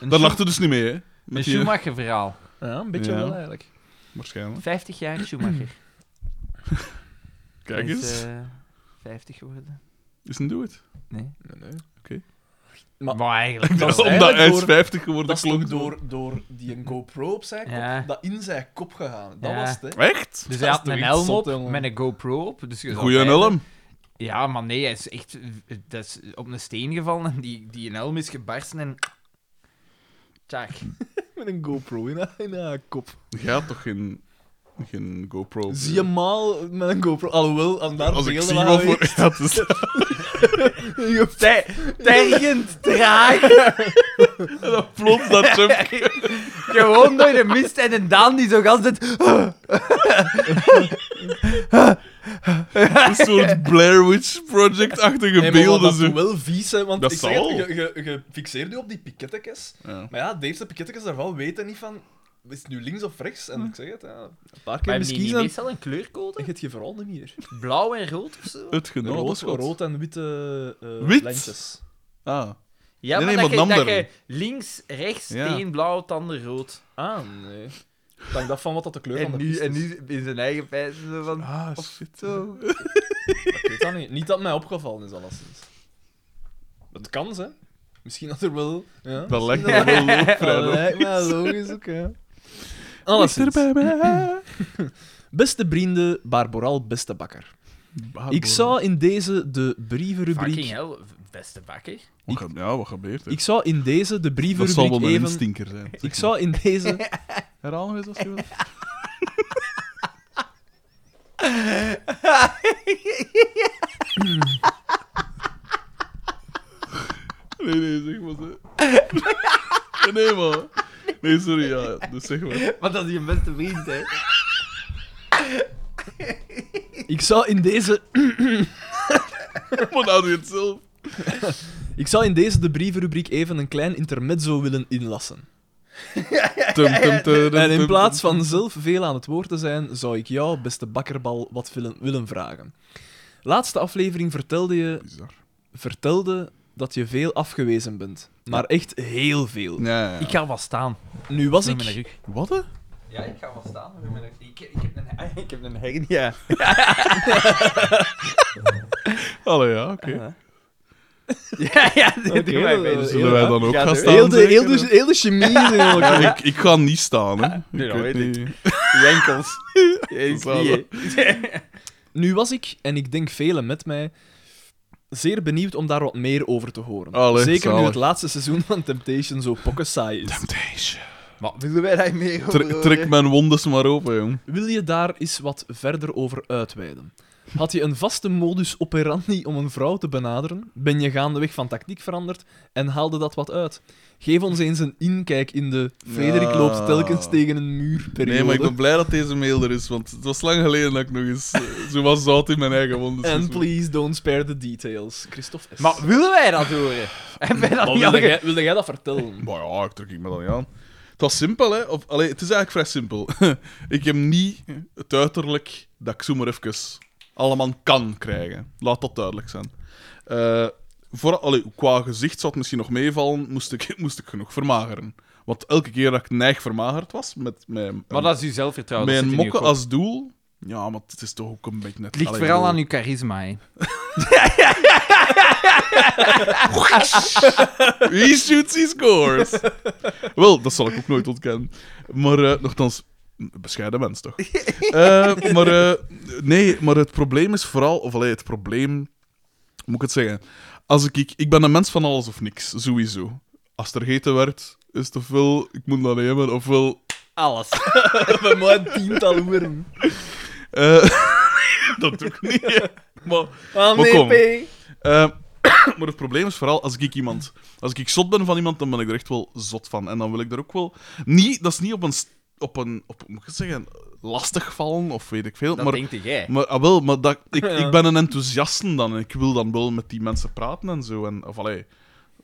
Daar Schu- lachte dus niet mee, hè? Een Met je, Schumacher-verhaal. Ja, een beetje Ja. wel eigenlijk. waarschijnlijk. 50 jaar Schumacher. Kijk Hij is, eens. eh, 50 geworden. Is een doet. Nee. [LAUGHS] Nee, nee. Maar, Maar- eigenlijk [LAUGHS] Dat wel. is hè. Omdat hij is door- 50 geworden, Dat is klonk toch het wel. door, door die een GoPro op zijn kop, Ja. dat in zijn kop gegaan. Dat Ja. was het, hè. Echt? Dus Dat hij is had toch een iets helm zot, op, jongen. met een GoPro op. Dus je zou Goeie bijna- helm. Ja, maar nee, hij is echt dat is op een steen gevallen en die, die een helm is gebarsten en... Tjak. Met een GoPro in haar, in haar kop. Jij had toch geen, geen GoPro? eh, Zie je maal met een GoPro. Alhoewel, aan daar Als ik beelden zie waren wat voor... [LAUGHS] [LAUGHS] geweest. Ja, dus het is- Ter- Tergend, traag. Plots dat Trump... Gewoon door de mist en een Daan die zo gans het... Een soort Blair Witch Project-achtige Nee, maar wat beelden. dat Zo. wel vies, hè, want Dat ik zeg het, zal. je, je, je fixeert je op die pikettekes. Ja. Maar ja, de eerste pikettekes daarvan weten niet van, is het nu links of rechts? En ik zeg het, ja, een paar keer Maar misschien misschien niet en meestal een kleurcode? je hebt je vooral niet [LAUGHS] meer. Blauw en rood of zo? Het genot. rood, schat. rood en witte eh Wit? lijntjes. Ah. Ja, Nee, maar nee, dat, maar je, dat Namder. je links, rechts, Ja. steen, blauw, tanden, rood. Ah, nee. Dank dat van wat dat de kleur van de piste is. in zijn eigen pijzen zo van... Ah, shit. Zo. Ik weet dat niet. Niet dat mij opgevallen is, alleszins. Het kan, hè. Misschien dat er wel... Ja. Dat lijkt me wel Dat loopvrij. lijkt mij logisch ook, ja. Alleszins. Beste vrienden, Barboral, beste bakker. Ik zou in deze de Fucking brievenrubriek... hell, beste bakker. Wat ge- Ja, wat gebeurt er? Ik zou in deze de dat zal wel brievenrubriek een even... instinker zijn. Ik zou in deze... [LAUGHS] Herhaal nog eens als je [LAUGHS] wil. Nee, nee, zeg maar zo. Nee, man. Nee, sorry, ja. Dus zeg maar. Want dat is je beste vriend, hè. Ik zou in deze... Maar nou doe je het zelf. Ik zou in deze de brievenrubriek even een klein intermezzo willen inlassen. Tum, tum, tum, tum, En in tum, plaats tum. van zelf veel aan het woord te zijn, zou ik jou, beste bakkerbal, wat willen, willen vragen. Laatste aflevering vertelde je Bizar. vertelde dat je veel afgewezen bent. Maar echt heel veel. Ja, ja. Ik ga wel staan. Nu was Met mijn ik... rug. Wat, hè? Ja, ik ga wel staan. met mijn rug. Ik, ik heb een, [LAUGHS] ik heb een hernia. Allee, ja, oké. Ja, ja, doe Oké, maar dat- mee. [LAUGHS] dat- Zullen wij dan ook Ja, gaan doe. staan? Heel de, zeker? heel de, heel de chemie is in [LAUGHS] elkaar. ik, ik ga niet staan, hè. Ik Nee, dat weet weet niet. Die enkels. is niet, Nu was ik, en ik denk velen met mij, zeer benieuwd om daar wat meer over te horen. Allee, Zeker nu zalig. het laatste seizoen van Temptation zo pokkensaai is. Temptation. Maar willen wij daar meer over Trek, trek mijn wondes maar open, jong. Wil je daar eens wat verder over uitweiden? Had je een vaste modus operandi om een vrouw te benaderen? Ben je gaandeweg van tactiek veranderd en haalde dat wat uit? Geef ons eens een inkijk in de Frederik Ja. loopt telkens tegen een muur periode. Nee, maar ik ben blij dat deze mail er is, want het was lang geleden dat ik nog eens eh, zo was zout in mijn eigen wonden And zit. please don't spare the details. Christophe S. [LAUGHS] Maar willen wij dat horen? En wij dat Maar niet wilde, al ge- jij, wilde jij dat [LAUGHS] vertellen? Maar ja, ik trek ik me dan niet aan. Het was simpel, hè? Of, allee, het is eigenlijk vrij simpel. [LAUGHS] ik heb niet het uiterlijk dat ik zomaar even allemaal kan krijgen. Laat dat duidelijk zijn. Eh, voor, allee, qua gezicht zou het misschien nog meevallen, moest ik, [LAUGHS] moest ik genoeg vermageren. Want elke keer dat ik neig vermagerd was, met, met, een- Maar dat is uw zelfvertrouwen. met dat een zit in uw mokken kop. als doel... Ja, maar het is toch ook een beetje net... Het ligt allee, vooral bedoel- aan uw charisma, hè. Wie shoots, he scores. [LAUGHS] Wel, dat zal ik ook nooit ontkennen. Maar, eh, nogthans, een bescheiden mens toch? Eh, maar, eh, nee, maar het probleem is vooral, of allee, het probleem, hoe moet ik het zeggen? Als ik, ik, ik ben een mens van alles of niks, sowieso. Als er gegeten werd, is het ofwel, ik moet dat nemen, ofwel Alles. Bij mij een tiental uren. Eh, dat doe ik niet. Maar, Ah, Maar kom. nee, P. eh, [COUGHS] maar het probleem is vooral als ik iemand. Als ik zot ben van iemand, dan ben ik er echt wel zot van. En dan wil ik er ook wel. Niet, dat is niet op een. st- Op een op, hoe moet ik het zeggen? Lastig vallen of weet ik veel. Dat maar denkt jij. maar, ah, wel, maar dat, [LAUGHS] ik, Ja. ik ben een enthousiaste dan. En ik wil dan wel met die mensen praten en zo. En, of allee,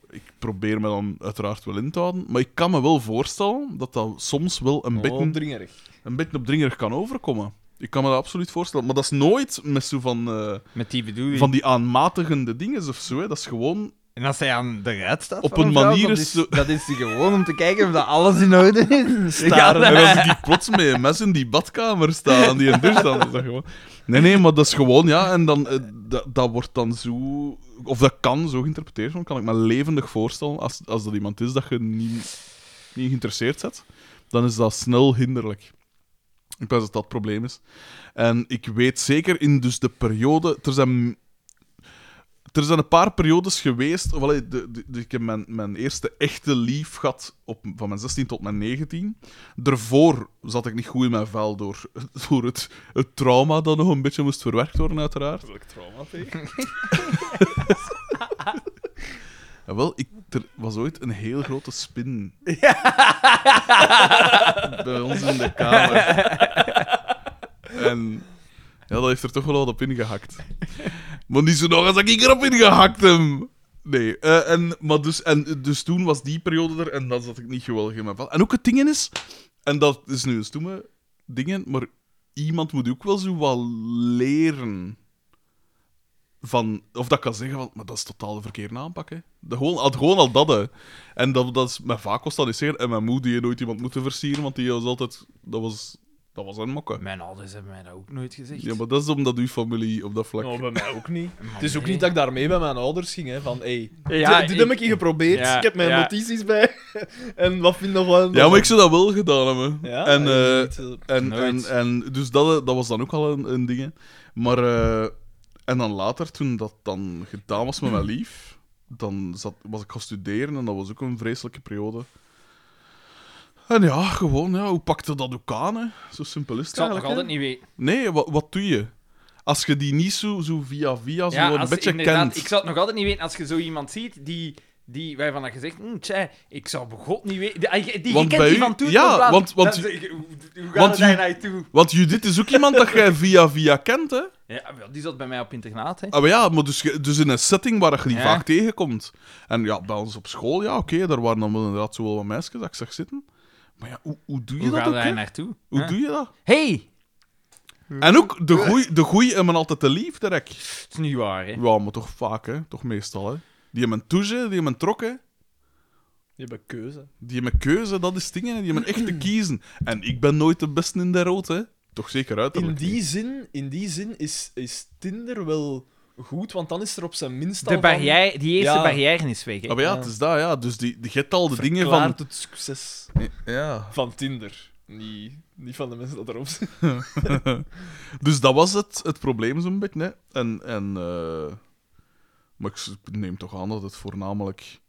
ik probeer me dan uiteraard wel in te houden. Maar ik kan me wel voorstellen dat dat soms wel Oh. een beetje Dringerig. een beetje opdringerig kan overkomen. Ik kan me dat absoluut voorstellen. Maar dat is nooit met zo van, eh, Met die bedoeling. van die aanmatigende dingen of zo. Hè. Dat is gewoon. En als hij aan de ruit staat Op van een vrouw, manier dat is is... ze- Dat is die gewoon om te kijken of dat alles in orde [LAUGHS] is. Staren. Ja, En als die plots met een mes in die badkamer staan, aan die een douche, dan is dat gewoon. Nee, nee, maar dat is gewoon, ja. En dan, eh, dat, dat wordt dan zo. Of dat kan zo geïnterpreteerd worden, kan ik me levendig voorstellen. Als, als dat iemand is dat je niet, niet geïnteresseerd zet, dan is dat snel hinderlijk. Ik denk dat dat het probleem is. En ik weet zeker in dus de periode. Er zijn, er zijn een paar periodes geweest. Of, allee, de, de- de- ik heb mijn, mijn eerste echte lief gehad op, van mijn 16 tot mijn 19. Daarvoor zat ik niet goed in mijn vel door, [LAUGHS] door het, het trauma dat nog een beetje moest verwerkt worden, uiteraard. Welk trauma tegen? [LAUGHS] Ja, wel, ik, er was ooit een heel grote [LAUGHS] spin. Bij ons in de kamer. En ja, dat heeft er toch wel wat op ingehakt. Maar niet zo nog als ik erop ingehakt heb. Nee, eh, en, maar dus, en, dus toen was die periode er en dan zat ik niet geweldig in mijn vel. En ook het ding is, en dat is nu een stoeme dingen, maar iemand moet ook wel zo wat leren van, of dat kan zeggen, van, maar dat is totaal de verkeerde aanpak. Hè. Dat gewoon, al- gewoon al dat. Hè. En dat, dat is, mijn vaak was dat niet zeker. En mijn moeder die heeft nooit iemand moeten versieren, want die was altijd, dat was, dat was een mokke. Mijn ouders hebben mij dat ook nooit gezegd. Ja, maar dat is omdat uw familie op dat vlak. Nou, bij mij ook niet. Het is ook niet dat ik daarmee bij mijn ouders ging, hè, van hey, Ja, dit, dit ik- heb ik hier geprobeerd, Ja, ik heb mijn ja. notities bij, [LAUGHS] en wat vind je nog wel... ja, maar ik zou dat wel gedaan hebben. Ja, Ah, en, eh, niet, en, eh, en, Nooit. en dus dat, dat was dan ook al een, een ding. hè. Maar, eh, en dan later, toen dat dan gedaan was met mijn lief, dan zat, was ik gaan studeren en dat was ook een vreselijke periode. En ja, gewoon, ja, hoe pakte dat ook aan? Hè? Zo simpel is het Ik zal het nog eigenlijk, hè. altijd niet weten. Nee, wat, wat doe je? Als je die niet zo, zo via via, zo een als- beetje inderdaad, kent. Ik zou het nog altijd niet weten als je zo iemand ziet die, die waarvan dat je zegt, hm, tja, ik zou bij God niet weten. Die, die, die Want je kent bij u- die van toen ja, tot laat. want- want Dan u- zeg ik, hoe, hoe want gaat het u- daar naartoe? Want Judith is ook iemand dat jij via via kent, hè? Ja, wel, die zat bij mij op internaat, hè. Ah, maar ja, maar dus, ge- dus in een setting waar je die Ja. vaak tegenkomt. En ja, bij ons op school, ja, oké, daar waren dan wel inderdaad zo wel wat meisjes dat ik zag zitten. Maar ja, hoe, hoe doe je Hoe dat gaat ook, daar hè? naartoe? Hoe Ja. doe je dat? Hey! En ook, de goeie, de goeie hebben altijd te lief, direct. Het is niet waar, hè. Ja, maar toch vaak, hè? Toch meestal, hè? Die hebben een touche, die hebben een trokken. Je hebt een keuze. Die hebben keuze, dat is dingen. Die hebben echt te kiezen. En ik ben nooit de beste in de rood, hè? Toch zeker in uiterlijk. die zin, in die zin is, is Tinder wel goed, want dan is er op zijn minst al De barrière, die eerste Ja. barrière is weg, hè. Ah, maar ja, het is dat, ja. Dus die, die je hebt al de van dingen verklaart van... het succes Ja. van Tinder. Niet, niet van de mensen dat erop zitten. Dus dat was het, het probleem zo'n beetje. Hè. En, en, eh, maar ik s- neem toch aan dat het voornamelijk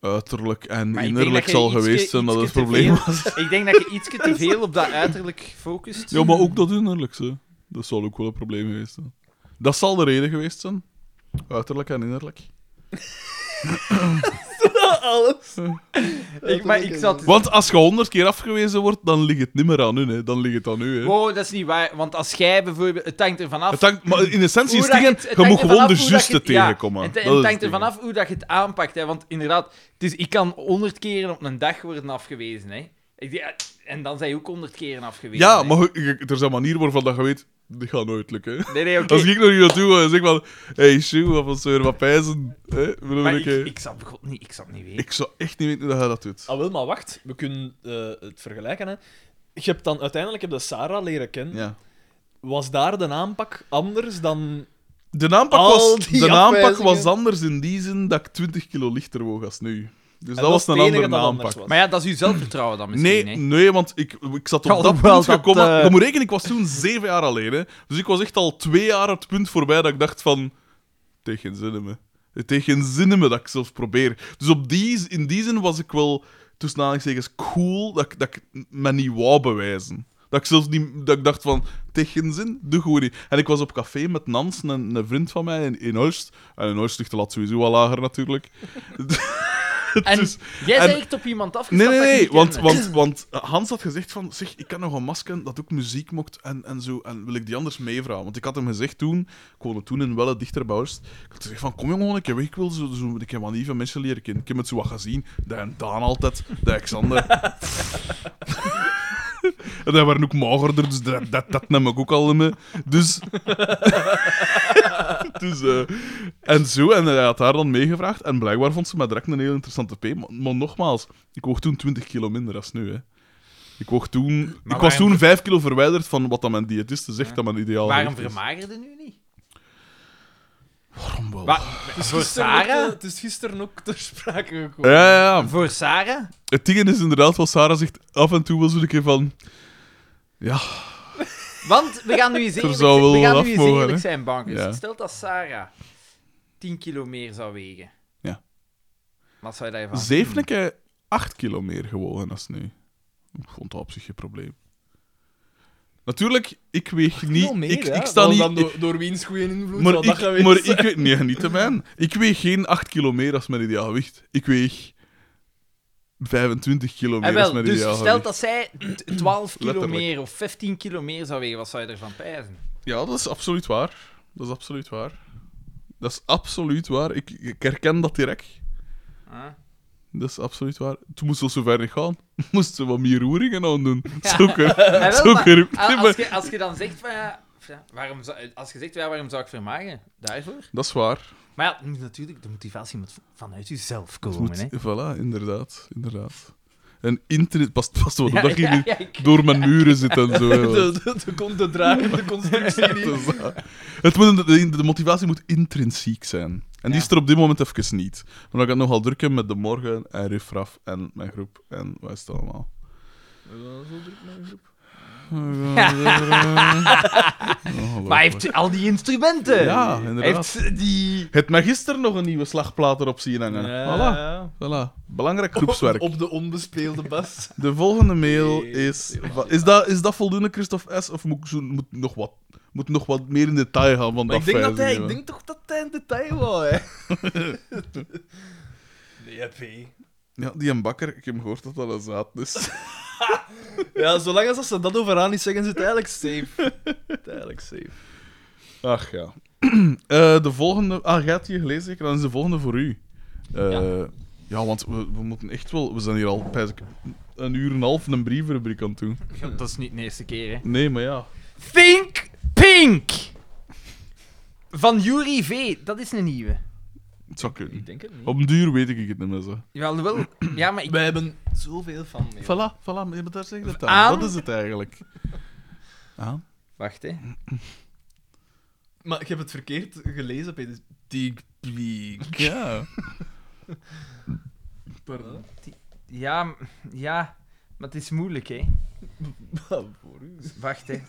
uiterlijk en Maar ik denk innerlijk dat je zal ietske- geweest zijn dat het ietske te probleem was. [LAUGHS] Ik denk dat je ietsje te veel op dat uiterlijk focust. Ja, maar ook dat innerlijk. Hè. Dat zal ook wel een probleem geweest zijn. Dat zal de reden geweest zijn. Uiterlijk en innerlijk. Alles. Ik, maar ik zat... Want als je honderd keer afgewezen wordt, dan ligt het niet meer aan hun, hè. Dan ligt het aan u, hè. Wow, dat is niet waar. Want als jij bijvoorbeeld... Het hangt er vanaf... Het hangt, maar in essentie is hoe het dat dingen, het- het je hangt moet er gewoon de vanaf hoe dat je juiste het- ja, tegenkomen. Het, Dat het is het hangt er ding. vanaf hoe dat je het aanpakt. Hè, want inderdaad, het is, ik kan honderd keren op een dag worden afgewezen. Hè. Ik, denk, ja, en dan zijn je ook honderd keren afgewezen. Ja, hè. maar je- je- er is een manier waarvan dat je weet, dit gaat nooit lukken. hè. [LAUGHS] Nee, nee, oké. Als ik nog hier naartoe ga en zeg van, hey, Sjoe, wat van zeur, wat pijzen. Hè? Bedoel Maar ik, ik, hè. ik zal God niet, ik zal niet weten. Ik zou echt niet weten hoe dat je dat doet. Ah, wel, maar wacht. We kunnen eh, het vergelijken, hè. Je hebt dan uiteindelijk heb je Sarah leren kennen. Ja. Was daar de aanpak anders dan... De aanpak, Al was, die de aanpak afwijzingen. was anders in die zin dat ik 20 kilo lichter woog als nu. Dus dat, dat was is het een enige andere dat anders aanpak. was. Maar ja, dat is uw zelfvertrouwen dan Nee, misschien. hè. nee, want ik, ik zat Kan op dat ook wel punt dat, gekomen. eh, Je moet rekenen, ik was toen zeven jaar alleen. Hè. Dus ik was echt al twee jaar het punt voorbij dat ik dacht van... Tegen zin in me. Het heeft geen zin in me dat ik zelf probeer. Dus op die, in die zin was ik wel, tussen aanhalingstekens, cool dat, ik- dat ik me niet wou bewijzen. Dat ik zelfs niet, dat ik dacht van, tegen zin, doe gewoon niet. En ik was op café met Nans, een, een vriend van mij in, in Hulst. En in Hulst ligt de lat sowieso wel lager natuurlijk. [LAUGHS] En Dus- jij en- zei echt op iemand Nee, afgestapt nee, dat je nee, niet want, kende. want, want Hans had gezegd van, zeg, ik kan nog een masker dat ook muziek mocht en, en zo, en wil ik die anders meevragen? Want ik had hem gezegd toen, ik woonde toen in Welle, dichter bij Horst, ik had gezegd van, kom jongen, ik, heb, ik wil zo, zo ik heb wat nieuwe mensen leren kennen. Ik heb het zo wat gezien, dat en Daan altijd, dat Alexander. en dat waren ook magerder, dus dat, dat, dat nam ik ook al mee. Dus... [LAUGHS] dus eh, en zo, en hij had haar dan meegevraagd. En blijkbaar vond ze mij direct een heel interessante P. Maar, maar nogmaals, ik woog toen 20 kilo minder als nu. Hè. Ik, woog toen, ik was waarom- toen 5 kilo verwijderd van wat dat mijn diëtiste zegt dat mijn ideaal Waarom gewicht is. vermagerde nu niet? Waarom wel? [LAUGHS] Wa- voor Gisteren ook, eh, Sarah? Het is gisteren ook ter sprake gekomen. Ja, ja, ja. Voor Sarah? Het ding is inderdaad wat Sarah zegt. Af en toe wel zo'n keer van... Ja, Want we gaan nu eens [LAUGHS] Er eerlijk, zou wel we gaan wat nu eens af mogen, eerlijk hè? zijn, bankers. Ja. Stel dat Sarah 10 kilo meer zou wegen. Ja. Wat zou je daarvan zeven keer 8 kilo meer gewogen als nu. Ik vond dat op zich geen probleem. Natuurlijk, ik weeg niet... meer, ik, ja. ik sta Dat was niet... dan door, door wiens goede invloed maar zou dat ik, geweest maar zijn? ik weet... Nee, niet te mijn. Ik weeg geen 8 kilo meer als mijn ideaal gewicht. Ik weeg 25 kilo meer En als wel, mijn dus ideaal stel gewicht. dat zij t- 12 kilo Letterlijk. meer of 15 kilo meer zou wegen, wat zou je ervan pijzen? Ja, dat is absoluut waar. Dat is absoluut waar. Dat is absoluut waar. Ik, ik herken dat direct. Huh? Dat is absoluut waar. Toen moest ze zo ver niet gaan. [LAUGHS] Moest ze wat meer roeringen aan doen. Zo [LAUGHS] kun Ah, wel, zo maar kun je ook a- niet, als, maar- je, als je dan zegt van ja, ja, waarom zou, eh, als je zegt ja, waarom zou ik vermagen? Daarvoor? Dat is waar. Maar ja, het moet natuurlijk, de motivatie moet v- vanuit jezelf Het komen. moet, [LAUGHS] hè. voilà, inderdaad. inderdaad. En internet past pas op Ja, dat je ja, niet ja, ik- door mijn muren zit en [LAUGHS] zo. hè, want- [LAUGHS] De, de, de, kon- [LAUGHS] de dragende constructie Het niet. is waar. Het moet, de, de motivatie moet intrinsiek zijn. En die Ja. is er op dit moment even niet. Omdat ik het nogal druk heb met de morgen en Riffraf en mijn groep en wat is het allemaal. [LAUGHS] Maar hij heeft al die instrumenten. Ja, Hij inderdaad. heeft die... Het mag gisteren nog een nieuwe slagplater op zien hangen. Voilà. Ja. voilà. Belangrijk groepswerk. Op de onbespeelde bas. De volgende mail Nee, is... wa- Is dat, is dat voldoende, Christophe S? Of moet, ik zo, moet, nog wat, moet nog wat meer in detail gaan van Maar dat ik denk, dat hij, vijzingen? ik denk toch dat hij in detail wou, hè? nee, P. Ja, die een bakker, ik heb gehoord dat dat een zaad [LAUGHS] is. [LAUGHS] Ja, zolang als ze dat overaan niet zeggen, is het eigenlijk safe. [LAUGHS] Het is eigenlijk safe. Ach ja. [CLEARS THROAT] Eh, de volgende. Ah, gaat je gelezen zeker? Dan is de volgende voor u. Eh, ja. want we, we moeten echt wel. We zijn hier al pijs ik, een uur en een half een brievenrubriek aan toe. Dat is niet de eerste keer, hè. Nee, maar ja. Think Pink! Van Jury V. Dat is een nieuwe. Het zou kunnen. Ik denk het niet. Op een duur weet ik het niet meer. Zo. Ja, wel. Ja, maar ik... Wij hebben zoveel van mee. Voilà, voilà, maar je moet daar zeggen dat Aan? Dat is het eigenlijk. Aan? Wacht, hè. Maar ik heb het verkeerd gelezen, Peter. Dig Bleak. Ja. Pardon. Ja, m- ja. Maar het is moeilijk, hè. Wacht, [LAUGHS] hè.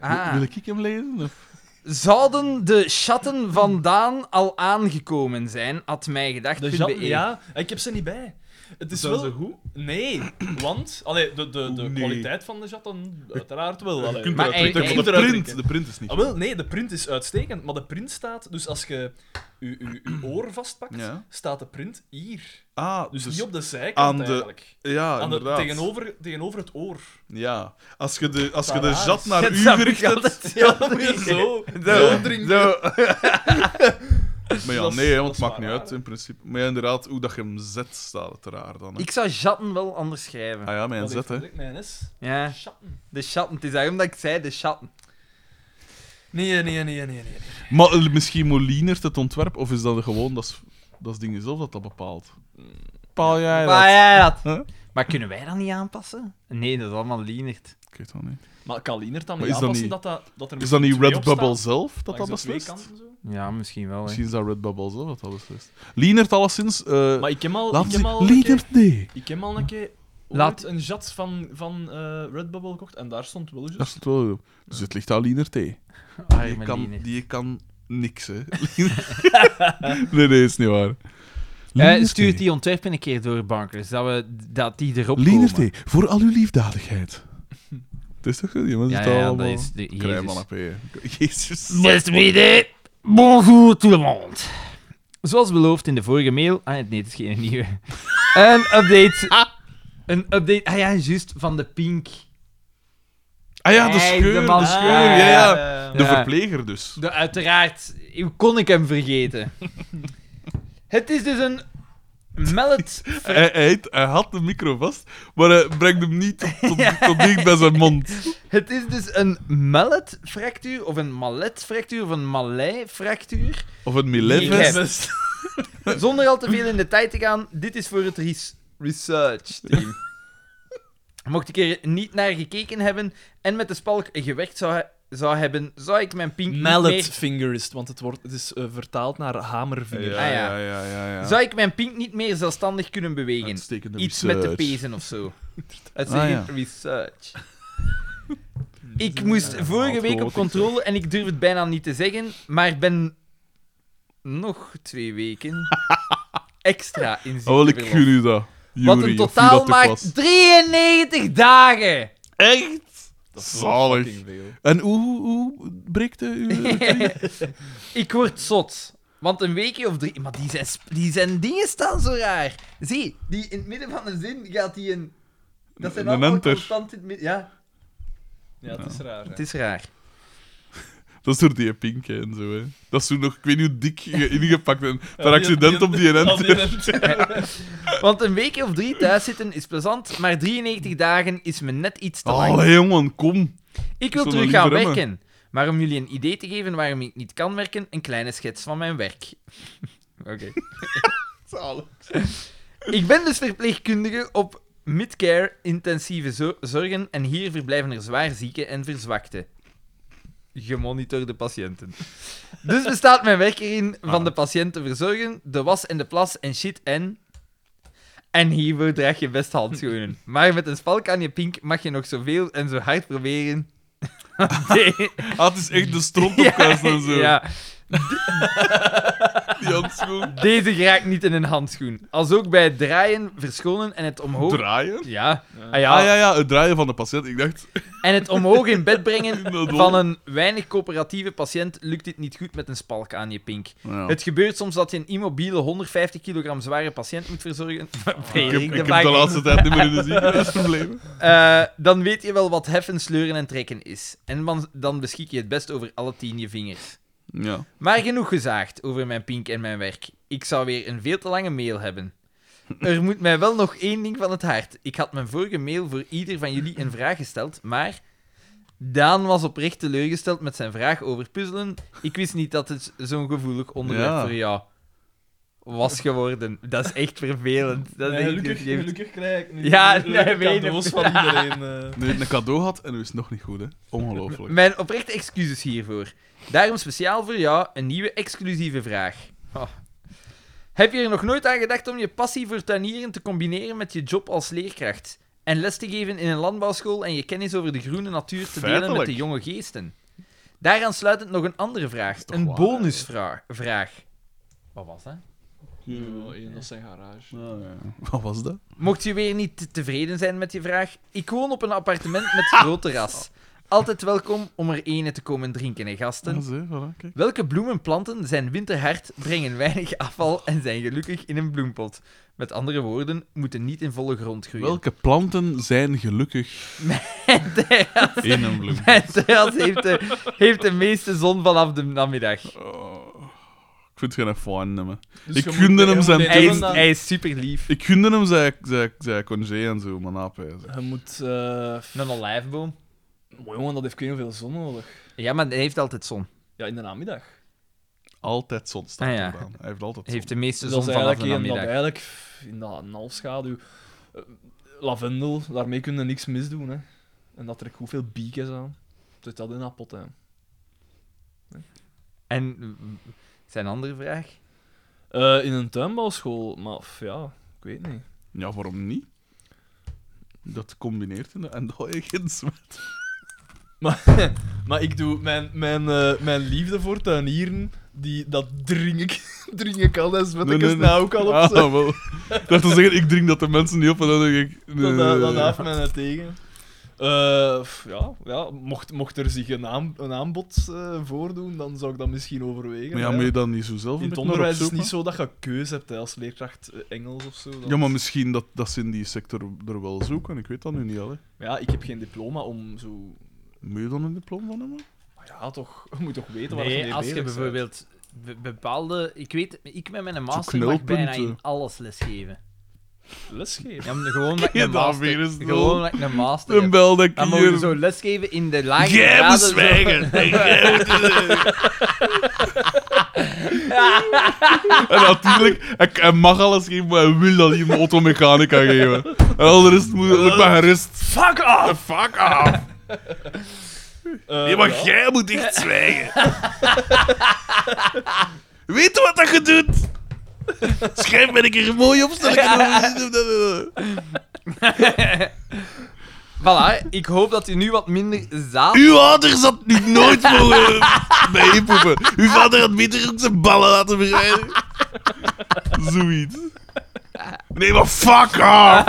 Ah. Wil ik hem lezen? Of? Zouden de chatten vandaan al aangekomen zijn, had mij gedacht. De punt E. Jan, BE. ja, ik heb ze niet bij. Het is Zijn wel... ze goed? Nee, want... Allee, de, de, de Nee. kwaliteit van de chat dan uiteraard wel. Je Allee. kunt Maar eruit trekken, eigenlijk- maar de Je print, kunt eruit trekken. de print is niet Ah, goed. wel, nee, de print is uitstekend, maar de print staat... Dus als je je, je, je oor vastpakt, Ja. staat de print hier. Ah, Dus, dus, niet op de zijkant aan de- eigenlijk. ja, Aan de- inderdaad. tegenover, tegenover het oor. [LAUGHS] Ja. Als je de, als je Dat de raar zat [LAUGHS] is. [LAUGHS] naar Dat u snap ik gericht hebt... altijd heel Dan moet je goed. zo. Ja. [LAUGHS] zo. Maar ja, Dat is- nee, hè, want dat het maakt is waar, niet hè. uit, in principe. Maar ja, inderdaad, hoe dat je hem zet, staat het raar dan. Hè. Ik zou chatten wel anders schrijven. Ah ja, mijn Wat zet, hè. heeft ik Mijn S. Ja, Schatten. de chatten. Het is daarom dat ik zei de chatten. Nee, nee, nee, nee, nee. Maar eh, misschien Molinert het ontwerp, of is dat gewoon dat, is- dat is ding zelf dat dat bepaalt? Bepaal jij dat? Maar jij dat. Huh? Maar kunnen wij dat niet aanpassen? Nee, dat is allemaal Lienert. Ik weet dat niet. Maar kan Lienert dan Maar niet is dat aanpassen niet- dat, dat, dat er Is dat niet twee op Redbubble staan? zelf dat dat Langs de twee beslist? kanten zo? Ja, misschien wel. Hè. Misschien is dat Redbubble zelf dat dat beslist. Lienert alleszins... eh [LAUGHS] Maar ik heb al, laat ik ze- heb al een keer, Lienert, nee. ik heb al een keer Laat- ooit een jat van, van eh, Redbubble gekocht en daar stond wel Dat just. is het wel. Dus het ligt aan Lienert, hè. Arme Die kan, Ah, Lienert. die kan niks, hè. [LAUGHS] nee, nee, is niet waar. Eh, Lienert, stuurt hè. die ontwerpen een keer door, Bankers, dat, we, dat die erop Lienert, komen. hè, voor al uw [LAUGHS] liefdadigheid. Het is toch goed? Die mensen Ja, zitten ja, dat allemaal... is de Krijman Jezus. AP, hè. Jezus. Best mede, bonjour tout le monde. Zoals beloofd in de vorige mail... Ah, nee, het is geen nieuwe. [LAUGHS] een update... Een update... Ah ja, juist, van de pink. Ah ja, de Hey, de scheur, man- de scheur, ja, ja. Eh, De Ja. verpleger dus. De, uiteraard, hoe kon ik hem vergeten? [LAUGHS] het is dus een mallet... Hij, hij, had- hij had de micro vast, maar hij brengt hem niet [LAUGHS] tot, tot, tot dicht bij zijn mond. Het is dus een malletfractuur, of een malletfractuur, of een malleifractuur. Of een Milevis. heb- [LAUGHS] Zonder al te veel in de tijd te gaan, dit is voor het res- research team. Mocht ik er niet naar gekeken hebben en met de spalk gewerkt zou, he- zou hebben, zou ik mijn pink niet Mallet meer... fingerist, want het, wordt, het is eh, vertaald naar Ja, hamervinger. ja, Ah, ja, ja. ja. ja, ja. Zou ik mijn pink niet meer zelfstandig kunnen bewegen? Uitstekende Iets met de research. pezen of [LAUGHS] zo. Het is Ah, een research. Ik moest Ja, vorige had week op gehoord, controle en ik durf het bijna niet te zeggen, maar ben nog twee [LAUGHS] weken extra in Ah, wel, ik ziekteverlof. gun u dat. Jury, Wat of een wie totaal dat ook was. maakt 93 [LAUGHS] dagen! Echt? Zalig. Fucking veel. En hoe, hoe, hoe breekt de [LAUGHS] uw... ik word zot. Want een weekje of drie... Maar die zijn, sp- die zijn dingen staan zo raar. Zie, die in het midden van de zin gaat die een... Dat zijn Een allemaal enter. constant in het midden... Ja, Ja, het is raar. hè. het is raar. Dat is door die pink hè, en zo, hè. Dat is toen nog, ik weet niet hoe dik [LAUGHS] je ingepakt en Ja, per accident op die op [LAUGHS] enter. [LAUGHS] Want een weekje of drie thuis zitten is plezant, maar 93 dagen is me net iets te lang. Allee, Oh, jongen, kom. Ik wil Zullen we terug gaan liever werken. Maar om jullie een idee te geven waarom ik niet kan werken, een kleine schets van mijn werk. [LAUGHS] Oké. [LAUGHS] Ik ben dus verpleegkundige op midcare intensieve zo- zorgen en hier verblijven er zwaar zieken en verzwakte. Gemonitorde patiënten. Dus bestaat mijn werk erin van Ah. de patiënt te verzorgen, de was en de plas en shit en... En hiervoor draag je best [LAUGHS] handschoenen. Maar met een spalk aan je pink mag je nog zoveel en zo hard proberen... [LAUGHS] Ah, het is echt de [LAUGHS] stront op kast en zo. ja, Die handschoen. deze raakt niet in een handschoen. Als ook bij het draaien, verschonen en het omhoog... Draaien? ja. Ja. Ah, ja. Ah ja, ja, het draaien van de patiënt. Ik dacht, En het omhoog in bed brengen [LAUGHS] dat van een weinig coöperatieve patiënt lukt dit niet goed met een spalk aan je pink. Ja. Het gebeurt soms dat je een immobiele 150 kilogram zware patiënt moet verzorgen. Ik heb, ik heb vraag de is- laatste tijd niet meer in de ziekenhuis [LAUGHS] gebleven. Eh, dan weet je wel wat heffen, sleuren en trekken is. En dan, dan beschik je het best over alle tien je vingers. Ja. Maar genoeg gezaagd over mijn pink en mijn werk. Ik zou weer een veel te lange mail hebben. Er moet mij wel nog één ding van het hart. Ik had mijn vorige mail voor ieder van jullie een vraag gesteld, maar... Daan was oprecht teleurgesteld met zijn vraag over puzzelen. Ik wist niet dat het zo'n gevoelig onderwerp Ja. voor jou was geworden. Dat is echt vervelend. Dat is Nee, echt gelukkig, je geeft- gelukkig krijg ik nu Ja, leuke nee, weet cadeaus ik. van iedereen. eh. Nu heeft een cadeau gehad en nu is het nog niet goed, hè. Ongelooflijk. Mijn oprechte excuses hiervoor. Daarom speciaal voor jou een nieuwe exclusieve vraag. Oh. Heb je er nog nooit aan gedacht om je passie voor tuinieren te combineren met je job als leerkracht? En les te geven in een landbouwschool en je kennis over de groene natuur te delen met Feitelijk. de jonge geesten? Daaraan sluitend nog een andere vraag. is toch Een waar, bonusvraag. Vraag. Wat was dat? Ja, in dat zijn garage. Wat was dat? Mocht je weer niet te- tevreden zijn met je vraag, ik woon op een appartement met groot terras. Altijd welkom om er ene te komen drinken, hè, gasten. Ah, zie, voilà, kijk. Welke bloemenplanten zijn winterhard, brengen weinig afval en zijn gelukkig in een bloempot? Met andere woorden, moeten niet in volle grond groeien. Welke planten zijn gelukkig Mijn terras- in een bloem? [LAUGHS] Mijn terras heeft de, heeft de meeste zon vanaf de namiddag. Oh, ik vind het geen F1 nummer. Dus Ik je moet- gunde je hem moet zijn die Hij doen is, dan- hij is super lief. Ik gunde hem zijn, zijn, zijn congé en zo, maar napijzen. Je moet... eh, Een olijfboom. Mooi jongen, dat heeft geen veel zon nodig. Ja, maar hij heeft altijd zon. Ja, in de namiddag. Altijd zon staat Ah, ja. op de baan. Hij heeft altijd Hij zon. heeft de meeste dat zon is vanaf eigenlijk, de een- dat namiddag. eigenlijk pff, in dat een halfschaduw. Eh, lavendel, daarmee kun je niks misdoen. Hè. En dat trekt goed veel biekjes aan. Dus dat in dat pot, hè. En mm, zijn andere vraag? Eh, in een tuinbouwschool, maar pff, ja, ik weet niet. [LAUGHS] Ja, waarom niet? Dat combineert in de... En dat heb je geen smaak. Maar, maar ik doe mijn, mijn, eh, mijn liefde voor tuinieren, die, dat dring ik, [LAUGHS] dring ik al eens met Nee, ik nee, eens nee. nou ook al op. Ah, zo. wel. Ik dacht te zeggen, ik drink [LAUGHS] dat de mensen niet op en dan denk ik... nee, Dat, nee, nee, dat, dat nee. haalt mij net tegen. Eh, pff, ja, ja, mocht, mocht er zich een, aan, een aanbod eh, voordoen, dan zou ik dat misschien overwegen. Maar ja, hè. moet je dan niet zo zelf een In het beetje naar onderwijs is het dus niet opzoeken? zo dat je keuze hebt hè, als leerkracht eh, Engels of zo. dan- Ja, maar misschien dat, dat ze in die sector er wel zoeken. Ik weet dat nu niet, al, hè. Maar ja, ik heb geen diploma om zo. Moet je dan een diploma van hebben? Maar ja, toch, [LAUGHS] je moet toch weten waar je Nee, mee als je bezig bent. bijvoorbeeld be- bepaalde... Ik weet, ik met mijn master mag knelpunten. bijna in alles lesgeven. [LAUGHS] lesgeven. Ja, maar gewoon met Ja, een dat master. weer eens Gewoon lul. met [LAUGHS] een master. Een heb. bel dat ik Dan mogen we hier... zo lesgeven in de lagere Jij graden, moet zo. [LAUGHS] zwijgen! En jij moet- En natuurlijk, ik, hij mag alles geven, maar hij wil dat hij een automechanica geven. En al de rest moet moet maar gerust. Fuck off! Fuck off! Eh, Nee, maar ja. jij moet echt zwijgen. Weet je wat dat je doet? Schrijf me een keer een mooie [LAUGHS] opstelling. [LAUGHS] Voilà, ik hoop dat u nu wat minder zaad... Uw ouders had nu nooit mogen bijpoepen. Uw vader had beter ook zijn ballen laten bereiden. Zoiets. Nee, maar fuck off!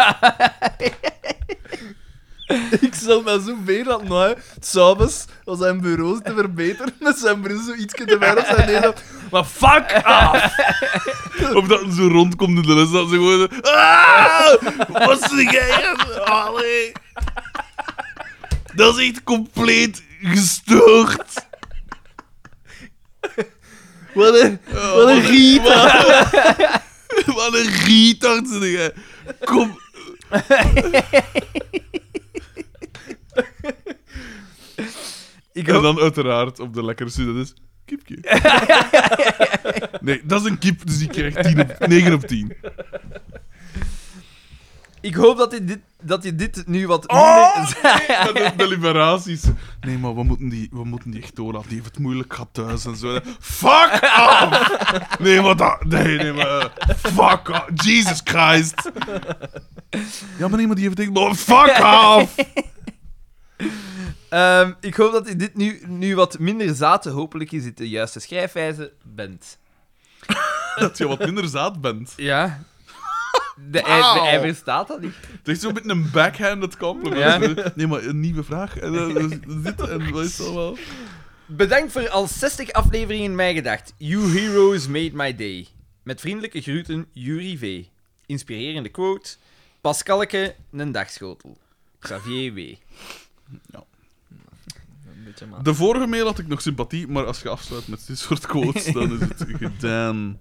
Ik zal mij zo veel laten nou, s'avonds, als zijn bureau te verbeteren, [LAUGHS] met zijn bril zo iets te ver op zijn neer. Maar fuck [LAUGHS] off! Of dat ze rondkomt in de les, dat ze gewoon... zo, Ah, wat is jij? Allee. Dat is echt compleet gestoord. Wat een, wat een riet! Oh, Wat een retard zeg jij. Kom. Ik En [LAUGHS] hoop... dan uiteraard op de lekkerste, dat is kipje. Nee, dat is een kip, dus die krijgt 10 op, 9 op 10. Ik hoop dat, je dit, dat je dit nu wat minder... Oh! En de, de liberaties. Nee, maar we moeten die, we moeten die echt doorlaten. Die heeft het moeilijk gehad thuis en zo. Fuck off! Nee, maar dat... Nee, nee, maar... Fuck off. Jesus Christ. Ja, maar nee, maar die heeft echt... maar Fuck off! Ehm, ik hoop dat je dit nu, nu wat minder zaad... Hopelijk is het de juiste schrijfwijze. Bent. Dat je wat minder zaad bent. Ja. [LAUGHS] De, hij, de- hij verstaat dat niet. Het is zo'n beetje een backhanded compliment. Nee, maar een nieuwe vraag. En, eh, dus dit en dat is al wel... Bedankt voor al 60 afleveringen in mijn gedacht. You heroes made my day. Met vriendelijke groeten, Yuri V. Inspirerende quote. Pascalke, een dagschotel. Xavier W. Een beetje maar. De vorige mail had ik nog sympathie, maar als je afsluit met dit soort quotes, dan is het gedaan.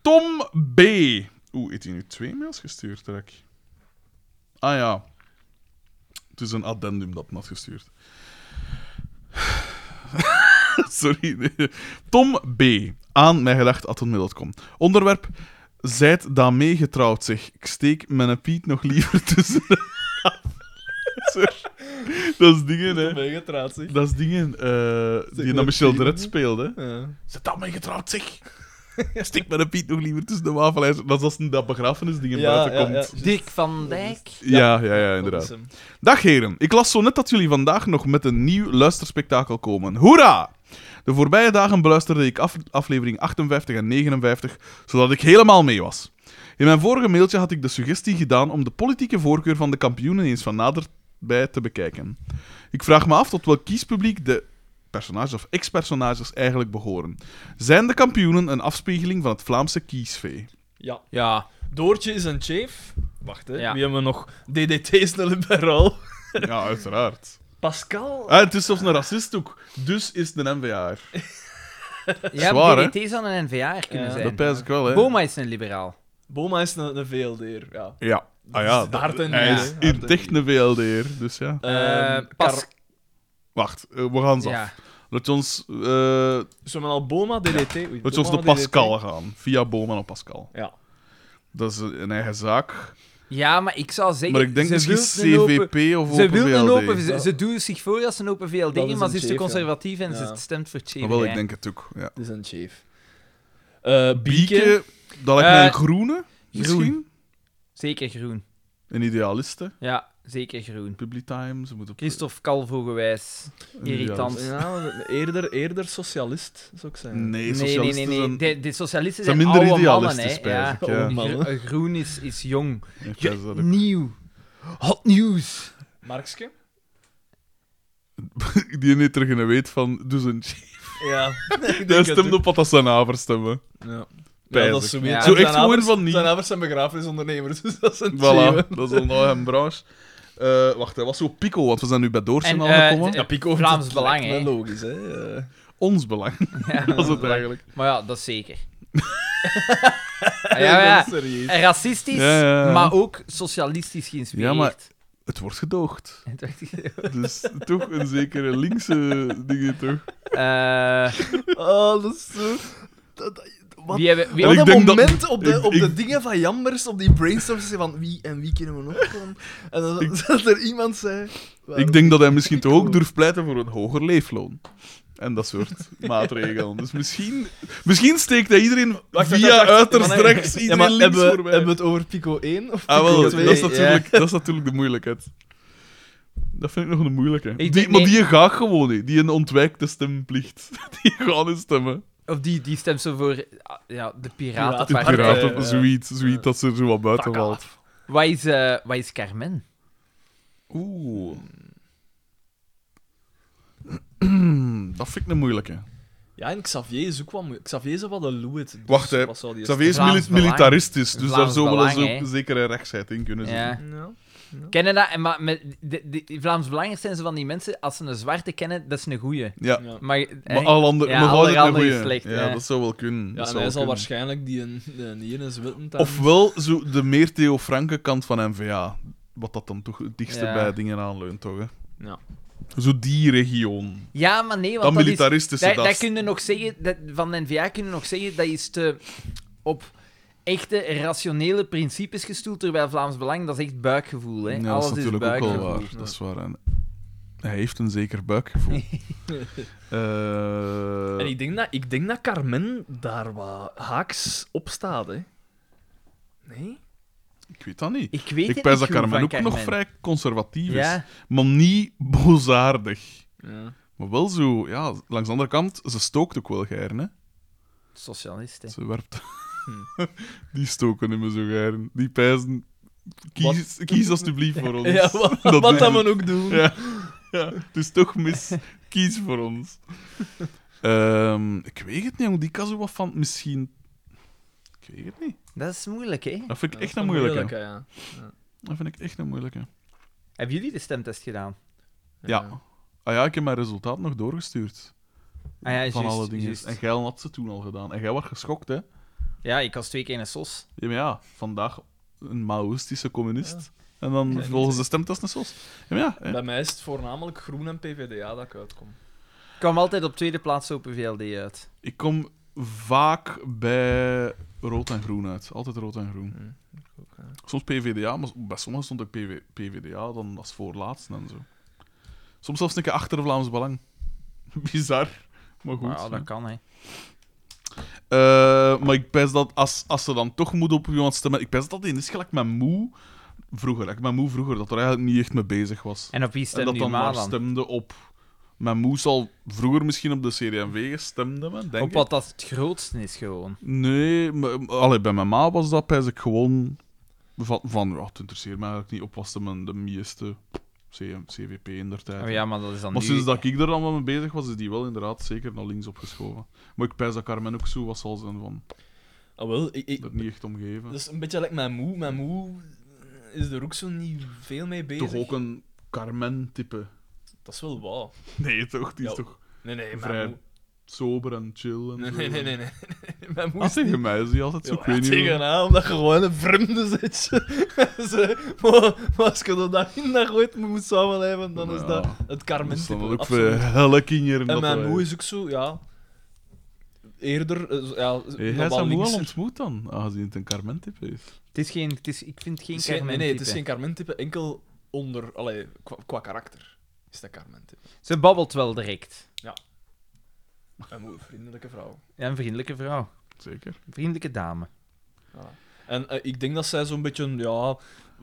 Tom B. Oeh, heeft hij nu twee mails gestuurd, Rek? Ah ja. Het is een addendum dat hem had gestuurd. [LAUGHS] Sorry. nee. Tom B. Aan mijgedacht.com. Onderwerp. Zijt daarmee getrouwd, zeg. Ik steek mijn piet nog liever tussen de [LAUGHS] Sorry. Dat is dingen, hè. Ik ben getraat, zeg. Dat is dingen eh, die maar naar Michel Piet. Dret speelde. Ja. Zet dat mee getrouwd, zeg. Stik met een Piet nog liever tussen de wafelijzer. Dat is als een- dat begrafenisdingen Ja, buiten ja, komt. Dick van Dijk. Ja, ja, ja, Dat is inderdaad. hem. Dag heren, ik las zo net dat jullie vandaag nog met een nieuw luisterspektakel komen. Hoera! De voorbije dagen beluisterde ik af- aflevering 58 en 59, zodat ik helemaal mee was. In mijn vorige mailtje had ik de suggestie gedaan om de politieke voorkeur van de kampioenen eens van naderbij te bekijken. Ik vraag me af tot welk kiespubliek de personages of ex-personages eigenlijk behoren. Zijn de kampioenen een afspiegeling van het Vlaamse kiesvee? Ja. Ja. Doortje is een chief. Wacht, hè. Ja. Wie hebben we nog? DDT is een liberaal. [LAUGHS] Ja, uiteraard. Pascal? Ah, het is zelfs een racist ook, dus is het een NVA. Ja, Zwaar, hè? DDT zou een NVA kunnen Ja. zijn. Dat pijs ik wel, hè? Boma is een liberaal. Boma is een, een VLD'er, ja. Ja. Ah Dus ja, Dat is hard en hij lief, is hè. in Hard en techne VLD'er, dus ja. Eh, Ehm, Pas. Kar- Wacht, eh, we gaan ze af. Ja. Laat ons, eh Zullen we al Boma, DDT? Oei, laat ons Boma, naar DDT. Pascal gaan. Via Boma naar Pascal. Ja. Dat is een eigen zaak. ja, maar ik zou zeggen... Maar ik denk ze misschien wil een open- CVP of Ze Open wil VLD. een open... Ze, ze doet zich voor als een open VLD, Dat maar is een ze is te chief, ja. conservatief en Ja. ze stemt voor Chile. Maar Ah, wel, ik denk het ook. Ja. Het is een chief. Eh Bieke. Bieke, dat lijkt mij een Eh, groene, misschien. Zeker groen. Een idealiste. Ja, zeker groen. Public Times. Ze moet op Christophe Calvo gewijs. een irritant. idealist. Ja, maar eerder, eerder socialist, zou ik zeggen. Nee, Nee, nee, socialisten nee. nee, zijn... De, de socialisten zijn zijn, minder oude mannen, idealistisch, hè. Ja. Oh, spijs ik, ja. Gro- Mannen. Groen is, is jong. Ik Ja, pijs dat ook. nieuw. Hot nieuws. Markske? [LAUGHS] Die niet er geen weet van, dus een [LAUGHS] Ja. Ik Hij denk het stemt ook. op wat dat zijn havers stemmen. Ja. Pijs Ja, dat is zo, ik. weer- Ja. Zo zijn echt gewoon ouders- van niet. Zijn ouders zijn begrafenisondernemers, [LAUGHS] dus dat is een Voilà, chief. dat is een eigen branche. Eh, wacht, hij was zo pico, want we zijn nu bij Doortje En, aangekomen. eh, Ja, Pico. Vlaams dat belang, lijkt me hè. Logisch, hè. Eh, Ons [LAUGHS] belang, Ja, [LAUGHS] dat is het eigenlijk. Maar ja, dat is zeker. Ah, ja, ja. [LAUGHS] dat is serieus. Racistisch, Ja, ja, ja. maar ook socialistisch geïnspireerd. Ja, maar- Het wordt gedoogd. Dus toch een zekere linkse dingen, toch? [LAUGHS] Eh, Oh, dat is zo... Dat, dat- wat wie hebben... Wie En ik Wat een denk dat- moment op, de, ik- op ik- de dingen van Jammers, op die brainstorms, zei van wie en wie kunnen we nog komen? En dan [LAUGHS] dat er iemand zei... waarom- Ik denk dat hij misschien toch ook Pico. durft pleiten voor een hoger leefloon. En dat [LAUGHS] soort maatregelen. Dus misschien, misschien steekt hij iedereen via uiterst rechts Ja, iedereen maar links hebben, voorbij. hebben we het over Pico 1 of Pico Ah, wel, dat, 2? is ja. natuurlijk, dat is natuurlijk de moeilijkheid. Dat vind ik nog een moeilijke. Die, denk Maar nee. die gaat gewoon niet. Die een ontwijkt de stemplicht. [LAUGHS] Die gaan niet stemmen. Of die, die stemt zo voor ah, ja, de De Piratenpartij. Piraten, eh, zoiets, zoiets dat ze er zo wat buiten Fuck valt. Wat is, eh, wat is Carmen? Oeh. [CLEARS THROAT] dat vind ik een Dus moeilijke. Ja, en Xavier is ook wat moe- Xavier is wat een loeit. Dus Wacht, hè. wat zou die Xavier is Vlaams mili- belang. militaristisch, dus daar Vlaams zou wel eens belang, ook hè. zekere rechtsheid in kunnen zitten. Ja. Ja. Kennen dat? En maar met, de, de, die Vlaams Belangers zijn ze van die mensen, als ze een zwarte kennen, dat is een goeie. Ja. Ja. Maar, Maar al ander, Ja, maar alle houdt het een andere is goeie. slecht, Ja, hè. dat zou wel kunnen. dat Ja, en zou hij wel zal kunnen. waarschijnlijk die een, die een hier is witten dan. Ofwel zo de meer Theo Franke kant van NVA. Wat dat dan toch het dichtste Ja. bij dingen aanleunt, toch? Hè? Ja. Zo die regio. Ja, maar nee, want Dat dat, is, militaristische, dat, dat, dat kun je nog zeggen, dat, van de NVA kunnen nog zeggen, dat is te op echte rationele principes gestoeld, terwijl Vlaams Belang, dat is echt buikgevoel. Hè. Ja, Alles dat is natuurlijk ook buikgevoel. wel waar. Dat is waar. En hij heeft een [LAUGHS] zeker buikgevoel. Eh, En ik denk, dat, ik denk dat Carmen daar wat haaks op staat, hè. Nee? ik weet dat niet. Ik weet Ik het niet pijs dat goed Carmen van ook nog Carmen. vrij conservatief Ja. is. Maar niet boosaardig. Ja. Maar wel zo, ja, langs de andere kant, ze stookt ook wel gern, hè. Socialisten. Ze werpt. [LAUGHS] die stoken hem zo gern. Die pijzen. Kies, kies alstublieft voor ons. [LAUGHS] Ja, wat Dat wat doen dat we. men ook doen. Ja. ja, het is toch mis. Kies voor ons. Ehm, ik weet het niet, jong. die kan zo wat van misschien. Ik weet het niet. Dat is moeilijk, hè? Dat vind ik Ja, echt een moeilijke. ja. Dat vind ik echt een moeilijke. Hebben jullie de stemtest gedaan? Eh, Ja. Ah ja, ik heb mijn resultaat nog doorgestuurd. Ah ja, van juist, alle dingen. juist. En jij had ze toen al gedaan. En jij was geschokt, hè? Ja, ik was twee keer een sos. Ja, maar ja, vandaag een Maoïstische communist. En Ja, dan niet, volgens hè. de stemtest een sos. Ja, maar ja, hè. Bij mij is het voornamelijk groen en PVDA dat ik uitkom. Ik kwam altijd op tweede plaats Open VLD uit. ik kom vaak bij rood en groen uit. Altijd rood en groen. Soms PVDA, maar bij sommigen stond ook PV PVDA dan als voorlaatste en zo. Soms zelfs een keer achter Vlaams Belang. [LAUGHS] Bizar, maar goed. Maar ja, dat kan, hè. Eh, maar ik pijs dat als, als ze dan toch moet op iemand stemmen... Ik pijs dat dat in is gelijk mijn moe vroeger. Ik mijn moe vroeger, dat er eigenlijk niet echt mee bezig was. En op wie en stem dat nu dan maar maar dan? stemde op Mijn moes al vroeger misschien op de CDMV gestemd hebben, denk Op ik. wat dat het grootste is gewoon. Nee, maar, maar- allee, bij mijn ma was dat pijs ik gewoon van, van ja, het interesseert me eigenlijk niet op was de, mijn- de meeste CM, CVP in der tijd. Oh ja, maar dat is dan Maar nu... sinds dat ik er dan wel mee bezig was, is die wel inderdaad zeker naar links opgeschoven. Maar ik pijs dat Carmen ook zo was zal zijn van, Ah, wel, ik, ik, dat niet echt omgeven. dat is een beetje like mijn moe. Mijn moe is er ook zo niet veel mee bezig. Toch ook een Carmen-type? Dat is wel waar. Nee, toch? Die is Ja. toch Nee, nee, mijn Vrij moe... sober en chill en Nee, zo. nee, nee, nee. [LAUGHS] nee. Mijn moe Ah, is tegen mij is die altijd zo, ik Ja, weet niet tegen hoe- haar, omdat je gewoon een vreemde zit. [LAUGHS] Ze- maar, maar als je dat dag in dag ooit moet samenleven, dan is Ja. dat het Dat is Carmen-type. Dus dan ook voor absoluut. helle kinderen. En dat mijn wij- moe is ook zo, ja... Eerder, eh, zo- ja, Hey, nog hij is wel dat moe al linkser. ontmoet dan, aangezien het een Carmen-type is. Het is geen... Het is, ik vind het geen Het is geen- Nee, nee, het is geen Carmen-type. Carmen-type, enkel onder... Allee, qua, qua karakter is dat Carmen-type. Ze babbelt wel direct. [LAUGHS] Een moe, vriendelijke vrouw. Ja, een vriendelijke vrouw. Zeker. Een vriendelijke dame. Voilà. En eh, ik denk dat zij zo'n beetje, ja,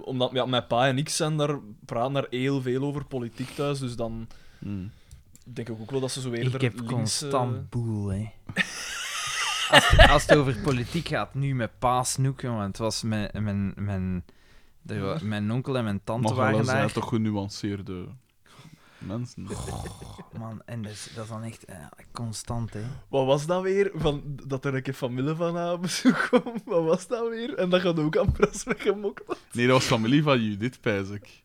omdat ja, mijn pa en ik zijn daar, praten daar heel veel over politiek thuis, dus dan denk ik ook wel dat ze zo eerder Ik heb links, constant eh, boel, [LAUGHS] hè. als, het- als het over politiek gaat, nu met pa snoeken, want het was mijn... mijn, mijn er wa- mijn onkel en mijn tante Maar waren wel zijn daar. toch genuanceerde mensen. Man, en dat is, dat is dan echt eh, constant, hè. Wat was dat weer? Van, dat er een keer familie van haar op bezoek kwam. [LAUGHS] Wat was dat weer? En dat gaat ook amper als weggemokt. Nee, dat was familie van Judith, pijs ik.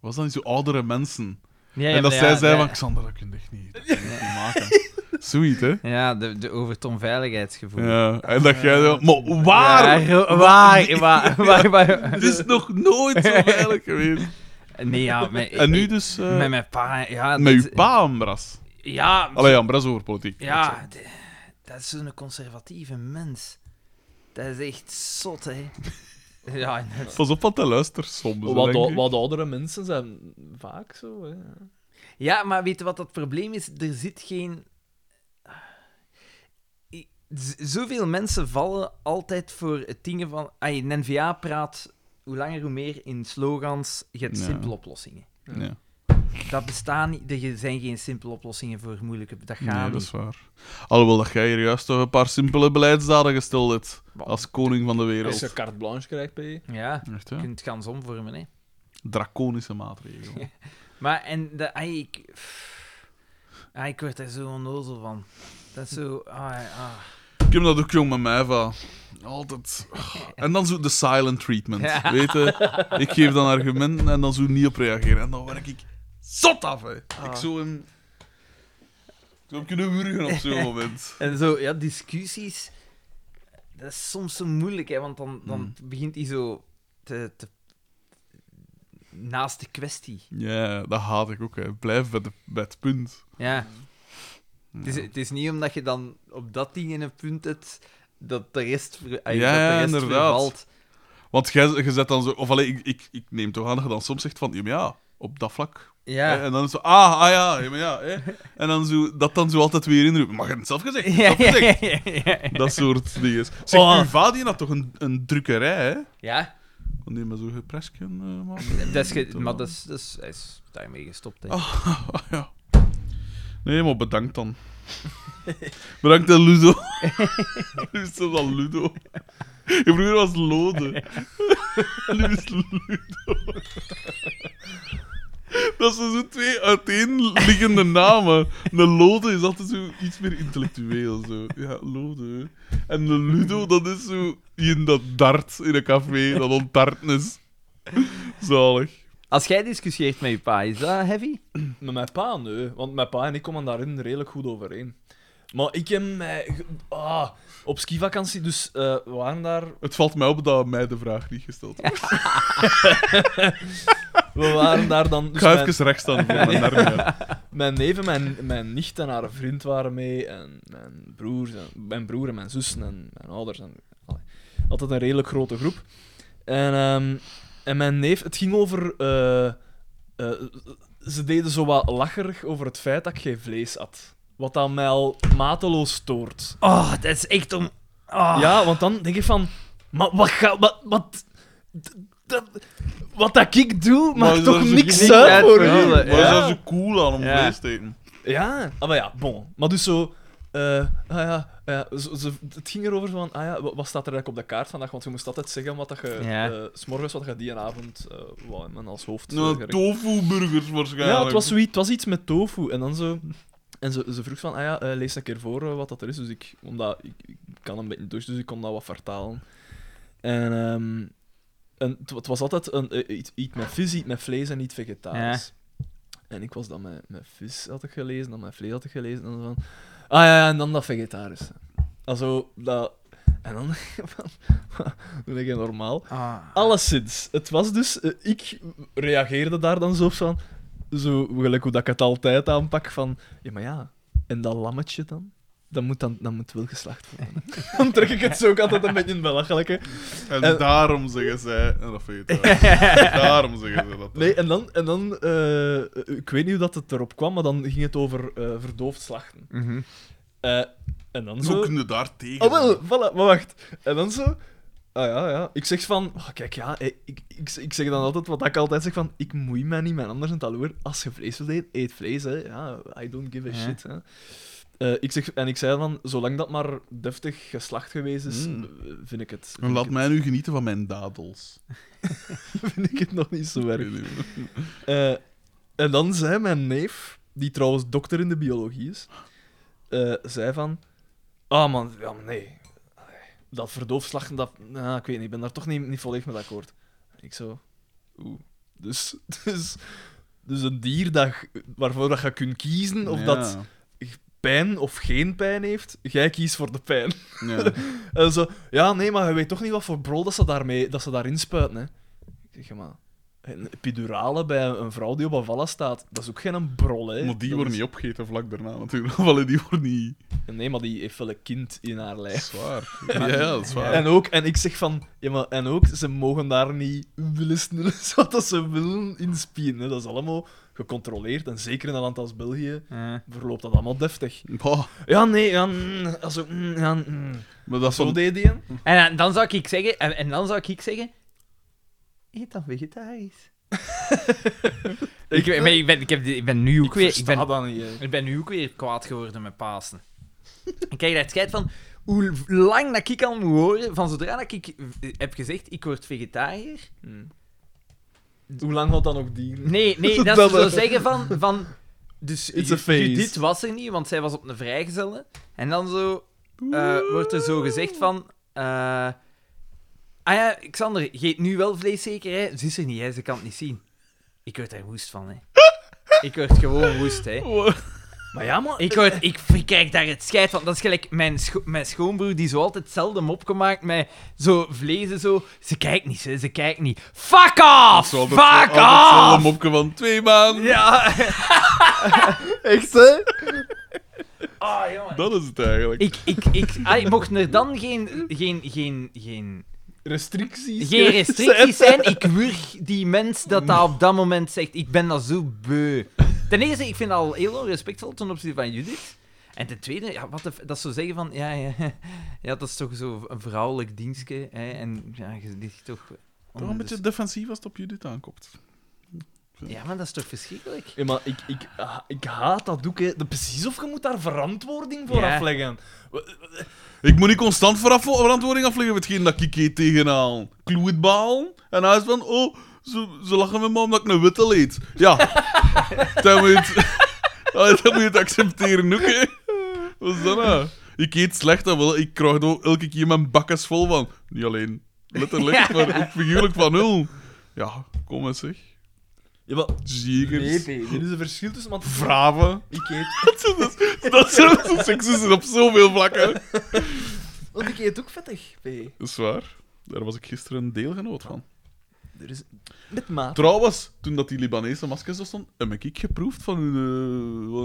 Was dat niet zo oudere mensen? Ja, ja, en dat maar zij ja, zei ja. van, Xander, dat kun je echt niet, dat kun je [LAUGHS] echt niet maken. Sweet, hè? Ja, de, de over het onveiligheidsgevoel. Ja. En dat jij dan... Maar waar? Ja, ro- [LAUGHS] waar, waar, waar, waar- Het is nog nooit zo veilig geweest. Nee, ja, met, En nu dus... eh, met mijn pa, ja... met dat- uw pa, Ambras. Ja, Allee, Ambras over politiek. ja d- dat is zo'n conservatieve mens. Dat is echt zot, hè. Ja, inderdaad. Pas op wat te luistert soms. hè, Wat, denk ou- ik. wat oudere mensen zijn vaak zo. Hè. ja, maar weet je wat het probleem is? Er zit geen... I- z- Zoveel mensen vallen altijd voor het dingen van... Ay, een N-VA praat hoe langer hoe meer in slogans, je hebt Ja. simpele oplossingen. Ja. Dat bestaat niet. Er zijn geen simpele oplossingen voor moeilijke... Dat gaat Nee, niet. dat is waar. Alhoewel dat jij hier juist toch een paar simpele beleidsdaden gesteld hebt. Wat? Als koning van de Als je wereld. carte blanche krijgt bij je. Ja, Echt, je hè? kunt het gans omvormen, hè. Draconische maatregelen. Maar, en... De, ai, ik, pff. Ah, ik word er zo onnozel van. Dat is zo... Ah, ah. Ik heb dat ook jong met mij van. [LAUGHS] Altijd. En dan zo de silent treatment. Ja. Weet je, ik geef dan argumenten en dan zo niet op reageren. En dan werk ik zot af, hè. Ik Ah. zou hem... Ik zou hem kunnen wurgen op [LAUGHS] zo'n moment. En zo, ja, discussies... Dat is soms zo moeilijk, hè. Want dan, dan begint hij zo te, te... Naast de kwestie. Ja, dat haat ik ook, hè. Blijf bij, de, bij het punt. Ja. Hmm. Het, is, het is niet omdat je dan op dat ding in een punt hebt... Dat de rest, ver, ai, Ja, dat de ja, rest inderdaad. vervalt. Want jij je zet dan zo... Of alleen, ik, ik, ik neem toch aan dat je dan soms zegt van... Ja, maar ja op dat vlak Ja. Hè, En dan zo, ah, ah ja, ja, maar ja. Hè. En dan zo, dat dan zo altijd weer inroepen. Maar je hebt het zelf gezegd. [LAUGHS] je hebt het zelf gezegd. Dat soort dingen. Zeg, Oh. uw vader die had toch een, een drukkerij, hè? Ja, Kon die maar zo gepresken eh, maken? dat is ge- Toch? maar dat is, dat is, hij is daarmee gestopt. Hè. Ah, ah, ja. [LAUGHS] Nee, maar bedankt dan. Bedankt aan Ludo. [LAUGHS] nu is het dan Ludo. Je vroeger was Lode. [LAUGHS] nu is het Ludo. [LAUGHS] Dat zijn zo twee uiteenliggende namen. De Lode is altijd zo iets meer intellectueel. Zo. Ja, Lode. En de Ludo, dat is zo die in dat dart in een café, dat ontarten is. [LAUGHS] Zalig. Als jij discussieert met je pa, is dat heavy? Met mijn pa, nee. Want mijn pa en ik komen daarin redelijk goed overeen. Maar ik heb mij... ge- Ah, op skivakantie, dus eh, we waren daar... Het valt mij op dat mij de vraag niet gesteld wordt. We waren daar [LAUGHS] dan... Ik dus ga mijn- even recht staan voor mijn armen. Mijn neef en mijn, mijn nicht en haar vriend waren mee. En mijn, broers en, mijn broer en mijn zussen en mijn ouders. En, allee, altijd een redelijk grote groep. En, ehm, en mijn neef, het ging over. eh, eh, ze deden zo wat lacherig over het feit dat ik geen vlees at. Wat aan mij al mateloos stoort. Oh, dat is echt om... Oh. Ja, want dan denk ik van. Maar wat ga. Wat. Wat, d- dat- wat dat ik doe, maakt is toch daar zo niks geen- uit voor Ja. u? Waar is Ja. dat zo cool aan om Ja. vlees te eten? Ja, ah, maar ja, bon. Maar dus zo... eh, ah ja, ja, zo- zo- het ging erover van, ah ja, wa- wat staat er eigenlijk op de kaart vandaag? Want je moest altijd zeggen wat dat je... Ja. eh, 's morgens wat je die avond eh wou hebben als hoofd. eh, Nou, gerecht. tofu-burgers waarschijnlijk. Ja, het was, zoiets, het was iets met tofu. En dan zo... En ze, ze vroeg van, ah ja, eh, lees een keer voor eh, wat dat er is. Dus ik, omdat, ik, ik kan een beetje Duits, dus ik kon dat wat vertalen. En, ehm, en het, wa- het was altijd een, eh, iets, iets met vis, iets met vlees en iets vegetarisch. En ik was dan met, met vis had ik gelezen, dan met vlees had ik gelezen. En dan van, ah ja, ja, en dan dat vegetarisch. Also, dat... En dan... [LAUGHS] van, Doe ik het normaal. Ah. Alleszins, het was dus, eh, ik reageerde daar dan zo op van, zo gelijk hoe dat ik het altijd aanpak, van, ja maar ja, en dat lammetje dan? Dat moet, dan, dat moet wel geslacht worden. dan trek ik het zo ook altijd een beetje in belachelijke. En En- daarom zeggen zij... En dat vind je het [LAUGHS] wel. Daarom zeggen ze dat. Nee, en dan, en dan eh, ik weet niet hoe dat het erop kwam, maar dan ging het over eh, verdoofd slachten. Mhm. Eh, en dan Zo zo... kunnen daar tegen. Oh wel, voilà, maar wacht. En dan zo... Ah ja, ja. Ik zeg van... ah, kijk, ja, eh, ik, ik, ik zeg dan altijd wat ik altijd zeg van... Ik moei mij niet met anders en taloer. Als je vlees wilt eten, eet vlees, hè. Ja, I don't give a Ja. shit, hè. Eh, ik zeg, en ik zei dan, zolang dat maar deftig geslacht geweest is, Mm. eh, vind ik het... En Vind laat ik, mij nu genieten van mijn dadels. het, [LAUGHS] vind ik het nog niet zo erg. Nee, nee, nee. Eh, en dan zei mijn neef, die trouwens dokter in de biologie is, eh, zei van... Ah man, ja, maar nee. Dat verdoofslachten, dat... nou, ik weet niet, ik ben daar toch niet, niet volledig mee akkoord. Ik zo... Oeh. Dus, [LAUGHS] dus, dus een dier dat, waarvoor dat je kunt kiezen [LAUGHS] of Ja, dat [LAUGHS] pijn of geen pijn heeft, jij kiest voor de pijn. ja. En zo, ja, nee, maar je weet toch niet wat voor brol dat ze, daarmee, dat ze daarin spuiten, hè. Ik zeg, ja, maar... Een epidurale bij een vrouw die op een vallen staat, dat is ook geen een brol, hè. Maar die Dat worden is- niet opgegeten vlak daarna natuurlijk. [LAUGHS] Of allee, die worden niet... Nee, maar die heeft wel een kind in haar lijf. Zwaar. Ja, ja, dat is waar. En ook, en ik zeg van, ja, maar, en ook, ze mogen daar niet willen snullen [LAUGHS] zoals dat ze willen inspien. hè. Dat is allemaal gecontroleerd, en zeker in een land als België Eh. verloopt dat allemaal deftig. Bah, Ja, nee, ja, mm, also, mm, ja, mm. maar dat is Zo van... deed die. hem. En eh, dan zou ik zeggen, en, en dan zou ik zeggen, eet dan [LAUGHS] vegetarisch. ik, ben, ik, ben, ik, heb, die- ik ben nu ook Ik weer... Ik versta ben, dat niet, hè. ik ben nu ook weer kwaad geworden met Pasen. ik krijg daar het scheid van hoe lang dat ik al moet horen, van zodra dat ik eh, heb gezegd, ik word vegetariër. Mm. Hoe lang had dat nog dienen? Hmm. Nee, [LAUGHS] [LAUGHS] nee, dat, Dat, ze zo eh, zeggen van... van dus It's Ju- a phase. Judith was er niet, want zij was op een vrijgezellen. En dan zo, eh, wordt er zo gezegd van... eh, ah ja, Xander, je eet nu wel vlees zeker, hè? Ze is er niet, hè? Ze kan het niet zien. Ik word daar woest van, hè. Ik word gewoon woest, hè. Maar ja, maar... Ik, word, ik, ik krijg daar het scheid van. Dat is gelijk mijn, scho- mijn schoonbroer die zo altijd zelden mopje maakt met zo vlees en zo. Ze kijkt niet, ze, ze kijkt niet. Fuck off! Zo altijd- Fuck altijd hetzelfde off! mopje van twee maanden. Ja. [LAUGHS] Echt, hè? Ah, jongen. Dat is het eigenlijk. Ik, ik, ik, ah, mocht er dan geen, geen, geen, geen, Restricties. geen [LAUGHS] restricties zijn, ik wurg die mens dat dat op dat moment zegt. Ik ben dat zo beu. Ten eerste, ik vind dat al heel onrespectvol ten opzichte van Judith. En ten tweede, ja, wat de, f- dat zou zeggen van, ja, ja, [LAUGHS] ja, dat is toch zo een vrouwelijk dienstje. Hè, en ja, je ligt toch... Toch een beetje defensief als het op Judith aankomt. Ja, maar dat is toch verschrikkelijk? Ja, maar ik, ik, ah, ik haat dat doek, hè. Dat- Precies of je moet daar verantwoording voor Ja. afleggen. Ik moet niet constant veraf- verantwoording afleggen voor hetgeen dat ik eet tegenaan. Kloetbaal. En hij is van, oh, ze, ze lachen met me omdat ik een witte eet. Ja. dan, moet je het, Allee, dan moet je het accepteren ook, hè. Wat is dat nou? Ik eet slecht, dan wel. Ik krijg er ook elke keer mijn bakkes vol van. Niet alleen letterlijk, maar ook figuurlijk van nul. Ja, kom eens zeg. Ja, maar... Zegers. Peter, er is een verschil tussen... Want Vraven. ik eet... Dat is- dat is- Dat zijn seksisten op zoveel vlakken. Want ik eet ook vettig, P. Dat is waar. Daar was ik gisteren een deelgenoot van. Er is... Met maat. Trouwens, toen dat die Libanese maskers er stonden, heb ik geproefd van hun, eh, van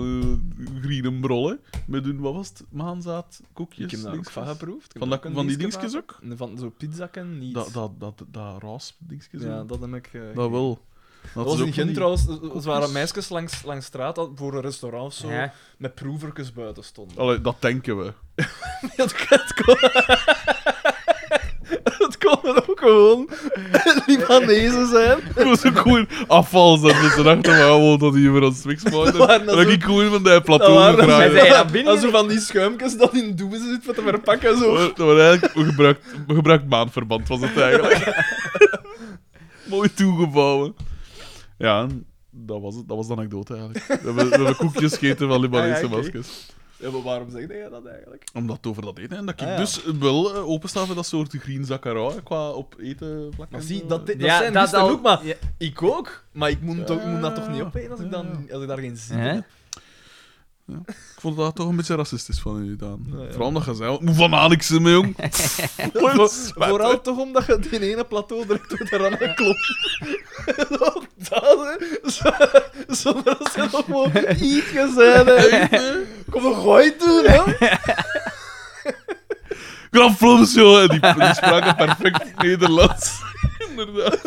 hun groene brollen. Met hun, wat was het, maanzaad, koekjes. Ik heb daar ook dingetjes. van geproefd. Ik Van, heb dat, ook een van die dienstje dingetjes ook? gemaakt. Van zo'n pizzakken niet. Dat, dat, dat, dat raas dingetjes. ja, ook. dat heb ik... eh, dat wel. Dat is was ook in Gent niet- trouwens. eh, Er waren meisjes langs, langs straat al- voor een restaurant of zo. Ja. Met proevertjes buiten stonden. Allee, dat denken we. [LAUGHS] Dat, kon- dat kon... dat konden ook gewoon [LAUGHS] Libanezen zijn. [LAUGHS] Dat was ook gewoon afval. Dat ze dachten, maar gewoon dat hier weer aan Swix [LAUGHS] maakte. waren Dat dan ik zo- gewoon van die Dat plateau waren Hij gedraaid. zei, [LAUGHS] ja, dan, binnen. dan zo van die schuimkes dat in doezen zit voor te verpakken. Zo. Dat was eigenlijk een gebruikt, een gebruikt maanverband, was het [LAUGHS] eigenlijk. Mooi toegebouwen. Ja, en dat was, het. dat was de anekdote eigenlijk. We hebben, we hebben koekjes gegeten van Libanese Ah, ja, oké. maskers. Ja, maar waarom zeg jij dat eigenlijk? Omdat het over dat eten en dat ik Ah, ja. dus wel eh, openstaan voor dat soort green zakara qua op eten vlak. Maar en zie, zo. dat, dat Ja, zijn dat dat al- ook, maar ja. ik ook. Maar ik moet, toch, Ja, moet dat toch niet ja, opeten als ik, dan, als ik daar geen zin in Hè? heb. Ik vond dat toch een beetje racistisch van u gedaan. Ja, ja. Vooral omdat je zei, hoe van Alex hè, mijn jong. [LAUGHS] Voor- vooral toch omdat je die ene plateau direct door de randen [LAUGHS] klopt. Zo, dat, hè. Zo- Zonder dat ze nog maar iets gezegd hebben. Kom een gooi doen, hè. Grafloos, joh. En Die, die spraken perfect [LAUGHS] Nederlands. Inderdaad.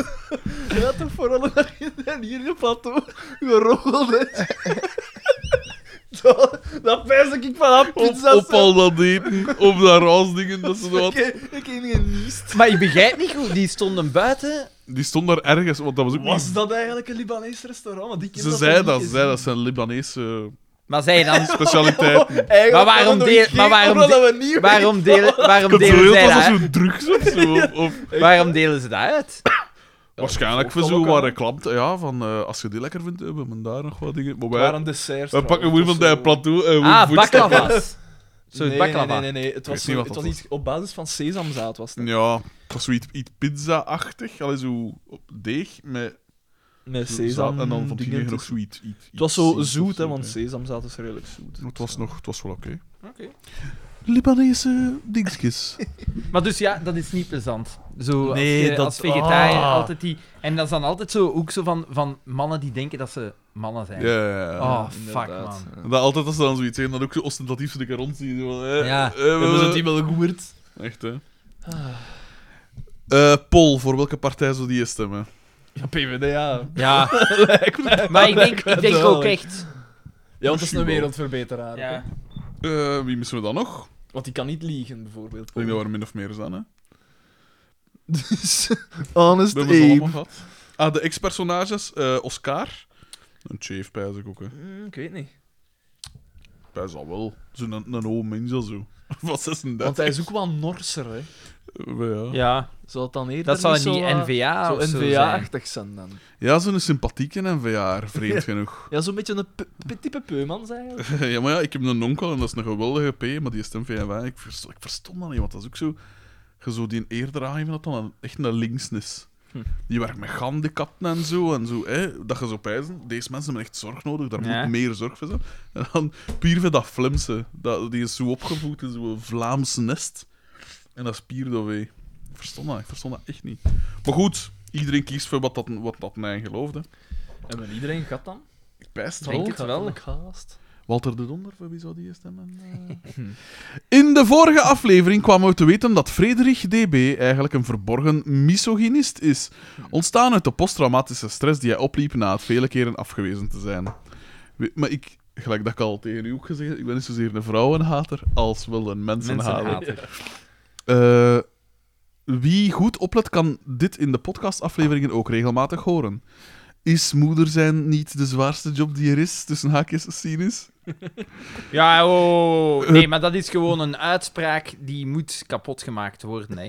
Ja, toch vooral omdat je dan hier in de plateau geroggeld hebt. Dat, dat pijs ik van dat Op, pizza. op al dat eten, op dat raasdingen, dat ze wat... Ik ik heb niet geniest. [LAUGHS] Maar je begrijpt niet goed, die stonden buiten. Die stond daar ergens, want dat was ook... Was dat eigenlijk een Libanees restaurant? Want ik heb Ze dat zei nog dat, ze niet zei dat zijn Libanese Maar zij [LAUGHS] dan... specialiteiten. gezien. Oh, Eigenlijk Maar waarom hadden we deel- nog maar geen- waarom omdat deel- we Waarom niet weten delen, waarom delen Controleerd zij was dat? als hè? zo'n drugs of zo. [LAUGHS] Of, of- Waarom delen ze dat uit? waarschijnlijk voor dat zo ook al. waar klant. Ja, van eh, als je die lekker vindt, hebben we daar nog wat dingen. Maar Het wij, waren eh. desserts. wij pakken gewoon trouwens, van of zo. die plateau eh, en gewoon Ah, voedsel. [LAUGHS] baklavas. Zo'n nee, baklava. Nee, nee, nee, nee. Het was, weet niet zo- wat het dat was iets op basis van sesamzaad. Was het. Ja, het was zoiets iets pizza-achtig. Allee, zo op deeg met Met zaad sesam. en dan van die dingen nog tussen. zoiets. iets- iets Het was zo zoets zoet, of hè, zo, want sesamzaad is redelijk zoet. dus Het was, nog, het was wel oké. Oké. Libanese [LAUGHS] dingetjes. Maar dus ja, dat is niet plezant. Zo, Nee, als, je, dat- als vegetariër ah. altijd die... En dat is dan altijd zo, ook zo van, van mannen die denken dat ze mannen zijn. Ja, ja, ja. Ah, Oh, fuck, inderdaad. man. En dat, altijd als ze dan zoiets zeggen, dan ook zo ostentatief zo de keer rondzien. zo van, eh, Ja, eh, we hebben Hebben ze die wel gehoord? Echt, hè. Eh Pol, voor welke partij zou die stemmen? Ja, PvdA. Ja. maar [LAUGHS] ik denk, ik denk wel, ook hè. echt... Ja, want dat is Misschien een wel. wereldverbeteraar. hè. Eh, wie missen we dan nog? Want die kan niet liegen, bijvoorbeeld. Ik denk dat we er min of meer zijn, hè. Dus, honest Dat hebben we ze allemaal Abe. gehad. Ah, de ex-personages. eh, Oscar. Een chief, pijs ik ook, hè. Mm, Ik weet niet. Pijs al wel. Zo'n een, een oude mens of zo. [LAUGHS] Van 36. Want hij is ook wel norser, hè. Eh, Ja, Ja, Zou dat dan eerder dat zal niet niet zo wat- Ah, NVA zo of zo zijn. NVA-achtig zijn dan. ja zo'n sympathieke en VR, [LAUGHS] vreemd genoeg. Ja, zo'n beetje een p- type [LAUGHS] Peumans eigenlijk. ja, maar ja, ik heb een onkel en dat is een geweldige P, maar die stemt VNV. Ik, verst- ik verstond dat niet, want dat is ook zo... Je zo die eerder aangeven dat dan een- echt naar links is. Hm. Die werkt met gandekatten en zo, en zo hè, dat je zo pijzen. Deze mensen hebben echt zorg nodig, daar Ja. moet meer zorg voor zijn. En dan puur voor dat Flemse, dat, die is zo opgevoed in zo'n Vlaams nest. En dat is pier dat wij. Ik verstond dat, ik verstond dat echt niet. Maar goed, iedereen kiest voor wat dat, wat dat mij geloofde. En iedereen gaat dan? Ik pijst Denk het wel. Ik haast. Walter de Donder, voor wie zou die stemmen? Eh. In de vorige aflevering kwamen we te weten dat Frederik DB eigenlijk een verborgen misogynist is. Ontstaan uit de posttraumatische stress die hij opliep na het vele keren afgewezen te zijn. We- Maar ik, gelijk dat ik al tegen u ook gezegd heb, ik ben niet zozeer een vrouwenhater als wel een mensenhater. Mensenhater. Eh, wie goed oplet, kan dit in de podcastafleveringen ook regelmatig horen. Is moeder zijn niet de zwaarste job die er is, tussen haakjes cynisch? [LAUGHS] Ja, oh. [LAUGHS] Nee, maar dat is gewoon een uitspraak die moet kapot gemaakt worden. [LAUGHS] Hè.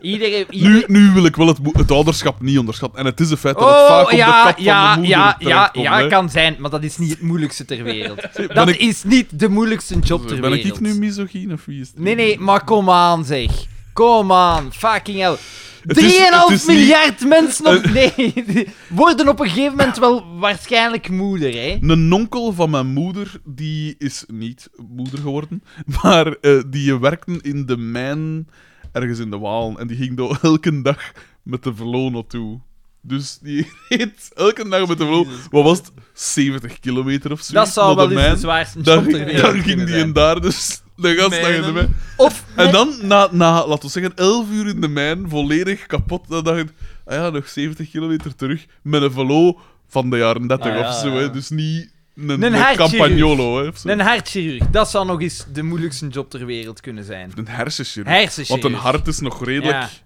Iedereen... Nu, nu wil ik wel het, moe- het ouderschap niet onderschatten. En het is een feit dat het Oh, vaak ja, op de kap ja, van de moeder ja, ja, terechtkomt, ja, hè. kan zijn, maar dat is niet het moeilijkste ter [LAUGHS] wereld. ben dat ik- is niet de moeilijkste job ter Dus Ben ik, wereld. ik nu misogyn of wie is het? Nee, nee, maar kom aan, zeg. Kom aan, fucking hell. Het is- het is 3,5 niet- Eh. miljard mensen op... [LAUGHS] Nee, die worden op een gegeven moment wel waarschijnlijk moeder, hè. Een onkel van mijn moeder, die is niet moeder geworden, [LAUGHS] maar eh, die werkte in de mijn ergens in de Waal. En die ging daar [LAUGHS] elke dag met de verloon naartoe. Dus die [LAUGHS] reed elke dag met de verloon. Wat was het? 70 kilometer of zo. Dat zou naar wel de eens de mijn. zwaarste Dan, job ter [LAUGHS] wereld dan ging kunnen die zijn. en daar dus de gastdag in de Mijnen. mijn. Of... En dan, na, na laten we zeggen, 11 uur in de mijn, volledig kapot, dan dacht ik, ah ja, nog 70 kilometer terug met een velo van de jaren 30 Ah, ja, of zo. ja. Hè. Dus niet een, een, hartchirurg. campagnolo. Hè, of zo. dus. Een hartchirurg, dat zou nog eens de moeilijkste job ter wereld kunnen zijn. Een hersenchirurg. Hersenchirurg. Want een hart is nog redelijk. dus. Ja.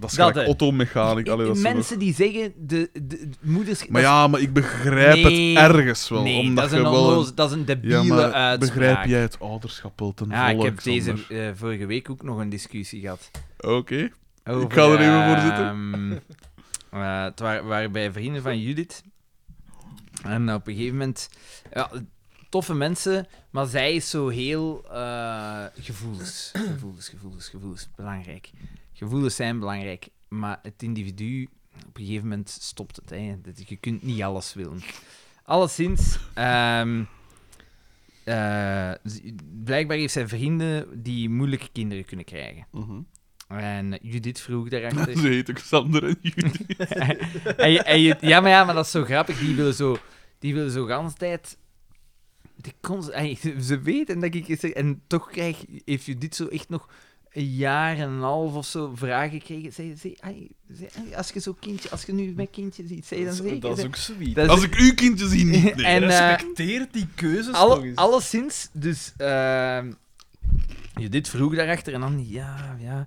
Dat is Dat, hè. gelijk automechanica. Allee, dat is zo nog- Mensen die zeggen, de, de, de moeders... Maar ja, maar ik begrijp Nee. het ergens wel. nee, omdat dat, is een je wel onnoze- dat is een debiele Ja, maar uitspraak. begrijp jij het ouderschap wel ten Ja, volle, ik heb deze Xander? eh, vorige week ook nog een discussie gehad. Oké. [LAUGHS] Ik ga er even voor zitten. ehm, [LAUGHS] eh, het waren, waren bij vrienden van Judith. En op een gegeven moment... Ja, toffe mensen, maar zij is zo heel... eh, gevoelens. Gevoelens, gevoelens, gevoelens. Belangrijk. Gevoelens zijn belangrijk. Maar het individu... Op een gegeven moment stopt het. Hè. Dat- Je kunt niet alles willen. Alleszins... ehm, eh, z- blijkbaar heeft zij vrienden die moeilijke kinderen kunnen krijgen. En Judith vroeg [LAUGHS] daarachter. Ze heet ook Xander en Judith. En je- en je- ja, maar ja, maar dat is zo grappig. Die willen zo, die willen zo gans tijd. Die kon, ey, [LAUGHS] ze weten dat ik. is er- En toch krijg, heeft je dit zo echt nog een jaar en een half of zo vragen gekregen. Zei, zei, ey, zei, ey, als je zo kindje, als je nu mijn kindje ziet, zei dan Dat is- zeker. dat is hè. ook zoiets. Dat is- Als ik uw kindje [LAUGHS] zie, niet. Nee. en, eh, Respecteer die keuzes nog alle, eens. alleszins, dus ehm, je dit vroeg daarachter en dan, ja, ja,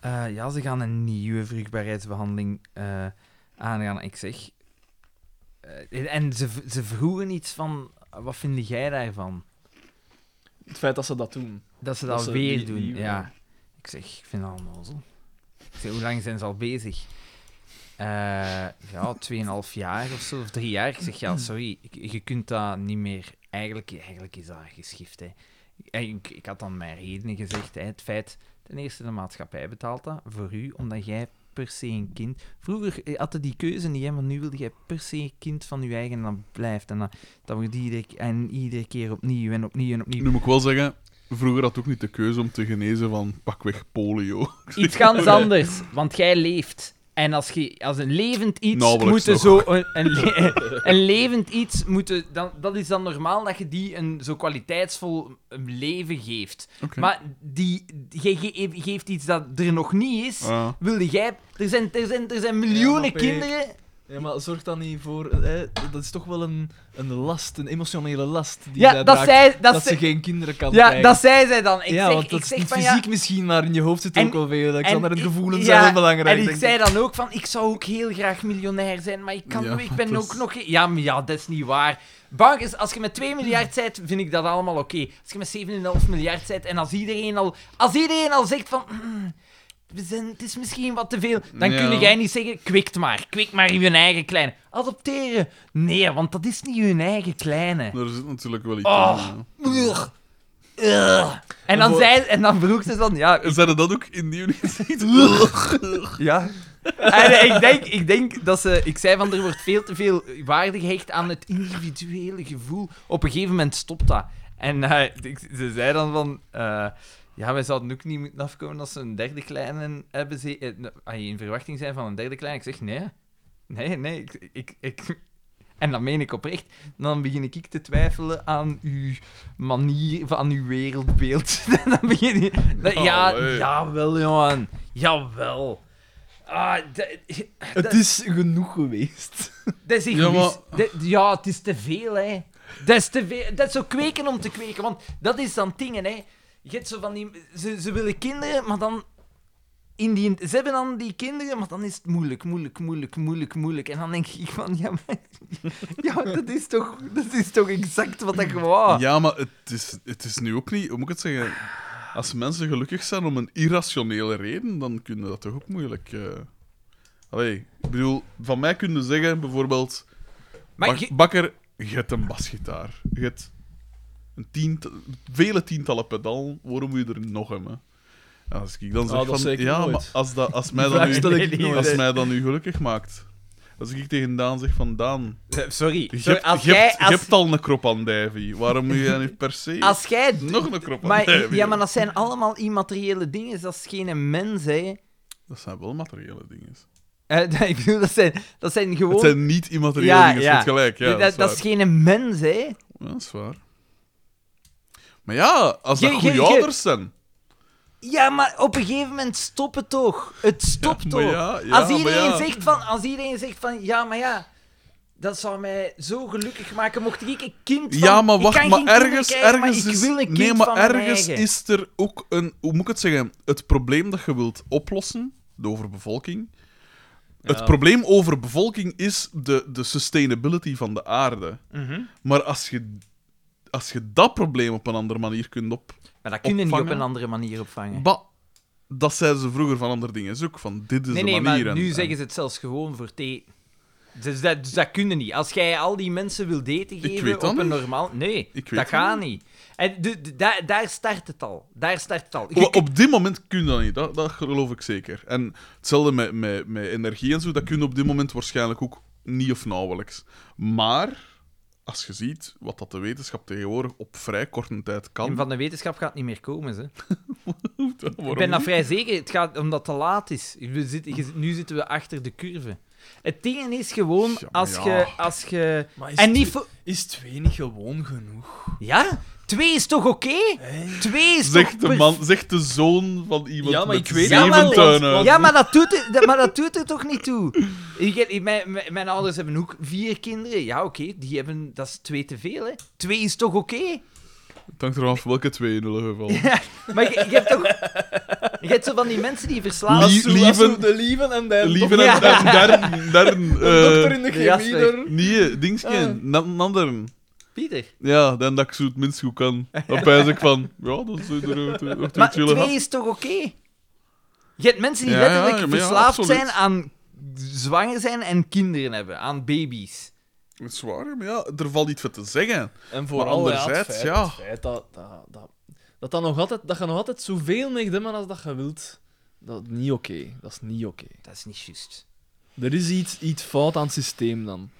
eh, ja, ze gaan een nieuwe vruchtbaarheidsbehandeling eh, aangaan. Ik zeg, eh, en ze, v- ze vroegen iets van, wat vind jij daarvan? Het feit dat ze dat doen. Dat ze dat, Dat ze weer die- doen, die- ja. Ik zeg, ik vind dat onnozel. Ik zeg, hoe lang zijn ze al bezig? Eh ja, 2,5 jaar of zo, of drie jaar. Ik zeg, ja, sorry, ik- je kunt dat niet meer... Eigenlijk, eigenlijk is dat geschift, hè. En Ik, ik had dan mijn redenen gezegd, hè. Het feit, ten eerste, de maatschappij betaalt dat voor u, omdat jij per se een kind... Vroeger eh, had je die keuze niet, hè, maar nu wilde jij per se een kind van je eigen en dat blijft. En dat, dat wordt iedere, en iedere keer opnieuw en opnieuw en opnieuw. Nu moet ik wel zeggen, vroeger had ik ook niet de keuze om te genezen van pakweg polio. Iets ganz anders, want jij leeft. En als, je, als een levend iets Nauwelijks moeten nog. zo een, een, le- [LAUGHS] een levend iets moeten dan dat is dan normaal dat je die een zo kwaliteitsvol leven geeft. Oké. Maar die jij ge- geeft iets dat er nog niet is. Ah. Wilde jij er zijn er zijn er zijn miljoenen Ja, maar P- kinderen. Ja, maar zorg dan niet voor... eh, dat is toch wel een, een last, een emotionele last die Ja, zij dat draagt, zij dat, dat ze ze geen kinderen kan ja, krijgen. dat zei zij dan. Ik ja, zeg, want dat ik zeg is niet van ja, fysiek misschien, maar in je hoofd zit En- ook wel veel, Alexander. En, ik- ja, gevoelens zijn wel belangrijk. En ik denk zei dan ook van, ik zou ook heel graag miljonair zijn, maar ik, kan, Ja, ik ben dat ook is- nog... geen- Ja, maar ja, dat is niet waar. Bank is, als je met 2 miljard bent, vind ik dat allemaal oké. Als je met 7,5 miljard bent en als iedereen al, als iedereen al zegt van... "Mm, we zijn, het is misschien wat te veel. Dan Ja. kun jij niet zeggen, kwikt maar. Kwik maar in je eigen kleine. Adopteren. Nee, want dat is niet hun eigen kleine. Daar zit natuurlijk wel iets Oh. in. Ugh. Ugh. En, dan voor- zei, en dan vroeg ze van, ja, ja. Zijn er dat ook in die universiteit? Ja. [LAUGHS] En eh, ik denk, ik denk dat ze... Ik zei van, er wordt veel te veel waarde gehecht aan het individuele gevoel. Op een gegeven moment stopt dat. En eh, [LAUGHS] ik- ze zei dan van... eh, ja, wij zouden ook niet moeten afkomen als ze een derde kleine hebben. Ze, eh, nou, als je in verwachting zijn van een derde kleine. Ik zeg, nee. Nee, nee. Ik, ik, ik, [LAUGHS] en dat meen ik oprecht. Dan begin ik te twijfelen aan uw manier, van uw wereldbeeld. [LAUGHS] dan begin je... dat- ja, Allee. jawel, jongen. Jawel. Ah, d- ik. Het is genoeg geweest. dat is Ja, egoïst. Dat- Ja, het is te veel, hè. Dat is, te veel. dat is zo kweken om te kweken, want dat is dan dingen, hè. Je hebt zo van die... Ze, ze willen kinderen, maar dan... In die, ze hebben dan die kinderen, maar dan is het moeilijk, moeilijk, moeilijk, moeilijk, moeilijk. En dan denk ik van, ja, maar, [LAUGHS] ja, maar dat, is toch, dat is toch exact wat ik wou. Ja, maar het is, het is nu ook niet... Hoe moet ik het zeggen? Als mensen gelukkig zijn om een irrationele reden, dan kunnen dat toch ook moeilijk... eh Allee, ik bedoel, van mij kunnen zeggen bijvoorbeeld... maar Bak- je- Bakker, je hebt een basgitaar. Je hebt een tiental, vele tientallen pedalen. Waarom moet je er nog hebben? En als ik dan zeg dat van... zeg ik ja, nooit. maar als, dat, als, mij Die dan vraag nu, stel ik nooit. als mij dan nu gelukkig maakt... Als ik tegen Daan zeg van... Daan, Sorry, je sorry, hebt, als je jij... hebt- je Als, hebt al een krop aan Davy. Waarom moet jij nu per se... als jij... Nog een krop aan [LAUGHS] Maar, Davy? ja, maar dat zijn allemaal immateriële dingen, dat is geen mens, hè. Dat zijn wel materiële dingen. Eh, [LAUGHS] ik bedoel, dat zijn, dat zijn gewoon... Het zijn niet immateriële Ja, dingen, je ja. hebt gelijk. Ja, dat, dat is, dat, is waar. geen mens, hè. Ja, dat is waar. Maar ja, als dat Je- goede je- je- ouders zijn... Ja, maar op een gegeven moment stopt het toch. Het stopt maar toch. ja, ja, als, iedereen maar ja. zegt van, als iedereen zegt van, ja, maar ja, dat zou mij zo gelukkig maken mocht ik een kind van... Ja, maar ik wacht, kan maar geen kinderen ergens, krijgen, maar ergens ik is, wil een kind nee, maar van mijn ergens eigen. is er ook een, hoe moet ik het zeggen, het probleem dat je wilt oplossen de overbevolking. Het probleem over bevolking is de, de sustainability van de aarde. Maar als je, als je dat probleem op een andere manier kunt op... Maar dat kun je niet op Opvangen? een andere manier opvangen. Bah, dat zeiden ze vroeger van andere dingen. Is ook van, dit is nee, de nee, manier. maar en- nu en- zeggen ze het zelfs gewoon voor thee. Dus dat, dus dat kun je niet. Als jij al die mensen wil daten geven weet op dat een niet. normaal... Nee, Ik weet dat dat gaat niet. En de, de- daar, daar start het al. Daar start het al. Je Op- op dit moment kun je dat niet, dat, dat geloof ik zeker. En hetzelfde met, met, met energie en zo, dat kun je op dit moment waarschijnlijk ook niet of nauwelijks. Maar, als je ziet wat dat de wetenschap tegenwoordig op vrij korte tijd kan... En van de wetenschap gaat het niet meer komen. Ze. [LAUGHS] waarom Ik ben dat niet? vrij zeker. Het gaat omdat het te laat is. We zitten, je- nu zitten we achter de curve. Het ding is gewoon, Ja, maar als ja. je... Als je Maar is, en niet twee, voor... is twee niet gewoon genoeg? Ja? Twee is toch oké? Twee is toch Zegt de, perfect? man, zegt de zoon van iemand dus- Ja, maar met ik weet- Ja, zeven maar- tuinen. Ja, maar dat doet er, dat- maar dat doet er toch niet toe? Ik, ik- mijn, mijn, mijn ouders hebben ook vier kinderen. Ja, oké, die hebben... Dat is twee te veel, hè. Twee is toch oké? Het hangt ervan af welke twee in ieder [LAUGHS] geval. Maar je, je hebt toch... Je hebt zo van die mensen die verslaan... Lie- Als lieven- lieven, de lieven en de Lieven Ja. en Dern, Dern, [LAUGHS] Dern, dokter eh in de Eh. de jas chemie. weg. er. Nee, dingskijn, na- een anderen. Pieter. Ja, dan dat ik zo het minst goed kan. Dan pijs ik van, ja, dat is er nog twee Maar chillen. twee is toch oké? Je hebt mensen die Ja, ja, letterlijk ja, maar ja, verslaafd absoluut. zijn aan zwanger zijn en kinderen hebben. Aan baby's. Het is waar, maar ja, er valt iets voor te zeggen. En Maar vooral ja, het anderzijds, feit, ja. het feit dat, dat, dat, dat, dat nog altijd, dat je nog altijd zoveel mee doen als dat je wilt. Dat is niet oké. Dat is niet oké. Dat is niet juist. Er is iets, iets fout aan het systeem dan.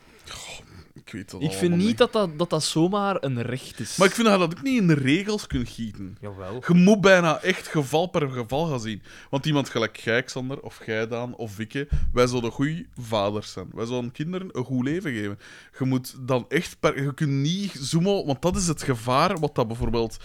Ik weet dat Ik allemaal vind niet dat dat, dat dat zomaar een recht is. Maar ik vind dat je dat ook niet in de regels kunt gieten. Jawel. Je moet bijna echt geval per geval gaan zien. Want iemand gelijk jij, Xander, of jij, Daan, of Wikke, wij zouden goede vaders zijn. Wij zouden kinderen een goed leven geven. Je moet dan echt... Per, je kunt niet zoomen, want dat is het gevaar wat dat bijvoorbeeld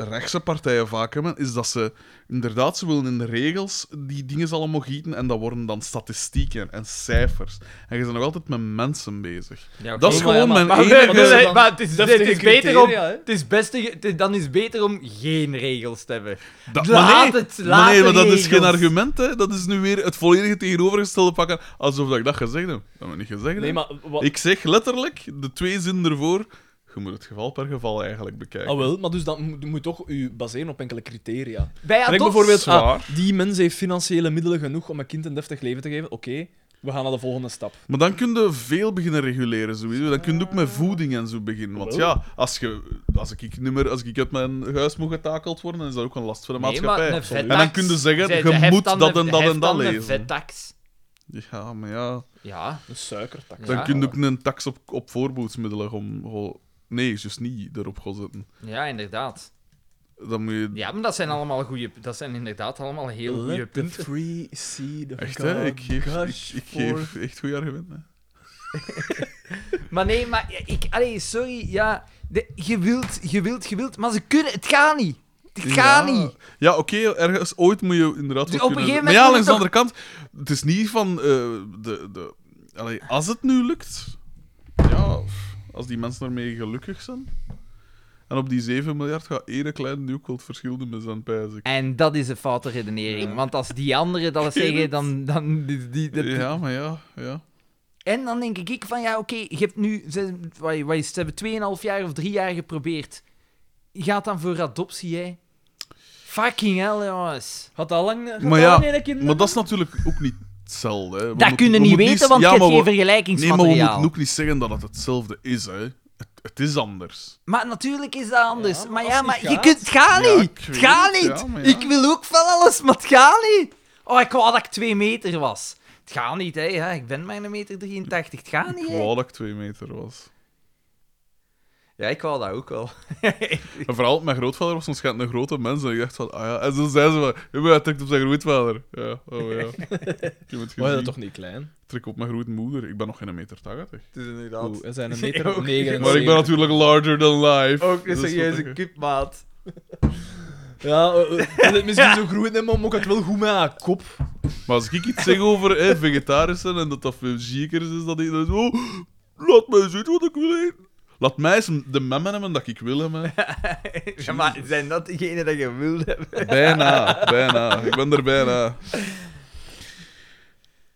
rechtse partijen vaak hebben, is dat ze inderdaad, ze willen in de regels die dingen allemaal gieten en dat worden dan statistieken en cijfers. En je bent nog altijd met mensen bezig. Ja, oké. Dat is maar ja, gewoon maar- mijn Maar, Eén- nee, enige... wat nee, is er nee, dan? maar het is, Dat is het is tegen beter om, criteria, hè? het is beste, ge- het is- dan is het beter om geen regels te hebben. Dat, Laat maar nee, het, laat maar, nee, de maar dat is regels. geen argument, hè. Dat is nu weer het volledige tegenovergestelde pakken, alsof dat ik dat gezegd heb. Dat heb ik niet gezegd. hè. Nee, maar wat... Ik zeg letterlijk, de twee zinnen ervoor, je moet het geval per geval eigenlijk bekijken. Ah, wel, maar dus dat moet, moet toch u baseren op enkele criteria. Bij Kijk adopts- bijvoorbeeld, zwaar. ah, die mens heeft financiële middelen genoeg om een kind een deftig leven te geven. Oké, we gaan naar de volgende stap. Maar dan kun je veel beginnen reguleren, sowieso. Dan kun je ook met voeding en zo beginnen. Want ja, als, je, als, ik, niet meer, als ik uit mijn huis moet getakeld worden, dan is dat ook een last voor de Nee, maar maatschappij. een vettax- en dan kun je zeggen, zij- je heft moet dan dat de- en dat heft en dat dan de lezen. vettax. Ja, maar ja. Ja. Een suikertak. Ja. Dan kun je ook een tax op, op voorboedsmiddelen om... go- Nee, juist niet erop gaan zetten. ja, inderdaad. Dan moet je... Ja, maar dat zijn allemaal goede... Dat zijn inderdaad allemaal heel goede Let the punten. free see the Echt, hè? Ik geef, gosh ik, ik for- geef echt goede argumenten. Maar nee, maar ja, ik... Allee, sorry, ja... de- je wilt, je wilt, je wilt, maar ze kunnen... Het gaat niet. Het gaat ja. niet. Ja, oké, ergens ooit moet je inderdaad... Dus op wat een kunnen- gegeven moment Maar ja, moet langs je de andere kant, het is niet van... eh, de, de... Allee, als het nu lukt... Ja, pff, als die mensen ermee gelukkig zijn... En op die 7 miljard gaat ene kleine nu ook wel het verschil doen met zijn pijs. ik. En dat is een foute redenering. Want als die anderen [LAUGHS] dat zeggen, dan... dan die, die, dat- Ja, maar ja, ja. En dan denk ik van, ja, oké, je hebt nu... Ze, wat, wat is, ze hebben 2,5 jaar of 3 jaar geprobeerd. Je gaat dan voor adoptie, hè? Fucking hell, jongens. Had dat lang... Had Maar dat lang ja, ene kind- maar dat is natuurlijk ook niet hetzelfde. Hè. We dat moeten- kunnen we niet moeten weten, want ja, je maar hebt geen we- Nee, maar vergelijkingsmateriaal. we maar, moeten ook niet zeggen dat het hetzelfde is, hè. Het, het is anders. natuurlijk is dat anders. Ja, maar maar als ja, het maar niet je gaat- kunt... Het gaat Ja, niet. ik het weet gaat het, niet. ja, maar ja. Ik wil ook van alles, maar het gaat niet. Oh, ik wou dat ik 2 meter was. Het gaat niet, hè. Ja, ik ben maar een meter 83. Het gaat Ik niet, hè. wou dat ik twee meter was. Ja, ik wou dat ook wel. En vooral, mijn grootvader was waarschijnlijk een grote mens. En ik dacht van, ah ja. En zo zei ze van, "Ja, maar hij trekt op zijn grootvader. Ja, oh ja. Ik heb het Maar gezien. dat toch niet klein? Trek op mijn grootmoeder. Ik ben nog geen meter 80. Het is inderdaad... Oeh, we [LAUGHS] zijn een Ja, ook. meter negen en Maar ik ben zeven. natuurlijk larger than life. Ook een Dus wat serieuze ik- kipmaat. Ja, eh, eh, wil het misschien zo groeien, hè, maar moet ik het wel goed met haar kop. eh, Maar als ik iets zeg over hè, vegetarissen en dat dat veel ziekers is, dan denk ik zo... "Oh, laat mij zien wat ik wil eten. Laat mij eens de memmen hebben dat ik wil hebben. Ja, maar zijn dat degenen dat je wilde hebben? Bijna, bijna. Ik ben er bijna.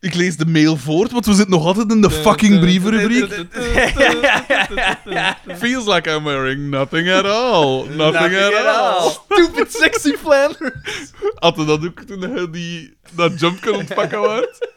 Ik lees de mail voort, want we zitten nog altijd in de fucking eh, brievenrubriek. [LAUGHS] [LAUGHS] Feels like I'm wearing nothing at all. Nothing, at, all. Stupid sexy Ah, Flanders. Hadden dat ook toen hij die, dat jump kan ontpakken waard?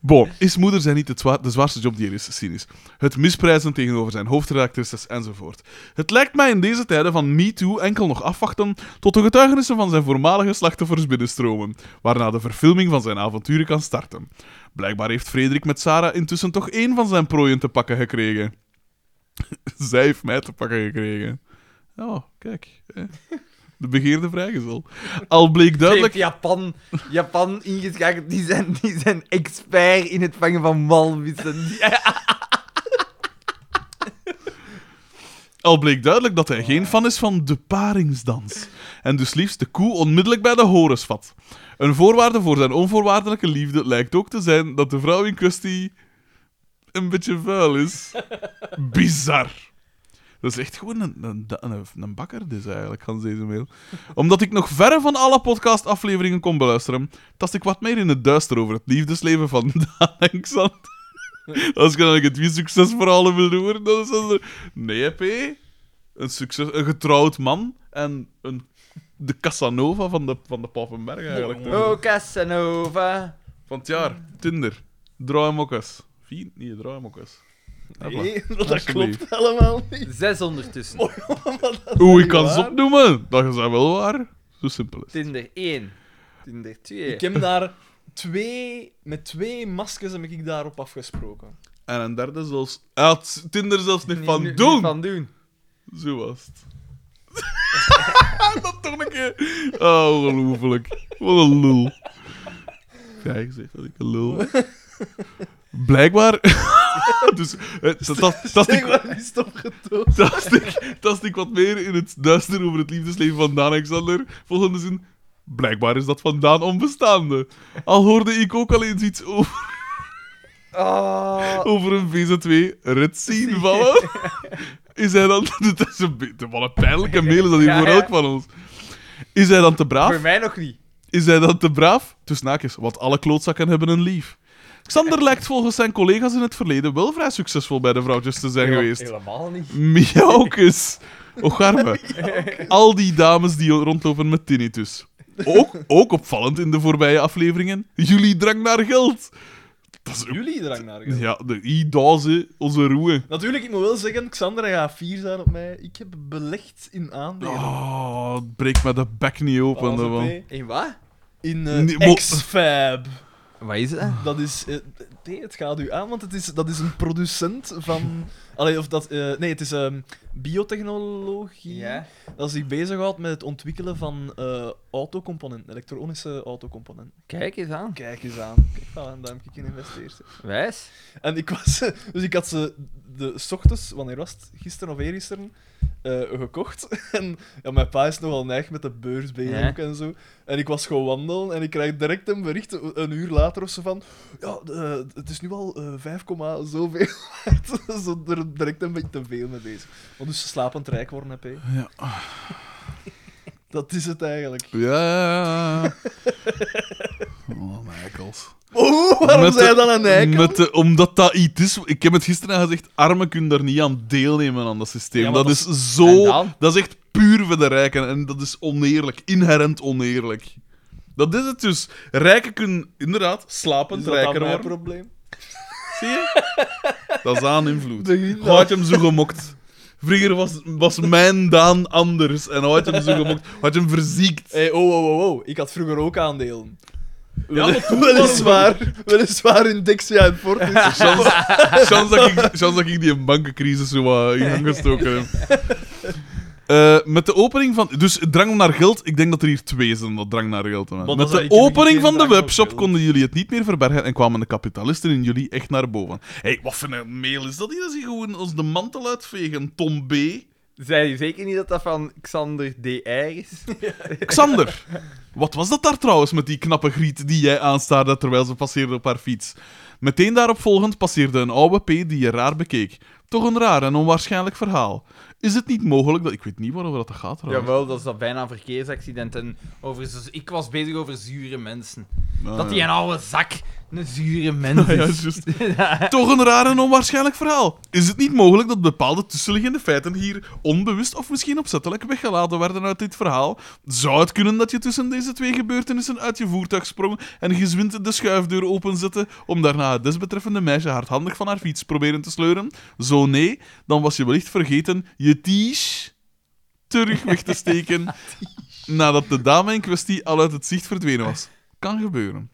Bon, is moeder zijn niet het zwa- de zwaarste job die er is, cynisch. Het misprijzen tegenover zijn hoofdredactrices enzovoort. Het lijkt mij in deze tijden van Me Too enkel nog afwachten tot de getuigenissen van zijn voormalige slachtoffers binnenstromen, waarna de verfilming van zijn avonturen kan starten. Blijkbaar heeft Frederik met Sarah intussen toch één van zijn prooien te pakken gekregen. [LAUGHS] Zij heeft mij te pakken gekregen. Oh, kijk. hè. De begeerde vrijgezel. Al bleek duidelijk... Heeft Japan, Japan ingeschakeld, die zijn, die zijn expert in het vangen van walvissen. Al bleek duidelijk dat hij geen fan is van de paringsdans. En dus liefst de koe onmiddellijk bij de horens vat. Een voorwaarde voor zijn onvoorwaardelijke liefde lijkt ook te zijn dat de vrouw in kwestie een beetje vuil is. Bizar. Dat is echt gewoon een, een, een, een bakker dus eigenlijk, Hans deze mail. Omdat ik nog verre van alle podcastafleveringen kon beluisteren, tast ik wat meer in het duister over het liefdesleven van [LAUGHS] Daan en Xander. Als ik dan het wie succesverhalen wil horen, dan is dat er... Nee, P. Een, succes, een getrouwd man en een, de Casanova van de, van de Papenberg eigenlijk. toch? Oh, Casanova. Van het jaar, Tinder. Draai hem ook eens. Vier? Nee, draai hem ook eens. Hopla. Nee, dat Alsjeblieft. klopt helemaal niet. Zes ondertussen. Oeh, ik kan waar? ze opnoemen. Dat is dat wel waar. Zo simpel is het. Tinder 1. Tinder 2. Ik heb daar twee... Met twee maskers heb ik daarop afgesproken. En een derde zelfs... Hij had Tinder zelfs niet Niet- van niet doen. Van doen. Zo was het. [LAUGHS] dat toch een keer. Oh, ongelooflijk. Wat een lul. Ja, ik zeg dat ik een lul ben. Blijkbaar. [LAUGHS] dus eh, dat- dat- [LAUGHS] dat Ik ik- was niet stopgetoond. dat ik- dat ik wat meer in het duister over het liefdesleven van Daan Alexander. Volgende zin. Blijkbaar is dat van Daan onbestaande. Al hoorde ik ook al eens iets over, Oh. over een VZ2 red zien vallen. [LAUGHS] Is hij dan... [LAUGHS] Dat is een beetje... Wat een pijnlijke mail is dat hier Ja, voor ja. elk van ons. Is hij dan te braaf? Voor mij nog niet. Is hij dan te braaf? Dus naakjes, want alle klootzakken hebben een lief. Xander lijkt volgens zijn collega's in het verleden wel vrij succesvol bij de vrouwtjes te zijn geweest. Helemaal niet. [LAUGHS] Miaukes. Ocharme. Al die dames die rondlopen met tinnitus. Ook, ook opvallend in de voorbije afleveringen. Jullie drang naar geld. Dat is ook... Jullie drang naar. gedaan. Ja, de i-dazen, onze roeien. Natuurlijk, ik moet wel zeggen, Xander hij gaat fier zijn op mij. Ik heb belegd in aandelen. Oh, het breekt me de bek niet open. AZP, daarvan. In wat? In Nee, eh mo- X-Fab. Wat is dat? Dat is... eh, nee, het gaat u aan, want het is, dat is een producent van... Allee, of dat... eh, nee, het is ehm, biotechnologie. Ja. Dat zich bezighoudt met het ontwikkelen van eh, autocomponenten. Elektronische autocomponenten. Kijk eens aan. Kijk eens aan. Kijk, voilà, daar heb ik in geïnvesteerd. hè. Wijs. En ik was... [LAUGHS] Dus ik had ze de 's ochtends, wanneer was het? Gisteren of eergisteren, eh gekocht. [LAUGHS] En ja, mijn pa is nogal neig met de beurs bezig Ja. ook en zo. En ik was gewoon wandelen en ik krijg direct een bericht, een uur later of zo, van... Ja, eh, het is nu al eh 5, komma zoveel [LAUGHS] waard. zo er direct een beetje te veel mee bezig. Want dus slapend rijk worden, heb je. Ja. [LAUGHS] Dat is het eigenlijk. Ja. Oh, Michaels. Oh, waarom Met zei de- je dan een eikel? Met de- omdat dat iets is. Ik heb het gisteren al gezegd: armen kunnen daar niet aan deelnemen aan dat systeem. Ja, maar dat, dat is En zo. dan? Dat is echt puur voor de rijken. En dat is oneerlijk. Inherent oneerlijk. Dat is het dus. Rijken kunnen inderdaad slapend Is dat dan rijker mijn worden. probleem? Zie je? Dat is aan invloed. De Hij had je hem zo gemokt. Vroeger was, was mijn Daan anders. En hij had je hem zo gemokt. Hij had je hem verziekt. Hey, oh, oh, oh, oh, ik had vroeger ook aandelen. Ja, maar toen weliswaar, weliswaar in Dexia en Fortis. Chance, chance, dat ik, chance dat ik die bankencrisis zo wat in gang gestoken heb. Eh, met de opening van... Dus drang naar geld, ik denk dat er hier twee zijn, dat drang naar geld. man. dat Met is de eigenlijk opening geen van de drang naar webshop geld. konden jullie het niet meer verbergen en kwamen de kapitalisten in jullie echt naar boven. Hé, hey, wat voor een mail is dat hier? Dat is hier gewoon ons de mantel uitvegen, Tom B. Zei je zeker niet dat dat van Xander DR [LAUGHS] is? Xander, wat was dat daar trouwens met die knappe griet die jij aanstaarde terwijl ze passeerde op haar fiets? Meteen daaropvolgend passeerde een oude P die je raar bekeek. Toch een raar en onwaarschijnlijk verhaal. Is het niet mogelijk dat... Ik weet niet waarover dat gaat trouwens. Jawel, dat is dat bijna een verkeersaccident. En over, zo- ik was bezig over zure mensen. Dat die een oude zak, een zure mens [LAUGHS] Ja, ja, is. juist. [LAUGHS] Toch een raar en onwaarschijnlijk verhaal. Is het niet mogelijk dat bepaalde tussenliggende feiten hier onbewust of misschien opzettelijk weggelaten werden uit dit verhaal? Zou het kunnen dat je tussen deze twee gebeurtenissen uit je voertuig sprong en gezwind de schuifdeur openzette om daarna het desbetreffende meisje hardhandig van haar fiets proberen te sleuren? Zo nee, dan was je wellicht vergeten je tiche terug weg te steken nadat de dame in kwestie al uit het zicht verdwenen was. Kan gebeuren.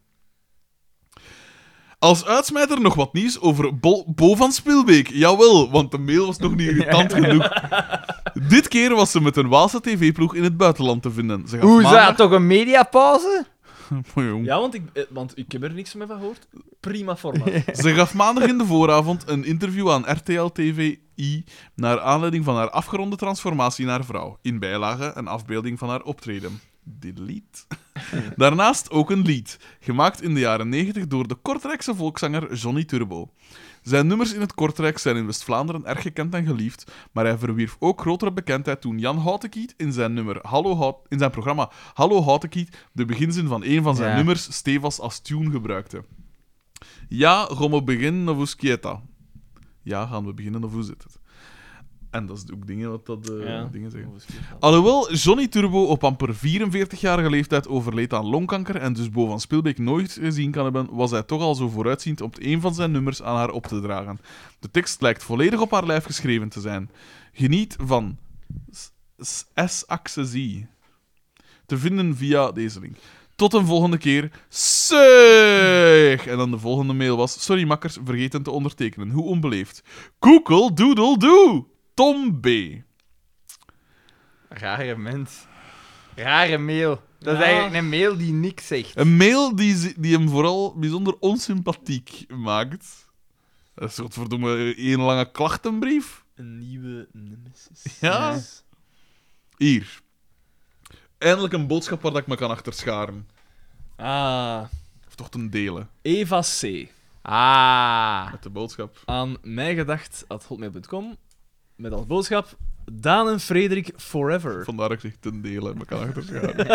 Als uitsmijter nog wat nieuws over Bol- Bo van Spielbeek. Jawel, want de mail was nog niet irritant genoeg. Dit keer was ze met een Waalse tv-ploeg in het buitenland te vinden. Ze gaat Hoe zou maandag- dat toch een mediapauze? Mooi, jong. Ja, want ik, eh, want ik heb er niks meer van gehoord. Prima formaat. Ze gaf maandag in de vooravond een interview aan RTL TVI naar aanleiding van haar afgeronde transformatie naar vrouw. In bijlage een afbeelding van haar optreden. Delete. [LAUGHS] Daarnaast ook een lied, gemaakt in de jaren 90 door de Kortrijkse volkszanger Johnny Turbo. Zijn nummers in het Kortrijk zijn in West-Vlaanderen erg gekend en geliefd, maar hij verwierf ook grotere bekendheid toen Jan Houtekiet in zijn, nummer Hallo Hout- in zijn programma Hallo Houtekiet de beginzin van een van zijn Ja. nummers stevast als tune gebruikte. Ja, gaan we beginnen of skieta? Ja, gaan we beginnen of hoe zit het? En dat is ook dingen wat dat eh, Ja. dingen zeggen. Alhoewel Johnny Turbo op amper 44-jarige leeftijd overleed aan longkanker en dus Bo van Spielbeek nooit gezien kan hebben, was hij toch al zo vooruitziend om een van zijn nummers aan haar op te dragen. De tekst lijkt volledig op haar lijf geschreven te zijn. Geniet van S- S- S-Axesie. Te vinden via deze link. Tot een volgende keer. Zeg! En dan de volgende mail was... Sorry makkers, vergeten te ondertekenen. Hoe onbeleefd. Koekel, doedel, doe! Tom B. Rare mens. Rare mail. Dat is Ja. eigenlijk een mail die niks zegt. Een mail die, ze- die hem vooral bijzonder onsympathiek maakt. Dat is godverdomme één lange klachtenbrief. Een nieuwe nemesis. Ja. Hier. Eindelijk een boodschap waar dat ik me kan achter scharen. Ah, Of toch ten delen Eva C. Ah. met de boodschap. aan mijgedacht.hotmail.com met als boodschap Daan en Frederik Forever. Vandaar dat ik zeg ten delen me kan achter [LAUGHS] scharen.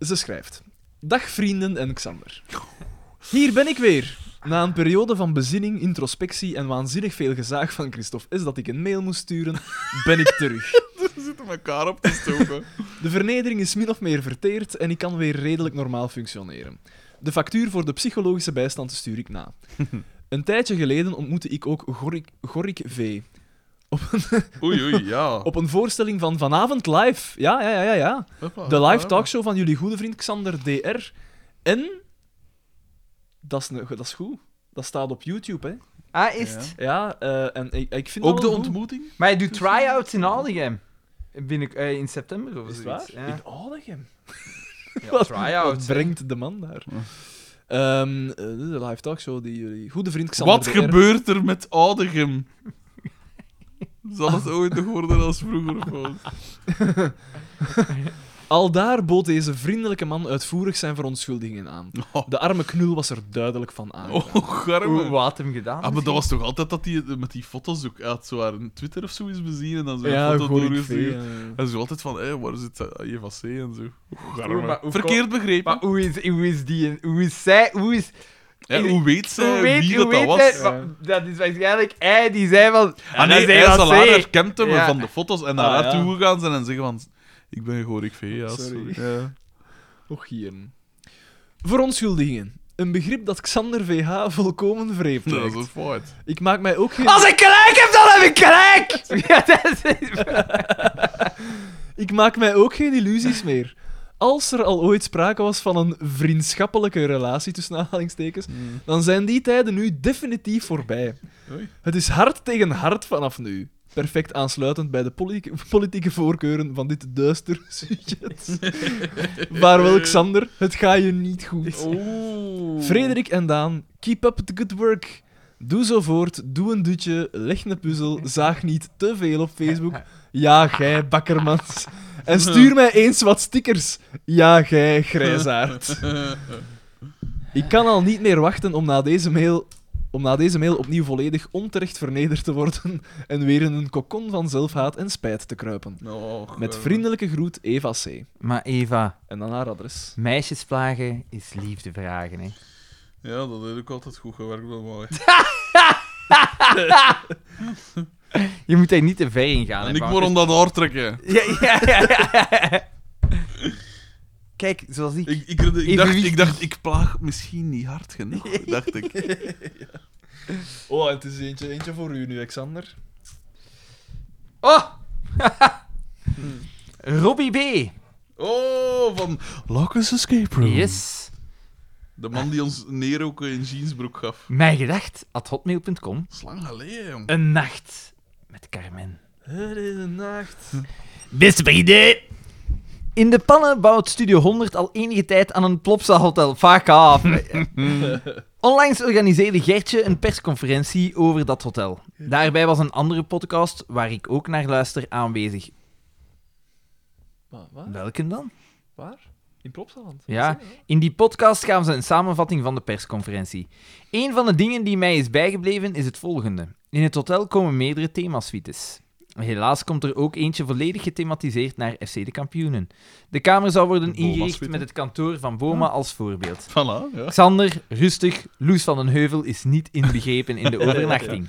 Ze schrijft: Dag vrienden en Xander. Hier ben ik weer. Na een periode van bezinning, introspectie en waanzinnig veel gezaag van Christophe S. dat ik een mail moest sturen, ben ik terug. Ze zitten elkaar op te stoken. De vernedering is min of meer verteerd en ik kan weer redelijk normaal functioneren. De factuur voor de psychologische bijstand stuur ik na. Een tijdje geleden ontmoette ik ook Gorik, Gorik V. Oei, oei, ja. Op een voorstelling van Vanavond Live. Ja, ja, ja, ja. ja. Hoppa, De hoppa. live talkshow van jullie goede vriend Xander DR. En... Dat is, ne- dat is goed. Dat staat op YouTube, hè. Ah, is het? Ja, eh, en ik, ik vind Ook dat de wel goed. ontmoeting? Maar je doet try-outs in Aldegem. Binnen, eh, in september of Is het zoiets. waar? Ja. In Oudegem. Ja, Wat- try-outs. Wat brengt de man daar? Ehm, eh, de live talkshow die jullie goede vriend Xander Wat DR gebeurt er met Oudegem? Zal het ooit nog worden als vroeger? of wat? Al daar bood deze vriendelijke man uitvoerig zijn verontschuldigingen aan. Oh, [LAUGHS] De arme knul was er duidelijk van aan. oh garme. Hoe, wat had hem gedaan? Ah, maar misschien? dat was toch altijd dat hij met die foto's ook uit zo haar Twitter of zo is bezien en dan zo Ja, foto Gorik V. doorgestuurd. eh. En zo altijd van, hé, waar zit je van C en zo. Oeh, garme. Oeh, maar hoe Verkeerd begrepen. Maar hoe is, hoe is die... een- Hoe is zij... Hoe is... Ja, hoe weet ze hoe weet, wie hoe dat, dat weet hij- was? wa- dat is waarschijnlijk hij die zei van... ah nee, hij dat zal haar zij. herkend hebben Ja. van de foto's en naar Ah, haar ja. toe gegaan zijn en zeggen van... Ik ben Gorik V, ja, sorry. Sorry. Ja. Och hier. Verontschuldigingen. Een begrip dat Xander VH volkomen vreemd Dat is lijkt. een fout. Ik maak mij ook geen... Als ik gelijk heb, dan heb ik gelijk! [LAUGHS] Ja, dat is... Ik maak mij ook geen illusies meer. Als er al ooit sprake was van een vriendschappelijke relatie, tussen aanhalingstekens, dan zijn die tijden nu definitief voorbij. Oei. Het is hart tegen hart vanaf nu. Perfect aansluitend bij de politie- politieke voorkeuren van dit duister [LAUGHS] sujet. Vaarwel, Xander, het gaat je niet goed. Frederik en Daan, keep up the good work. Doe zo voort, doe een dutje, leg een puzzel, zaag niet te veel op Facebook. Ja, gij, bakkermans. En stuur mij eens wat stickers. Ja, gij, grijzaard. Ik kan al niet meer wachten om na deze mail om na deze mail opnieuw volledig onterecht vernederd te worden en weer in een kokon van zelfhaat en spijt te kruipen. Oh, Met eh, vriendelijke groet Eva C. Maar Eva, En dan haar adres. meisjes plagen is liefde vragen, hè. Ja, dat deed ik altijd goed gewerkt bij mij. Je moet daar niet te ver in gaan, En hè, ik Bart. moet om dat haar trekken. Ja, ja, ja, ja. Kijk, zoals ik... Ik, ik, ik, dacht, Evenwichtig. ik dacht, ik plaag misschien niet hard genoeg, dacht ik. Oh, en het is eentje, eentje voor u nu, Alexander. Oh! Hmm. Robbie B. Oh, van Locus Escape Room. Yes. De man die ons Nero een jeansbroek gaf. Mijn gedacht, at hotmail.com. Dat is lang geleden, jong. Een nacht met Carmen. Het is een nacht. Beste vrienden. In de pannen bouwt Studio 100 al enige tijd aan een Plopsa Hotel. Fuck off. Onlangs organiseerde Gertje een persconferentie over dat hotel. Daarbij was een andere podcast, waar ik ook naar luister, aanwezig. Maar, wat? Welke dan? Waar? In Plopsaland? Ja. Is dat, hè? In die podcast gaven ze een samenvatting van de persconferentie. Een van de dingen die mij is bijgebleven is het volgende. In het hotel komen meerdere themasuites. Helaas komt er ook eentje volledig gethematiseerd naar FC de Kampioenen. De kamer zou worden De Boma ingericht suite, met hè? het kantoor van Boma als voorbeeld. Voilà, ja. Xander, rustig, Loes van den Heuvel is niet inbegrepen [LAUGHS] in de overnachting.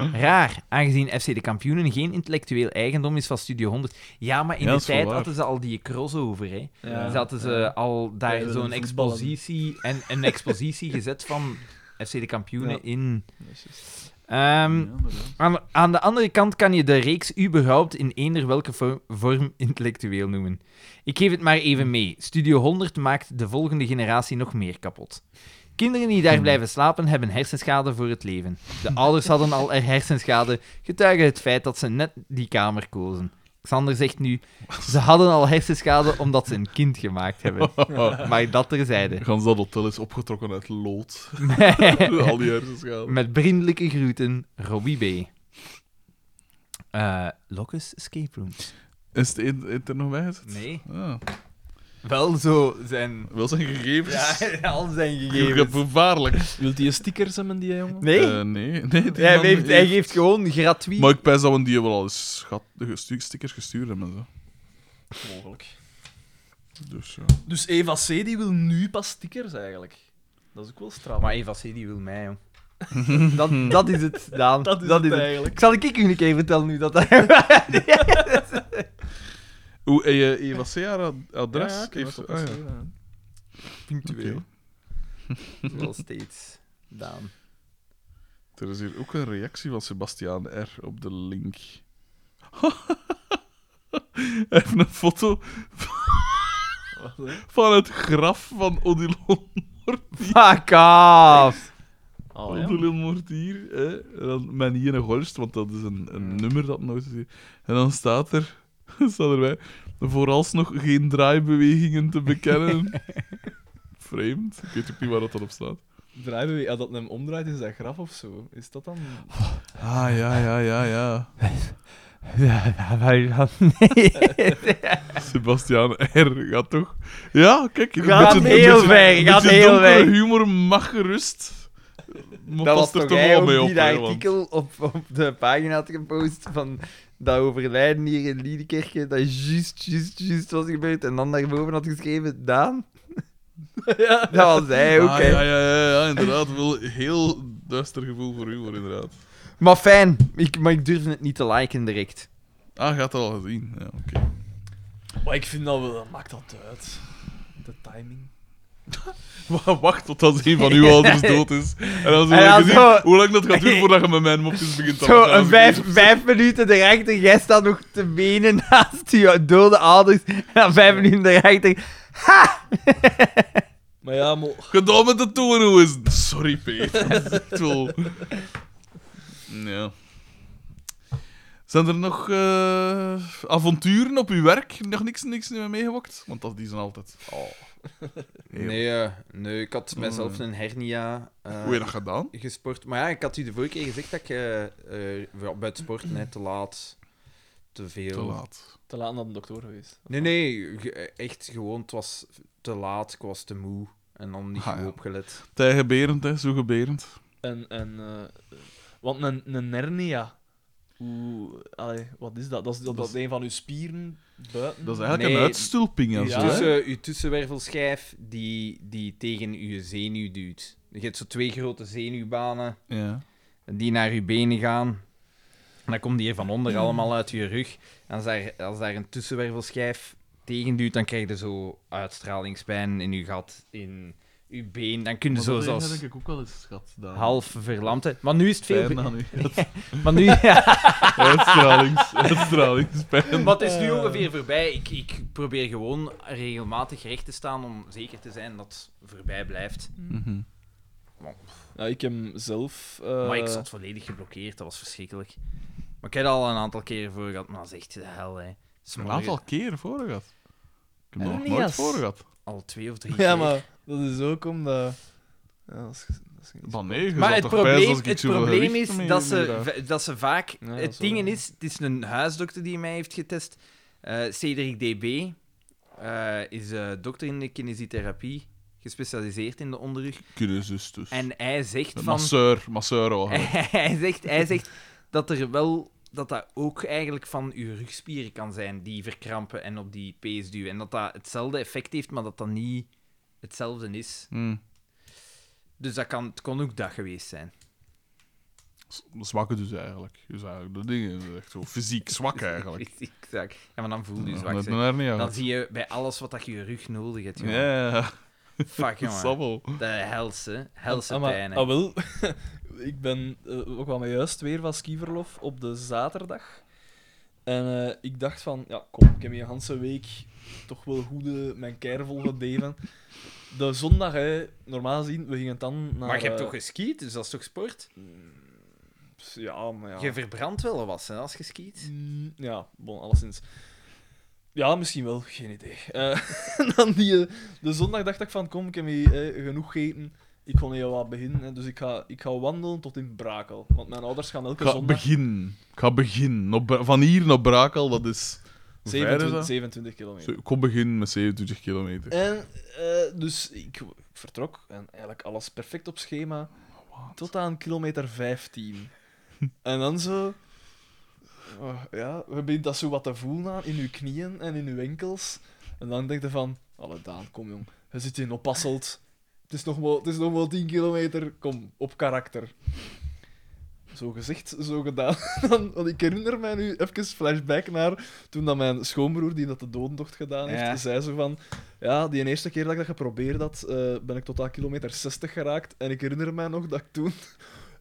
Raar, aangezien FC de Kampioenen geen intellectueel eigendom is van Studio 100. Ja, maar in Ja, dat de is wel tijd waar. hadden ze al die crossover, hè. Ja. Zaten ze al daar Ja, zo'n voetballen. expositie en een expositie [LAUGHS] gezet van FC de Kampioenen Ja. in. Dat is juist. Ehm, Ja, inderdaad. aan, aan de andere kant kan je de reeks überhaupt in eender welke vorm, vorm intellectueel noemen. Ik geef het maar even mee. Studio 100 maakt de volgende generatie nog meer kapot. Kinderen die daar blijven slapen hebben hersenschade voor het leven. De ouders hadden al er hersenschade, getuige het feit dat ze net die kamer kozen. Xander zegt nu, ze hadden al hersenschade omdat ze een kind gemaakt hebben. Maar dat terzijde. [LAUGHS] [LAUGHS] Gans dat hotel is opgetrokken uit lood. Al die hersenschade. Met vriendelijke groeten, Robbie B. Eh Locus Escape Room. Is het, het, het er nog bij gezet? Nee. Ah, Wel zo zijn. wel zijn gegevens. [LAUGHS] al zijn Gevaarlijk. Wilt hij een stickers hebben, die jongen? Nee? Eh, nee, nee. die hij, man geeft, hij geeft gewoon gratuit. Maar ik pijs dat we die wel al eens schat, gestu- stickers gestuurd hebben. en Zo. Mogelijk. Dus ja. Dus Eva C. die wil nu pas stickers, eigenlijk. Dat is ook wel straf. Maar Eva C. die wil mij, jong. [LAUGHS] dat, dat is het, Daan. [LAUGHS] dat is het eigenlijk. Ik zal ik u een keer vertellen nu dat... [LAUGHS] Hoe eh, en je Eva C. haar ad- adres Ja, ja, ik heb heeft... het ah, ja. opgeschreven, ja. Punctueel. Oké. [LAUGHS] Wel steeds, [LAUGHS] Daan. Er is hier ook een reactie van Sebastiaan R. op de link. [LAUGHS] Hij heeft een foto van het graf van Odilon, Ah, Fuck off! Oh, ja. Odilon Mortier. Hè? En dan mijn hier een Horst, want dat is een, een nummer dat nooit is. En dan staat er, [LAUGHS] staat erbij, vooralsnog geen draaibewegingen te bekennen. [LAUGHS] Vreemd. Ik weet ook niet waar dat dan op staat. Draaien we, als dat hem omdraait, is dat graf of zo? Is dat dan... Ah, ja, ja, ja, ja. [LAUGHS] Sebastiaan R. gaat toch? Ja, kijk. een Gaat beetje- heel een beetje- ver, een gaat beetje heel donkere ver. humor mag gerust. Maar Dat was past toch wel hij ook mee op, die hè, dat want- artikel op, op de pagina had gepost van dat overlijden hier in Liedekerke, dat juist, juist, juist was gebeurd. En dan daarboven had geschreven, [LAUGHS] Daan. ja. Dat was hij ook, Ah, hè. ja, ja, ja, ja, inderdaad. Wel een heel duister gevoel voor humor, inderdaad. Maar fijn, ik, maar ik durfde het niet te liken direct. Ah, gaat dat al gezien. Ja, oké. Maar ik vind dat wel... Dat maakt dat uit. De timing. Maar Wacht totdat een van uw [LAUGHS] ouders dood is. En dan En zullen dan we zien zo- hoe lang dat gaat duren voordat je met mijn mopjes begint te Zo lachen. een vijf, vijf minuten erachter, jij staat nog te wenen [LAUGHS] naast je dode ouders. En dan vijf minuten erachter, Maar ja, maar... Gedaan met de toon, hoe is het? Sorry, Peter. Dat is echt wel... Ja. Zijn er nog eh, avonturen op uw werk? Nog niks, niks meer meegewokt? Want dat, die zijn altijd... Oh. Heel. Nee, eh, nee, ik had mezelf Mm. een hernia eh, Hoe heb je dat gedaan? gesport. Maar ja, ik had u de vorige keer gezegd dat ik eh, eh, ja, bij het sporten hè, te laat, te veel. Te laat. Te laat naar de dokter geweest. Nee, nee, ge- echt gewoon, het was te laat, ik was te moe. En dan niet Ah, goed ja. opgelet. Tijgeberend, hè. Zo geberend. En, en, eh, want een, een hernia, hoe, allee, wat is dat? Dat is, dat, dat een van uw spieren buiten. Dat is eigenlijk een Nee. uitstulping en Ja. zo. Hè? Dus Tussen, uw tussenwervelschijf die, die tegen uw zenuw duwt. Je hebt zo twee grote zenuwbanen Ja. die naar uw benen gaan. En dan komt die hier van onder allemaal uit je rug. En als daar, als daar een tussenwervelschijf tegen duwt, dan krijg je zo uitstralingspijn in je gat, in je been. Dan kun je zo zelfs ik ook wel eens schat. half verlamd. zijn. Maar nu is het veel... be- nu. Maar [LAUGHS] nu... Uitstralings, uitstralingspijn. [LAUGHS] Maar het is nu Eh. ongeveer voorbij. Ik, ik probeer gewoon regelmatig recht te staan om zeker te zijn dat het voorbij blijft. Mhm. Ja, ik heb zelf... eh, Maar ik zat volledig geblokkeerd, dat was verschrikkelijk. Maar ik heb er al een aantal keren voor gehad, maar dat is echt de hel, hè. Een Smorgen- aantal keer voor gehad. Ik heb dat nog Elias. nooit voor gehad. Al twee of drie Ja, keer. maar dat is ook omdat... Ja, dat is, dat is niet- Maar nee, je Maar zat het toch pijs probleem, als ik het zoveel probleem gewicht is mee- dat mee ze, draag. va- dat ze vaak... Ja, dat het is ding wel- is, het is een huisdokter die mij heeft getest. Eh, Cedric DB eh, is eh, dokter in de kinesietherapie, gespecialiseerd in de onderrug. Crisis dus. En hij zegt Een van... [LAUGHS] Masseur, masseur. al. hij, zegt, hij zegt dat er wel dat dat ook eigenlijk van uw rugspieren kan zijn die verkrampen en op die pees duwen. En dat dat hetzelfde effect heeft, maar dat dat niet hetzelfde is. Hm. Dus dat kan, het kon ook dat geweest zijn. Z- Zwakke dus eigenlijk. Dus eigenlijk de dingen. dat is Echt zo fysiek [LAUGHS] zwak eigenlijk. Fysiek zwak. Ja, maar dan voel je je Ja, zwak. met hè. mijn hernia. Dan zie je bij alles wat dat je je rug nodig hebt. jongen. Ja, [LAUGHS] Fuck, jongen. sabbel. De helse, helse Ah, maar- pijn. hè. ah, wel. [LAUGHS] ik ben eh, ook wel maar juist weer van skiverlof op de zaterdag. En eh, ik dacht van, ja, kom, ik heb hier een hele week toch wel goed eh, mijn keer volgedeven. De zondag, hè, normaal gezien, we gingen dan naar... maar je hebt eh, toch geskiet, dus dat is toch sport? Ja, maar ja. Je verbrandt wel wat hè, als je skiet. Mm, ja, bon, alleszins. Ja, misschien wel, geen idee. Eh, [LAUGHS] dan die, eh, de zondag dacht ik van, kom, ik heb hier eh, genoeg gegeten. Ik kon heel wat beginnen, hè, dus ik ga, ik ga wandelen tot in Brakel. Want mijn ouders gaan Ik elke ga zondag... beginnen. Ik ga beginnen. Op Bra- van hier naar Brakel, dat is... Hoe ver is 27, dat? 27 kilometer. Zo, Ik kom beginnen met 27 kilometer. En eh, dus ik vertrok en eigenlijk alles perfect op schema. Tot aan kilometer 15. en dan zo. oh, ja, je begint dat zo wat te voelen aan in je knieën en in je enkels. En dan denk je van: Alle Daan, kom jong, je zit in oppasselt. Het is nog wel, het is nog wel 10 kilometer. Kom, op karakter. Zo gezegd, zo gedaan. [LAUGHS] Dan, want ik herinner mij nu even flashback naar toen dat mijn schoonbroer, die dat de dodentocht gedaan heeft, Ja. zei zo van... Ja, die eerste keer dat ik dat geprobeerd had, eh, ben ik tot aan kilometer 60 geraakt. En ik herinner mij nog dat ik toen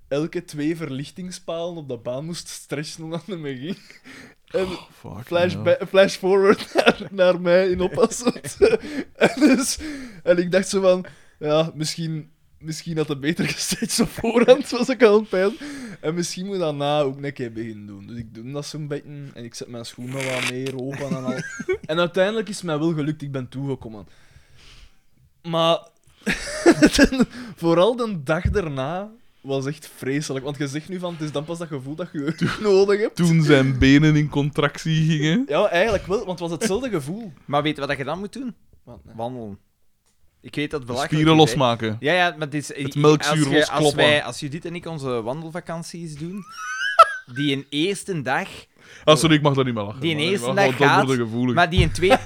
elke twee verlichtingspalen op de baan moest stretchen omdat het me ging. En Oh, Fuck, Flash, ja. ba- flash forward [LAUGHS] naar, naar mij in Oppassend. en, dus, en ik dacht zo van, ja, misschien, misschien had het beter [LAUGHS] gestaged op voorhand, was ik al pijn. En misschien moet ik dat na ook een keer beginnen doen. Dus ik doe dat zo'n beetje en ik zet mijn schoenen wat meer open en al. En uiteindelijk is het mij wel gelukt, ik ben toegekomen. Maar [LAUGHS] ten- vooral de dag daarna was echt vreselijk. Want je zegt nu van, het is dan pas dat gevoel dat je je rug nodig hebt. Toen zijn benen in contractie gingen. Ja, eigenlijk wel, want het was hetzelfde gevoel. Maar weet je wat je dan moet doen? Want, eh, Wandelen. Ik weet dat het belachelijk Spieren is, hè. losmaken. Ja, ja, maar het is... Het melkzuur als, je- als, loskloppen. wij, als Judith en ik onze wandelvakanties [LAUGHS] doen, die een eerste dag... Ah, sorry, ik mag daar niet meer lachen. Die Maar eerste ik mag dag wel- dat gaat, worden gevoelig. Maar die een [LAUGHS] tweede...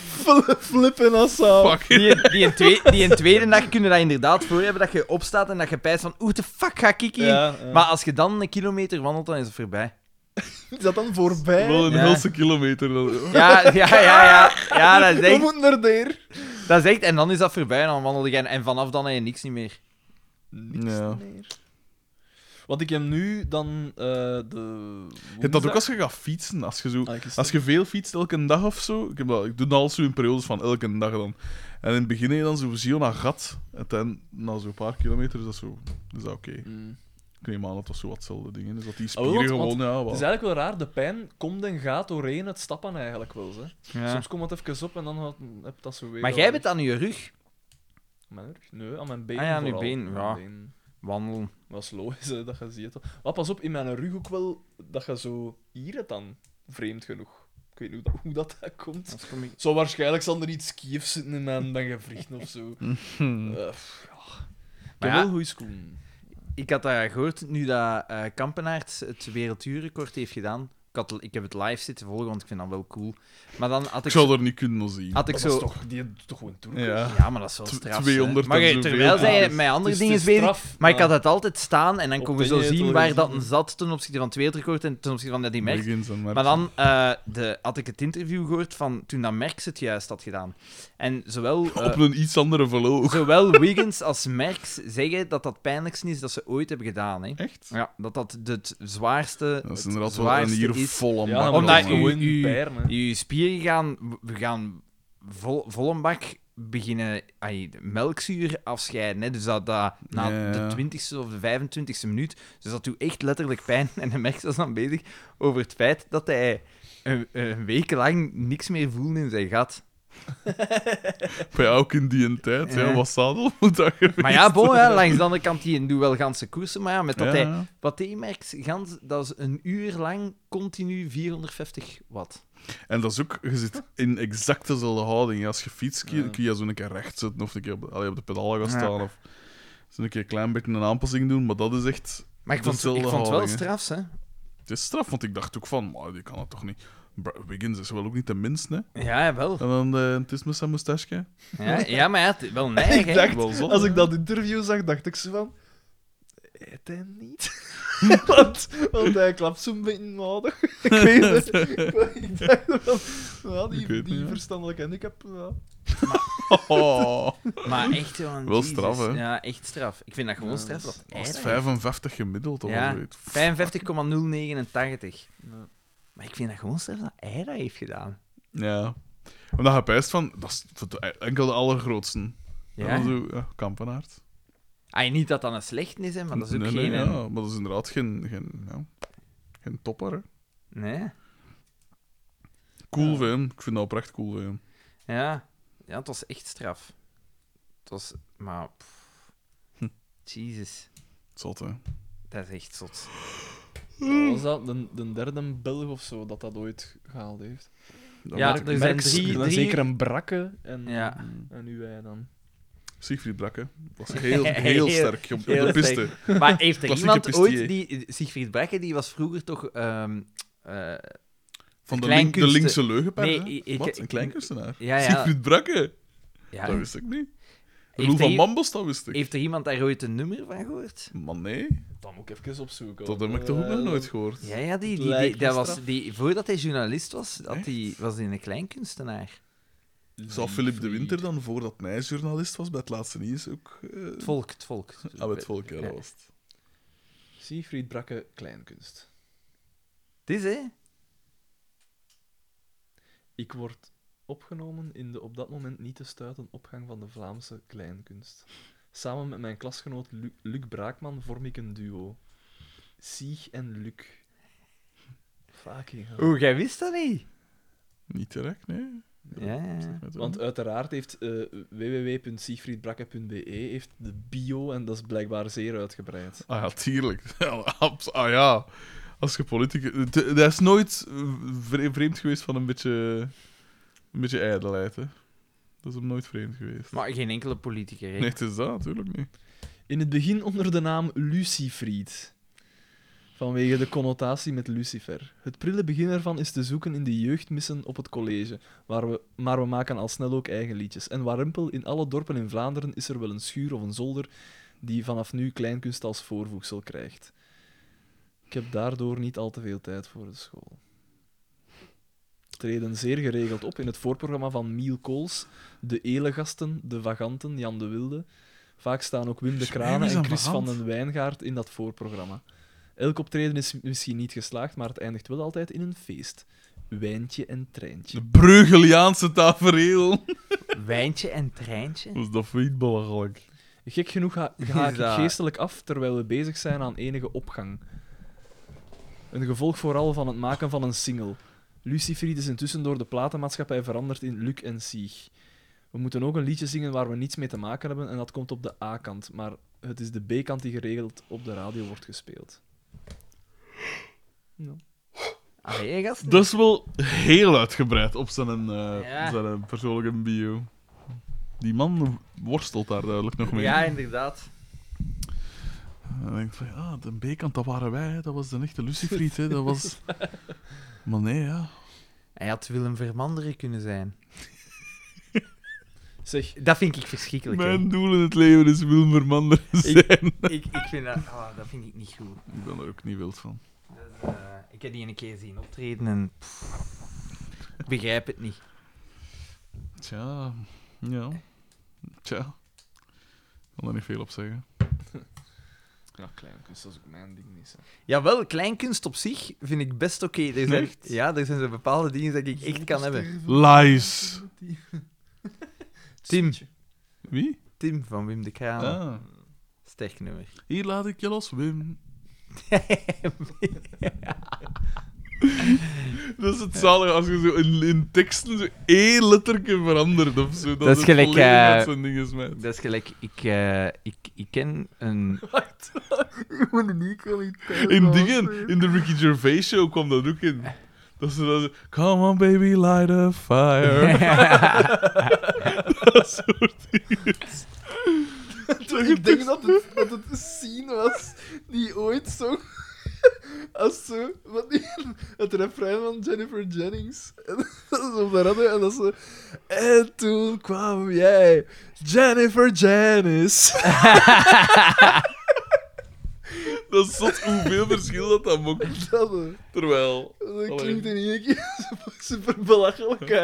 fl- Flippen als aan. Fuck. Die een, die een twee- die een tweede dag kunnen dat inderdaad voor hebben, dat je opstaat en dat je pijst van oeh, de fuck ga ik hier? Ja, ja. Maar als je dan een kilometer wandelt, dan is het voorbij. Is dat dan voorbij? Wel een Ja. helse kilometer. dat- [LAUGHS] Ja, ja, ja, ja. Ja, dat is We echt... moeten naar daar. Dat is echt en dan is dat voorbij en dan wandel je en, en vanaf dan heb je niks niet meer. Ja. meer. Want ik heb nu dan eh de... Je hebt dat ook als je gaat fietsen. Als je, zo, Ah, ik is- als je veel fietst, elke dag of zo. Ik, heb dat, ik doe dat al zo in periodes van elke dag dan. En in het begin heb je dan zo zie je een gat. En dan, na zo'n paar kilometer is dat zo. Is dat oké? Mm. Ik neem aan dat dat zo wat hetzelfde ding is. Dat die Ah, wel, spieren want- gewoon, ja, Het wat. is eigenlijk wel raar, de pijn komt en gaat doorheen het stappen eigenlijk wel. Hè. Ja. Soms komt het even op en dan gaat, heb dat zo weer... Maar jij bent aan je rug. Mijn rug? Nee, aan mijn been Ah ja, aan je vooral. been, Mijn ja. been. Wandelen. Dat is logisch, hè, dat je ziet. dat. Maar pas op, in mijn rug ook wel, dat je zo hier het dan, vreemd genoeg. Ik weet niet hoe dat, hoe dat, dat komt. Dat kom ik... Zo waarschijnlijk zal er iets kiefs zitten in mijn, mijn gewrichten of zo. Eh, pff, ja. Maar heb ja, wel goede schoenen. Ik had daar gehoord, nu dat eh Kampenaerts het werelduurrecord heeft gedaan. Ik, had, ik heb het live zitten volgen, want ik vind dat wel cool. Maar dan had Ik ik, zou er niet kunnen nog zien. had ik Dat is zo... toch, die doet toch gewoon toe. Ja. Ah, Ja, maar dat is wel Tw- straf. 200 hè. maar en je- zoveel. terwijl zij Ja. met andere Het is dingen te bezig... straf, Maar ik had maar- het altijd staan en dan Op kon je zo dingen het zien horen waar zien. dat een zat ten opzichte van het wereldrecord en ten opzichte van dat die Merckx. Begins en Maar Merckx. dan eh, de, had ik het interview gehoord van toen dat Merckx het juist had gedaan. En zowel... eh, Op een iets andere verloop. Zowel Wiggins als Merckx zeggen dat dat het pijnlijkste is dat ze ooit hebben gedaan. Hè. Echt? Ja, dat dat het zwaarste, Dat is het inderdaad wel een zwaarste hier is. vol aan Ja, bakken. maar Omdat dat is u- gewoon u- pijren, hè. Je spieren gaan, we gaan vol, vol een bak beginnen ai, de melkzuur afscheiden. Hè. Dus dat, dat na Ja, ja. de 20ste of de 25ste minuut. Dus dat doet echt letterlijk pijn. [LAUGHS] En de Merckx was dan bezig over het feit dat hij een, een week lang niks meer voelde in zijn gat. Maar ja, ook in die een tijd. Ja. Ja. wat zadel [LAUGHS] moet dat geweest Maar ja, bon, zijn? ja, langs de andere kant, die doet wel ganse koersen. Maar ja, met dat Ja, hij ja. Wat die merkt, gans, dat is een uur lang continu 450 watt. En dat is ook, je zit in exact dezelfde houding. Ja, Als je fietst, kun je, kun je zo een keer recht zitten of een keer op, de- allee, op de pedalen gaan Ja. staan. Of zo een keer een klein beetje een aanpassing doen. Maar dat is echt, Maar ik vond, Dat is wel ik de vond het wel houding, hè. strafs, hè? het is straf. Want ik dacht ook van, maar die kan dat toch niet. Bra- Wiggins is wel ook niet de minste. Hè? Ja, wel. En dan eh, het is met zijn [LAUGHS] moustache. Ja, ja maar hij had wel neig, hè? Ik dacht, Wel zot, als hè? ik dat interview zag, dacht ik zo van... Het hem niet. [LAUGHS] want, want hij klapt zo'n beetje nodig. [LAUGHS] ik weet het. ik dacht van... Ja, die, Ik weet het die niet, ja. verstandelijke handicap... Ja. Oh, Maar echt, joh. Wel Jezus. straf, hè? Ja, echt straf. Ik vind dat gewoon straf. Dat was het hij 55 gemiddeld of Ja. zo. weet. dat- 55,089. Ja. Maar ik vind dat gewoon straf dat hij dat heeft gedaan. Ja. Omdat je pijst van, dat is voor de- enkel de allergrootste. Ja. Ja. zo, ja, kampenaard. Ah, niet dat dat een slecht is, hè, maar dat is ook Nee, geen... nee, Nee, ja, maar dat is inderdaad geen, geen, ja, geen topper. Hè. nee? Cool van hem. Ik vind dat oprecht cool van hem. Ja. ja, het was echt straf. Het was... Maar... pff. Hm. Jezus. Zot, hè. Dat is echt zot. Wat Was dat de, de derde Belg of zo dat dat ooit gehaald heeft? Dat Ja, weet ik er niet. zijn Merckx, drie- en drie- Zeker een brakke en, Ja. en nu wij dan. Siegfried Brakke [LAUGHS] was heel, heel sterk op, op de heel piste. [LAUGHS] Maar heeft er Klassieke iemand ooit pistier. die... Siegfried Brekke, die was vroeger toch... ehm, eh, Van de, Klein link- de kunsten- linkse leugenpaar. Nee, hè? ik- ik- Wat? Een ik- kleinkunstenaar? ja, ja. Siegfried Brakke? ja. Dat wist ik niet. Heeft Roel er van i- Mambos, dat wist ik. Heeft er iemand daar ooit een nummer van gehoord? Maar nee, Dat moet ik even opzoeken. dat heb ik toch Eh, ook nog nooit gehoord. Ja, ja, die, die, die, Lijkt me dat was, straf. die, voordat hij journalist was, had Echt? die, was hij een kleinkunstenaar. Zou Philip de Winter dan, voordat hij journalist was, bij het laatste nieuws ook... eh, Het volk, het volk. Ah, bij het volk, ja, dat was het. Siegfried Brakke, kleinkunst. Het is, hè? Ik word opgenomen in de op dat moment niet te stuiten opgang van de Vlaamse kleinkunst. Samen met mijn klasgenoot Lu- Luc Braakman vorm ik een duo. Sieg en Luc. Fucking hell. Oeh, jij wist dat niet? Niet direct, nee. Ja, ja, ja. Want uiteraard heeft eh www.siegfriedbrakke.be e heeft de bio en dat is blijkbaar zeer uitgebreid. Ah ja, tuurlijk. [LAUGHS] Abs- ah ja, als je politicus... d- Dat is nooit vre- vreemd geweest van een beetje... Een beetje ijdelheid, hè. Dat is hem nooit vreemd geweest. Maar geen enkele politicus. hè? Nee, het is dat, natuurlijk niet. In het begin onder de naam Lucifried. Vanwege de connotatie met Lucifer. Het prille begin ervan is te zoeken in de jeugdmissen op het college. Waar we, maar we maken al snel ook eigen liedjes. En warempel, in alle dorpen in Vlaanderen is er wel een schuur of een zolder die vanaf nu kleinkunst als voorvoegsel krijgt. Ik heb daardoor niet al te veel tijd voor de school. Treden zeer geregeld op in het voorprogramma van Miel Kools, De Elegasten, De Vaganten, Jan de Wilde. Vaak staan ook Wim de Is er Kranen ergens en aan Chris van verhand? den Wijngaard in dat voorprogramma. Elk optreden is misschien niet geslaagd, maar het eindigt wel altijd in een feest. Wijntje en treintje. De Breugeliaanse tafereel. [LAUGHS] Wijntje en treintje? Was dat voor iets belachelijk? Gek genoeg [LAUGHS] ha- haak ik dat- geestelijk af terwijl we bezig zijn aan enige opgang. Een gevolg vooral van het maken van een single. Lucifried is intussen door de platenmaatschappij veranderd in Luc en Sieg. We moeten ook een liedje zingen waar we niets mee te maken hebben en dat komt op de A-kant, maar het is de B-kant die geregeld op de radio wordt gespeeld. Allee, gasten. Dat is wel heel uitgebreid op zijn, eh, Ja. zijn eh, persoonlijke bio. Die man worstelt daar duidelijk nog mee. Ja, inderdaad. En dan denk ik van, ja, de B-kant, dat waren wij, hè. dat was de [LAUGHS] echte Lucifried, hè. dat was... Maar nee, ja. Hij had Willem Vermanderen kunnen zijn. Zeg, Dat vind ik verschrikkelijk. hè. Mijn doel in het leven is Wilmer Mander zijn. Ik... Ik, ik vind dat, ah, dat vind ik niet goed. [LAUGHS] ben er ook niet wild van. Dat is, eh, ik heb die een keer zien optreden en pff, ik begrijp het niet. Tja, ja. Tja. Ik kan er niet veel op zeggen. ja, kleine kunst, dat is ook mijn ding niet. Jawel, kleinkunst op zich vind ik best oké. Er zijn- Echt? Ja, er zijn zo bepaalde dingen dat ik echt kan hebben. Lies! Tim. Wie? Tim van Wim de Kraan. Ah. Sterk nummer. Hier laat ik je los, Wim. Dat is het zalige als je zo in, in teksten zo één letterke verandert of zo. Dat, is het gelijk, volledig eh, uit zijn ding is, [LAUGHS] meid. Dat is gelijk, ik, eh, ik, ik ken een... In dingen, in de Ricky Gervais show kwam dat ook in. Dat ze dan zo, come on baby, light a [LAUGHS] fire. dat soort dingen. Ik denk dat het, dat het een scene was die ooit zong. [LAUGHS] Als ze, wat die, het refrein van Jennifer Jennings. [LAUGHS] En dat is op de radio en dat ze. En toen kwam jij, Jennifer [LAUGHS] Janice. Dat is zot hoeveel verschil dat dan maakt. Dat, eh, Terwijl... dat klinkt in één keer [LAUGHS] super belachelijk. [LAUGHS]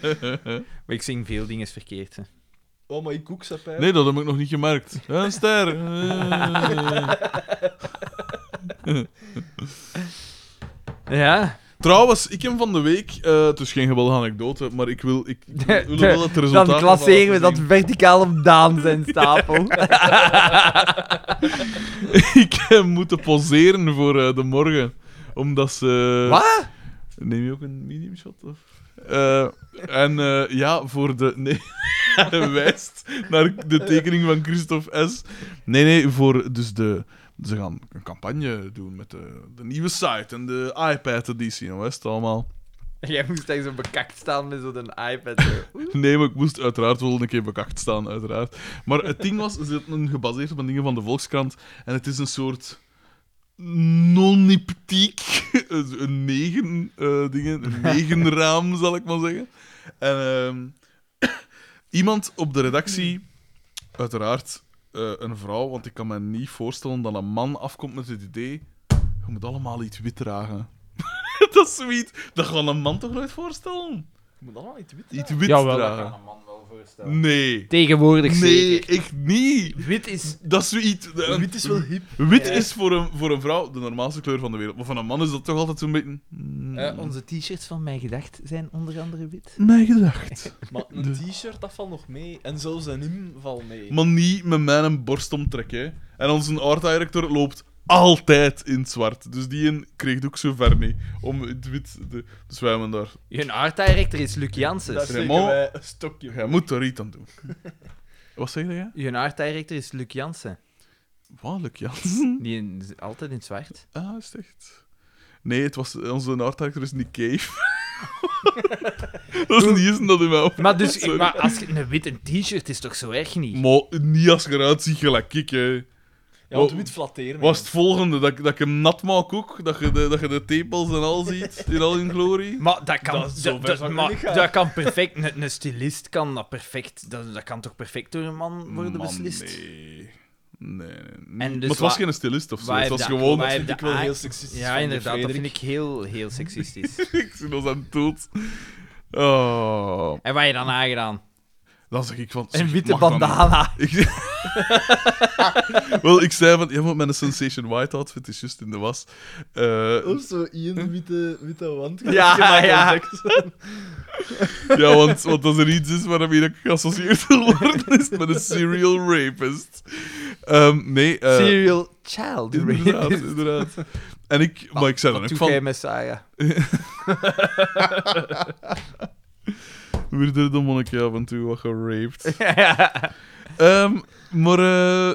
hè. Maar ik zing veel dingen verkeerd. hè. Oh, maar ik koek ze [LAUGHS] pijn. Nee, dat heb ik nog niet gemerkt. Ja, Een ster. Eh. Ja, Trouwens, ik heb van de week... eh, het is geen geweldige anekdote, maar ik wil, ik, ik wil de- wel het [LAUGHS] dan resultaat... van klasseren we laten dat zien. verticaal op Daan zijn stapel. [LAUGHS] ik heb moeten poseren voor eh, de morgen. Omdat ze... Wat? Neem je ook een medium shot? Of? Eh, en eh, ja, voor de. [LAUGHS] Nee. Hij wijst naar de tekening van Christophe S. Nee, nee, voor dus de. Ze gaan een campagne doen met de, de nieuwe site en de iPad-editie en wat is het allemaal. [LAUGHS] Jij moest daar zo bekakt staan met zo'n [LAUGHS] iPad. zo. Nee, maar ik moest uiteraard wel een keer bekakt staan, uiteraard. Maar het ding was, ze hadden gebaseerd op een dingen van de Volkskrant. En het is een soort noniptiek, een negen eh, dingen, een negenraam, zal ik maar zeggen. En ehm, iemand op de redactie, uiteraard eh, een vrouw, want ik kan me niet voorstellen dat een man afkomt met het idee, je moet allemaal iets wit dragen. [LAUGHS] dat is zoiets, dat gaat een man toch nooit voorstellen? Ik moet allemaal iets wit. Iets wit Jawel, dat dragen. Nee. Tegenwoordig Nee, zeker. echt niet. Wit is... Dat is zoiets. de- Wit is wel hip. wit Ja. is voor een, voor een vrouw de normaalste kleur van de wereld. Maar van een man is dat toch altijd zo'n beetje. hmm, Eh, onze t-shirts van Mijn Gedacht zijn onder andere wit. Mijn gedacht. Maar een t-shirt, dat valt nog mee. En zelfs een hymn valt mee. Maar niet met mijn borst omtrekken. hè. En onze art director loopt altijd in het zwart. Dus die een kreeg het ook zo ver niet. Om het wit. te- Dus wij hebben daar. Je art director is Luc Daar Janssens. is- steken Raymond. wij een stokje Jij moet er iets aan [LAUGHS] doen. Wat zeg jij? Je art director is Luc Janssen. Waarlijk, Jansen. Die in- is altijd in het zwart. Ah, is het echt? Nee, het was, onze art director is Nick [LAUGHS] Cave. dat is niet eens dat in mij op. Maar, dus, Sorry. maar als je een witte t-shirt is toch zo erg niet? Maar niet als je eruit ziet gelijk ik, hè. Ja, want wit flatteert. Was het volgende, dat, ik- dat ik hem nat maak ook? Dat je de, dat je de tepels en al ziet, in al hun glorie? Maar dat kan, Dat- dat, zover dat- zou ik maar niet gaan. dat kan perfect. Een, een stylist kan dat perfect. Dat, dat kan toch perfect door een man [LAUGHS] worden Man, beslist? nee. Nee, dus nee, nee. maar het wa- was geen stylist of zo. waar Het was dat- gewoon... waar- vind ik de wel a- heel seksistisch. Ja, van inderdaad. de Dat vind Frederik. ik heel, heel [LAUGHS] seksistisch. Ik zie ons aan het dood. Oh. en wat je dan aangedaan? Dan zeg ik van... zeg, Een witte mag dat bandana. niet? Ik... [LAUGHS] Wel, ik zei van... Ja, maar mijn Sensation White outfit is juist in de was. Eh, Of zo één witte, witte [LAUGHS] wand. Ja, ja. Ja, want, want als er iets is waarmee ik geassocieerd wil worden, is het met een serial rapist. Ehm, nee, eh, Serial child. inderdaad, inderdaad. En ik, maar ik zei dan ook Toen jij van, met Sarah. [LAUGHS] weer door de monnik af en toe wat geraped. Ehm, maar eh,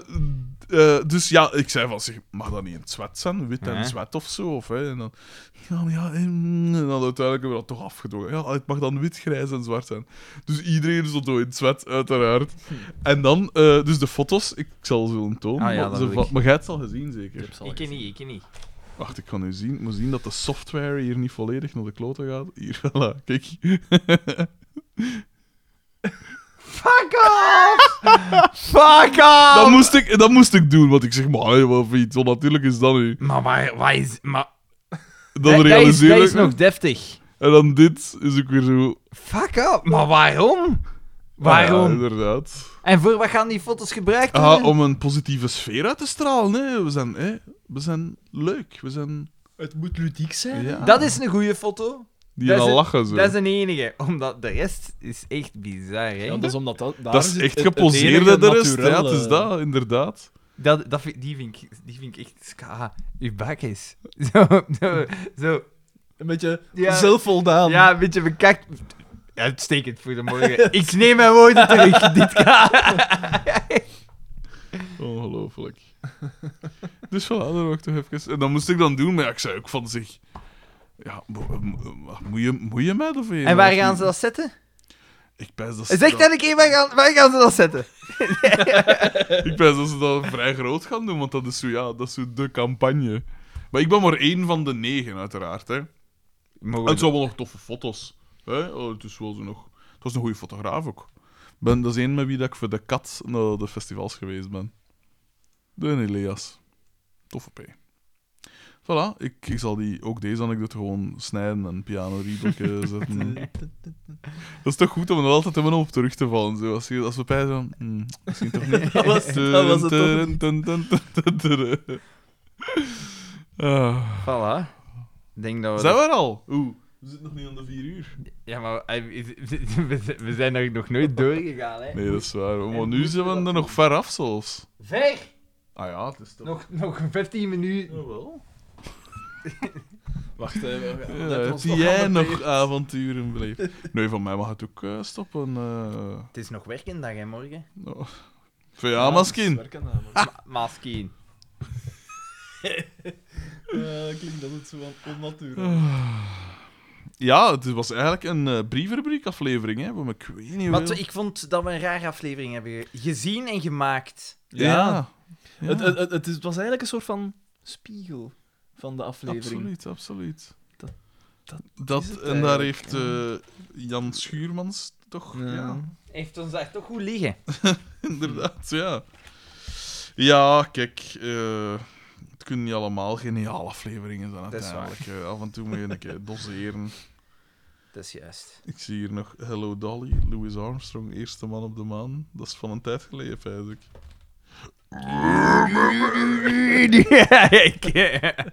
Eh, dus ja, ik zei van, zeg, mag dat niet in het zwet zijn? Wit en Ja. zwet of zo? Of, hè? En dan, ja, maar ja, en, en dan uiteindelijk hebben we dat toch afgedwongen. Ja, het mag dan wit, grijs en zwart zijn. Dus iedereen stond zo in het zwet, uiteraard. En dan, eh, dus de foto's, ik zal ze willen tonen. Ah ja, maar, dat ze wil va- ik. maar jij hebt ze al gezien, zeker? Ik ken niet, ik ken niet. Wacht, ik kan nu zien, ik moet zien dat de software hier niet volledig naar de kloten gaat. Hier, [LAUGHS] voilà, kijk. Fuck off! Fuck off! Dat moest, ik, dat moest ik doen, want ik zeg, maar hey, wat voor iets onnatuurlijk is dat nu? Maar waar, waar is... Maar... Dan dat, is, realiseer dat ik is me- nog deftig. En dan dit is ook weer zo... Ah Fuck off! Maar waarom? Ja, Waarom? inderdaad. En voor wat gaan die foto's gebruikt worden? Ah, om een positieve sfeer uit te stralen. Hè. We, zijn, hè. we zijn leuk. We zijn... Het moet ludiek zijn. Ja. Dat is een goede foto. Die dat gaan is een- lachen zo. Dat is een enige. Omdat de rest is echt bizar, hè? Ja, dat is omdat dat, daar Dat is is Ah, het- echt het- het geposeerd, hè, enige de rest. naturel, Ja, het is eh, dat, inderdaad. Dat, dat vind, die, vind ik, die vind ik echt ska. Uw bak is. [LAUGHS] Zo, zo, zo. Een beetje Ja. zelfvoldaan. Ja, een beetje bekakt. Uitstekend voor de [LAUGHS] morgen. Ik neem mijn woorden terug. Dit kan. Ongelooflijk. [LAUGHS] dus voilà, dat wou ik toch even... En dat moest ik dan doen, maar ja, ik zei ook van zich... Ja, mo- mo- mo- moet je, moet je met of je- En waar gaan ze dat zetten? Ik pijs dat ze Zeg dat ik even, waar gaan, waar gaan ze dat zetten? [LAUGHS] Ik pijs dat ze dat vrij groot gaan doen, want dat is zo, ja, dat is zo de campagne. Maar ik ben maar één van de negen, uiteraard, hè. En het zijn wel nog toffe foto's. Hè? Oh, het is wel zo nog... Het was een goede fotograaf ook. Ben, dat is één met wie dat ik voor de kat naar de festivals geweest ben. De Elias. Toffe P. Voilà, ik, ik zal die, ook deze anekdote gewoon snijden en piano [LAUGHS] riedeltje zetten. dat is toch goed om er altijd hebben om op terug te vallen. Zo. Als, je, als we bij zo... hmm, misschien toch niet. [LAUGHS] Dat was- dat was het toch Ah. Voilà. Ik Denk dat we Oh, dat- Zijn we er al? Oeh, we zitten nog niet aan de vier uur. Ja, maar eh, we- we [LAUGHS] we zijn er nog nooit doorgegaan, hè. Nee, dat is waar. Maar En nu moeten zijn we we dat er nog ver af zelfs. Ver! Ah ja, het is toch... Nog, nog 15 minuten. [LAUGHS] Jawel. Wacht, hè, we- we- we- Ja, dat heb was nog jij allemaal nog avonturen beleefd? Nee, van mij mag het ook eh, stoppen. eh. Het is nog werkendag, hè, morgen. Nou. Van ja, maskin. werken namelijk. Ma Maskeen. Eh, klinkt dat het zo on- onnatuurlijk. Ja, het was eigenlijk een eh brievenrubriekaflevering, hè. Maar ik weet niet Maar hoeveel- ik vond dat we een rare aflevering hebben ge- gezien en gemaakt. Ja. Ja. Ja, Het, het, het, het is- het was eigenlijk een soort van spiegel van de aflevering. absoluut, absoluut. Dat- dat Dat- is het en daar eigenlijk, heeft eh, Jan Schuurmans toch... Ja. ja. Heeft ons daar toch goed liggen? [LAUGHS] Inderdaad, ja. Ja, kijk. eh, het kunnen niet allemaal geniale afleveringen zijn Dat is waar. uiteindelijk. eh. af en toe moet je een [LAUGHS] keer doseren. Dat is [LAUGHS] juist. Ik zie hier nog Hello Dolly, Louis Armstrong, eerste man op de maan. Dat is van een tijd geleden, feitelijk. ja, ik... eh, Zo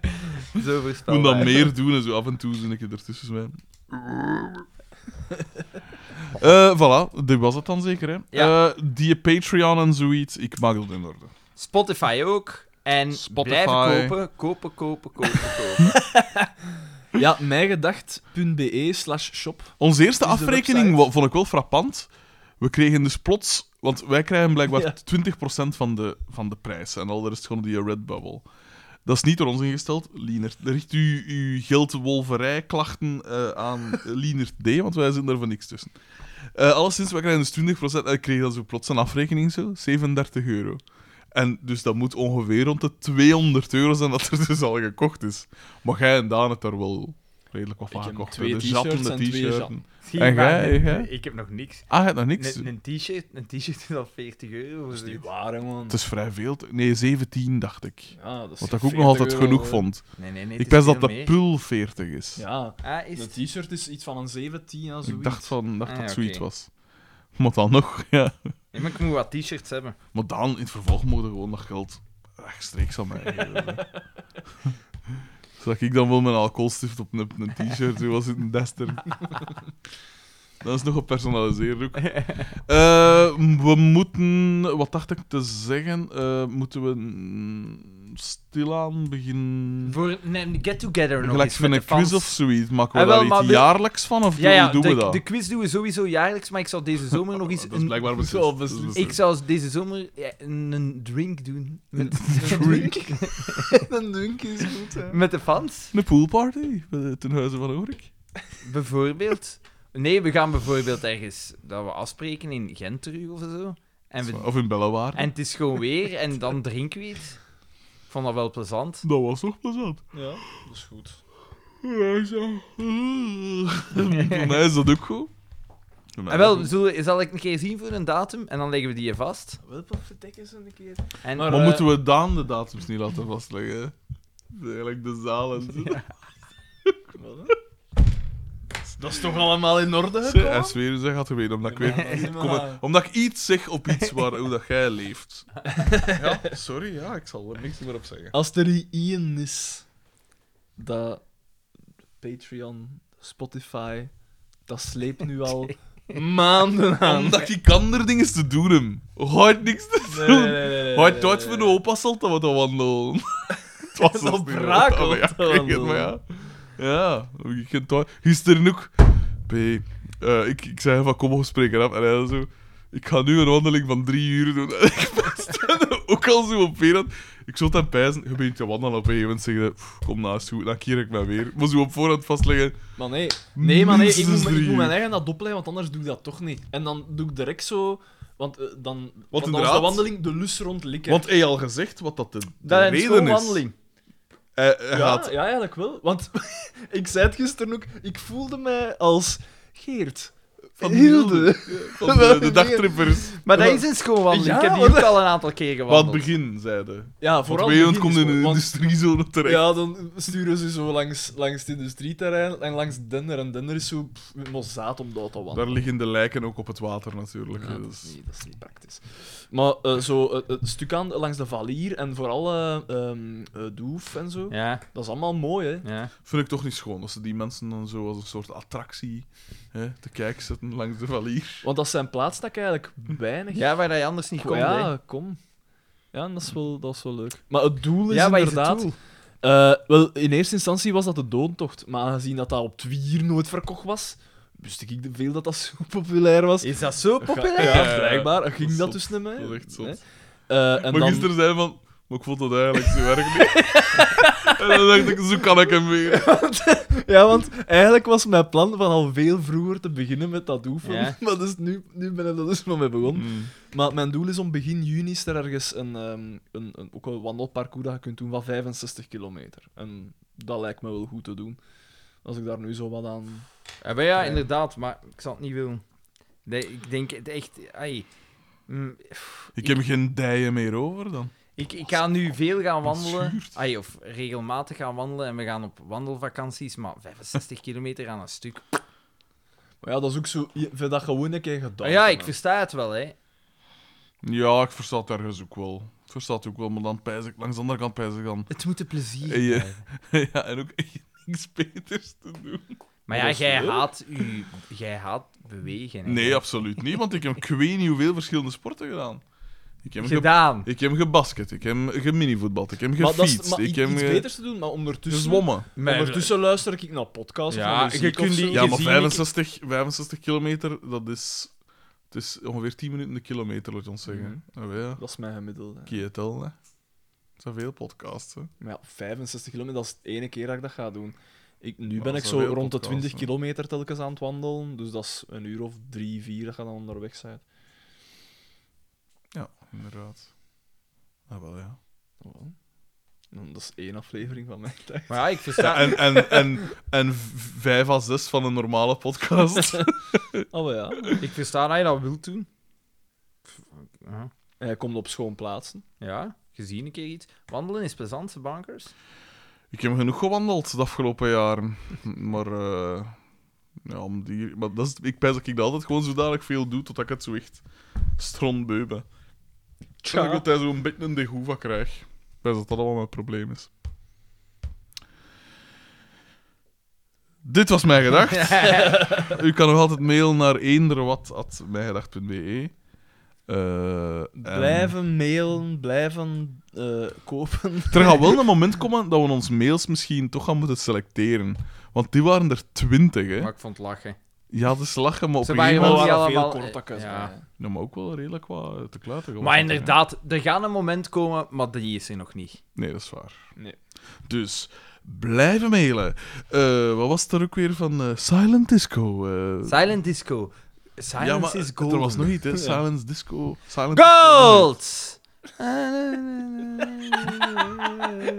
Ik moet voorspelbaar. dat meer doen en zo af en toe zin ik ertussen zijn. Eh voilà, dit was het dan zeker, hè? Ja. Eh, die Patreon en zoiets, ik maak dat in orde. Spotify ook. En Spotify. blijven kopen, kopen, kopen, kopen, [LAUGHS] kopen. Ja, mijgedacht.be slash shop. Onze eerste Is de afrekening website. wa- vond ik wel frappant. We kregen dus plots... Want wij krijgen blijkbaar Ja. 20% van de, van de prijs. En al de rest gewoon die Redbubble. Dat is niet door ons ingesteld, Lienert. Richt u uw geldwolverij-klachten eh, [LAUGHS] aan Lienert D, want wij zitten daar van niks tussen. Eh alleszins, wij krijgen dus 20%. En ik kreeg dan zo plots een afrekening, zo, 37 euro. En dus dat moet ongeveer rond de 200 euro zijn dat er dus al gekocht is. Maar jij en Daan het daar wel redelijk wat van heb gekocht. twee hè. De t-shirts jatten, de en twee t-shirts. jatten. Zie En maar, jij, ik- jij? Ik heb nog niks. Ah, je hebt nog niks? Een een t-shirt een t-shirt is al 40 euro. Dat is of niet zoiets. waar, man. Het is vrij veel. te- Nee, 17 dacht ik. Ja, dat is Wat ik ook nog altijd 40 euro, genoeg hè. vond. Nee, nee, nee. Ik ben wist dat de pul 40 is. Ja, Ah, is een het? t-shirt is iets van een 17 ja, zoiets. ik dacht, van, dacht Ah, dat ja, het zoiets oké. was. Maar dan nog, [LAUGHS] ja. Ja, maar ik moet wat t-shirts hebben. Maar dan, in het vervolg mogen gewoon dat geld rechtstreeks aan mij [LAUGHS] geven. Dus [LAUGHS] Zodat ik dan wel mijn alcoholstift op een, op een t-shirt zo was in een dester. Dat is nog gepersonaliseerd [LAUGHS] ook. Eh, we moeten, wat dacht ik te zeggen, eh, moeten we mm, stilaan beginnen. Voor een get-together nog Gelijk eens voor met een de fans. quiz of zoiets. Maken we Ah, wel, daar maar iets de- jaarlijks van of ja, hoe ja, doen de, we dat? de quiz doen we sowieso jaarlijks, maar ik zal deze zomer nog eens... [LAUGHS] dat is een- blijkbaar beslist. Zo beslist. Dat is Ik zou deze zomer ja, een, een drink doen. Met, [LAUGHS] Een dunk is goed, hè. met de fans, Een poolparty eh, ten huize van Ulrik. bijvoorbeeld. Nee, we gaan bijvoorbeeld ergens dat we afspreken in Gent terug of zo. En, we, Of in Bellewaarde. en het is gewoon weer en dan drinken we iets. Ik vond dat wel plezant. Dat was toch plezant. Ja, dat is goed. Ja, zo. [LAUGHS] Voor mij is dat ook goed. Voor Ah, mij En ook. wel, zullen, we- zal ik een keer zien voor een datum en dan leggen we die hier vast. Wel, wat verdekken ze een keer? En Maar- Maar eh, moeten we Daan de datums niet laten vastleggen? hè? Dat is Eigenlijk de zaal en zo. [LAUGHS] Dat is toch allemaal in orde Zie, Hij gekomen? zweer, zeg had geweten, omdat ik Ja, weet... [LAUGHS] maar- Kom maar, omdat ik iets zeg op iets waar, hoe dat jij [LAUGHS] leeft. Ja, sorry, ja, ik zal er niks meer op zeggen. Als er Ian is, dat Patreon, Spotify, dat sleept nu [LAUGHS] al maanden aan. Omdat ik andere dingen te doen hem. Hoort niks te doen. Nee, Hoort Duits voor de opa zult dat we dat [LAUGHS] wandelen. Het was Dat ons niet braak wat, maar ja, om te kijk het maar ja. Ja, ik ken het wel. Gisteren ook. B, eh, ik, ik zei van kom, we spreken af. En hij zo. Ik ga nu een wandeling van drie uur doen. [LAUGHS] En ik ben ook al zo op weer aan- Ik zat aan pijzen. Je bent te wandelen op een gegeven moment. Zeggen, "Pff, kom naast toe. Dan keer ik mij weer. Moest u op voorhand vastleggen. Maar nee, nee, maar nee ik, Minstens moet, drie ik moet uur. mijn eigen dat opleggen, want anders doe ik dat toch niet. En dan doe ik direct zo, want eh, dan, want dan is de inderdaad. wandeling de lus rond likken. Want hij had al gezegd wat dat de, de dat is reden gewoon is. wandeling. Hij, hij Ja, gaat. ja, eigenlijk wel. Want [LAUGHS] ik zei het gisteren ook, ik voelde mij als Geert. Van Hilde. [LAUGHS] Van de, de dagtrippers. Maar dat is een schoonwandeling. Ja, ik heb die want- ook al een aantal keer Wat gewandeld. begin, zeiden. Ja, Voor vooral. twee begin komt is in de gewoon- want- industriezone terecht. Ja, dan sturen ze zo langs, langs het industrieterrein en langs Denner. En Denner is zo pff, met mozaat om dat te wandelen. Daar liggen de lijken ook op het water natuurlijk. Ja, dat, dus- is niet, dat is niet praktisch. Maar eh, zo eh, het stuk aan langs de Valier en vooral eh, ehm, eh, Doef en zo. Ja, Dat is allemaal mooi, hè? ja. Vind ik toch niet schoon als ze die mensen dan zo als een soort attractie hè, te kijken zetten langs de valier. Want dat zijn plaatsen dat ik eigenlijk weinig. ja, waar je anders niet kon. ja, hè. kom. Ja, en dat is, wel, dat is wel leuk. Maar het doel is Ja, wat is het inderdaad. doel? Eh, wel, in eerste instantie was dat de doontocht. Maar aangezien dat dat op Twier nooit verkocht was, wist ik veel dat dat zo [LAUGHS] populair was. Is dat zo populair? Ja, ja, Ja, ja. blijkbaar. Dat Ging is dat zot. dus niet mee? Dat is echt zot. Nee. Eh, en maar dan... gisteren zei van, maar ik vond dat eigenlijk zo erg niet. [LAUGHS] en dan dacht ik, zo kan ik hem weer. Ja, want eigenlijk was mijn plan van al veel vroeger te beginnen met dat oefenen. Ja. [LAUGHS] Maar dus nu, nu ben ik er dus nog mee Mm. begonnen. Hmm. Maar mijn doel is om begin juni is er ergens een, ehm, een, een, ook een wandelparcours dat je kunt doen van 65 kilometer. En dat lijkt me wel goed te doen. Als ik daar nu zo wat aan... Ja, Eh, maar ja, inderdaad, maar ik zal het niet willen. Nee, ik denk het echt. Ai, Mm, pff, Ik heb geen dijen meer over dan. ik, ik ga nu veel gaan wandelen. schuurt. Ai, of regelmatig gaan wandelen en we gaan op wandelvakanties, maar 65 kilometer aan een stuk. Maar ja, dat is ook zo... Je vindt dat gewoon een keer gedaan. Maar Ah ja, ik hè. versta het wel, hè. Ja, ik versta het ergens ook wel. Ik versta het ook wel, maar dan pijs ik, langs de andere kant pijs ik dan. Het moet een plezier En je- zijn. [LAUGHS] ja, en ook echt niks beters te doen. Maar Maar ja, dat is jij leuk. haat, u, jij haat bewegen. hè. Nee, absoluut niet, want ik heb ik weet niet hoeveel verschillende sporten gedaan. Ik heb ge- Gedaan. Ik heb gebasket, ik heb geminivoetbald, ik heb Maar dat is gefietst, maar ik iets heb iets ge- beters te doen, maar ondertussen... gezwommen. Maar- ondertussen luister ik naar podcasts Ja, of naar muziek je kunt of zo. die- Ja, maar gezien, 65, 65 kilometer, dat is, het is ongeveer 10 minuten een kilometer, laat je ons zeggen. Mhm. Oh ja, Dat is mijn gemiddelde. kun je tellen, hè. Dat zijn veel podcasts, hè. Maar ja, 65 kilometer, dat is de ene keer dat ik dat ga doen. Ik, nu Maar ben dat ik is zo wel heel rond de podcast, 20 hè. kilometer telkens aan het wandelen. Dus dat is een uur of drie, vier dat je dan onderweg zijn. Ja, inderdaad. Ah, wel, ja. Dat is één aflevering van mijn [LAUGHS] tijd. Maar ja, ik versta... En, en, en, en v- vijf à zes van een normale [LAUGHS] podcast. Oh maar ja. Ik versta dat je dat wilt doen. Pff, ja. En je komt op schoon plaatsen. Ja, gezien een keer iets. Wandelen is plezant, bankers. Ik heb genoeg gewandeld de afgelopen jaren. Maar, eh, ja, om die, maar dat is, ik pijs dat ik dat altijd gewoon zodanig veel doe, totdat ik het zo echt strontbeu ben. Dat ik altijd zo'n beetje een degoeva krijg. Ik pijs dat dat allemaal mijn probleem is. Dit was mijn gedacht. U kan nog altijd mailen naar eenderwat.mijgedacht.be. Eh, en- Blijven mailen, blijven eh, [LAUGHS] kopen. Er gaat wel een moment komen dat we ons mails misschien toch gaan moeten selecteren. Want die waren er twintig, hè. Maar ik vond het lachen. Ja, dat is lachen, maar op Ze een waren gegeven wel moment... die waren veel allemaal... kortakken, eh, zo, ja. Ja, maar ook wel redelijk wat eh, te kluiten. gewoon. Maar inderdaad, er gaat een moment komen, maar die is er nog niet. Nee, dat is waar. Nee. Dus, blijven mailen. Eh, wat was het er ook weer van eh, Silent Disco? eh? Silent Disco. Silence ja, maar is er golden. was nog iets, hè. Silent Disco. Silent [LAUGHS] Gold! [LAUGHS]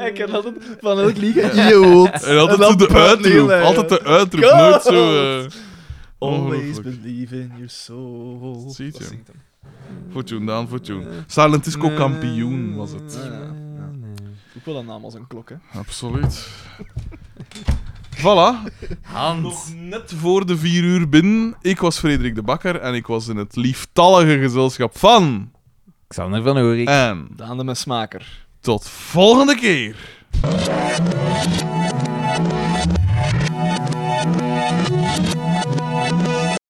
Ik ken altijd van elk liedje. [LAUGHS] [LAUGHS] En altijd zo de uitroep. Altijd de uitroep. Gold! Nooit zo... eh, Always ongelooflijk. believe in your soul. Ziet je. Fortune, Daan, Fortune. Silent Disco kampioen was het. Ook wel een naam als een klok, hè. Absoluut. voilà. Hans. Nog net voor de vier uur binnen. Ik was Frederik de Bakker en ik was in het lieftallige gezelschap van... Xander van Oorik. En Daan de Mesmaker. tot volgende keer.